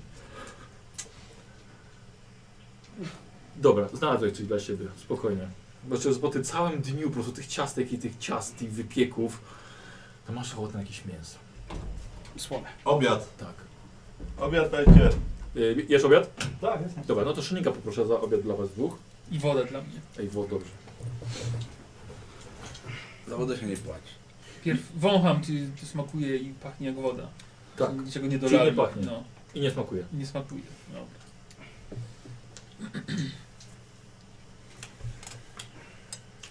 Speaker 1: Dobra, znalazłeś coś dla siebie, spokojnie. Znaczy, po tym całym dniu po prostu tych ciastek i tych ciast i wypieków, to masz ochotę na jakieś mięso.
Speaker 3: Słone.
Speaker 4: Obiad.
Speaker 1: Tak.
Speaker 4: Obiad dajcie.
Speaker 1: Y, jesz obiad?
Speaker 7: Tak, jasne.
Speaker 1: Dobra, no to szynika poproszę za obiad dla was dwóch.
Speaker 5: I wodę dla mnie.
Speaker 1: Ej, wo, dobrze.
Speaker 2: Za wodę się nie płaci.
Speaker 5: Pierw wącham, czy, czy smakuje i pachnie jak woda.
Speaker 1: Tak.
Speaker 5: Czy Niczego nie
Speaker 1: Czyli
Speaker 5: dolałem.
Speaker 1: nie pachnie.
Speaker 5: No,
Speaker 1: I nie smakuje.
Speaker 5: nie smakuje. Dobra.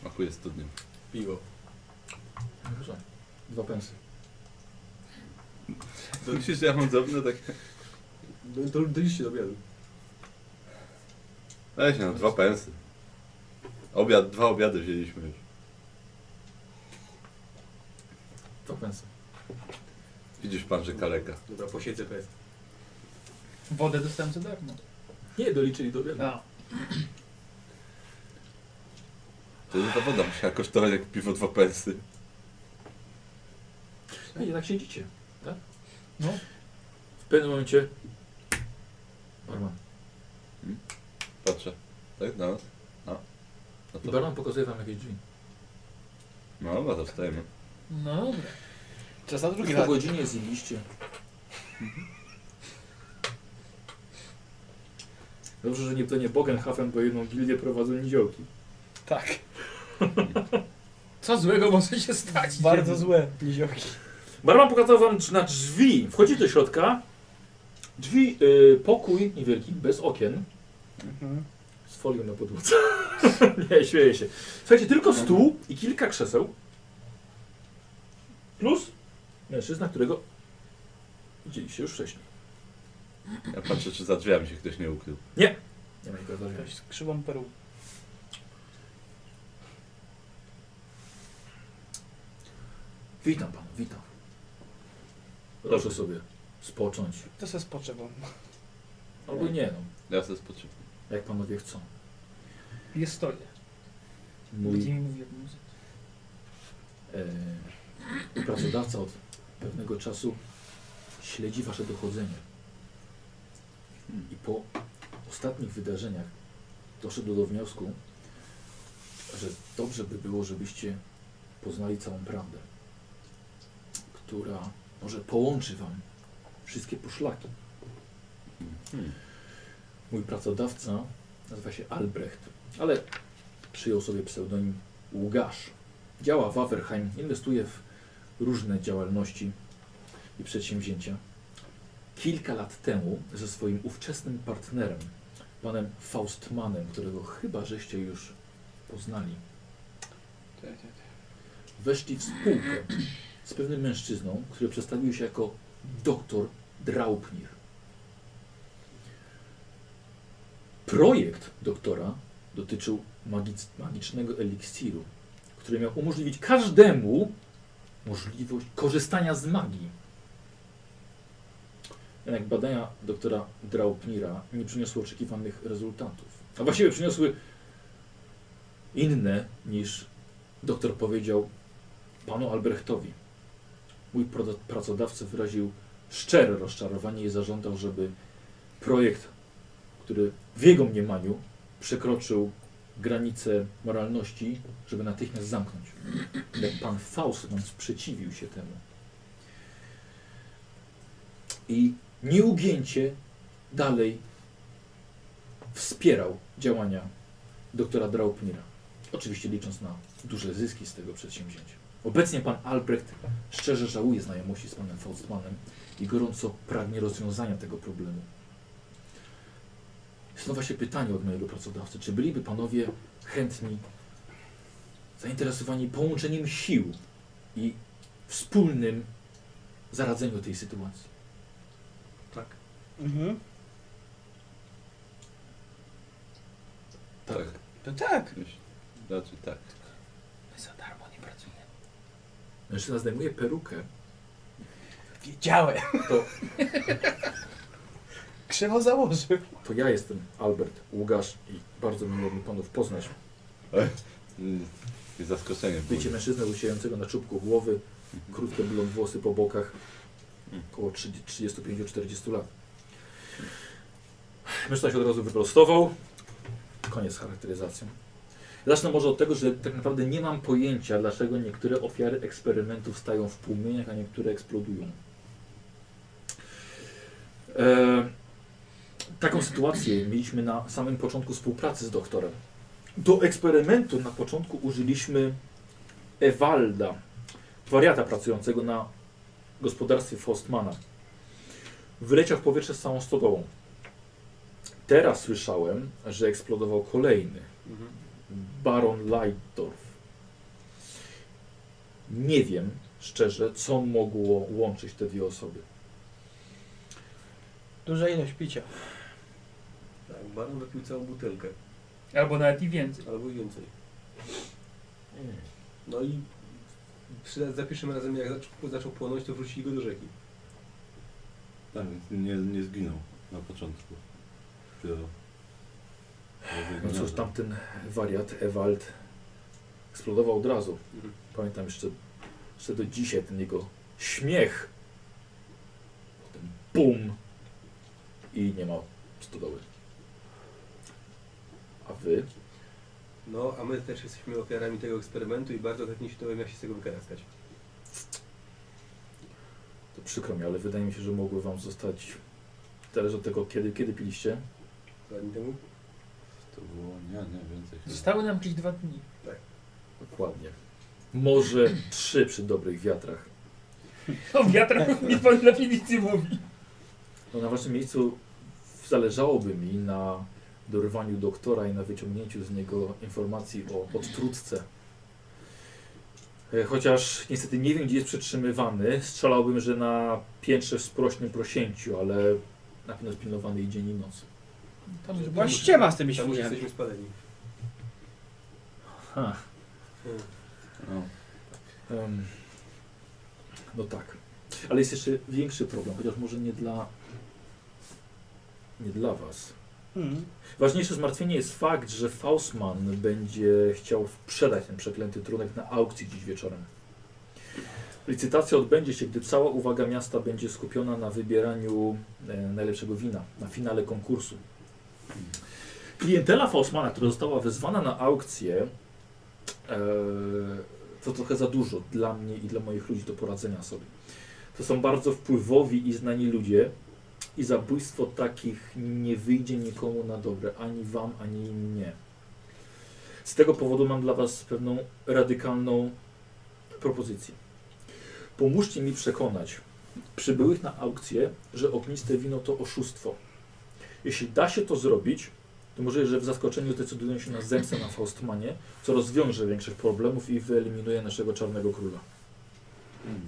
Speaker 4: Smakuje studniem.
Speaker 6: Piwo.
Speaker 1: Dobrze. Dwa pensy.
Speaker 4: To myślisz, że ja mam zapnę tak...
Speaker 6: Do- do- Doliczcie No, się do obiadu.
Speaker 4: Weź no, dwa pensy. Obiad, dwa obiady wzięliśmy już.
Speaker 1: To pensy.
Speaker 4: Widzisz pan, że kaleka.
Speaker 6: Dobra, posiedzę PS.
Speaker 5: Wodę dostałem za darmo.
Speaker 1: Tak. Nie, doliczyli do wiele.
Speaker 5: No.
Speaker 4: To nie ta woda musiała kosztować jak piwo dwa pensy.
Speaker 1: Nie, tak siedzicie, tak?
Speaker 5: No.
Speaker 1: W pewnym momencie... Barman.
Speaker 4: Patrzę. Tak? No. No. No
Speaker 1: I
Speaker 4: to,
Speaker 1: barman pokazuje wam jakieś drzwi.
Speaker 4: no dobra, to wstajemy.
Speaker 5: No dobra.
Speaker 3: Czas na drugi
Speaker 1: Już po
Speaker 3: raz.
Speaker 1: godzinie zjedliście. Mhm. Dobrze, że nie to nie Bogenhafen, bo jedną gildię prowadzą niziołki.
Speaker 3: Tak.
Speaker 5: Co złego może się stać?
Speaker 3: Bardzo złe niziołki.
Speaker 1: Barman pokazał wam dr- na drzwi. Wchodzicie do środka. Drzwi, y, pokój niewielki, bez okien.
Speaker 3: Mhm.
Speaker 1: Z folią na podłodze. nie, śmieję się. Słuchajcie, tylko stół i kilka krzeseł. Plus mężczyzna, którego widzieliście już wcześniej.
Speaker 4: Ja patrzę, czy za drzwiami się ktoś nie ukrył.
Speaker 1: Nie ma nikogo za drzwiami.
Speaker 3: Ktoś z krzywą perłą.
Speaker 1: Witam panu, witam. Proszę sobie spocząć.
Speaker 3: To se spoczę, bo
Speaker 1: Albo nie, no,
Speaker 4: Ja sobie spoczywam.
Speaker 1: jak panowie chcą.
Speaker 5: Jest stoję. Będzie
Speaker 1: Mój
Speaker 5: mi mówił jak muzyka.
Speaker 1: e, pracodawca od pewnego czasu śledzi wasze dochodzenie. I po ostatnich wydarzeniach doszedł do wniosku, że dobrze by było, żebyście poznali całą prawdę, która może połączy wam wszystkie poszlaki.
Speaker 4: Hmm.
Speaker 1: Mój pracodawca nazywa się Albrecht, ale przyjął sobie pseudonim Ługasz. Działa w Wawerheim, inwestuje w różne działalności i przedsięwzięcia. Kilka lat temu ze swoim ówczesnym partnerem, panem Faustmanem, którego chyba żeście już poznali, weszli w spółkę z pewnym mężczyzną, który przedstawił się jako doktor Draupnir. Projekt doktora dotyczył magic- magicznego eliksiru, który miał umożliwić każdemu możliwość korzystania z magii. Jednak badania doktora Draupnira nie przyniosły oczekiwanych rezultatów. A właściwie przyniosły inne niż doktor powiedział panu Albrechtowi. Mój prodo- pracodawca wyraził szczere rozczarowanie i zażądał, żeby projekt, który w jego mniemaniu przekroczył granicę moralności, żeby natychmiast zamknąć. Jak pan Faustman sprzeciwił się temu. I nieugięcie dalej wspierał działania doktora Draupnira. Oczywiście licząc na duże zyski z tego przedsięwzięcia. Obecnie pan Albrecht szczerze żałuje znajomości z panem Faustmanem i gorąco pragnie rozwiązania tego problemu. Stąd właśnie pytanie od mojego pracodawcy. Czy byliby panowie chętni, zainteresowani połączeniem sił i wspólnym zaradzeniu tej sytuacji?
Speaker 3: Mhm.
Speaker 1: Tak.
Speaker 4: Tak.
Speaker 3: To tak.
Speaker 4: Myślę, Znaczy tak.
Speaker 5: My za darmo nie pracujemy.
Speaker 1: Mężczyzna zdejmuje perukę.
Speaker 3: Wiedziałem.
Speaker 1: To-
Speaker 3: Krzywo założył.
Speaker 1: To ja jestem Albert Ługasz i bardzo miło mi panów poznać.
Speaker 4: Mm, Jest zaskoczenie.
Speaker 1: Wiecie mężczyznę usiejącego na czubku głowy, krótkie blond włosy po bokach, około 30 35-40 lat. Mężczyzna się od razu wyprostował. Koniec z charakteryzacją. Zacznę może od tego, że tak naprawdę nie mam pojęcia, dlaczego niektóre ofiary eksperymentów stają w płomieniach, a niektóre eksplodują. E, taką sytuację mieliśmy na samym początku współpracy z doktorem. Do eksperymentu na początku użyliśmy Ewalda, wariata pracującego na gospodarstwie Faustmana. Wyleciał w powietrze z całą stodołą. Teraz słyszałem, że eksplodował kolejny. Baron Lightdorf. Nie wiem szczerze, co mogło łączyć te dwie osoby.
Speaker 3: Duża ilość picia.
Speaker 6: Tak, baron wypił całą butelkę,
Speaker 5: Albo nawet i więcej.
Speaker 6: albo i więcej. No i Przy, za pierwszym razem jak zaczął, zaczął płonąć, to wrócili go do rzeki.
Speaker 4: Tak, więc nie, nie zginął na początku. Dopiero-
Speaker 1: No cóż, tamten wariat Ewald eksplodował od razu.
Speaker 6: Mhm.
Speaker 1: Pamiętam jeszcze, jeszcze do dzisiaj ten jego śmiech. Potem bum. I nie ma stodoły. A wy?
Speaker 6: No, a my też jesteśmy ofiarami tego eksperymentu i bardzo chętnie się dowiem, jak się z tego wykaraskać.
Speaker 1: To przykro mi, ale wydaje mi się, że mogły wam zostać... Zależy od tego, kiedy, kiedy piliście.
Speaker 6: Dwa dni temu?
Speaker 4: To było, nie, nie, więcej. chyba.
Speaker 5: Zostały nam jakieś dwa dni.
Speaker 1: Dokładnie. Może trzy przy dobrych wiatrach.
Speaker 5: O wiatrach mi pan definicji mówi.
Speaker 1: No na waszym miejscu zależałoby mi na dorwaniu doktora i na wyciągnięciu z niego informacji o odtrutce. E, Chociaż niestety nie wiem, gdzie jest przetrzymywany. Strzelałbym, że na piętrze w sprośnym prosięciu, ale na pewno jest pilnowany i dzień i noc.
Speaker 5: Tam już
Speaker 3: Była
Speaker 5: była
Speaker 3: ściema z tymi
Speaker 6: Tam już
Speaker 3: świniami.
Speaker 6: jesteśmy spaleni.
Speaker 1: Ha.
Speaker 6: Hmm.
Speaker 4: No.
Speaker 1: Em, no tak. Ale jest jeszcze większy problem, chociaż może nie dla... nie dla was.
Speaker 3: Mm.
Speaker 1: Ważniejsze zmartwienie jest fakt, że Faustman będzie chciał sprzedać ten przeklęty trunek na aukcji dziś wieczorem. Licytacja odbędzie się, gdy cała uwaga miasta będzie skupiona na wybieraniu e, najlepszego wina, na finale konkursu. Klientela Faustmana, która została wezwana na aukcję, e, to trochę za dużo dla mnie i dla moich ludzi do poradzenia sobie. To są bardzo wpływowi i znani ludzie, i zabójstwo takich nie wyjdzie nikomu na dobre, ani wam, ani mnie. Z tego powodu mam dla was pewną radykalną propozycję. Pomóżcie mi przekonać przybyłych na aukcję, że ogniste wino to oszustwo. Jeśli da się to zrobić, to może, że w zaskoczeniu zdecydują się na zemstę na Faustmanie, co rozwiąże większość problemów i wyeliminuje naszego czarnego króla.
Speaker 4: Mm.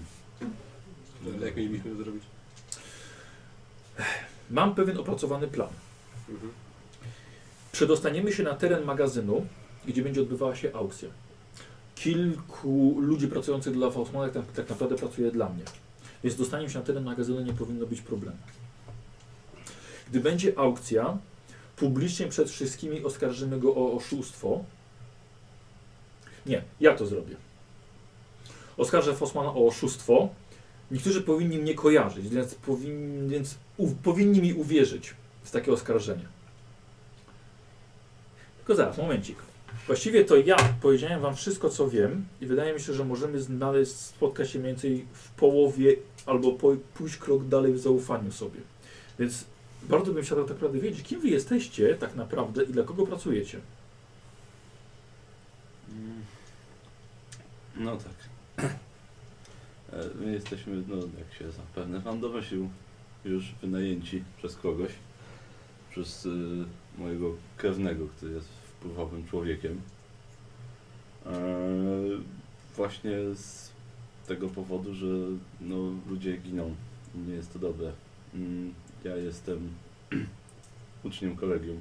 Speaker 6: Ale No, jak mielibyśmy to zrobić?
Speaker 1: Mam pewien opracowany plan.
Speaker 6: Mhm.
Speaker 1: Przedostaniemy się na teren magazynu, gdzie będzie odbywała się aukcja. Kilku ludzi pracujących dla Faustmana tak, tak naprawdę pracuje dla mnie. Więc dostanie się na teren magazynu nie powinno być problemu. Gdy będzie aukcja, publicznie przed wszystkimi oskarżymy go o oszustwo. Nie, ja to zrobię. Oskarżę Faustmana o oszustwo. Niektórzy powinni mnie kojarzyć, więc, powin, więc u, powinni mi uwierzyć w takie oskarżenie. Tylko zaraz, momencik. Właściwie to ja powiedziałem wam wszystko, co wiem i wydaje mi się, że możemy znaleźć, spotkać się mniej więcej w połowie albo po, pójść krok dalej w zaufaniu sobie. Więc bardzo bym chciał tak naprawdę wiedzieć, kim wy jesteście tak naprawdę i dla kogo pracujecie.
Speaker 4: Mm. No tak. E, My jesteśmy, no jak się zapewne pan domyślił, już wynajęci przez kogoś. Przez y, mojego krewnego, który jest wpływowym człowiekiem. E, właśnie z tego powodu, że no, ludzie giną. Nie jest to dobre. Mm, ja jestem uczniem kolegium.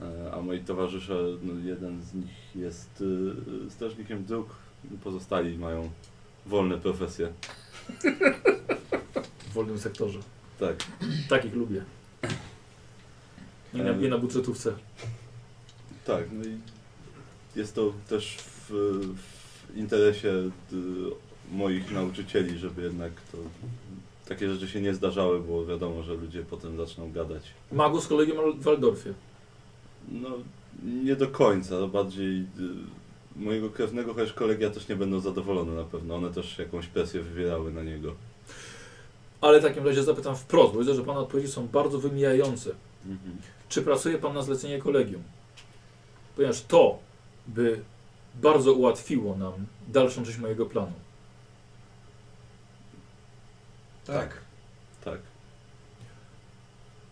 Speaker 4: E, A moi towarzysze, no jeden z nich jest y, strażnikiem dróg, pozostali mają wolne profesje.
Speaker 1: W wolnym sektorze.
Speaker 4: Tak.
Speaker 1: Takich lubię. Nie na, nie na budżetówce.
Speaker 4: Tak, no i jest to też w, w interesie y, moich nauczycieli, żeby jednak to takie rzeczy się nie zdarzały, bo wiadomo, że ludzie potem zaczną gadać.
Speaker 1: Magu z kolegiem w Waldorfie.
Speaker 4: No nie do końca, to bardziej y, mojego krewnego, chociaż kolegia też nie będą zadowolone na pewno. One też jakąś presję wywierały na niego.
Speaker 1: Ale w takim razie zapytam wprost, bo widzę, że pana odpowiedzi są bardzo wymijające.
Speaker 4: Mhm.
Speaker 1: Czy pracuje Pan na zlecenie kolegium? Ponieważ to by bardzo ułatwiło nam dalszą część mojego planu.
Speaker 6: Tak.
Speaker 4: Tak.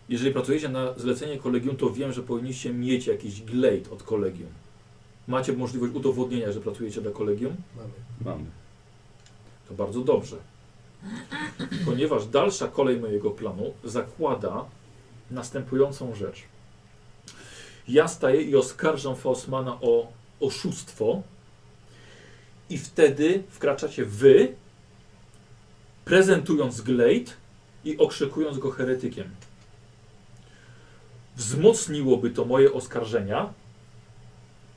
Speaker 1: Jeżeli pracujecie na zlecenie kolegium, to wiem, że powinniście mieć jakiś glejt od kolegium. Macie możliwość udowodnienia, że pracujecie dla kolegium?
Speaker 6: Mamy.
Speaker 4: Mamy.
Speaker 1: To bardzo dobrze. Ponieważ dalsza kolej mojego planu zakłada następującą rzecz. Ja staję i oskarżam Faustmana o oszustwo i wtedy wkraczacie wy, prezentując Glade i okrzykując go heretykiem. Wzmocniłoby to moje oskarżenia,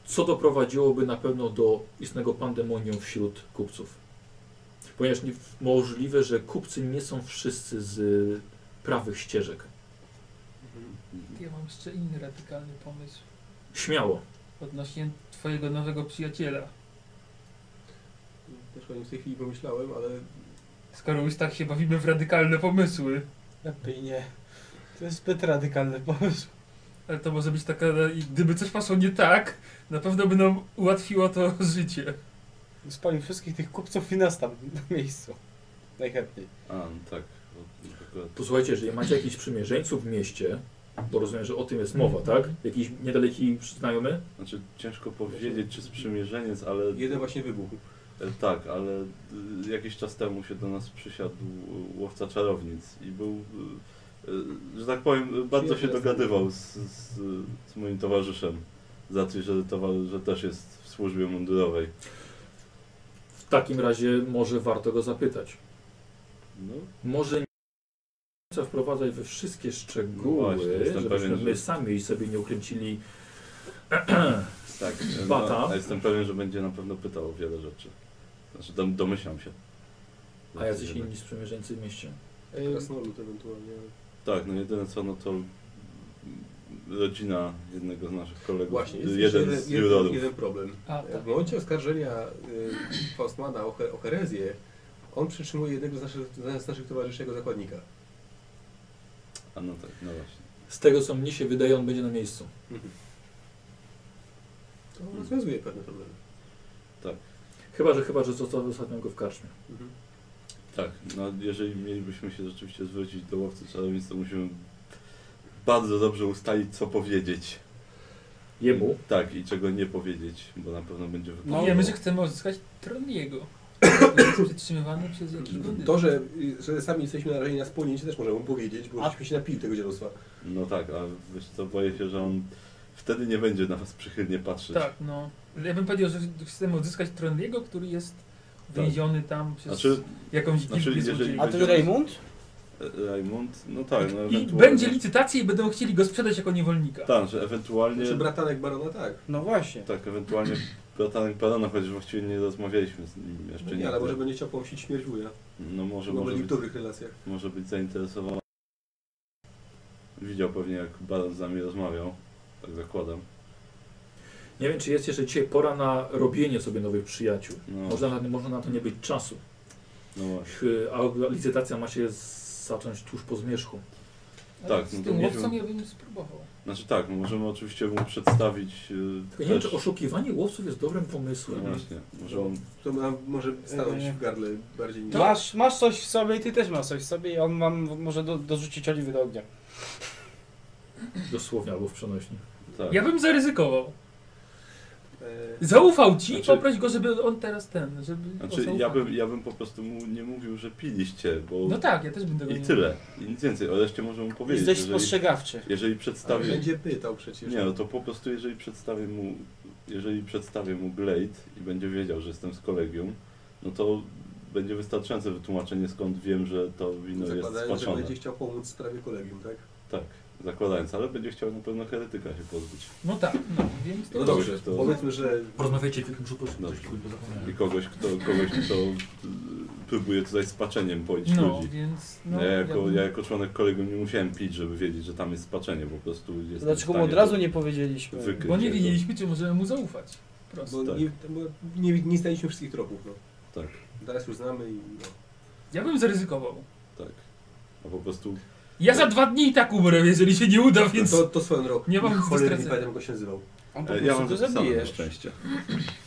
Speaker 1: co doprowadziłoby na pewno do istnego pandemonium wśród kupców. Ponieważ nie, możliwe, że kupcy nie są wszyscy z y, prawych ścieżek.
Speaker 6: Mhm.
Speaker 5: Ja mam jeszcze inny radykalny pomysł
Speaker 1: Śmiało.
Speaker 5: odnośnie twojego nowego przyjaciela.
Speaker 6: Też o nim w tej chwili pomyślałem, ale
Speaker 5: Skoro już tak się bawimy w radykalne pomysły,
Speaker 3: Lepiej nie. To jest zbyt radykalny pomysł.
Speaker 5: ale to może być taka... i Gdyby coś poszło nie tak, na pewno by nam ułatwiło to życie.
Speaker 3: Spalił wszystkich tych kupców i nas tam na miejscu. Najchętniej.
Speaker 4: A, no tak.
Speaker 1: Posłuchajcie, jeżeli macie jakichś przymierzeńców w mieście, bo rozumiem, że o tym jest mowa,
Speaker 4: Mhm.
Speaker 1: tak? Jakiś niedaleki znajomy?
Speaker 4: Znaczy ciężko powiedzieć, czy sprzymierzeniec, ale...
Speaker 6: jeden właśnie wybuchł.
Speaker 4: E, Tak, ale y, jakiś czas temu się do nas przysiadł y, łowca czarownic i był, y, y, że tak powiem, y, bardzo się
Speaker 6: Przyjaciel.
Speaker 4: dogadywał z, z, z moim towarzyszem za coś, że, towar- że też jest w służbie mundurowej.
Speaker 1: W takim razie może warto go zapytać.
Speaker 4: No,
Speaker 1: Może nie do końca wprowadzać we wszystkie szczegóły,
Speaker 4: No właśnie, jestem
Speaker 1: żebyśmy
Speaker 4: pewien, że-
Speaker 1: my sami sobie nie ukręcili.
Speaker 4: tak. e,
Speaker 1: Bata.
Speaker 4: No, a jestem pewien, że będzie na pewno pytał o wiele rzeczy. Znaczy, dom, domyślam się. Znaczy,
Speaker 1: A jacyś inni sprzymierzeńcy w mieście?
Speaker 6: Krasnolud ewentualnie. ale-
Speaker 4: Tak, no jedyne co, no to mm, rodzina jednego z naszych kolegów,
Speaker 6: Właśnie, jest
Speaker 4: jeden z
Speaker 6: jeszcze jeden, jeden,
Speaker 4: jurorów.
Speaker 6: jeden problem.
Speaker 5: A, tak.
Speaker 6: W momencie oskarżenia y, Faustmana o, he, o herezję, on przytrzymuje jednego z naszych, z naszych towarzyszy jako zakładnika.
Speaker 4: A no tak, no właśnie.
Speaker 1: Z tego co mnie się wydaje, on będzie na miejscu.
Speaker 6: To rozwiązuje pewne problemy.
Speaker 1: Chyba, że chyba, że został ostatnio go w karczmie.
Speaker 6: Mhm.
Speaker 4: Tak, no jeżeli mielibyśmy się rzeczywiście zwrócić do łowcy czarownic, to musimy bardzo dobrze ustalić, co powiedzieć.
Speaker 1: Jemu?
Speaker 4: Tak, i czego nie powiedzieć, bo na pewno będzie
Speaker 3: No.
Speaker 4: wypadło.
Speaker 5: Wiemy, że chcemy odzyskać tron jego. który jest Przetrzymywany przez jakiś bandyt.
Speaker 6: To, że, y, że sami jesteśmy narażeni na spłonięcie, też możemy powiedzieć, bo
Speaker 3: A-
Speaker 6: żeśmy się napili tego dzielostwa.
Speaker 4: No tak, a wiesz co, boję się, że on wtedy nie będzie na was przychylnie patrzeć.
Speaker 5: Tak, no. Ja bym powiedział, że chcemy odzyskać tron jego, który jest
Speaker 6: Tak.
Speaker 5: więziony tam przez
Speaker 4: Znaczy,
Speaker 5: jakąś
Speaker 4: znaczy,
Speaker 5: gildię
Speaker 4: jeżeli-
Speaker 5: złodziei.
Speaker 3: A
Speaker 4: będzie
Speaker 3: ten
Speaker 4: on-
Speaker 3: Raymond?
Speaker 4: e, Raymond, no tak, no
Speaker 5: I
Speaker 4: ewentualnie...
Speaker 5: będzie licytacja i będą chcieli go sprzedać jako niewolnika.
Speaker 4: Tak, że ewentualnie...
Speaker 6: Czy bratanek barona tak.
Speaker 3: No właśnie.
Speaker 4: Tak, ewentualnie bratanek Parana, chociaż właściwie nie rozmawialiśmy z nim jeszcze
Speaker 6: Nie,
Speaker 4: nigdy.
Speaker 6: ale może będzie chciał pomścić śmierć wuja.
Speaker 4: No może,
Speaker 6: Może
Speaker 4: może być
Speaker 6: w niektórych relacjach.
Speaker 4: może być zainteresowany. Widział pewnie, jak Baron z nami rozmawiał. Tak zakładam.
Speaker 1: Nie wiem, czy jest jeszcze dzisiaj pora na robienie sobie nowych przyjaciół.
Speaker 4: No,
Speaker 1: Można, na- można na to nie być czasu. E,
Speaker 4: no właśnie.
Speaker 1: A licytacja ma się z- zacząć tuż po zmierzchu.
Speaker 5: Ale
Speaker 4: tak, no
Speaker 5: z
Speaker 4: to
Speaker 5: tym
Speaker 4: nie
Speaker 5: łowcą
Speaker 4: wiem.
Speaker 5: ja bym spróbował.
Speaker 4: Znaczy tak, no możemy oczywiście mu przedstawić. Yy,
Speaker 1: Tylko nie wiem, czy oszukiwanie łowców jest dobrym pomysłem.
Speaker 4: no właśnie, może on.
Speaker 6: To nam może stanąć
Speaker 3: Eee.
Speaker 6: w gardle bardziej niż...
Speaker 3: Masz, masz coś w sobie i ty też masz coś w sobie i on wam może do, dorzucić oliwy do ognia.
Speaker 1: Dosłownie albo w przenośni.
Speaker 4: Tak.
Speaker 5: Ja bym zaryzykował.
Speaker 6: Eee,
Speaker 5: Zaufał ci,
Speaker 4: Znaczy-
Speaker 5: poproś go, żeby on teraz ten, żeby on
Speaker 4: Znaczy
Speaker 5: zaufał.
Speaker 4: ja bym, ja bym po prostu mu nie mówił, że piliście, bo.
Speaker 5: No tak, ja też bym tego
Speaker 4: I
Speaker 5: nie
Speaker 4: tyle. I nic więcej. O reszcie może mu powiedzieć.
Speaker 3: Jesteś
Speaker 4: Jeżeli,
Speaker 3: spostrzegawczy.
Speaker 4: jeżeli
Speaker 6: ale
Speaker 4: przedstawię.
Speaker 6: będzie pytał przecież.
Speaker 4: Nie, no to po prostu jeżeli przedstawię mu, jeżeli przedstawię mu Glade i będzie wiedział, że jestem z kolegium, no to będzie wystarczające wytłumaczenie skąd wiem, że to wino jest
Speaker 6: Zakładając, że
Speaker 4: spaczone.
Speaker 6: będzie chciał pomóc w sprawie kolegium, tak?
Speaker 4: Tak, zakładając, ale będzie chciał na pewno heretyka się pozbyć.
Speaker 5: No tak, no, więc to
Speaker 4: No
Speaker 5: dobrze.
Speaker 4: dobrze, to-
Speaker 6: Powiedzmy, że
Speaker 1: Porozmawiajcie, tylko muszę po
Speaker 4: Dobrze.
Speaker 1: coś kurde zapomniałem.
Speaker 4: I kogoś, kto, kogoś, kto y, próbuje tutaj z paczeniem poić
Speaker 5: No,
Speaker 4: ludzi.
Speaker 5: więc no,
Speaker 4: ja, jako,
Speaker 5: bym-
Speaker 4: ja jako członek kolegium nie musiałem pić, żeby wiedzieć, że tam jest spaczenie, po prostu jest.
Speaker 3: Dlaczego mu od razu nie powiedzieliśmy?
Speaker 4: wykryć.
Speaker 5: Bo nie
Speaker 4: Wiecie, to-
Speaker 5: wiedzieliśmy, czy możemy mu zaufać. Prosto.
Speaker 6: bo
Speaker 4: tak.
Speaker 6: nie, bo nie, nie znaliśmy wszystkich tropów. No.
Speaker 4: Tak,
Speaker 6: Teraz już znamy i no.
Speaker 5: Ja bym zaryzykował.
Speaker 4: tak. A po prostu
Speaker 5: Ja za dwa dni i tak umrę, jeżeli się nie uda, więc...
Speaker 6: to, to swoją drogą.
Speaker 5: nie mam nic do
Speaker 6: Cholernie nie
Speaker 5: stracenia.
Speaker 6: pamiętam, jak go się nazywał.
Speaker 3: On po
Speaker 4: E,
Speaker 3: prostu
Speaker 4: Ja mam
Speaker 3: go
Speaker 4: zapisane
Speaker 3: zabije.
Speaker 4: na szczęście.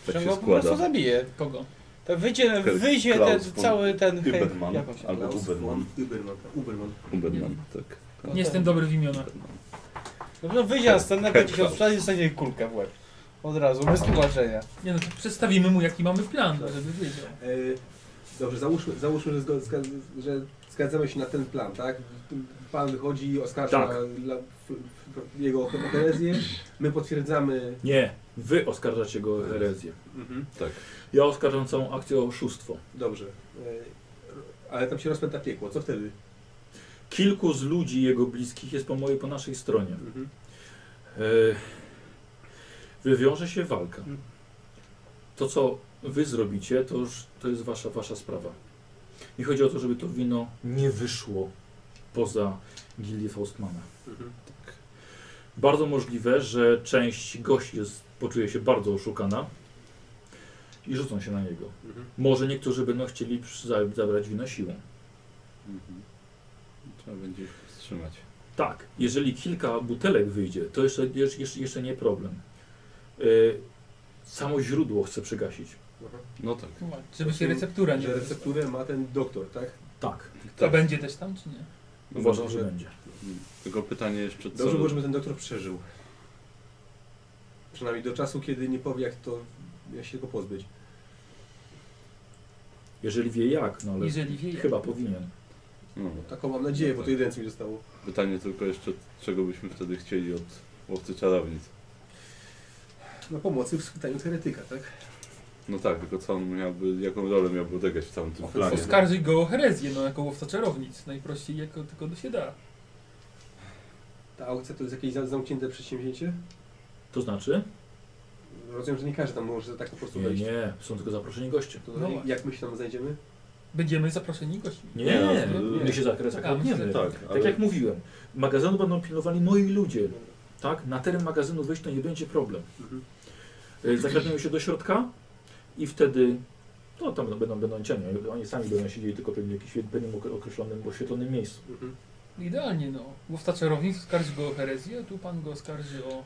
Speaker 4: Tak
Speaker 3: Że
Speaker 4: się
Speaker 3: go po prostu
Speaker 4: składa.
Speaker 3: zabije.
Speaker 5: Kogo?
Speaker 3: To wyjdzie,
Speaker 4: Klaus
Speaker 3: wyjdzie ten
Speaker 4: von
Speaker 3: cały ten...
Speaker 4: Übermann.
Speaker 3: Jak on się...
Speaker 4: Albo
Speaker 6: Klaus
Speaker 4: Uberman.
Speaker 6: von Uberman. tak. Uberman.
Speaker 4: Uberman, tak.
Speaker 3: No
Speaker 5: Nie
Speaker 3: to-
Speaker 5: jestem dobry w imionach.
Speaker 3: No to wyjdzie na scenę, będzie się
Speaker 4: Klaus.
Speaker 3: odprzedać i dostanie kulkę w łeb. Od razu, bez tłumaczenia.
Speaker 5: Nie no, to przedstawimy mu jaki mamy plan, żeby wiedział.
Speaker 6: E, Dobrze, załóżmy, załóżmy że, zgo, zga, że zgadzamy się na ten plan, tak? Pan wychodzi, oskarża
Speaker 1: Tak.
Speaker 6: la, f, f, jego o herezję, my potwierdzamy
Speaker 1: Nie, Wy oskarżacie go o herezję.
Speaker 6: Mhm.
Speaker 1: Ja oskarżam całą akcję o oszustwo.
Speaker 6: Dobrze. E, Ale tam się rozpęta piekło, co wtedy?
Speaker 1: Kilku z ludzi jego bliskich jest po mojej, po naszej stronie.
Speaker 6: Mhm.
Speaker 1: E, wywiąże się walka. To, co wy zrobicie, to już to jest wasza, wasza sprawa. Nie chodzi o to, żeby to wino nie wyszło poza gildię Faustmana.
Speaker 6: Mhm.
Speaker 1: Bardzo możliwe, że część gości jest, poczuje się bardzo oszukana i rzucą się na niego.
Speaker 6: Mhm.
Speaker 1: Może niektórzy będą chcieli przy- za- zabrać wino siłą.
Speaker 4: Mhm. Trzeba będzie ich wstrzymać.
Speaker 1: Tak, jeżeli kilka butelek wyjdzie, to jeszcze, jeszcze, jeszcze- jeszcze nie problem. Yy, samo źródło chcę przegasić.
Speaker 4: No tak.
Speaker 5: Żeby się receptura nie
Speaker 6: Że recepturę ma ten doktor, tak?
Speaker 1: Tak,
Speaker 5: To będzie też tam, czy nie?
Speaker 1: uważam, że będzie.
Speaker 4: Tylko pytanie jeszcze co...
Speaker 6: Dobrze było, żeby ten doktor przeżył. Przynajmniej do czasu, kiedy nie powie, jak to jak się go pozbyć.
Speaker 1: Jeżeli wie jak, no ale
Speaker 5: Jeżeli wie. jak.
Speaker 1: chyba powinien.
Speaker 4: no,
Speaker 6: Taką mam nadzieję, bo to jedyne co mi zostało.
Speaker 4: pytanie tylko jeszcze, czego byśmy wtedy chcieli od łowcy czarownic.
Speaker 6: No pomocy w schwytaniu heretyka, tak?
Speaker 4: No tak, tylko co on miałby, jaką rolę miałby odegrać w całym tym planie. no.
Speaker 5: Oskarżyj go o herezję, no jako łowca czarownic. Najprościej jako tylko się da.
Speaker 6: Ta aukcja to jest jakieś za- zamknięte przedsięwzięcie?
Speaker 1: To znaczy?
Speaker 6: Rozumiem, że nie każdy tam może tak po prostu
Speaker 1: Nie,
Speaker 6: wejść.
Speaker 1: nie, są tylko zaproszeni goście.
Speaker 6: To
Speaker 5: No
Speaker 6: jak my się tam znajdziemy?
Speaker 5: Będziemy zaproszeni gośćmi.
Speaker 1: Nie,
Speaker 4: Nie,
Speaker 5: no,
Speaker 1: my się zakres
Speaker 5: Tak,
Speaker 1: zakładniemy. Tak,
Speaker 4: Tak, ale
Speaker 1: jak mówiłem, magazynu będą pilnowali moi ludzie. Tak? Na teren magazynu wyjść to nie będzie problem.
Speaker 6: Mhm.
Speaker 1: Yy, Zakradniemy się do środka i wtedy no, tam będą, będą cienie. Oni sami będą siedzieli tylko pewnie w jakimś jednym okre- określonym, oświetlonym miejscu.
Speaker 6: Mhm.
Speaker 5: Idealnie, no. Łowca czarownic oskarży go o herezję, a tu pan go oskarży o...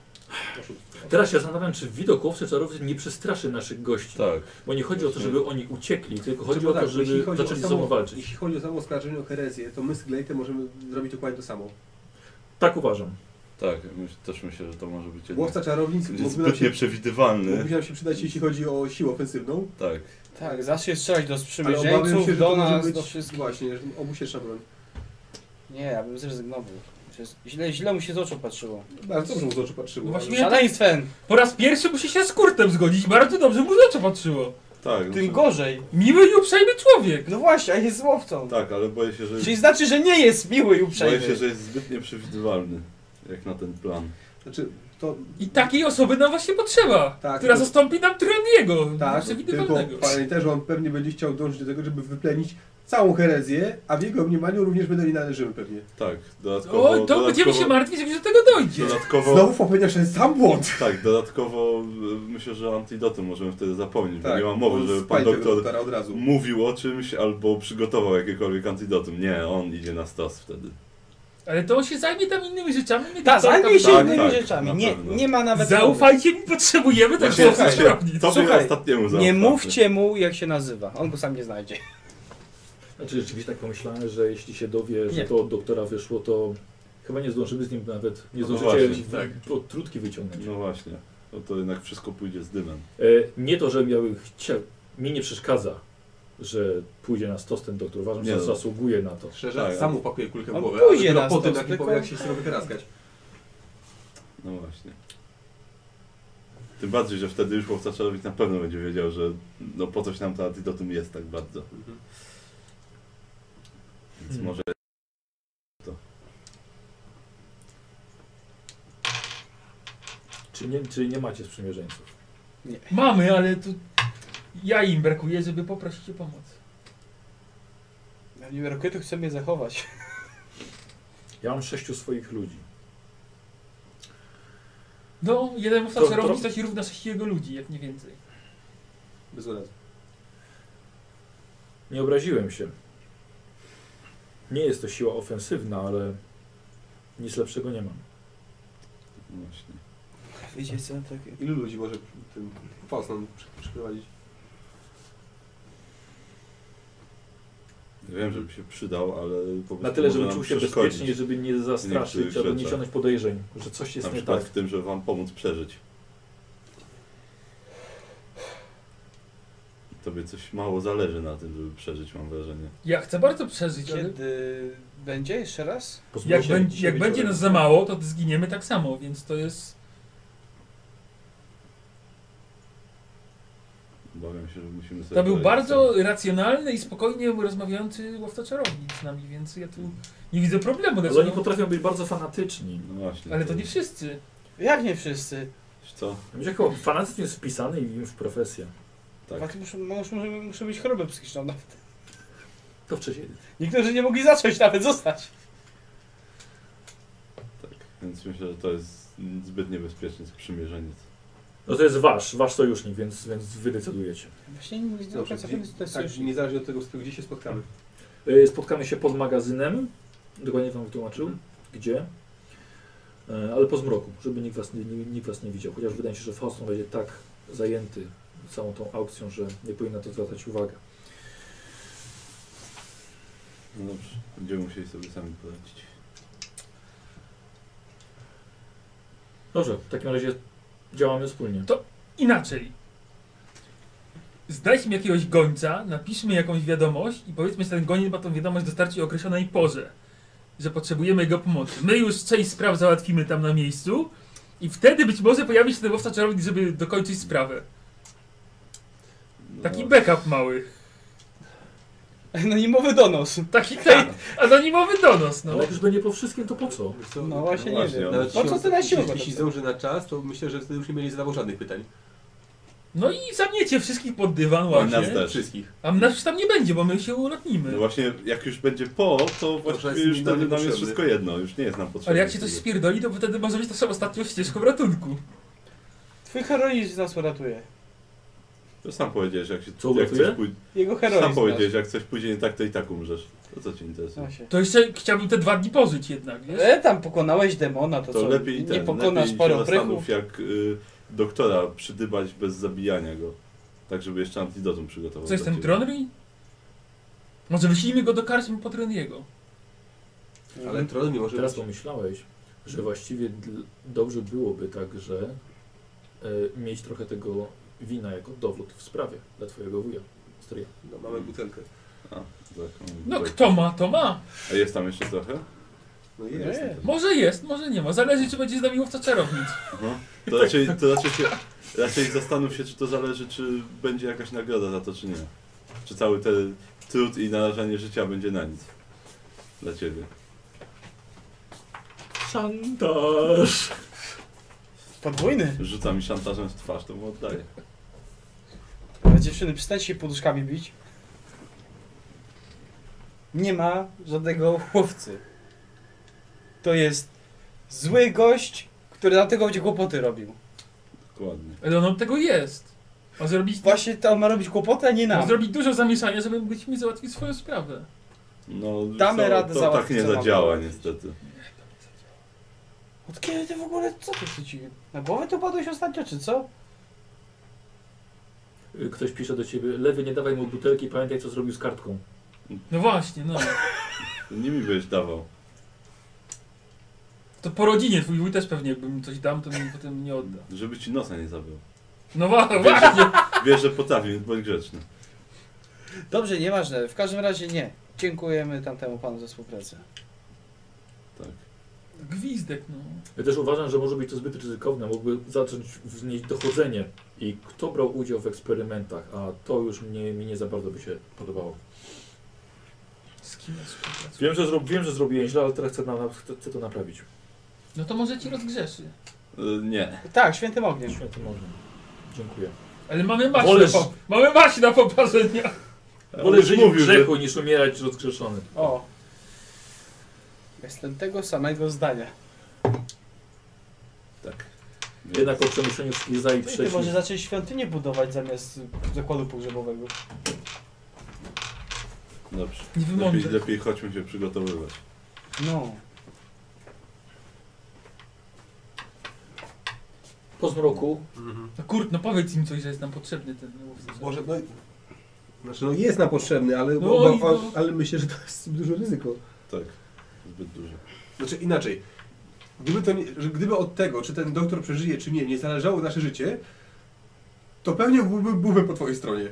Speaker 1: Teraz się zastanawiam, czy widok łowcy czarownic nie przestraszy naszych gości.
Speaker 4: tak.
Speaker 1: Bo nie chodzi o to, żeby oni uciekli, tylko chodzi
Speaker 6: Tylko
Speaker 1: o to,
Speaker 6: tak, jeśli
Speaker 1: żeby
Speaker 6: chodzi o
Speaker 1: zaczęli ze
Speaker 6: samo-
Speaker 1: sobą walczyć.
Speaker 6: Jeśli chodzi o samo oskarżenie o herezję, to my z Glejtem możemy zrobić dokładnie to samo.
Speaker 1: Tak uważam.
Speaker 4: Tak, myśl, też myślę, że to może być jednak...
Speaker 6: Łowca czarownic
Speaker 4: Będzie
Speaker 6: mógłby nam,
Speaker 4: zbyt
Speaker 6: się,
Speaker 4: nieprzewidywalny.
Speaker 6: mógłby nam się przydać, jeśli chodzi o siłę ofensywną,
Speaker 4: Tak.
Speaker 3: Tak, zacznie strzelać do
Speaker 6: ale obawiam
Speaker 3: sprzymierzeńców,
Speaker 6: się, że
Speaker 3: do
Speaker 6: to może
Speaker 3: nas,
Speaker 6: być
Speaker 3: do wszystkich.
Speaker 6: właśnie, że obusieczna broń.
Speaker 3: Nie, ja bym zrezygnował. Przecież Źle, źle mu się z oczu patrzyło.
Speaker 6: Bardzo dobrze mu z oczu patrzyło.
Speaker 5: No właśnie- Nie,
Speaker 3: Szaleństwem!
Speaker 5: Po raz pierwszy musi się z kurtem zgodzić, bardzo dobrze mu na to patrzyło.
Speaker 4: Tak,
Speaker 3: Tym
Speaker 4: muszę-
Speaker 3: gorzej.
Speaker 5: Miły i uprzejmy człowiek.
Speaker 3: No właśnie, a jest łowcą.
Speaker 4: tak, ale boję się, że...
Speaker 3: Czyli znaczy, że nie jest miły i uprzejmy.
Speaker 4: Boję się, że jest zbyt nieprzewidywalny. Jak na ten plan.
Speaker 6: Znaczy, to
Speaker 5: I takiej osoby nam właśnie potrzeba,
Speaker 6: Tak,
Speaker 5: która
Speaker 6: to-
Speaker 5: zastąpi nam Troniego,
Speaker 6: tak, tylko
Speaker 5: przewidywalnego.
Speaker 6: pamiętaj, że on pewnie będzie chciał dążyć do tego, żeby wyplenić całą herezję, a w jego mniemaniu również my do niej należymy pewnie.
Speaker 4: Tak, dodatkowo...
Speaker 5: Oj, to będziemy się
Speaker 4: dodatkowo-
Speaker 5: martwić, jak się do tego dojdzie.
Speaker 4: Dodatkowo...
Speaker 6: Znowu popełniasz ten sam błąd!
Speaker 4: Tak, dodatkowo y, myślę, że antidotum możemy wtedy zapomnieć,
Speaker 1: Tak,
Speaker 4: bo nie ma
Speaker 6: on
Speaker 4: mowy, żeby pan
Speaker 6: spali Tak, tego
Speaker 4: doktor
Speaker 6: doktora od razu.
Speaker 4: mówił o czymś albo przygotował jakiekolwiek antidotum. Nie, on idzie na stos wtedy.
Speaker 5: Ale to on się zajmie tam innymi rzeczami. nie
Speaker 3: Ta,
Speaker 5: tylko
Speaker 3: zajmie się
Speaker 4: tak,
Speaker 3: innymi
Speaker 4: tak,
Speaker 3: rzeczami.
Speaker 4: na
Speaker 3: Nie,
Speaker 4: pewno.
Speaker 3: nie ma nawet...
Speaker 5: Zaufajcie mi, potrzebujemy tak
Speaker 4: Właśnie,
Speaker 5: słowca
Speaker 4: słuchaj,
Speaker 5: czarownic.
Speaker 4: Tobie
Speaker 3: Słuchaj,
Speaker 4: ostatniemu
Speaker 3: Nie
Speaker 4: zaufamy.
Speaker 3: mówcie mu, jak się nazywa. On go sam nie znajdzie.
Speaker 1: Znaczy rzeczywiście tak pomyślałem, że jeśli się dowie, że
Speaker 3: Nie.
Speaker 1: to od doktora wyszło, to chyba nie zdążymy z nim nawet, nie
Speaker 4: No
Speaker 1: zdążycie
Speaker 4: właśnie,
Speaker 1: no trutki wyciągnąć.
Speaker 4: No właśnie, no to jednak wszystko pójdzie z dymem.
Speaker 1: E, nie to, że miałbym chciał, mi nie przeszkadza, że pójdzie na stos ten doktor. Uważam,
Speaker 4: Nie
Speaker 1: że
Speaker 4: no.
Speaker 1: zasługuje na to.
Speaker 6: Szczerze,
Speaker 4: Tak.
Speaker 6: sam upakuje kulkę w
Speaker 3: On
Speaker 6: głowę,
Speaker 3: pójdzie
Speaker 6: ale
Speaker 3: na
Speaker 6: dopiero potem
Speaker 3: stos,
Speaker 6: jak mi
Speaker 3: tylko-
Speaker 6: powie, jak się z tego wykaraskać.
Speaker 4: No właśnie. Tym bardziej, że wtedy już łowca czarownik na pewno będzie wiedział, że no po coś nam to antidotum jest tak bardzo.
Speaker 6: Mhm.
Speaker 4: Więc
Speaker 1: Hmm.
Speaker 4: może
Speaker 1: Czy nie, czy nie macie sprzymierzeńców?
Speaker 5: Mamy, ale tu ja im brakuje, żeby poprosić o pomoc.
Speaker 3: Ja nie wiem, to chce mnie zachować.
Speaker 1: Ja mam sześciu swoich ludzi.
Speaker 5: No, jeden łowca
Speaker 1: To-
Speaker 5: czarownic
Speaker 1: to-
Speaker 5: to się równa 6 jego ludzi, jak nie więcej.
Speaker 6: Bez urazy.
Speaker 1: Nie obraziłem się. Nie jest to siła ofensywna, ale nic lepszego nie mam.
Speaker 4: no właśnie.
Speaker 3: Wiecie co, takie...
Speaker 6: Ilu ludzi może tym faust nam przy- przyprowadzić?
Speaker 3: No,
Speaker 4: Wiem, żeby się przydał, ale po prostu
Speaker 1: Na tyle,
Speaker 4: może
Speaker 1: żeby
Speaker 4: nam
Speaker 1: czuł się
Speaker 4: przeszkodzić.
Speaker 1: bezpiecznie, żeby nie zastraszyć
Speaker 4: niektórych
Speaker 1: albo nie
Speaker 4: rzeczach.
Speaker 1: siąść podejrzeń, że coś
Speaker 4: Na
Speaker 1: jest nie
Speaker 4: przykład
Speaker 1: tak.
Speaker 4: w tym, żeby wam pomóc przeżyć. Tobie coś mało zależy na tym, żeby przeżyć, mam wrażenie.
Speaker 5: Ja chcę bardzo przeżyć, ale
Speaker 3: Kiedy będzie? Jeszcze raz?
Speaker 5: jak,
Speaker 1: Dzisiaj-
Speaker 5: bę-
Speaker 1: dzisiaj
Speaker 5: jak będzie
Speaker 1: wieczorem.
Speaker 5: nas za mało, to zginiemy tak samo, więc to jest...
Speaker 4: Obawiam się, że musimy sobie...
Speaker 5: To był
Speaker 4: poradzić
Speaker 5: bardzo racjonalny i spokojnie rozmawiający łowca czarownic z nami, więc ja tu nie widzę problemu.
Speaker 1: Ale
Speaker 5: dlaczego-
Speaker 1: oni potrafią być bardzo fanatyczni.
Speaker 4: sobie. No właśnie.
Speaker 5: Ale to nie wszyscy.
Speaker 3: Jak nie wszyscy?
Speaker 4: Wiesz Co?
Speaker 1: Będzie chyba fanatyzm jest wpisany i już profesja.
Speaker 4: Tak.
Speaker 3: Tak. Muszę, muszę, muszę mieć chorobę psychiczną. No.
Speaker 1: To wcześniej.
Speaker 3: Niektórzy nie mogli zacząć nawet zostać.
Speaker 4: Tak, Więc myślę, że to jest zbyt niebezpieczny sprzymierzeniec.
Speaker 1: No to jest wasz, wasz sojusznik, więc, więc wy decydujecie.
Speaker 3: Właśnie nie wiem,
Speaker 6: Dobrze,
Speaker 3: co
Speaker 6: gdzie-
Speaker 3: to jest
Speaker 6: tak, niezależnie od tego, gdzie się spotkamy.
Speaker 1: Y, Spotkamy się pod magazynem, dokładnie wam wytłumaczył, gdzie, E, ale po zmroku, żeby nikt was, nie- nie- nikt was nie widział. Chociaż wydaje mi się, że Fauston będzie tak zajęty całą tą aukcją, że nie powinna to zwracać uwagę.
Speaker 4: No dobrze, będziemy musieli sobie sami poradzić.
Speaker 1: Dobrze, w takim razie działamy wspólnie.
Speaker 5: Inaczej. Znajdźmy jakiegoś gońca, napiszmy jakąś wiadomość i powiedzmy, że ten goniec ma tą wiadomość dostarczyć o określonej porze, że potrzebujemy jego pomocy. My już część spraw załatwimy tam na miejscu i wtedy być może pojawi się ten łowca czarownic, żeby dokończyć sprawę.
Speaker 4: No,
Speaker 5: Taki backup mały.
Speaker 3: Anonimowy No donos.
Speaker 5: Taki tej, anonimowy donos, no.
Speaker 1: Ale jak już będzie po wszystkim, to po co?
Speaker 6: Wiesz co,
Speaker 3: No właśnie nie
Speaker 4: właśnie,
Speaker 3: wiem.
Speaker 4: ale
Speaker 3: Po co ty na siłę?
Speaker 6: Jeśli jeśli zdąży na czas, to myślę, że wtedy już nie będzie zadawał żadnych pytań.
Speaker 5: No i zamniecie wszystkich pod dywan
Speaker 4: nas
Speaker 5: ładnie.
Speaker 4: też.
Speaker 6: Wszystkich.
Speaker 5: A nas już tam nie będzie, bo my się
Speaker 4: No
Speaker 5: ulotnimy.
Speaker 4: właśnie, jak już będzie po, to
Speaker 6: jest
Speaker 4: właściwie
Speaker 6: mi
Speaker 4: już
Speaker 6: to
Speaker 4: wtedy nam
Speaker 6: niepotrzebny.
Speaker 4: jest wszystko jedno, już nie jest nam potrzebne.
Speaker 5: Ale jak się coś
Speaker 4: wtedy.
Speaker 5: spierdoli, to wtedy może być naszą ostatnią ścieżką ratunku.
Speaker 3: Twój heroizm nas uratuje.
Speaker 4: To sam powiedziałeś, jak się...
Speaker 1: Co
Speaker 4: jak
Speaker 1: uratuje?
Speaker 4: coś pój...
Speaker 3: Jego heroizm.
Speaker 4: Sam powiedziałeś,
Speaker 3: nas- No
Speaker 4: jak coś pójdzie nie tak, to i tak umrzesz. To co cię interesuje?
Speaker 3: Właśnie.
Speaker 5: To jeszcze chciałbym te dwa dni pożyć jednak, wiesz?
Speaker 3: E, tam pokonałeś demona, to,
Speaker 4: To
Speaker 3: co?
Speaker 4: lepiej ten,
Speaker 3: nie pokonasz
Speaker 4: lepiej się
Speaker 3: paru
Speaker 4: zastanów,
Speaker 3: pryków.
Speaker 4: jak y, doktora przydybać bez zabijania go. Tak, żeby jeszcze antidotum przygotował.
Speaker 5: Co jest
Speaker 4: dla
Speaker 5: ten
Speaker 4: ciebie.
Speaker 5: Tronry? Może wyślijmy go do karczmy po Troniego.
Speaker 3: Mhm.
Speaker 6: Ale trudno może
Speaker 1: Teraz
Speaker 6: być.
Speaker 1: pomyślałeś, że właściwie dl- dobrze byłoby także e, mieć trochę tego wina jako dowód w sprawie dla twojego wuja. stryja.
Speaker 6: No, mamy butelkę.
Speaker 4: Tak, on-
Speaker 5: No
Speaker 4: tak.
Speaker 5: kto ma, to ma.
Speaker 4: A jest tam jeszcze trochę?
Speaker 6: No i jest.
Speaker 3: Nie.
Speaker 5: Może jest, może nie ma. Zależy czy będzie z nami łowca czarownic.
Speaker 4: Aha. To raczej, to raczej się... Raczej zastanów się, czy to zależy, czy będzie jakaś nagroda za to, czy nie. Czy cały ten trud i narażanie życia będzie na nic. Dla ciebie.
Speaker 1: Szantaż!
Speaker 3: Podwójny.
Speaker 4: Rzuca mi szantażem w twarz, to mu oddaję.
Speaker 3: Ale dziewczyny, przestańcie się poduszkami bić. Nie ma żadnego łowcy. To jest zły gość, który dlatego będzie kłopoty robił.
Speaker 4: Dokładnie.
Speaker 5: Ale on od tego jest. Ma zrobić,
Speaker 3: Właśnie to on ma robić kłopoty, a nie
Speaker 5: ma
Speaker 3: nam.
Speaker 5: zrobić dużo zamieszania, żebyśmy załatwili swoją sprawę.
Speaker 4: No,
Speaker 3: Damy
Speaker 4: to,
Speaker 3: radę
Speaker 4: to tak
Speaker 3: załatwić,
Speaker 4: nie
Speaker 3: co mamy
Speaker 4: zadziała
Speaker 3: zrobić.
Speaker 4: niestety.
Speaker 3: Od kiedy ty w ogóle, co ty co ci, na głowę to padłeś ostatnio, czy co?
Speaker 1: E, Ktoś pisze do ciebie, lewy nie dawaj mu butelki, pamiętaj co zrobił z kartką.
Speaker 5: No właśnie, no.
Speaker 4: Nie mi byś dawał.
Speaker 5: To po rodzinie twój wuj też pewnie jakby mi coś dam, to mi potem nie odda.
Speaker 4: Żeby ci nosa nie zabił.
Speaker 5: No wa- właśnie.
Speaker 4: Wiesz, że potrafi, więc bądź grzeczny.
Speaker 3: Dobrze, nieważne, w każdym razie nie. Dziękujemy tamtemu panu za współpracę.
Speaker 4: Tak.
Speaker 5: Gwizdek, no.
Speaker 1: Ja też uważam, że może być to zbyt ryzykowne, mógłby zacząć wnieść dochodzenie i kto brał udział w eksperymentach, a to już mnie, mi nie za bardzo by się podobało.
Speaker 5: Z kim ja współpracuję?
Speaker 1: Wiem, że, zro, wiem, że zrobiłem źle, ale teraz chcę, na, chcę, chcę to naprawić.
Speaker 5: No to może ci rozgrzeszy.
Speaker 4: Y, nie.
Speaker 3: Tak, świętym ogniem.
Speaker 1: Święty można. Dziękuję.
Speaker 5: Ale mamy maść
Speaker 1: Wolę
Speaker 5: na, po- mamy maść na poparzenia.
Speaker 1: Wolę
Speaker 4: już
Speaker 1: żyć w
Speaker 4: mówił, że-
Speaker 1: grzechu niż umierać rozgrzeszony.
Speaker 3: O. Jestem tego samego zdania.
Speaker 4: Tak.
Speaker 1: Jednak po przemyśleniu wszystkich za i
Speaker 3: Ty
Speaker 1: przeciw.
Speaker 3: może zacząć świątynię budować zamiast zakładu pogrzebowego.
Speaker 4: Dobrze.
Speaker 5: Nie
Speaker 4: Lepiej,
Speaker 5: wymądrzę.
Speaker 4: lepiej chodźmy się przygotowywać.
Speaker 3: No.
Speaker 1: Po zmroku
Speaker 6: Mhm.
Speaker 5: No kurt, no powiedz im coś, że jest nam potrzebny ten łowca.
Speaker 6: Może, no, znaczy, no jest nam potrzebny, ale,
Speaker 5: No
Speaker 6: bo,
Speaker 5: i
Speaker 6: bo,
Speaker 5: no.
Speaker 6: ale myślę, że to jest duże ryzyko.
Speaker 4: Tak. Zbyt dużo.
Speaker 6: Znaczy inaczej. Gdyby, to nie, że gdyby od tego, czy ten doktor przeżyje, czy nie, nie zależało nasze życie, to pewnie byłby, byłby po twojej stronie.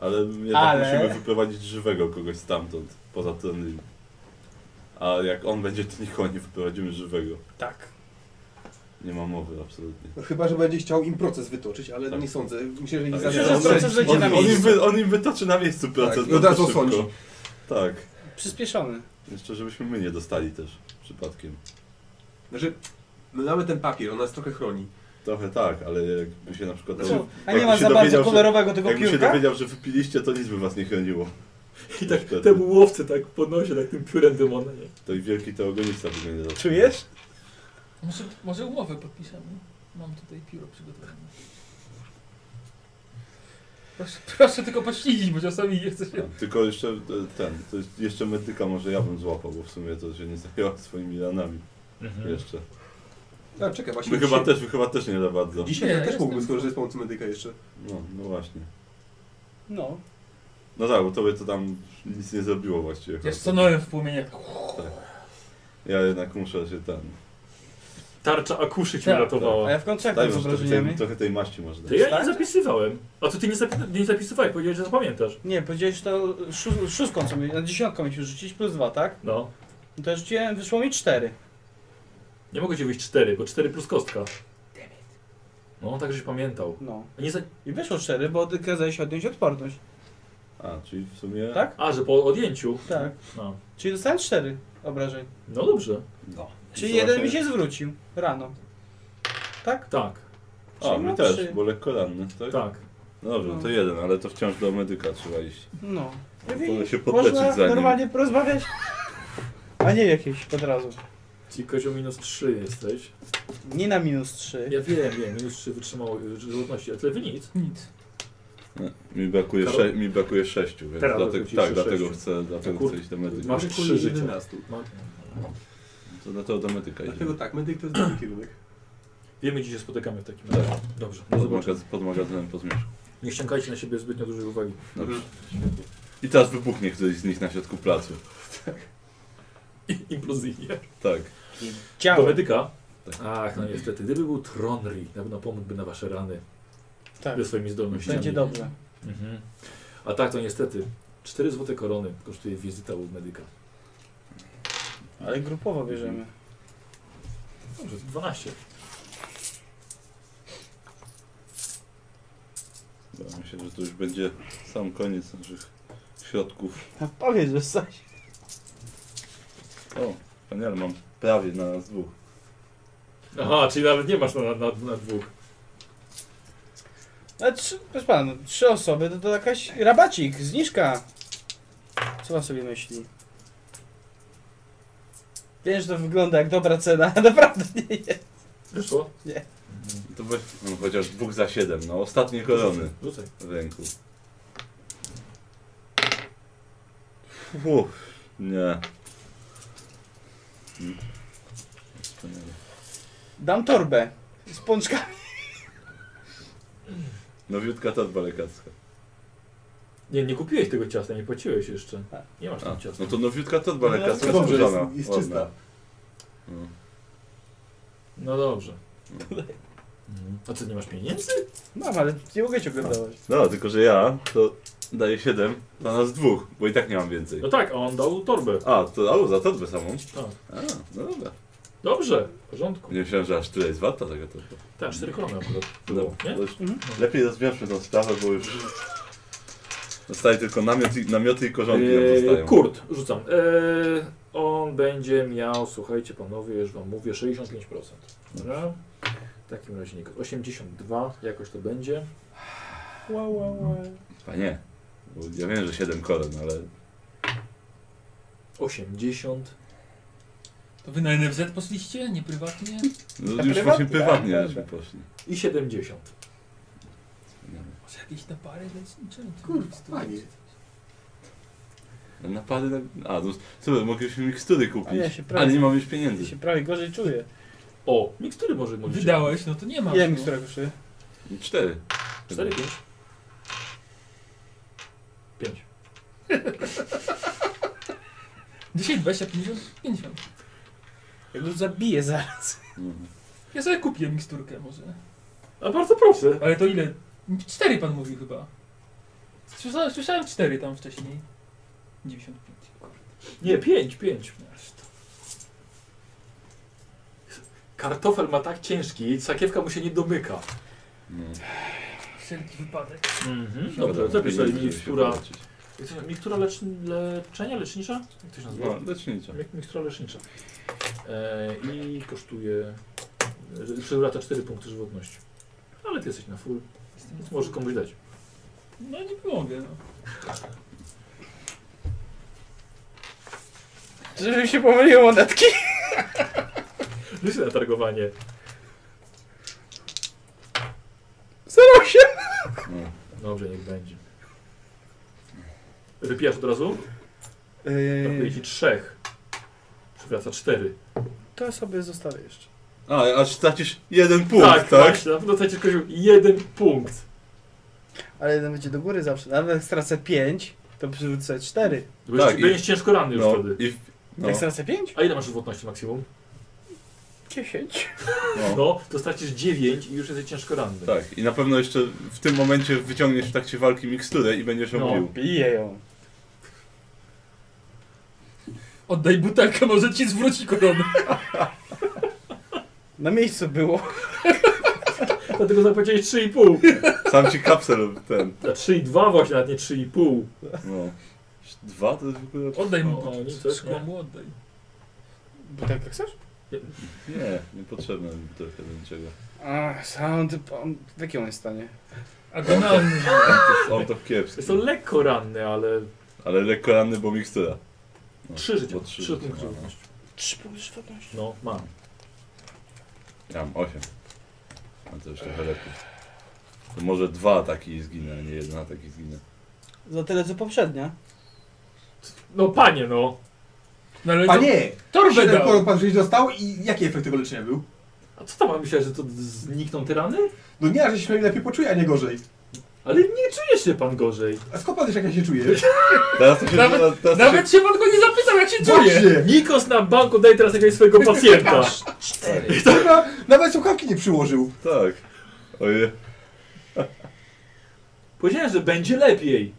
Speaker 4: Ale jednak
Speaker 3: Ale-
Speaker 4: musimy wyprowadzić żywego kogoś stamtąd, poza tym. A jak on będzie, to nikogo nie wyprowadzimy żywego.
Speaker 3: Tak.
Speaker 4: Nie ma mowy, absolutnie.
Speaker 6: No, chyba, że będzie chciał im proces wytoczyć, ale
Speaker 4: Tak.
Speaker 6: nie sądzę. Myślę, że nie
Speaker 4: Tak.
Speaker 6: tak.
Speaker 3: Myślę, że proces będzie
Speaker 4: On,
Speaker 3: na
Speaker 4: on, im
Speaker 3: miejscu.
Speaker 4: wy, on im wytoczy na miejscu pracę.
Speaker 6: Tak, i od razu
Speaker 4: szybko.
Speaker 6: osądzi.
Speaker 4: Tak.
Speaker 3: Przyspieszony.
Speaker 4: Jeszcze żebyśmy my nie dostali też przypadkiem.
Speaker 6: Znaczy, my mamy ten papier, on nas trochę chroni.
Speaker 4: Trochę tak, ale jakby się na przykład...
Speaker 3: Znaczy, a
Speaker 4: jakby
Speaker 3: nie ma
Speaker 4: się
Speaker 3: za
Speaker 4: dowiedział,
Speaker 3: bardzo
Speaker 4: że-
Speaker 3: kolorowego tego
Speaker 4: Jakbym się
Speaker 3: piórka?
Speaker 4: dowiedział, że wypiliście, to nic by was nie chroniło.
Speaker 1: I tak
Speaker 4: Wtedy.
Speaker 1: temu łowcy tak podnosi, tak tym piórem demona. Nie?
Speaker 4: To i wielki teogonista wygląda. za-
Speaker 3: Czujesz?
Speaker 5: Może, może umowę podpiszemy. Mam tutaj pióro przygotowane. Proszę, proszę tylko poślizdzić, bo czasami nie chce się...
Speaker 4: A, Tylko jeszcze e, ten, to jest, jeszcze medyka może ja bym złapał, bo w sumie to się nie zajęła swoimi ranami jeszcze.
Speaker 6: A, czekaj, właśnie.
Speaker 4: My chyba
Speaker 6: dzisiaj,
Speaker 4: też, no. wy chyba też nie za bardzo.
Speaker 6: Dzisiaj
Speaker 5: Nie,
Speaker 6: ja też
Speaker 5: jestem
Speaker 6: mógłbym skorzystać z pomocy medyka jeszcze.
Speaker 4: No, no właśnie.
Speaker 3: No.
Speaker 4: No tak, bo tobie to tam nic nie zrobiło właściwie. tak.
Speaker 5: Ja stanąłem w płomieniach.
Speaker 4: Ja jednak muszę się ten...
Speaker 1: Tarcza akuszy cię
Speaker 5: Tak.
Speaker 1: uratowała.
Speaker 3: A ja w kontraktach
Speaker 4: Daj
Speaker 3: z
Speaker 4: może trochę tej,
Speaker 3: obrażeniami.
Speaker 4: trochę tej maści może dać.
Speaker 1: To ja nie zapisywałem. A to ty nie, zapi nie zapisywałeś, powiedziałeś, że zapamiętasz.
Speaker 3: Nie, powiedziałeś, że to szó- szóstką co mi, na dziesiątką mi się rzucić plus dwa, tak?
Speaker 1: No.
Speaker 3: No to ja rzuciłem, wyszło mi cztery.
Speaker 1: Nie mogę ci wyjść 4, bo 4 plus kostka. No, tak żeś pamiętał.
Speaker 3: No.
Speaker 1: A, nie za...
Speaker 3: I wyszło cztery, bo ty kazałeś odnieść odporność.
Speaker 4: A, czyli w sumie...
Speaker 3: Tak?
Speaker 1: A, że po odjęciu.
Speaker 3: Tak.
Speaker 1: No,
Speaker 3: Czyli dostałem cztery obrażeń.
Speaker 1: no dobrze.
Speaker 4: No.
Speaker 3: Czyli
Speaker 4: To
Speaker 3: jeden
Speaker 4: właśnie-
Speaker 3: mi się zwrócił rano. Tak?
Speaker 1: Tak,
Speaker 4: A,
Speaker 3: Czyli
Speaker 4: mi
Speaker 3: mam
Speaker 4: też,
Speaker 3: trzy.
Speaker 4: bo lekko ranny, tak?
Speaker 1: tak.
Speaker 4: No dobrze, to jeden, ale to wciąż do medyka trzeba iść.
Speaker 3: No.
Speaker 4: No to
Speaker 3: Widzisz,
Speaker 4: się podleczyć
Speaker 3: Można
Speaker 4: za nim.
Speaker 3: normalnie porozmawiać. A nie jakieś od razu.
Speaker 1: Ci kozioł minus 3 jesteś.
Speaker 3: Nie na minus trzy.
Speaker 1: Ja wiem, wiem, minus 3 wytrzymało y, żywotności, a tyle wy nic.
Speaker 5: Nic.
Speaker 4: No, Mi brakuje,
Speaker 1: Karol?
Speaker 4: sze, mi brakuje sześciu, więc
Speaker 1: Teraz
Speaker 4: dlatego,
Speaker 1: wrócisz do
Speaker 4: tak, dlatego
Speaker 1: sześciu.
Speaker 4: chcę, dlatego
Speaker 1: kurde,
Speaker 4: chcę iść do medyka.
Speaker 1: masz
Speaker 6: Tylko
Speaker 1: trzy życia.
Speaker 6: 11.
Speaker 1: Ma-
Speaker 4: To dlatego do medyka idziemy.
Speaker 6: Dlatego tak, medyk to jest dobry kierunek.
Speaker 1: Wiemy, gdzie się spotykamy w takim razie. Dobrze, do
Speaker 4: Pod,
Speaker 1: zobaczenia.
Speaker 4: magaz pod magazynem po zmierzchu.
Speaker 1: Nie ściągajcie na siebie zbytnio dużej uwagi.
Speaker 4: Dobrze. I teraz wybuchnie któryś z nich na środku placu.
Speaker 1: Implozyjnie.
Speaker 4: Tak.
Speaker 1: Do
Speaker 3: Ciało.
Speaker 1: medyka.
Speaker 4: Tak.
Speaker 1: Ach, no niestety, gdyby był Tronry, na pewno pomógłby na wasze rany
Speaker 3: Tak.
Speaker 1: ze swoimi zdolnościami.
Speaker 3: Będzie dobrze.
Speaker 1: Mhm. A tak, to niestety. 4 złote korony kosztuje wizyta u medyka.
Speaker 3: Ale grupowo bierzemy.
Speaker 1: Dobrze, 12.
Speaker 4: Dobra, Myślę, że to już będzie sam koniec naszych środków.
Speaker 3: Powiedz, że coś.
Speaker 4: O, wspaniale, mam prawie na nas dwóch.
Speaker 1: Aha, czyli nawet nie masz na, na, na dwóch.
Speaker 3: A trzy, proszę pana, no, trzy osoby to, to jakaś rabacik, zniżka. Co pan sobie myśli? Wiem, że to wygląda jak dobra cena, a naprawdę nie jest.
Speaker 1: Wyszło? Mhm.
Speaker 4: To weź, no, chociaż dwóch za siedem, no ostatnie korony
Speaker 1: Rzucaj.
Speaker 4: w ręku. Uff, nie. Mm. Wspaniale.
Speaker 3: Dam torbę z pączkami.
Speaker 4: Nowiutka torba lekarska.
Speaker 1: Nie, nie kupiłeś tego ciasta, nie płaciłeś jeszcze.
Speaker 3: Tak.
Speaker 1: Nie masz
Speaker 4: A,
Speaker 1: tam ciasta.
Speaker 4: no to nowiutka torba
Speaker 6: No,
Speaker 4: lekarska.
Speaker 6: to dobrze,
Speaker 4: skórzana,
Speaker 6: jest- jest
Speaker 4: ładna.
Speaker 6: czysta.
Speaker 4: No.
Speaker 1: No dobrze. Mhm. A co, nie masz pieniędzy?
Speaker 3: Mam, ale nie mogę cię oglądać.
Speaker 4: No, tylko że ja to daję 7 dla nas dwóch, bo i tak nie mam więcej.
Speaker 1: No tak, a on dał torbę.
Speaker 4: A, to a, za torbę samą.
Speaker 1: Tak.
Speaker 4: A, no dobra.
Speaker 1: Dobrze, w porządku.
Speaker 4: Nie myślałem, że aż tyle jest warta tego torba.
Speaker 1: Tak, 4 korony akurat.
Speaker 4: No,
Speaker 1: Było, nie?
Speaker 4: to już
Speaker 3: Mhm.
Speaker 4: Lepiej rozwiążmy tą sprawę, bo już zostaje tylko namiot i, namioty i korzonki nam
Speaker 1: Eee,
Speaker 4: zostają.
Speaker 1: Kurt, rzucam. Eee, on będzie miał, słuchajcie panowie, już wam mówię, 65%. Dobra? W takim razie nie, 82, jakoś to będzie.
Speaker 3: Wow, wow, wow.
Speaker 4: Panie, bo ja wiem, że 7 koron, ale
Speaker 1: 80.
Speaker 5: To wy na NFZ poszliście? Nie prywatnie?
Speaker 4: no,
Speaker 3: A
Speaker 4: już
Speaker 3: Tak, prywatnie? tak,
Speaker 4: właśnie
Speaker 3: A,
Speaker 4: prywatnie
Speaker 3: dobra.
Speaker 4: żeśmy poszli.
Speaker 1: I 70.
Speaker 5: Może jakieś napary lecznicze?
Speaker 6: Kurwa, panie.
Speaker 4: Napady na... A, no super, mogliśmy mikstury
Speaker 3: A
Speaker 4: kupić,
Speaker 3: ja się
Speaker 4: ale
Speaker 3: prawie,
Speaker 4: nie mam już
Speaker 3: ja
Speaker 4: pieniędzy.
Speaker 3: się prawie gorzej czuję.
Speaker 1: O, mikstury może mogliście.
Speaker 5: Wydałeś, no to nie ma.
Speaker 3: Ile mi która kosztuje?
Speaker 4: 4.
Speaker 1: 4, 5. 5.
Speaker 5: Dzisiaj 20, 50, 50.
Speaker 3: Jak go zabiję zaraz.
Speaker 1: No,
Speaker 5: Ja sobie kupię miksturkę może.
Speaker 1: A bardzo proszę.
Speaker 5: Ale to ile? Cztery pan mówił chyba. Słyszałem, słyszałem cztery tam wcześniej. 95.
Speaker 1: Nie, 5, 5.
Speaker 5: Aż to.
Speaker 1: Kartofel ma tak ciężki, sakiewka mu się nie domyka.
Speaker 5: Wszelki wypadek.
Speaker 1: Mhm.
Speaker 4: No. Dobra,
Speaker 1: no. Dobrze, zapisz sobie
Speaker 4: nie będziemy się
Speaker 1: mikstura.
Speaker 4: męczyć.
Speaker 1: jak to się- Mikstura lecz, leczenia, lecznicza? Jak to się nazywa?
Speaker 4: No, lecznicza.
Speaker 1: Mi- Mikstura lecznicza. E, I kosztuje. e, Przywraca 4 punkty żywotności. Ale ty jesteś na full,
Speaker 5: Jestem
Speaker 1: więc możesz komuś dać.
Speaker 5: No nie pomogę, no.
Speaker 3: Żeby się pomyliły monetki.
Speaker 1: Rzuć na targowanie.
Speaker 3: Zero się.
Speaker 4: No.
Speaker 1: Dobrze, niech będzie. Wypijasz od razu?
Speaker 3: Yy,
Speaker 4: Yy.
Speaker 1: Brakuje ci trzech. Przywraca cztery.
Speaker 3: to sobie zostawię jeszcze.
Speaker 4: A, aż tracisz jeden punkt, tak?
Speaker 1: Właśnie, na pewno tracisz kościół jeden punkt.
Speaker 3: Ale jeden będzie do góry zawsze. Nawet jak stracę 5, to przywrócę 4.
Speaker 1: Bo tak,
Speaker 4: i-
Speaker 1: będziesz ciężko ranny już
Speaker 4: No,
Speaker 1: wtedy.
Speaker 4: i, no,
Speaker 3: Jak stracę 5?
Speaker 1: A ile masz żywotności maksimum?
Speaker 3: 10.
Speaker 4: no,
Speaker 1: No, to stracisz dziewięć i już jesteś ciężko ranny.
Speaker 4: tak. I na pewno jeszcze w tym momencie wyciągniesz w trakcie walki miksturę i będziesz ją
Speaker 1: No.
Speaker 4: pił.
Speaker 3: Piję ją.
Speaker 5: Oddaj butelkę, może ci zwróci koronę.
Speaker 3: Na miejscu było.
Speaker 1: Dlatego zapłaciłeś 3,5.
Speaker 4: Sam ci kapsel ten.
Speaker 1: A 3,2 właśnie, nawet nie 3,5.
Speaker 4: No. Dwa to jest w ogóle.
Speaker 5: Oddaj mu
Speaker 1: O,
Speaker 5: to.
Speaker 1: oni też,
Speaker 5: Szkło
Speaker 1: nie?
Speaker 5: mu oddaj.
Speaker 3: Butelkę tak, chcesz?
Speaker 4: No, Nie, niepotrzebne mi trochę do niczego.
Speaker 3: Ach, sound... On, w jakim on jest stanie?
Speaker 5: Agonalny.
Speaker 4: On to kiepski.
Speaker 1: Jest to lekko ranny, ale
Speaker 4: Ale lekko ranny, bo mikstura. No,
Speaker 1: trzy życia.
Speaker 4: bo
Speaker 1: Trzy
Speaker 4: trzy życia,
Speaker 1: punkty
Speaker 4: no.
Speaker 1: żywotności.
Speaker 3: 3 punkty żywotności.
Speaker 1: No, mam.
Speaker 4: Ja mam osiem. A to już trochę lepiej. To może dwa ataki zginę, a nie jeden ataki zginę.
Speaker 3: Za tyle co poprzednia.
Speaker 1: No panie, no.
Speaker 5: No ale to
Speaker 7: Panie!
Speaker 5: torbę
Speaker 7: Siedem
Speaker 5: dał.
Speaker 7: koron pan żeś dostał i jaki efekt tego leczenia był?
Speaker 1: A co tam, a myślałeś, że to znikną te rany?
Speaker 7: No nie, że się lepiej poczuje, a nie gorzej.
Speaker 1: Ale nie czuje się pan gorzej.
Speaker 7: A skąd pan wiesz, jak ja się czuję?
Speaker 4: Teraz to się
Speaker 5: Nawet-
Speaker 4: teraz to
Speaker 5: Nawet się pan go nie zapytał, jak się czuje.
Speaker 7: Właśnie!
Speaker 1: Nikos na banku daje teraz jakiegoś swojego pacjenta.
Speaker 7: Kurwa, Nawet słuchawki nie przyłożył.
Speaker 4: Się, tak. Oje.
Speaker 1: Powiedziałem, że będzie lepiej.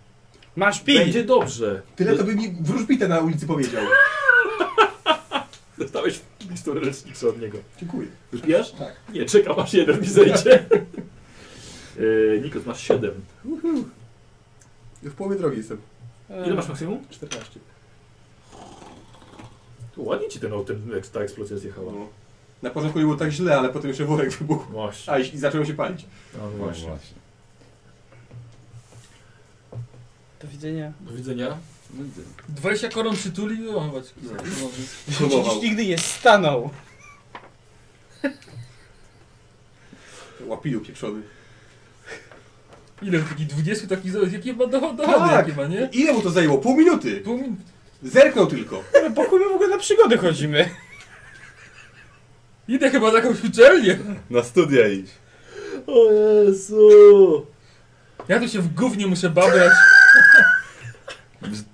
Speaker 3: Masz pij!
Speaker 1: Będzie dobrze.
Speaker 7: Tyle to by mi wróżbite na ulicy powiedział.
Speaker 1: Dostałeś listurę leczniczą od niego.
Speaker 7: Dziękuję.
Speaker 1: Wypijasz?
Speaker 7: Tak.
Speaker 1: Nie, czekam aż jeden mi zejdzie. Yy, Nikos, masz 7.
Speaker 7: W połowie drogi jestem.
Speaker 1: Ile masz maksimum?
Speaker 7: 14.
Speaker 1: Tu ładnie ci ten, ten, eks- ta eksplozja zjechała.
Speaker 7: No. Na początku nie było tak źle, ale potem jeszcze worek wybuchł.
Speaker 1: Właśnie.
Speaker 7: A i, i zaczęło się palić.
Speaker 1: No
Speaker 4: No
Speaker 1: właśnie.
Speaker 4: właśnie.
Speaker 3: Do widzenia.
Speaker 1: Do widzenia.
Speaker 5: 20 koron przytulił, no chodź.
Speaker 7: Próbował.
Speaker 3: Dziś nigdy nie stanął.
Speaker 7: Łapilu pieprzony.
Speaker 5: Ile takich 20 takich zaraz, jakie ma dochody,
Speaker 7: Tak.
Speaker 5: jakie ma, nie?
Speaker 7: Ile mu to zajęło? Pół minuty!
Speaker 5: Pół minuty.
Speaker 7: Zerknął tylko.
Speaker 3: Ale po chuj my w ogóle na przygody chodzimy.
Speaker 5: Idę chyba na jakąś uczelnię.
Speaker 4: Na studia idź.
Speaker 1: O Jezu!
Speaker 5: Ja tu się w gównie muszę babrać.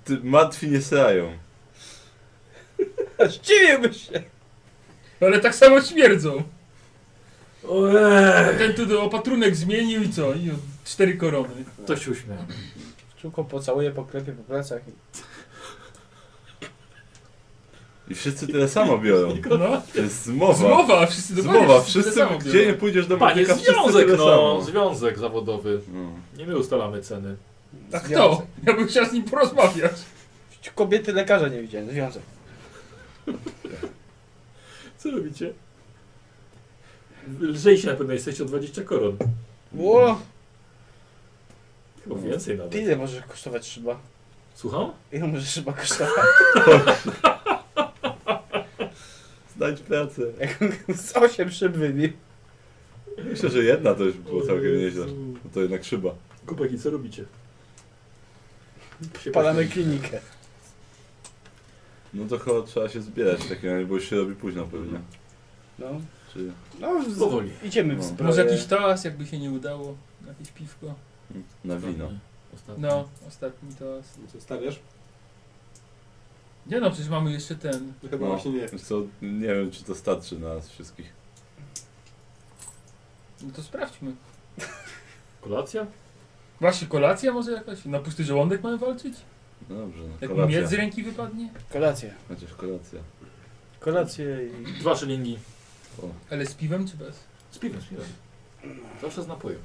Speaker 4: Ty- Martwi nie srają.
Speaker 3: Zdziwiłby się.
Speaker 5: Ale tak samo śmierdzą.
Speaker 1: Ojej!
Speaker 5: Ten tu opatrunek zmienił i co? I o, cztery korony.
Speaker 1: To się uśmiał.
Speaker 3: Czułką pocałuję, poklepię po plecach i...
Speaker 4: I wszyscy tyle samo biorą.
Speaker 5: No.
Speaker 4: To jest zmowa.
Speaker 5: Zmowa, wszyscy dokładnie.
Speaker 4: Zmowa.
Speaker 5: tyle
Speaker 4: Wszyscy,
Speaker 5: samo
Speaker 4: gdzie
Speaker 5: biorą.
Speaker 4: nie pójdziesz do
Speaker 1: Panie,
Speaker 4: medyka, wszyscy
Speaker 1: związek
Speaker 4: tyle
Speaker 1: no!
Speaker 4: samo.
Speaker 1: Związek zawodowy.
Speaker 4: No.
Speaker 1: Nie my ustalamy ceny.
Speaker 5: A kto? Tak Ja bym chciał z nim porozmawiać.
Speaker 3: Związek. Kobiety lekarza nie widziałem, związek.
Speaker 1: Co robicie? Lżejsi na pewno jesteście o 20 koron.
Speaker 3: Ło,
Speaker 1: Chyba więcej
Speaker 3: ty
Speaker 1: nawet.
Speaker 3: ile może kosztować szyba?
Speaker 1: Słucham?
Speaker 3: Ile może szyba kosztować?
Speaker 4: Znajdź pracę.
Speaker 3: Z 8 szyb wybił.
Speaker 4: Myślę, że jedna to już było całkiem nieźle. No to jednak szyba.
Speaker 1: Chłopaki, co robicie? Się
Speaker 3: Palamy klinikę.
Speaker 4: No to chyba trzeba się zbierać w takim razie, bo już się robi późno pewnie.
Speaker 3: No,
Speaker 4: Czy...
Speaker 3: no z...
Speaker 1: Powoli.
Speaker 3: idziemy w
Speaker 4: No.
Speaker 3: zbroję.
Speaker 5: Może jakiś toas, jakby się nie udało. Jakieś piwko.
Speaker 4: Na wino.
Speaker 1: Ostatnie.
Speaker 5: No, ostatni toas.
Speaker 7: Co, stawiasz?
Speaker 5: Nie no, przecież mamy jeszcze ten.
Speaker 7: No chyba
Speaker 4: No.
Speaker 7: właśnie nie.
Speaker 4: Wiesz co, nie wiem czy to starczy na nas wszystkich.
Speaker 5: No to sprawdźmy.
Speaker 1: Kolacja?
Speaker 5: Właśnie kolacja może jakaś? Na pusty żołądek mamy walczyć?
Speaker 4: No dobrze, no
Speaker 5: Jak
Speaker 4: kolacja.
Speaker 5: miecz z ręki wypadnie?
Speaker 3: Kolację.
Speaker 4: Chociaż kolacja.
Speaker 3: Kolację i...
Speaker 1: Dwa szylingi.
Speaker 5: Ale z piwem czy bez?
Speaker 1: Z piwem, z piwem. Zawsze z napojem.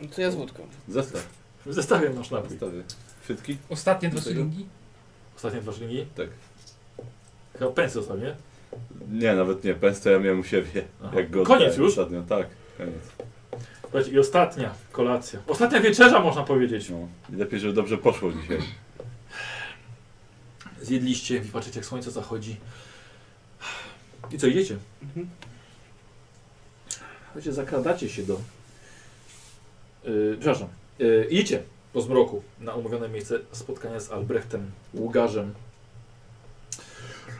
Speaker 3: No to ja z łódką.
Speaker 4: Mhm. Zestaw.
Speaker 1: Zestawiam nasz napój.
Speaker 4: Zestawy. Wszystki?
Speaker 5: Ostatnie dwa
Speaker 4: Dlaczego?
Speaker 5: szylingi?
Speaker 1: Ostatnie dwa szlingi?
Speaker 4: Tak.
Speaker 1: Chyba pensy ostatnie.
Speaker 4: Nie, nawet nie. Pens to ja miałem u siebie.
Speaker 1: Aha.
Speaker 4: Jak go
Speaker 1: Koniec
Speaker 4: oddałem
Speaker 1: już?
Speaker 4: Ostatnio. Tak, koniec.
Speaker 1: Słuchajcie, i ostatnia kolacja. Ostatnia wieczerza można powiedzieć.
Speaker 4: No. I lepiej, żeby dobrze poszło dzisiaj.
Speaker 1: Zjedliście, i patrzycie jak słońce zachodzi. I co, idziecie?
Speaker 3: Mhm.
Speaker 1: Słuchajcie, zakradacie się do... Yy, przepraszam. Yy, idziecie po zmroku na umówione miejsce spotkania z Albrechtem Ługarzem.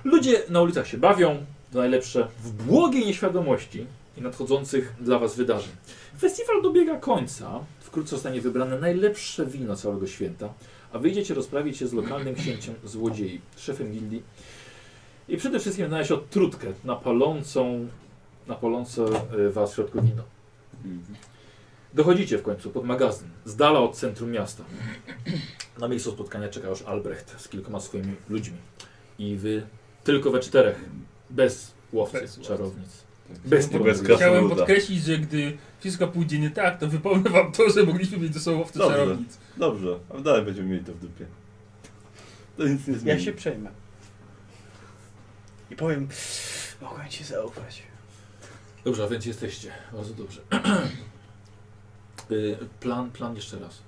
Speaker 1: Ludzie na ulicach się bawią, to najlepsze, w błogiej nieświadomości i nadchodzących dla Was wydarzeń. Festiwal dobiega końca. Wkrótce zostanie wybrane najlepsze wino całego święta a wyjdziecie rozprawić się z lokalnym księciem złodziei, szefem gildii i przede wszystkim znaleźć odtrutkę na palącą, na palące e, was w środku wino.
Speaker 4: Mhm.
Speaker 1: Dochodzicie w końcu pod magazyn, z dala od centrum miasta. Na miejscu spotkania czeka już Albrecht z kilkoma swoimi ludźmi. I wy tylko we czterech, bez łowcy,
Speaker 5: Bez łowcy. Tak.
Speaker 1: czarownic.
Speaker 4: Bez,
Speaker 1: Bez
Speaker 4: bez
Speaker 5: Chciałem
Speaker 4: krasnoluda.
Speaker 5: podkreślić, że gdy wszystko pójdzie nie tak, to wypomnę wam to, że mogliśmy mieć ze sobą w
Speaker 4: Dobrze.
Speaker 5: czarownic.
Speaker 4: Dobrze, a dalej będziemy mieli to w dupie. To nic nie zmieni.
Speaker 3: Ja się przejmę. I powiem, mogłem ci zaufać.
Speaker 1: Dobrze, a więc jesteście. Bardzo dobrze. Y, plan, plan jeszcze raz.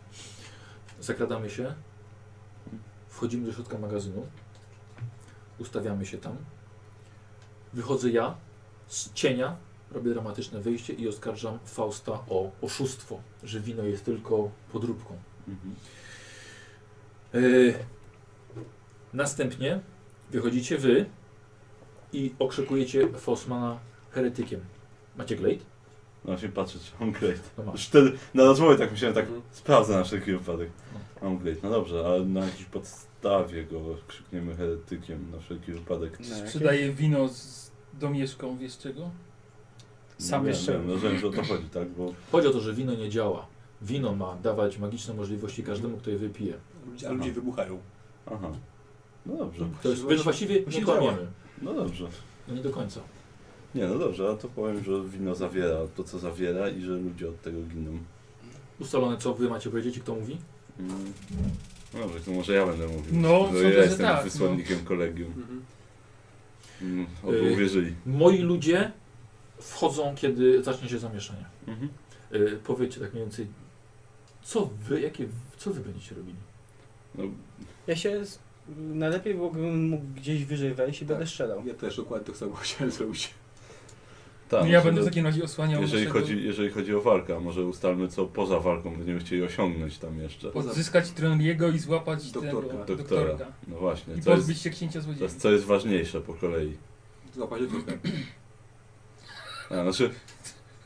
Speaker 1: Zakradamy się. Wchodzimy do środka magazynu. Ustawiamy się tam. Wychodzę ja z cienia. Robię dramatyczne wyjście i oskarżam Fausta o oszustwo, że wino jest tylko podróbką.
Speaker 4: Mhm.
Speaker 1: Y, następnie wychodzicie wy i okrzykujecie Faustmana heretykiem. Macie glejt?
Speaker 4: No się patrzę, czy mam great.
Speaker 1: No masz.
Speaker 4: Już wtedy na rozmowie tak myślałem, tak
Speaker 7: Mhm.
Speaker 4: sprawdzę na wszelki wypadek. Mam great, no dobrze, ale na jakiejś podstawie go krzykniemy heretykiem na wszelki wypadek.
Speaker 3: No, jakie-
Speaker 5: Sprzedaję wino z domieszką, wiesz czego?
Speaker 3: Sam
Speaker 4: no, wiem,
Speaker 3: jeszcze-
Speaker 4: wiem, No wiem, że o to chodzi, tak? Bo
Speaker 1: Chodzi o to, że wino nie działa. Wino ma dawać magiczne możliwości każdemu, kto je wypije.
Speaker 7: Ludzie- A ludzie wybuchają.
Speaker 4: aha. No dobrze,
Speaker 1: To jest, więc właściwie nie
Speaker 7: właśnie
Speaker 1: kłamiemy.
Speaker 4: no dobrze.
Speaker 1: No nie do końca.
Speaker 4: Nie, no dobrze, a to powiem, że wino zawiera to, co zawiera i że ludzie od tego giną.
Speaker 1: Ustalone, co wy macie powiedzieć i kto mówi?
Speaker 4: Mm. No dobrze, to może ja będę mówił.
Speaker 5: No,
Speaker 4: bo
Speaker 5: sądzę,
Speaker 4: ja
Speaker 5: że
Speaker 4: jestem
Speaker 5: tak,
Speaker 4: wysłannikiem kolegium.
Speaker 7: Mhm.
Speaker 4: Mm,
Speaker 1: Y-
Speaker 4: Oby uwierzyli.
Speaker 1: Moi ludzie wchodzą, kiedy zacznie się zamieszanie.
Speaker 4: Mhm.
Speaker 1: Yy, powiedzcie tak mniej więcej, co wy, jakie, co wy będziecie robili?
Speaker 4: No,
Speaker 3: Ja się z... najlepiej byłbym mógł gdzieś wyżej wejść i
Speaker 6: Tak.
Speaker 3: będę strzelał.
Speaker 7: No.
Speaker 6: Ja też dokładnie to samo chciałem zrobić.
Speaker 4: tak,
Speaker 5: No ja
Speaker 4: może
Speaker 5: będę w
Speaker 4: do-
Speaker 5: takim razie osłaniał
Speaker 4: jeżeli,
Speaker 5: naszego...
Speaker 4: chodzi, jeżeli chodzi o walkę, a może ustalmy, co poza walką będziemy chcieli osiągnąć tam jeszcze.
Speaker 5: Odzyskać tron jego i złapać
Speaker 6: Doktorka.
Speaker 5: tego,
Speaker 4: Doktora.
Speaker 5: doktorka.
Speaker 4: No właśnie,
Speaker 5: I
Speaker 4: co jest,
Speaker 5: pozbyć się księcia
Speaker 4: co
Speaker 5: złodziei.
Speaker 4: jest, co jest ważniejsze po kolei.
Speaker 6: Złapać odwrótkę.
Speaker 7: No
Speaker 4: A, znaczy,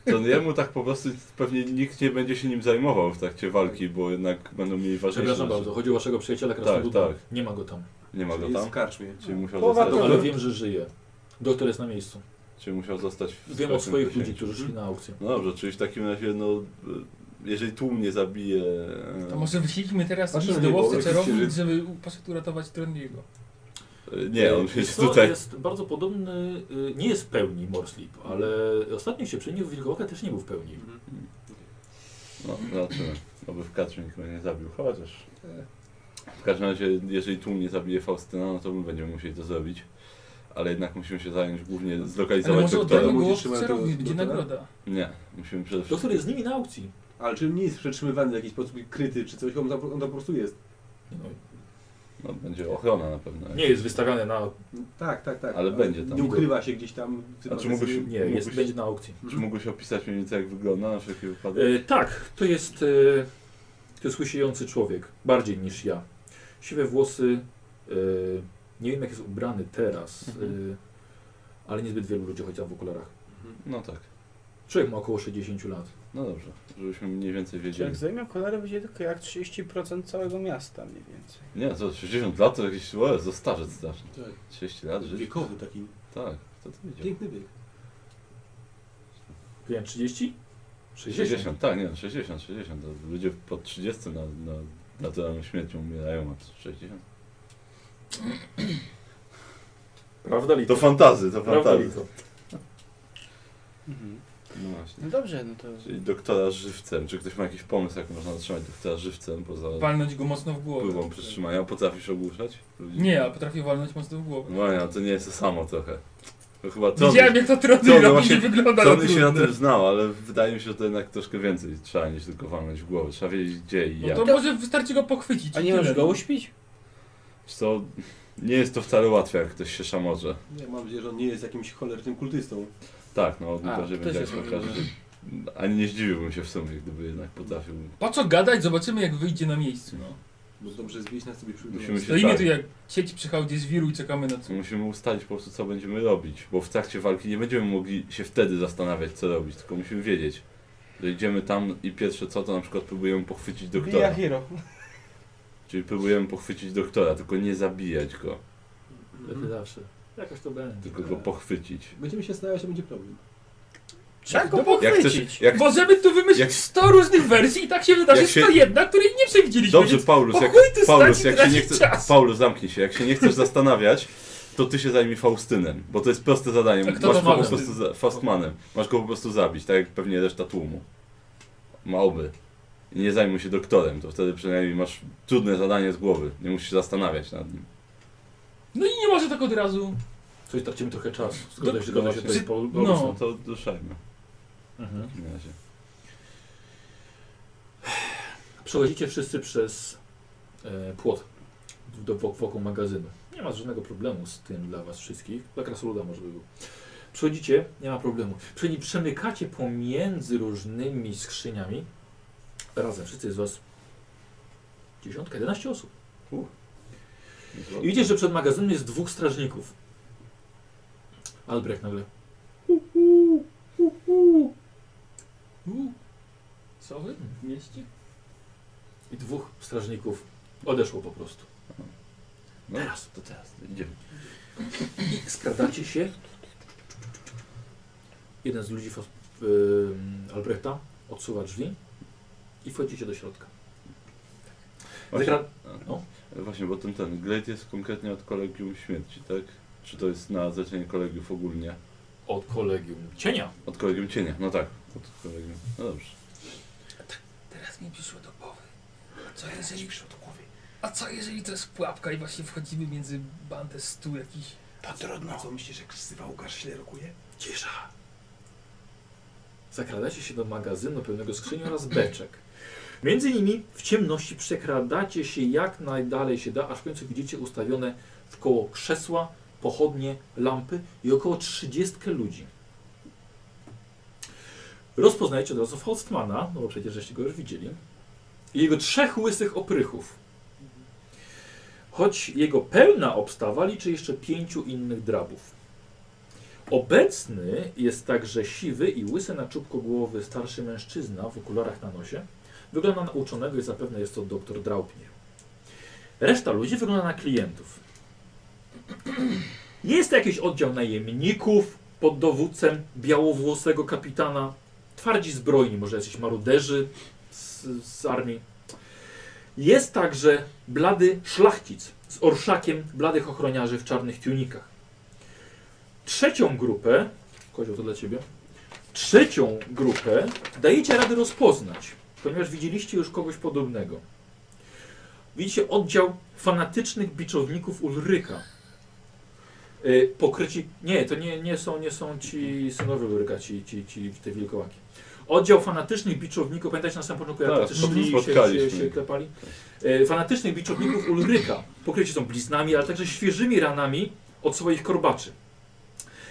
Speaker 4: to jemu tak po prostu pewnie nikt nie będzie się nim zajmował w trakcie walki, bo jednak będą mieli ważniejsze
Speaker 1: Przepraszam bardzo, chodzi o waszego przyjaciela Krasnoluda.
Speaker 4: tak.
Speaker 1: Nie ma go tam,
Speaker 4: Nie ma go
Speaker 6: Czyli jest
Speaker 4: tam?
Speaker 6: w karczmie.
Speaker 4: Czyli musiał,
Speaker 3: Połowa
Speaker 4: zostać,
Speaker 3: to-
Speaker 1: ale wiem, że żyje. Doktor jest na miejscu.
Speaker 4: czyli musiał zostać w
Speaker 1: Wiem od
Speaker 4: strasznym
Speaker 1: swoich
Speaker 4: zasięgu.
Speaker 1: ludzi, którzy szli na aukcję.
Speaker 4: No dobrze, czyli w takim razie, no, y, jeżeli tłum nie zabije... e,
Speaker 5: To może wyślijmy teraz
Speaker 6: Patrzę
Speaker 5: list
Speaker 6: na
Speaker 5: do
Speaker 6: niebo,
Speaker 5: łowcy
Speaker 6: jak
Speaker 5: czarownic,
Speaker 6: księżyc.
Speaker 5: żeby u- poszedł uratować tron jego.
Speaker 4: y, Nie, on
Speaker 1: Wiesz
Speaker 4: jest
Speaker 1: co,
Speaker 4: tutaj...
Speaker 1: jest bardzo podobny, y, nie jest w pełni Morslip, ale ostatnio się przeniósł, Wilkołaka też nie był w pełni.
Speaker 6: Mhm.
Speaker 4: No, zobaczymy. Oby w katrze nikogo nie zabił, chociaż... e, W każdym razie, jeżeli tłum nie zabije Faustyna, no to my będziemy musieli to zrobić. Ale jednak musimy się zająć głównie
Speaker 5: Ale
Speaker 4: zlokalizować
Speaker 5: może oddajmy
Speaker 4: doktora.
Speaker 5: go
Speaker 6: będzie
Speaker 5: łowcy
Speaker 6: trzymał
Speaker 5: czarownic,
Speaker 6: do-
Speaker 5: będzie
Speaker 6: doktora?
Speaker 5: nagroda.
Speaker 4: Nie, musimy przede wszystkim...
Speaker 1: Doktor jest z nimi na aukcji.
Speaker 6: Ale czy nie jest przetrzymywany w jakiś sposób kryty czy coś, on tam, on tam po prostu jest.
Speaker 1: No,
Speaker 4: No, będzie ochrona na pewno.
Speaker 1: nie jest wystawiany na...
Speaker 6: Tak, tak, tak.
Speaker 4: Ale będzie tam.
Speaker 6: Nie ukrywa się gdzieś tam. w tym
Speaker 4: A czy
Speaker 6: magazynie.
Speaker 4: mógłbyś-
Speaker 1: Nie, jest,
Speaker 4: Mógłbyś-
Speaker 1: będzie na aukcji.
Speaker 4: Czy mógłbyś opisać mniej więcej jak wygląda na wszelki wypadek?
Speaker 1: E, tak, to jest... E, to jest łysiejący człowiek, bardziej niż ja. Siwe włosy, e, nie wiem jak jest ubrany teraz,
Speaker 4: Mhm.
Speaker 1: e, ale niezbyt wielu ludzi chodzi tam w okularach.
Speaker 4: No tak,
Speaker 1: Człowiek ma około 60 lat.
Speaker 4: no dobrze, żebyśmy mniej więcej
Speaker 3: Czy
Speaker 4: wiedzieli.
Speaker 3: jak zajmę kolary, będzie tylko jak 30% całego miasta mniej więcej.
Speaker 4: Nie, co, 60 lat to jakieś o, za starzec strasznie.
Speaker 6: Tak.
Speaker 4: 30 lat żyć?
Speaker 6: Wiekowy taki.
Speaker 4: Tak, kto to wiedział?
Speaker 6: Piękny wiek.
Speaker 1: Wiem, 30?
Speaker 4: 60, tak, nie, 60, 60. To ludzie po 30 na, na naturalną śmiercią umierają, a 60.
Speaker 1: Prawda,
Speaker 4: To
Speaker 1: Lito?
Speaker 4: fantazy, to
Speaker 1: Prawda,
Speaker 4: fantazy.
Speaker 1: Lito?
Speaker 3: Mhm.
Speaker 4: No właśnie.
Speaker 3: No dobrze, no to...
Speaker 4: Czyli doktora żywcem. Czy ktoś ma jakiś pomysł, jak można zatrzymać doktora żywcem poza
Speaker 5: Walnąć go mocno w głowę.
Speaker 4: wpływą przetrzymania? Potrafisz ogłuszać ludzi?
Speaker 5: Nie, a potrafię walnąć mocno w głowę.
Speaker 4: No ja, to nie jest to samo trochę. To chyba to.
Speaker 5: Widziałem jak to
Speaker 4: co
Speaker 5: trudno
Speaker 4: on
Speaker 5: robi,
Speaker 4: właśnie-
Speaker 5: nie wygląda
Speaker 4: Co
Speaker 5: na
Speaker 4: on się na
Speaker 5: trudne.
Speaker 4: tym znał, ale wydaje mi się, że to jednak troszkę więcej trzeba niż tylko walnąć w głowę. Trzeba wiedzieć gdzie i
Speaker 5: No
Speaker 4: jak.
Speaker 5: to może wystarczy go pochwycić.
Speaker 3: A
Speaker 5: i
Speaker 3: nie
Speaker 5: tyle,
Speaker 3: możesz go
Speaker 5: no.
Speaker 3: uśpić?
Speaker 4: Wiesz Co? Nie jest to wcale łatwe, jak ktoś się szamorze.
Speaker 6: Ja mam nadzieję, że on nie jest jakimś cholernym kultystą.
Speaker 4: Tak, no
Speaker 3: A,
Speaker 4: to będzie
Speaker 3: to się no.
Speaker 4: widać
Speaker 3: zgadza.
Speaker 4: pokaże. Ani nie zdziwiłbym się w sumie, gdyby jednak potrafił.
Speaker 5: Po co gadać? Zobaczymy jak wyjdzie na miejscu. No.
Speaker 6: Bo dobrze zwieść nas sobie
Speaker 4: Musimy
Speaker 6: przygotować.
Speaker 4: się
Speaker 5: Stoimy
Speaker 4: tak,
Speaker 5: tu jak sieć przy hałdzie zwiru i czekamy na co.
Speaker 4: musimy ustalić po prostu co będziemy robić, bo w trakcie walki nie będziemy mogli się wtedy zastanawiać co robić, tylko musimy wiedzieć. Że idziemy tam i pierwsze co to na przykład próbujemy pochwycić doktora.
Speaker 3: Bija Hiro.
Speaker 4: Czyli próbujemy pochwycić doktora, tylko nie zabijać go,
Speaker 1: Lepiej zawsze. Jakaś Mhm. to będzie.
Speaker 4: tylko go pochwycić.
Speaker 6: Będziemy się starać, a będzie problem.
Speaker 3: Trzeba
Speaker 5: No
Speaker 3: go
Speaker 5: bo-
Speaker 4: Jak
Speaker 3: pochwycić.
Speaker 4: chcesz, jak,
Speaker 5: Możemy tu wymyślić
Speaker 4: jak-
Speaker 5: 100 różnych wersji i tak się wydarzy
Speaker 4: Jak się-
Speaker 5: 101, której nie przewidzieliśmy.
Speaker 4: dobrze
Speaker 5: więc
Speaker 4: Paulus,
Speaker 5: po
Speaker 4: jak,
Speaker 5: chuj tu
Speaker 4: Paulus,
Speaker 5: stać i
Speaker 4: jak się nie
Speaker 5: tracić
Speaker 4: chcesz,
Speaker 5: czas.
Speaker 4: Paulus zamknij się, jak się nie chcesz zastanawiać, to ty się zajmij Faustynem, bo to jest proste zadanie,
Speaker 5: A
Speaker 4: masz
Speaker 5: kto
Speaker 4: go
Speaker 5: to
Speaker 4: po
Speaker 5: Faustyn?
Speaker 4: prostu, za- Faustmanem, masz go po prostu zabić, tak jak pewnie reszta tłumu. Małby. I nie zajmuj się doktorem, to wtedy przynajmniej masz trudne zadanie z głowy, nie musisz się zastanawiać nad nim.
Speaker 5: No i nie może tak od razu.
Speaker 1: Coś tracimy trochę czasu. Zgodzę się,
Speaker 4: Do-
Speaker 1: zgodzę się
Speaker 4: no
Speaker 1: tutaj. po- po-
Speaker 5: No.
Speaker 4: No to ruszajmy
Speaker 1: Mhm.
Speaker 4: w takim razie.
Speaker 1: Przechodzicie wszyscy przez e, płot do, wok- wokół magazynu. Nie ma żadnego problemu z tym dla was wszystkich. Dla krasoluda może by był. Przechodzicie, nie ma problemu. Czyli przemykacie pomiędzy różnymi skrzyniami. Razem wszyscy jest was dziesiątka, 11 osób. I widzisz, że przed magazynem jest dwóch strażników. Albrecht nagle.
Speaker 5: U. Co wy? W mieście?
Speaker 1: I dwóch strażników odeszło po prostu.
Speaker 4: No,
Speaker 1: Teraz.
Speaker 4: to teraz idziemy.
Speaker 1: I skradacie się. Jeden z ludzi fos- ym, Albrechta odsuwa drzwi i wchodzicie do środka.
Speaker 4: Właśnie,
Speaker 1: Zakra- no.
Speaker 4: Właśnie, bo ten, ten grade jest konkretnie od kolegium śmierci, tak? Czy to jest na zlecenie kolegiów ogólnie?
Speaker 1: Od kolegium cienia.
Speaker 4: Od kolegium cienia, no tak. Od kolegium. No dobrze.
Speaker 5: Teraz mi przyszło do głowy. A co jeżeli przyszło do głowy? A co jeżeli to jest pułapka i właśnie wchodzimy między bandę stu jakichś?
Speaker 7: To trudno. Co myślisz, że ksywa Łukasz źle rokuje?
Speaker 1: Cisza. Zakradacie się do magazynu pełnego skrzyni oraz beczek. Między nimi w ciemności przekradacie się jak najdalej się da, aż w końcu widzicie ustawione w koło krzesła, pochodnie, lampy i około 30 ludzi. Rozpoznajecie od razu Faustmana, no bo przecież żeście go już widzieli, i jego trzech łysych oprychów. Choć jego pełna obstawa liczy jeszcze pięciu innych drabów. Obecny jest także siwy i łysy na czubko głowy starszy mężczyzna w okularach na nosie. Wygląda na uczonego i zapewne jest to doktor Draupnir. Reszta ludzi wygląda na klientów. Jest jakiś oddział najemników pod dowódcem białowłosego kapitana. Twardzi zbrojni, może jacyś maruderzy z, z armii. Jest także blady szlachcic z orszakiem bladych ochroniarzy w czarnych tunikach trzecią grupę, Kozioł to dla Ciebie, trzecią grupę dajecie radę rozpoznać, ponieważ widzieliście już kogoś podobnego. Widzicie oddział fanatycznych biczowników Ulryka. Yy, pokryci, nie, to nie, nie, są, nie są ci synowie Ulryka, ci, ci, ci te wilkołaki. Oddział fanatycznych biczowników, pamiętacie na samym początku, jak
Speaker 4: Tak,
Speaker 1: tacy szli się, się,
Speaker 4: spotkaliśmy
Speaker 1: się
Speaker 4: ich.
Speaker 1: klepali? Yy, fanatycznych biczowników Ulryka. Pokryci są bliznami, ale także świeżymi ranami od swoich korbaczy.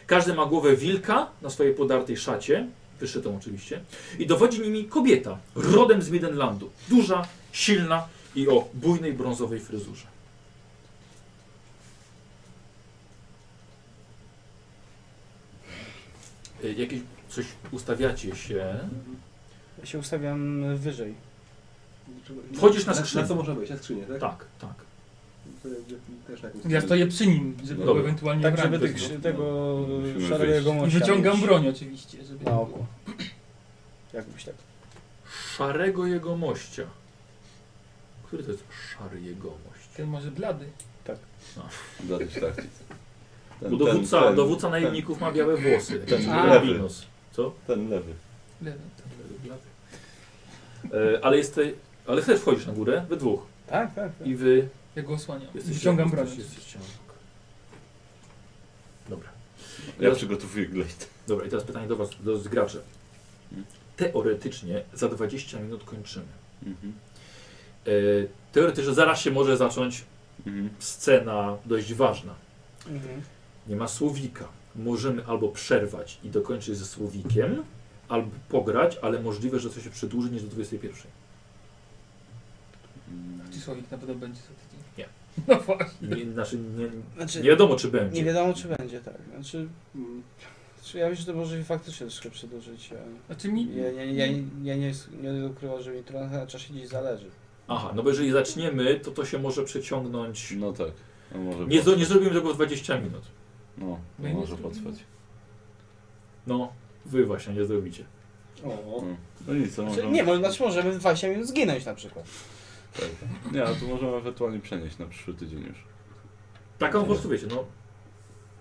Speaker 1: Każdy ma głowę wilka na swojej podartej szacie, wyszytą oczywiście, i dowodzi nimi kobieta, rodem z Midenlandu. Duża, silna i o bujnej brązowej fryzurze. Y, Jakieś coś ustawiacie się.
Speaker 3: Ja się ustawiam wyżej.
Speaker 1: Wchodzisz na
Speaker 6: Na,
Speaker 1: skrzynię.
Speaker 6: co można wejść? Na skrzynię, tak?
Speaker 1: Tak, tak.
Speaker 6: To jakby Też na jakąś
Speaker 5: Ja stoję przy nim, żeby
Speaker 4: Dobra.
Speaker 5: go ewentualnie
Speaker 3: Tak,
Speaker 5: brać.
Speaker 3: żeby
Speaker 4: bramkę,
Speaker 3: tych,
Speaker 4: no.
Speaker 3: krzy- tego
Speaker 4: Musimy
Speaker 3: szarego
Speaker 5: I
Speaker 3: mościa
Speaker 5: wyciągam
Speaker 3: mieć
Speaker 5: broń oczywiście, żeby...
Speaker 3: Na oko. Jakbyś tak.
Speaker 1: Szarego jegomościa. Który to jest szary jegomość?
Speaker 5: Ten może blady.
Speaker 4: Zadać tak.
Speaker 1: Bo dowódca, dowódca najemników ma białe włosy.
Speaker 4: ten-
Speaker 1: Ten,
Speaker 3: A.
Speaker 1: Rabinos. Co?
Speaker 4: Ten lewy.
Speaker 5: Lewy.
Speaker 1: E, ale jesteś. Ale też wchodzisz na górę, we dwóch.
Speaker 3: Tak, tak.
Speaker 1: I wy
Speaker 5: Ja go osłaniam.
Speaker 1: jesteście.
Speaker 5: Wyciągam broń.
Speaker 1: jesteście- jesteście obok. Dobra.
Speaker 4: Ja przygotowuję glejt.
Speaker 1: Dobra, i teraz pytanie do Was, do graczy. Teoretycznie za 20 minut kończymy.
Speaker 4: Mhm.
Speaker 1: E, teoretycznie zaraz się może zacząć
Speaker 4: Mhm.
Speaker 1: scena dość ważna.
Speaker 3: Mhm.
Speaker 1: Nie ma słowika. Możemy albo przerwać i dokończyć ze słowikiem, albo pograć, ale możliwe, że to się przedłuży niż do 21.
Speaker 5: Ci słowik na pewno będzie za tydzień.
Speaker 1: Nie.
Speaker 5: No właśnie.
Speaker 1: Nie, znaczy, nie,
Speaker 3: Znaczy,
Speaker 1: nie
Speaker 3: nie,
Speaker 1: wiadomo, czy będzie.
Speaker 3: wiadomo, czy będzie, tak. Znaczy,
Speaker 6: Mm.
Speaker 3: czy ja myślę, że to może faktycznie troszkę przedłużyć. Ja,
Speaker 5: Znaczy mi...
Speaker 3: ja, ja, ja, ja nie, nie ukrywam, że mi trochę na czasie gdzieś zależy.
Speaker 1: Aha, no bo jeżeli zaczniemy, to to się może przeciągnąć.
Speaker 4: No tak. No może
Speaker 1: Nie,
Speaker 4: potrwać.
Speaker 1: zro, nie zrobimy tego w 20 minut.
Speaker 4: No,
Speaker 5: No i
Speaker 4: no
Speaker 5: nie
Speaker 4: może
Speaker 5: zrobimy.
Speaker 4: potrwać.
Speaker 1: No, wy właśnie nie zrobicie.
Speaker 3: O.
Speaker 4: No, no nic, to
Speaker 3: Znaczy,
Speaker 4: możemy...
Speaker 3: nie, mo- znaczy możemy w 20 minut zginąć na przykład.
Speaker 4: Tak. Nie, a to możemy ewentualnie przenieść na przyszły tydzień już.
Speaker 1: Taką po prostu wiecie, no.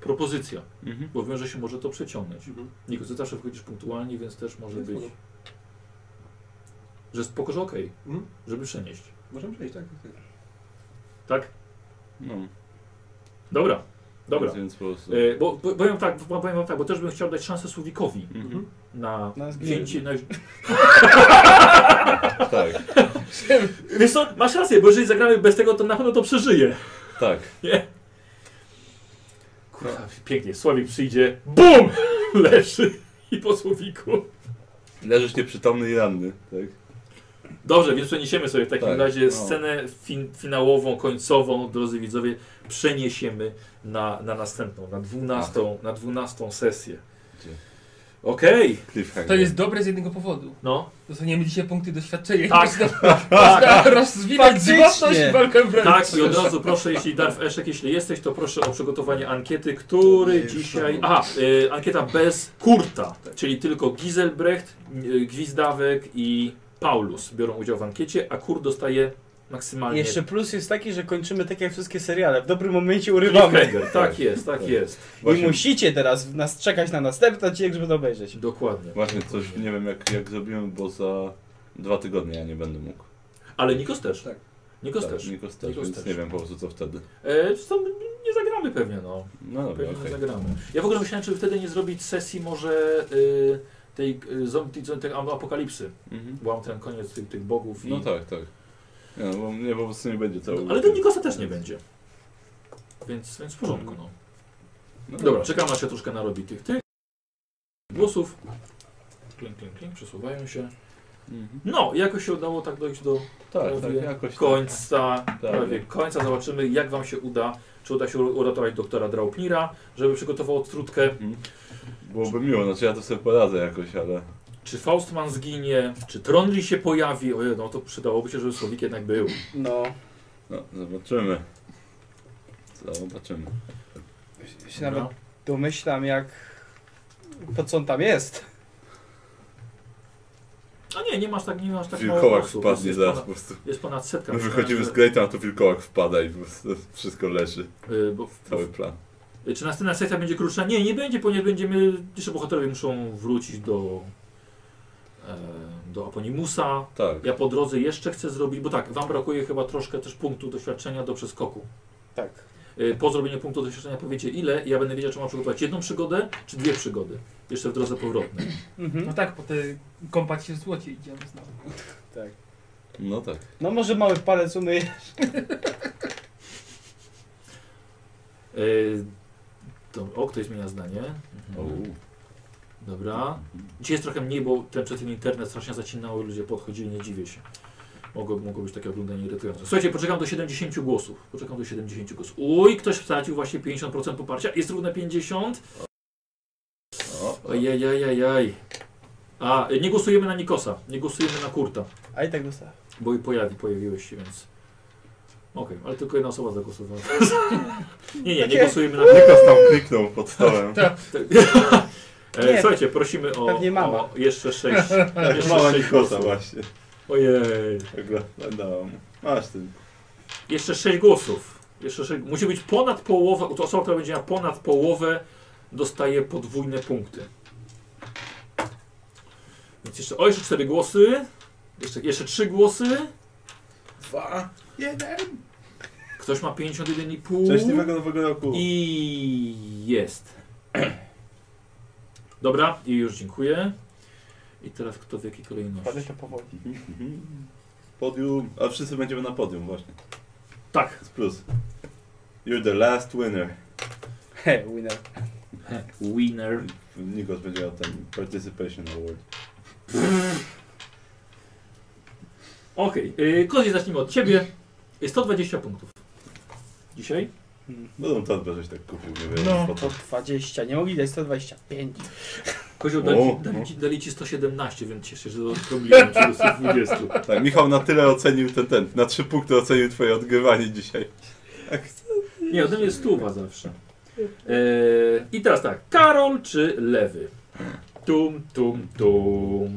Speaker 1: Propozycja,
Speaker 4: Mhm.
Speaker 1: bo wiem, że się może to przeciągnąć.
Speaker 6: Mhm.
Speaker 1: Niko, ty zawsze wchodzisz punktualnie, więc też może
Speaker 6: Jest
Speaker 1: być,
Speaker 6: spoko.
Speaker 1: że spoko, że okej,
Speaker 6: Mhm.
Speaker 1: żeby przenieść.
Speaker 6: Możemy przejść, tak? tak.
Speaker 1: Tak?
Speaker 4: No,
Speaker 1: Dobra, dobra.
Speaker 4: Więc, więc po prostu...
Speaker 1: E, bo, bo powiem tak, bo, powiem wam tak, bo też bym chciał dać szansę Słowikowi
Speaker 4: Mhm.
Speaker 1: na
Speaker 3: Na
Speaker 1: wzięcie. Na...
Speaker 4: Tak,
Speaker 1: Wiesz co, masz rację, bo jeżeli zagramy bez tego, to na pewno to przeżyje.
Speaker 4: tak.
Speaker 1: Kurwa, pięknie, Słowik przyjdzie, BUM! Leży i po Słowiku.
Speaker 4: Leżysz nieprzytomny i ranny, tak?
Speaker 1: Dobrze, więc przeniesiemy sobie w takim
Speaker 4: Tak,
Speaker 1: razie
Speaker 4: no.
Speaker 1: scenę fin finałową, końcową, drodzy widzowie, przeniesiemy na, na następną, na 12, na 12 sesję.
Speaker 4: Gdzie?
Speaker 1: Okej,
Speaker 4: Cliffhanger.
Speaker 1: Tak
Speaker 5: To jest dobre z jednego powodu.
Speaker 1: no.
Speaker 5: Dostaniemy dzisiaj punkty doświadczenia.
Speaker 1: Tak.
Speaker 5: i można- Można rozwinąć
Speaker 3: Faktycznie.
Speaker 5: zgodność i walkę wręcz.
Speaker 1: Tak, i od razu proszę, jeśli Darf Eszek, jeśli jesteś, to proszę o przygotowanie ankiety, który dzisiaj... Aha, y, ankieta bez Kurta, czyli tylko Giselbrecht, y, Gwizdawek i Paulus biorą udział w ankiecie, a Kurt dostaje maksymalnie...
Speaker 3: Jeszcze plus jest taki, że kończymy tak jak wszystkie seriale. W dobrym momencie urywamy.
Speaker 1: Cliffhanger, tak jest, tak jest.
Speaker 3: Nie
Speaker 4: Właśnie,
Speaker 3: musicie teraz w nas czekać na następny odcinek, żeby to obejrzeć.
Speaker 1: Dokładnie.
Speaker 4: właśnie coś, nie wiem jak, jak zrobimy, bo za dwa tygodnie ja nie będę mógł.
Speaker 1: Ale Nikos też.
Speaker 6: Tak.
Speaker 1: Nikos
Speaker 4: tak,
Speaker 1: też.
Speaker 4: Nikos też,
Speaker 1: Nikos
Speaker 4: więc
Speaker 1: też.
Speaker 4: nie wiem po prostu co wtedy.
Speaker 1: E, to nie zagramy pewnie, no.
Speaker 4: No dobra,
Speaker 1: Pewnie
Speaker 4: okej.
Speaker 1: nie zagramy. Ja w ogóle myślałem, czy wtedy nie zrobić sesji może y, tej y, zombie, zo- tej am- apokalipsy.
Speaker 4: Mhm.
Speaker 1: Byłam ten koniec tych, tych bogów i...
Speaker 4: No tak, tak. Nie, no, bo mnie po prostu nie będzie cały
Speaker 1: No, ale ten Nikosa też nie będzie. Więc, więc w porządku, no.
Speaker 4: No
Speaker 1: Dobra, czekam aż się troszkę narobi tych, tych głosów. Klink, klink, klink, przesuwają się.
Speaker 4: Mhm.
Speaker 1: No, jakoś się udało tak dojść do
Speaker 4: Tak, tak,
Speaker 1: Prawie
Speaker 4: jakoś tak.
Speaker 1: końca,
Speaker 4: Tak.
Speaker 1: prawie końca. Zobaczymy, jak Wam się uda, czy uda się uratować doktora Draupnira, żeby przygotował odtrutkę,
Speaker 4: Mhm. Byłoby miło, znaczy ja to sobie poradzę jakoś, ale...
Speaker 1: czy Faustman zginie, czy Tronli się pojawi. Ojej, no to przydałoby się, żeby Słowik jednak był.
Speaker 3: No,
Speaker 4: No, zobaczymy.
Speaker 1: Tak
Speaker 4: Zobaczymy.
Speaker 3: się nawet
Speaker 1: No.
Speaker 3: domyślam jak... po co on tam jest.
Speaker 1: A nie, nie masz tak, nie masz tak mało
Speaker 4: Wilkołak
Speaker 1: osób.
Speaker 4: wpadnie
Speaker 1: jest,
Speaker 4: zaraz
Speaker 1: ponad,
Speaker 4: po prostu.
Speaker 1: jest ponad setka.
Speaker 4: My wychodzimy z
Speaker 1: Myślałem,
Speaker 4: Greata, a to wilkołak wpada i po prostu wszystko leży.
Speaker 1: że- y, bo,
Speaker 4: Cały plan.
Speaker 1: bo,
Speaker 4: Tak.
Speaker 1: czy następna sesja będzie krótsza? Nie, nie będzie, ponieważ będziemy, jeszcze bohaterowie muszą wrócić do, e, do Aponimusa,
Speaker 4: Tak.
Speaker 1: Ja po drodze jeszcze chcę zrobić, bo tak, wam brakuje chyba troszkę też punktu doświadczenia do przeskoku.
Speaker 3: Tak.
Speaker 1: Y, Po zrobieniu punktu doświadczenia powiecie ile i ja będę wiedział, czy mam przygotować jedną przygodę, czy dwie przygody. Jeszcze w drodze powrotnej.
Speaker 5: No
Speaker 3: Mhm.
Speaker 5: tak, po te kąpać się w złocie idziemy znowu.
Speaker 3: tak.
Speaker 4: No tak.
Speaker 3: No może mały palec umyje.
Speaker 1: Yy, to, o, ktoś zmienia zdanie. Mhm.
Speaker 4: Ouu.
Speaker 1: Dobra. Dzisiaj jest trochę mniej, bo ten przed tym internet strasznie zacinał i ludzie podchodzili, nie dziwię się. Mogło, mogło być takie oglądanie irytujące. Słuchajcie, poczekam do 70 głosów. Poczekam do 70 głosów. Uj, ktoś stracił właśnie 50% poparcia. Jest równe 50.
Speaker 4: O,
Speaker 1: Ojajajajaj. A, y, nie głosujemy na Nikosa, nie głosujemy na Kurta,
Speaker 3: A i tak dostałem.
Speaker 1: bo i pojawi, pojawiłeś się, więc... Okej, ale tylko jedna osoba zagłosowała. nie, nie, nie
Speaker 3: Takie-
Speaker 1: głosujemy na...
Speaker 4: Nikos tam kliknął pod stołem.
Speaker 3: Tak,
Speaker 1: E,
Speaker 3: Nie.
Speaker 1: Słuchajcie, prosimy o,
Speaker 3: Pewnie mama.
Speaker 1: o jeszcze sześć.
Speaker 4: Mała
Speaker 3: tak.
Speaker 1: jeszcze sześć
Speaker 4: Nikosa
Speaker 1: głosów.
Speaker 4: właśnie.
Speaker 1: Ojej.
Speaker 4: Oglądałam. Masz ten.
Speaker 1: Jeszcze sześć głosów. Jeszcze sześć... Musi być ponad połowę, to osoba, która będzie miała ponad połowę, dostaje podwójne punkty. Więc jeszcze, o, jeszcze cztery głosy. Jeszcze, jeszcze trzy głosy.
Speaker 7: Dwa, jeden.
Speaker 1: Ktoś ma 51,5.
Speaker 4: Szczęśliwego nowego roku.
Speaker 1: I jest. Dobra, i już dziękuję. I teraz kto w jakiej kolejności?
Speaker 8: Wpadaj to powoli.
Speaker 4: Podium. A wszyscy będziemy na podium właśnie.
Speaker 1: Tak.
Speaker 4: Jest plus. You're the last winner.
Speaker 3: He, winner.
Speaker 1: Winner.
Speaker 4: Nikos będzie miał ten Participation Award.
Speaker 1: Okej, okay. Kozi zacznijmy od ciebie. Jest 120 punktów. Dzisiaj?
Speaker 3: Mhm.
Speaker 4: No tą torbę żeś tak kupił, nie wiem.
Speaker 5: No,
Speaker 4: po co.
Speaker 3: To 20, nie mogli dać 125.
Speaker 1: Kozioł dali,
Speaker 4: O,
Speaker 1: dali,
Speaker 4: no.
Speaker 1: ci, dali ci 117, więc cieszę się, że zrobiłem ci do 120.
Speaker 4: Tak, Michał na tyle ocenił ten, ten, na trzy punkty ocenił twoje odgrywanie dzisiaj.
Speaker 1: Nie, ode mnie jest stuwa zawsze. E, I teraz tak, Karol czy Lewy? Tum, tum, tum.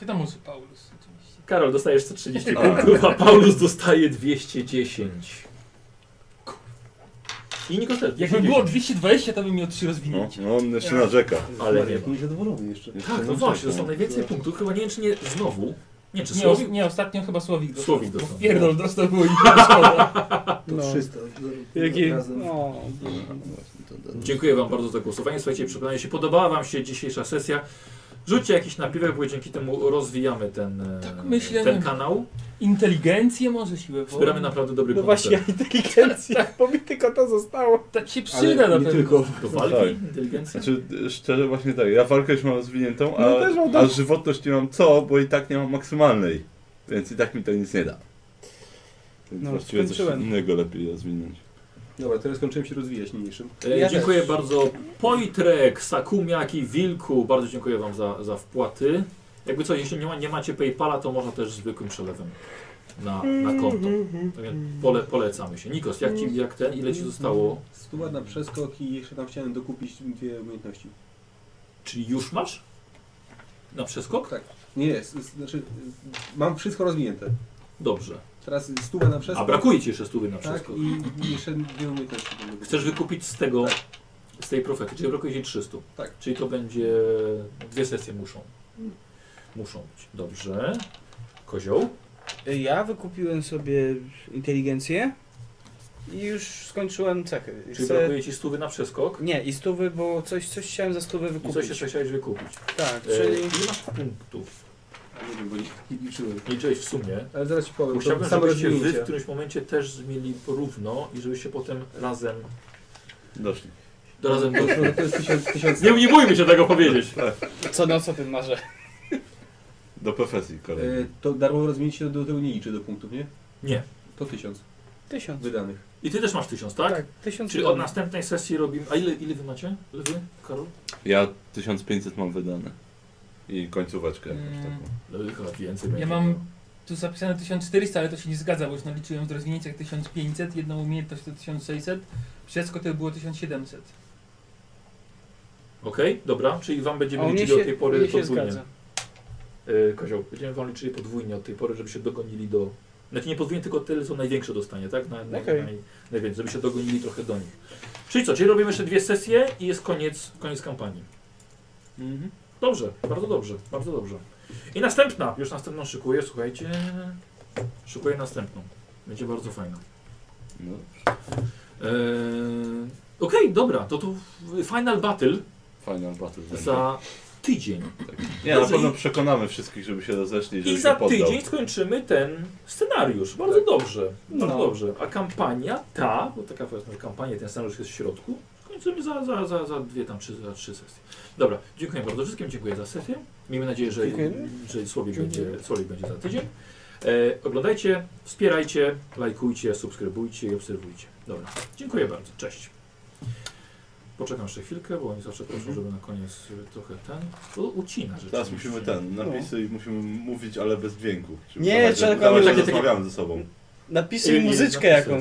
Speaker 5: Wiadomo, że Paulus oczywiście.
Speaker 1: Karol, dostajesz 130 punktów, a Paulus dostaje 210. I Nikos też,
Speaker 5: Jakby było
Speaker 1: 210.
Speaker 5: 220, to by mi o 3
Speaker 4: No,
Speaker 5: rozwinięcie.
Speaker 4: no on jeszcze narzeka.
Speaker 1: Ale nie ma.
Speaker 7: Niezadowolony jeszcze.
Speaker 4: Jeszcze
Speaker 1: Tak, no
Speaker 4: narzeka,
Speaker 1: właśnie, dostał najwięcej punktów, chyba nie wiem czy nie znowu. Nie, czy
Speaker 5: Nie, o,
Speaker 1: Słowik?
Speaker 5: nie, ostatnio chyba Słowik dostał.
Speaker 1: Słowik dostał.
Speaker 5: Pierdol, dostał było i szkoda.
Speaker 6: To
Speaker 3: No.
Speaker 6: 300.
Speaker 3: Jaki?
Speaker 6: Razem.
Speaker 3: No,
Speaker 1: Dziękuję Wam bardzo za głosowanie. Słuchajcie, przekonanie się, podobała Wam się dzisiejsza sesja. Rzućcie jakiś napiwek, bo dzięki temu rozwijamy ten, e,
Speaker 5: Tak myślę.
Speaker 1: ten kanał.
Speaker 5: Inteligencję może siłę woli.
Speaker 1: Wspieramy naprawdę dobry
Speaker 3: no
Speaker 1: kontent.
Speaker 3: właśnie, inteligencja, bo mi tylko to zostało.
Speaker 5: Tak się przyda
Speaker 6: Ale
Speaker 5: na
Speaker 6: nie
Speaker 5: pewno.
Speaker 6: tylko.
Speaker 1: Do walki,
Speaker 4: Tak.
Speaker 1: inteligencja.
Speaker 4: Znaczy, y, szczerze właśnie tak, ja walkę już mam zwiniętą, a,
Speaker 3: No też mam
Speaker 4: a
Speaker 3: tak.
Speaker 4: żywotność nie mam co, bo i tak nie mam maksymalnej. Więc i tak mi to nic nie da. Więc
Speaker 3: No,
Speaker 4: właściwie coś
Speaker 3: skończyłem.
Speaker 4: innego lepiej rozwinąć.
Speaker 6: Dobra, teraz skończyłem się rozwijać niniejszym.
Speaker 1: E,
Speaker 3: Ja
Speaker 1: dziękuję
Speaker 3: też.
Speaker 1: bardzo Pojtrek, Sakumiaki, Wilku, bardzo dziękuję Wam za, za wpłaty. Jakby co, jeśli nie, ma, nie macie Paypala, to można też zwykłym przelewem na, na konto. Tak więc Pole, polecamy się. Nikos, jak, ci, jak ten, ile Ci zostało?
Speaker 6: Tu ładna przeskok i jeszcze tam chciałem dokupić dwie umiejętności.
Speaker 1: Czyli już masz? Na przeskok?
Speaker 6: Nie, jest, jest, znaczy y, mam wszystko rozwinięte.
Speaker 1: Dobrze.
Speaker 6: Teraz stówę na
Speaker 1: A
Speaker 6: przeskok.
Speaker 1: brakuje Ci jeszcze stówy na
Speaker 6: Tak,
Speaker 1: przeskok.
Speaker 6: i jeszcze dwie umiejętności. będę
Speaker 1: Chcesz wykupić z tego, z tej profety, czyli brakuje Ci 300.
Speaker 6: Tak.
Speaker 1: Czyli to będzie, dwie sesje muszą. Muszą być. Dobrze. Kozioł?
Speaker 3: Ja wykupiłem sobie inteligencję i już skończyłem cechy.
Speaker 1: Czyli
Speaker 3: Chcę-
Speaker 1: brakuje Ci stówy na przeskok?
Speaker 3: Nie, i stówy, bo coś, coś chciałem za stówy
Speaker 1: I
Speaker 3: wykupić.
Speaker 1: coś jeszcze E- chciałeś wykupić.
Speaker 3: Tak,
Speaker 1: Czyli...
Speaker 3: czyli...
Speaker 1: Ile masz punktów?
Speaker 6: Nie wiem, bo nie, nie liczyłem.
Speaker 1: Liczyłeś w sumie.
Speaker 6: Ale zaraz ci powiem,
Speaker 1: Bo
Speaker 6: to
Speaker 1: chciałbym,
Speaker 6: same
Speaker 1: żebyście wy w
Speaker 6: rozwinięcia.
Speaker 1: którymś momencie też mieli równo i żebyście potem razem...
Speaker 4: Doszli.
Speaker 1: Do razem do...
Speaker 6: No, to jest tysiąc, tysiąc,
Speaker 1: Nie, nie bójmy się tego powiedzieć.
Speaker 3: Co noc o tym marzę.
Speaker 4: Do profesji kolejnej.
Speaker 1: Y,
Speaker 6: e, to darmo rozwinięcie do, do tego nie liczy do punktów, nie?
Speaker 1: Nie.
Speaker 6: To tysiąc
Speaker 3: Tysiąc.
Speaker 6: wydanych.
Speaker 1: I ty też masz tysiąc, tak?
Speaker 3: Tak, tysiąc.
Speaker 1: Czyli od następnej sesji robimy... A ile, ile wy macie? Lewy? Karol?
Speaker 4: Ja 1500 mam wydane. I końcóweczkę jakąś
Speaker 5: Mm.
Speaker 4: taką.
Speaker 1: Lewy No chyba więcej będzie. no.
Speaker 5: mam- Tu zapisane 1400, ale to się nie zgadza, bo już naliczyłem w rozwinięciach 1500, jedną umiejętność to 1600, wszystko to było 1700.
Speaker 1: Okej, dobra. Czyli wam będziemy
Speaker 3: O, mnie
Speaker 1: liczyli
Speaker 3: się,
Speaker 1: od tej pory
Speaker 3: mnie się
Speaker 1: podwójnie.
Speaker 3: zgadza.
Speaker 1: Yy, Kozioł, będziemy wam liczyli podwójnie od tej pory, żeby się dogonili do... Znaczy nie podwójnie, tylko tyle, co największe dostanie, tak? Na, na,
Speaker 3: Okej.
Speaker 1: naj, najwięcej, żeby się dogonili trochę do nich. Czyli co, czyli robimy jeszcze dwie sesje i jest koniec, koniec kampanii.
Speaker 6: Mhm.
Speaker 1: Dobrze, bardzo dobrze, bardzo dobrze. I następna, już następną szykuję, słuchajcie. Szykuję następną. Będzie bardzo fajna.
Speaker 4: No.
Speaker 1: Eee, Okej, dobra, to tu Final Battle
Speaker 4: Final Battle. będzie.
Speaker 1: za tydzień.
Speaker 4: Nie, No, na
Speaker 1: Dobrze,
Speaker 4: pewno
Speaker 1: i-
Speaker 4: przekonamy wszystkich, żeby się rozeszli, żeby
Speaker 1: I
Speaker 4: się
Speaker 1: za
Speaker 4: poddał. Tak.
Speaker 1: tydzień skończymy ten scenariusz. Bardzo dobrze. Bardzo
Speaker 3: No.
Speaker 1: dobrze. A kampania ta, bo taka powiedzmy kampania, ten scenariusz jest w środku, skończymy za, za, za, za dwie tam, trzy, za trzy sesje. Dobra, dziękuję bardzo wszystkim, dziękuję za sesję. Miejmy nadzieję, że,
Speaker 3: Dziękujemy.
Speaker 1: że Słowik będzie,
Speaker 3: Dziękuję.
Speaker 1: Słowik będzie za tydzień. E, oglądajcie, wspierajcie, lajkujcie, subskrybujcie i obserwujcie. Dobra, dziękuję bardzo, cześć. Poczekam jeszcze chwilkę, bo oni zawsze proszą, żeby na koniec e, trochę ten... To ucina rzeczywiście.
Speaker 4: Mhm. Teraz musimy ten, napisy i musimy mówić, ale bez dźwięku. Czyli
Speaker 3: Nie,
Speaker 4: udawać, że-
Speaker 3: trzeba
Speaker 4: udawać, że
Speaker 1: takie-
Speaker 4: rozmawiamy ze sobą.
Speaker 3: Napisuj
Speaker 1: Nie, nie,
Speaker 3: muzyczkę
Speaker 1: napisy.
Speaker 3: jakąś.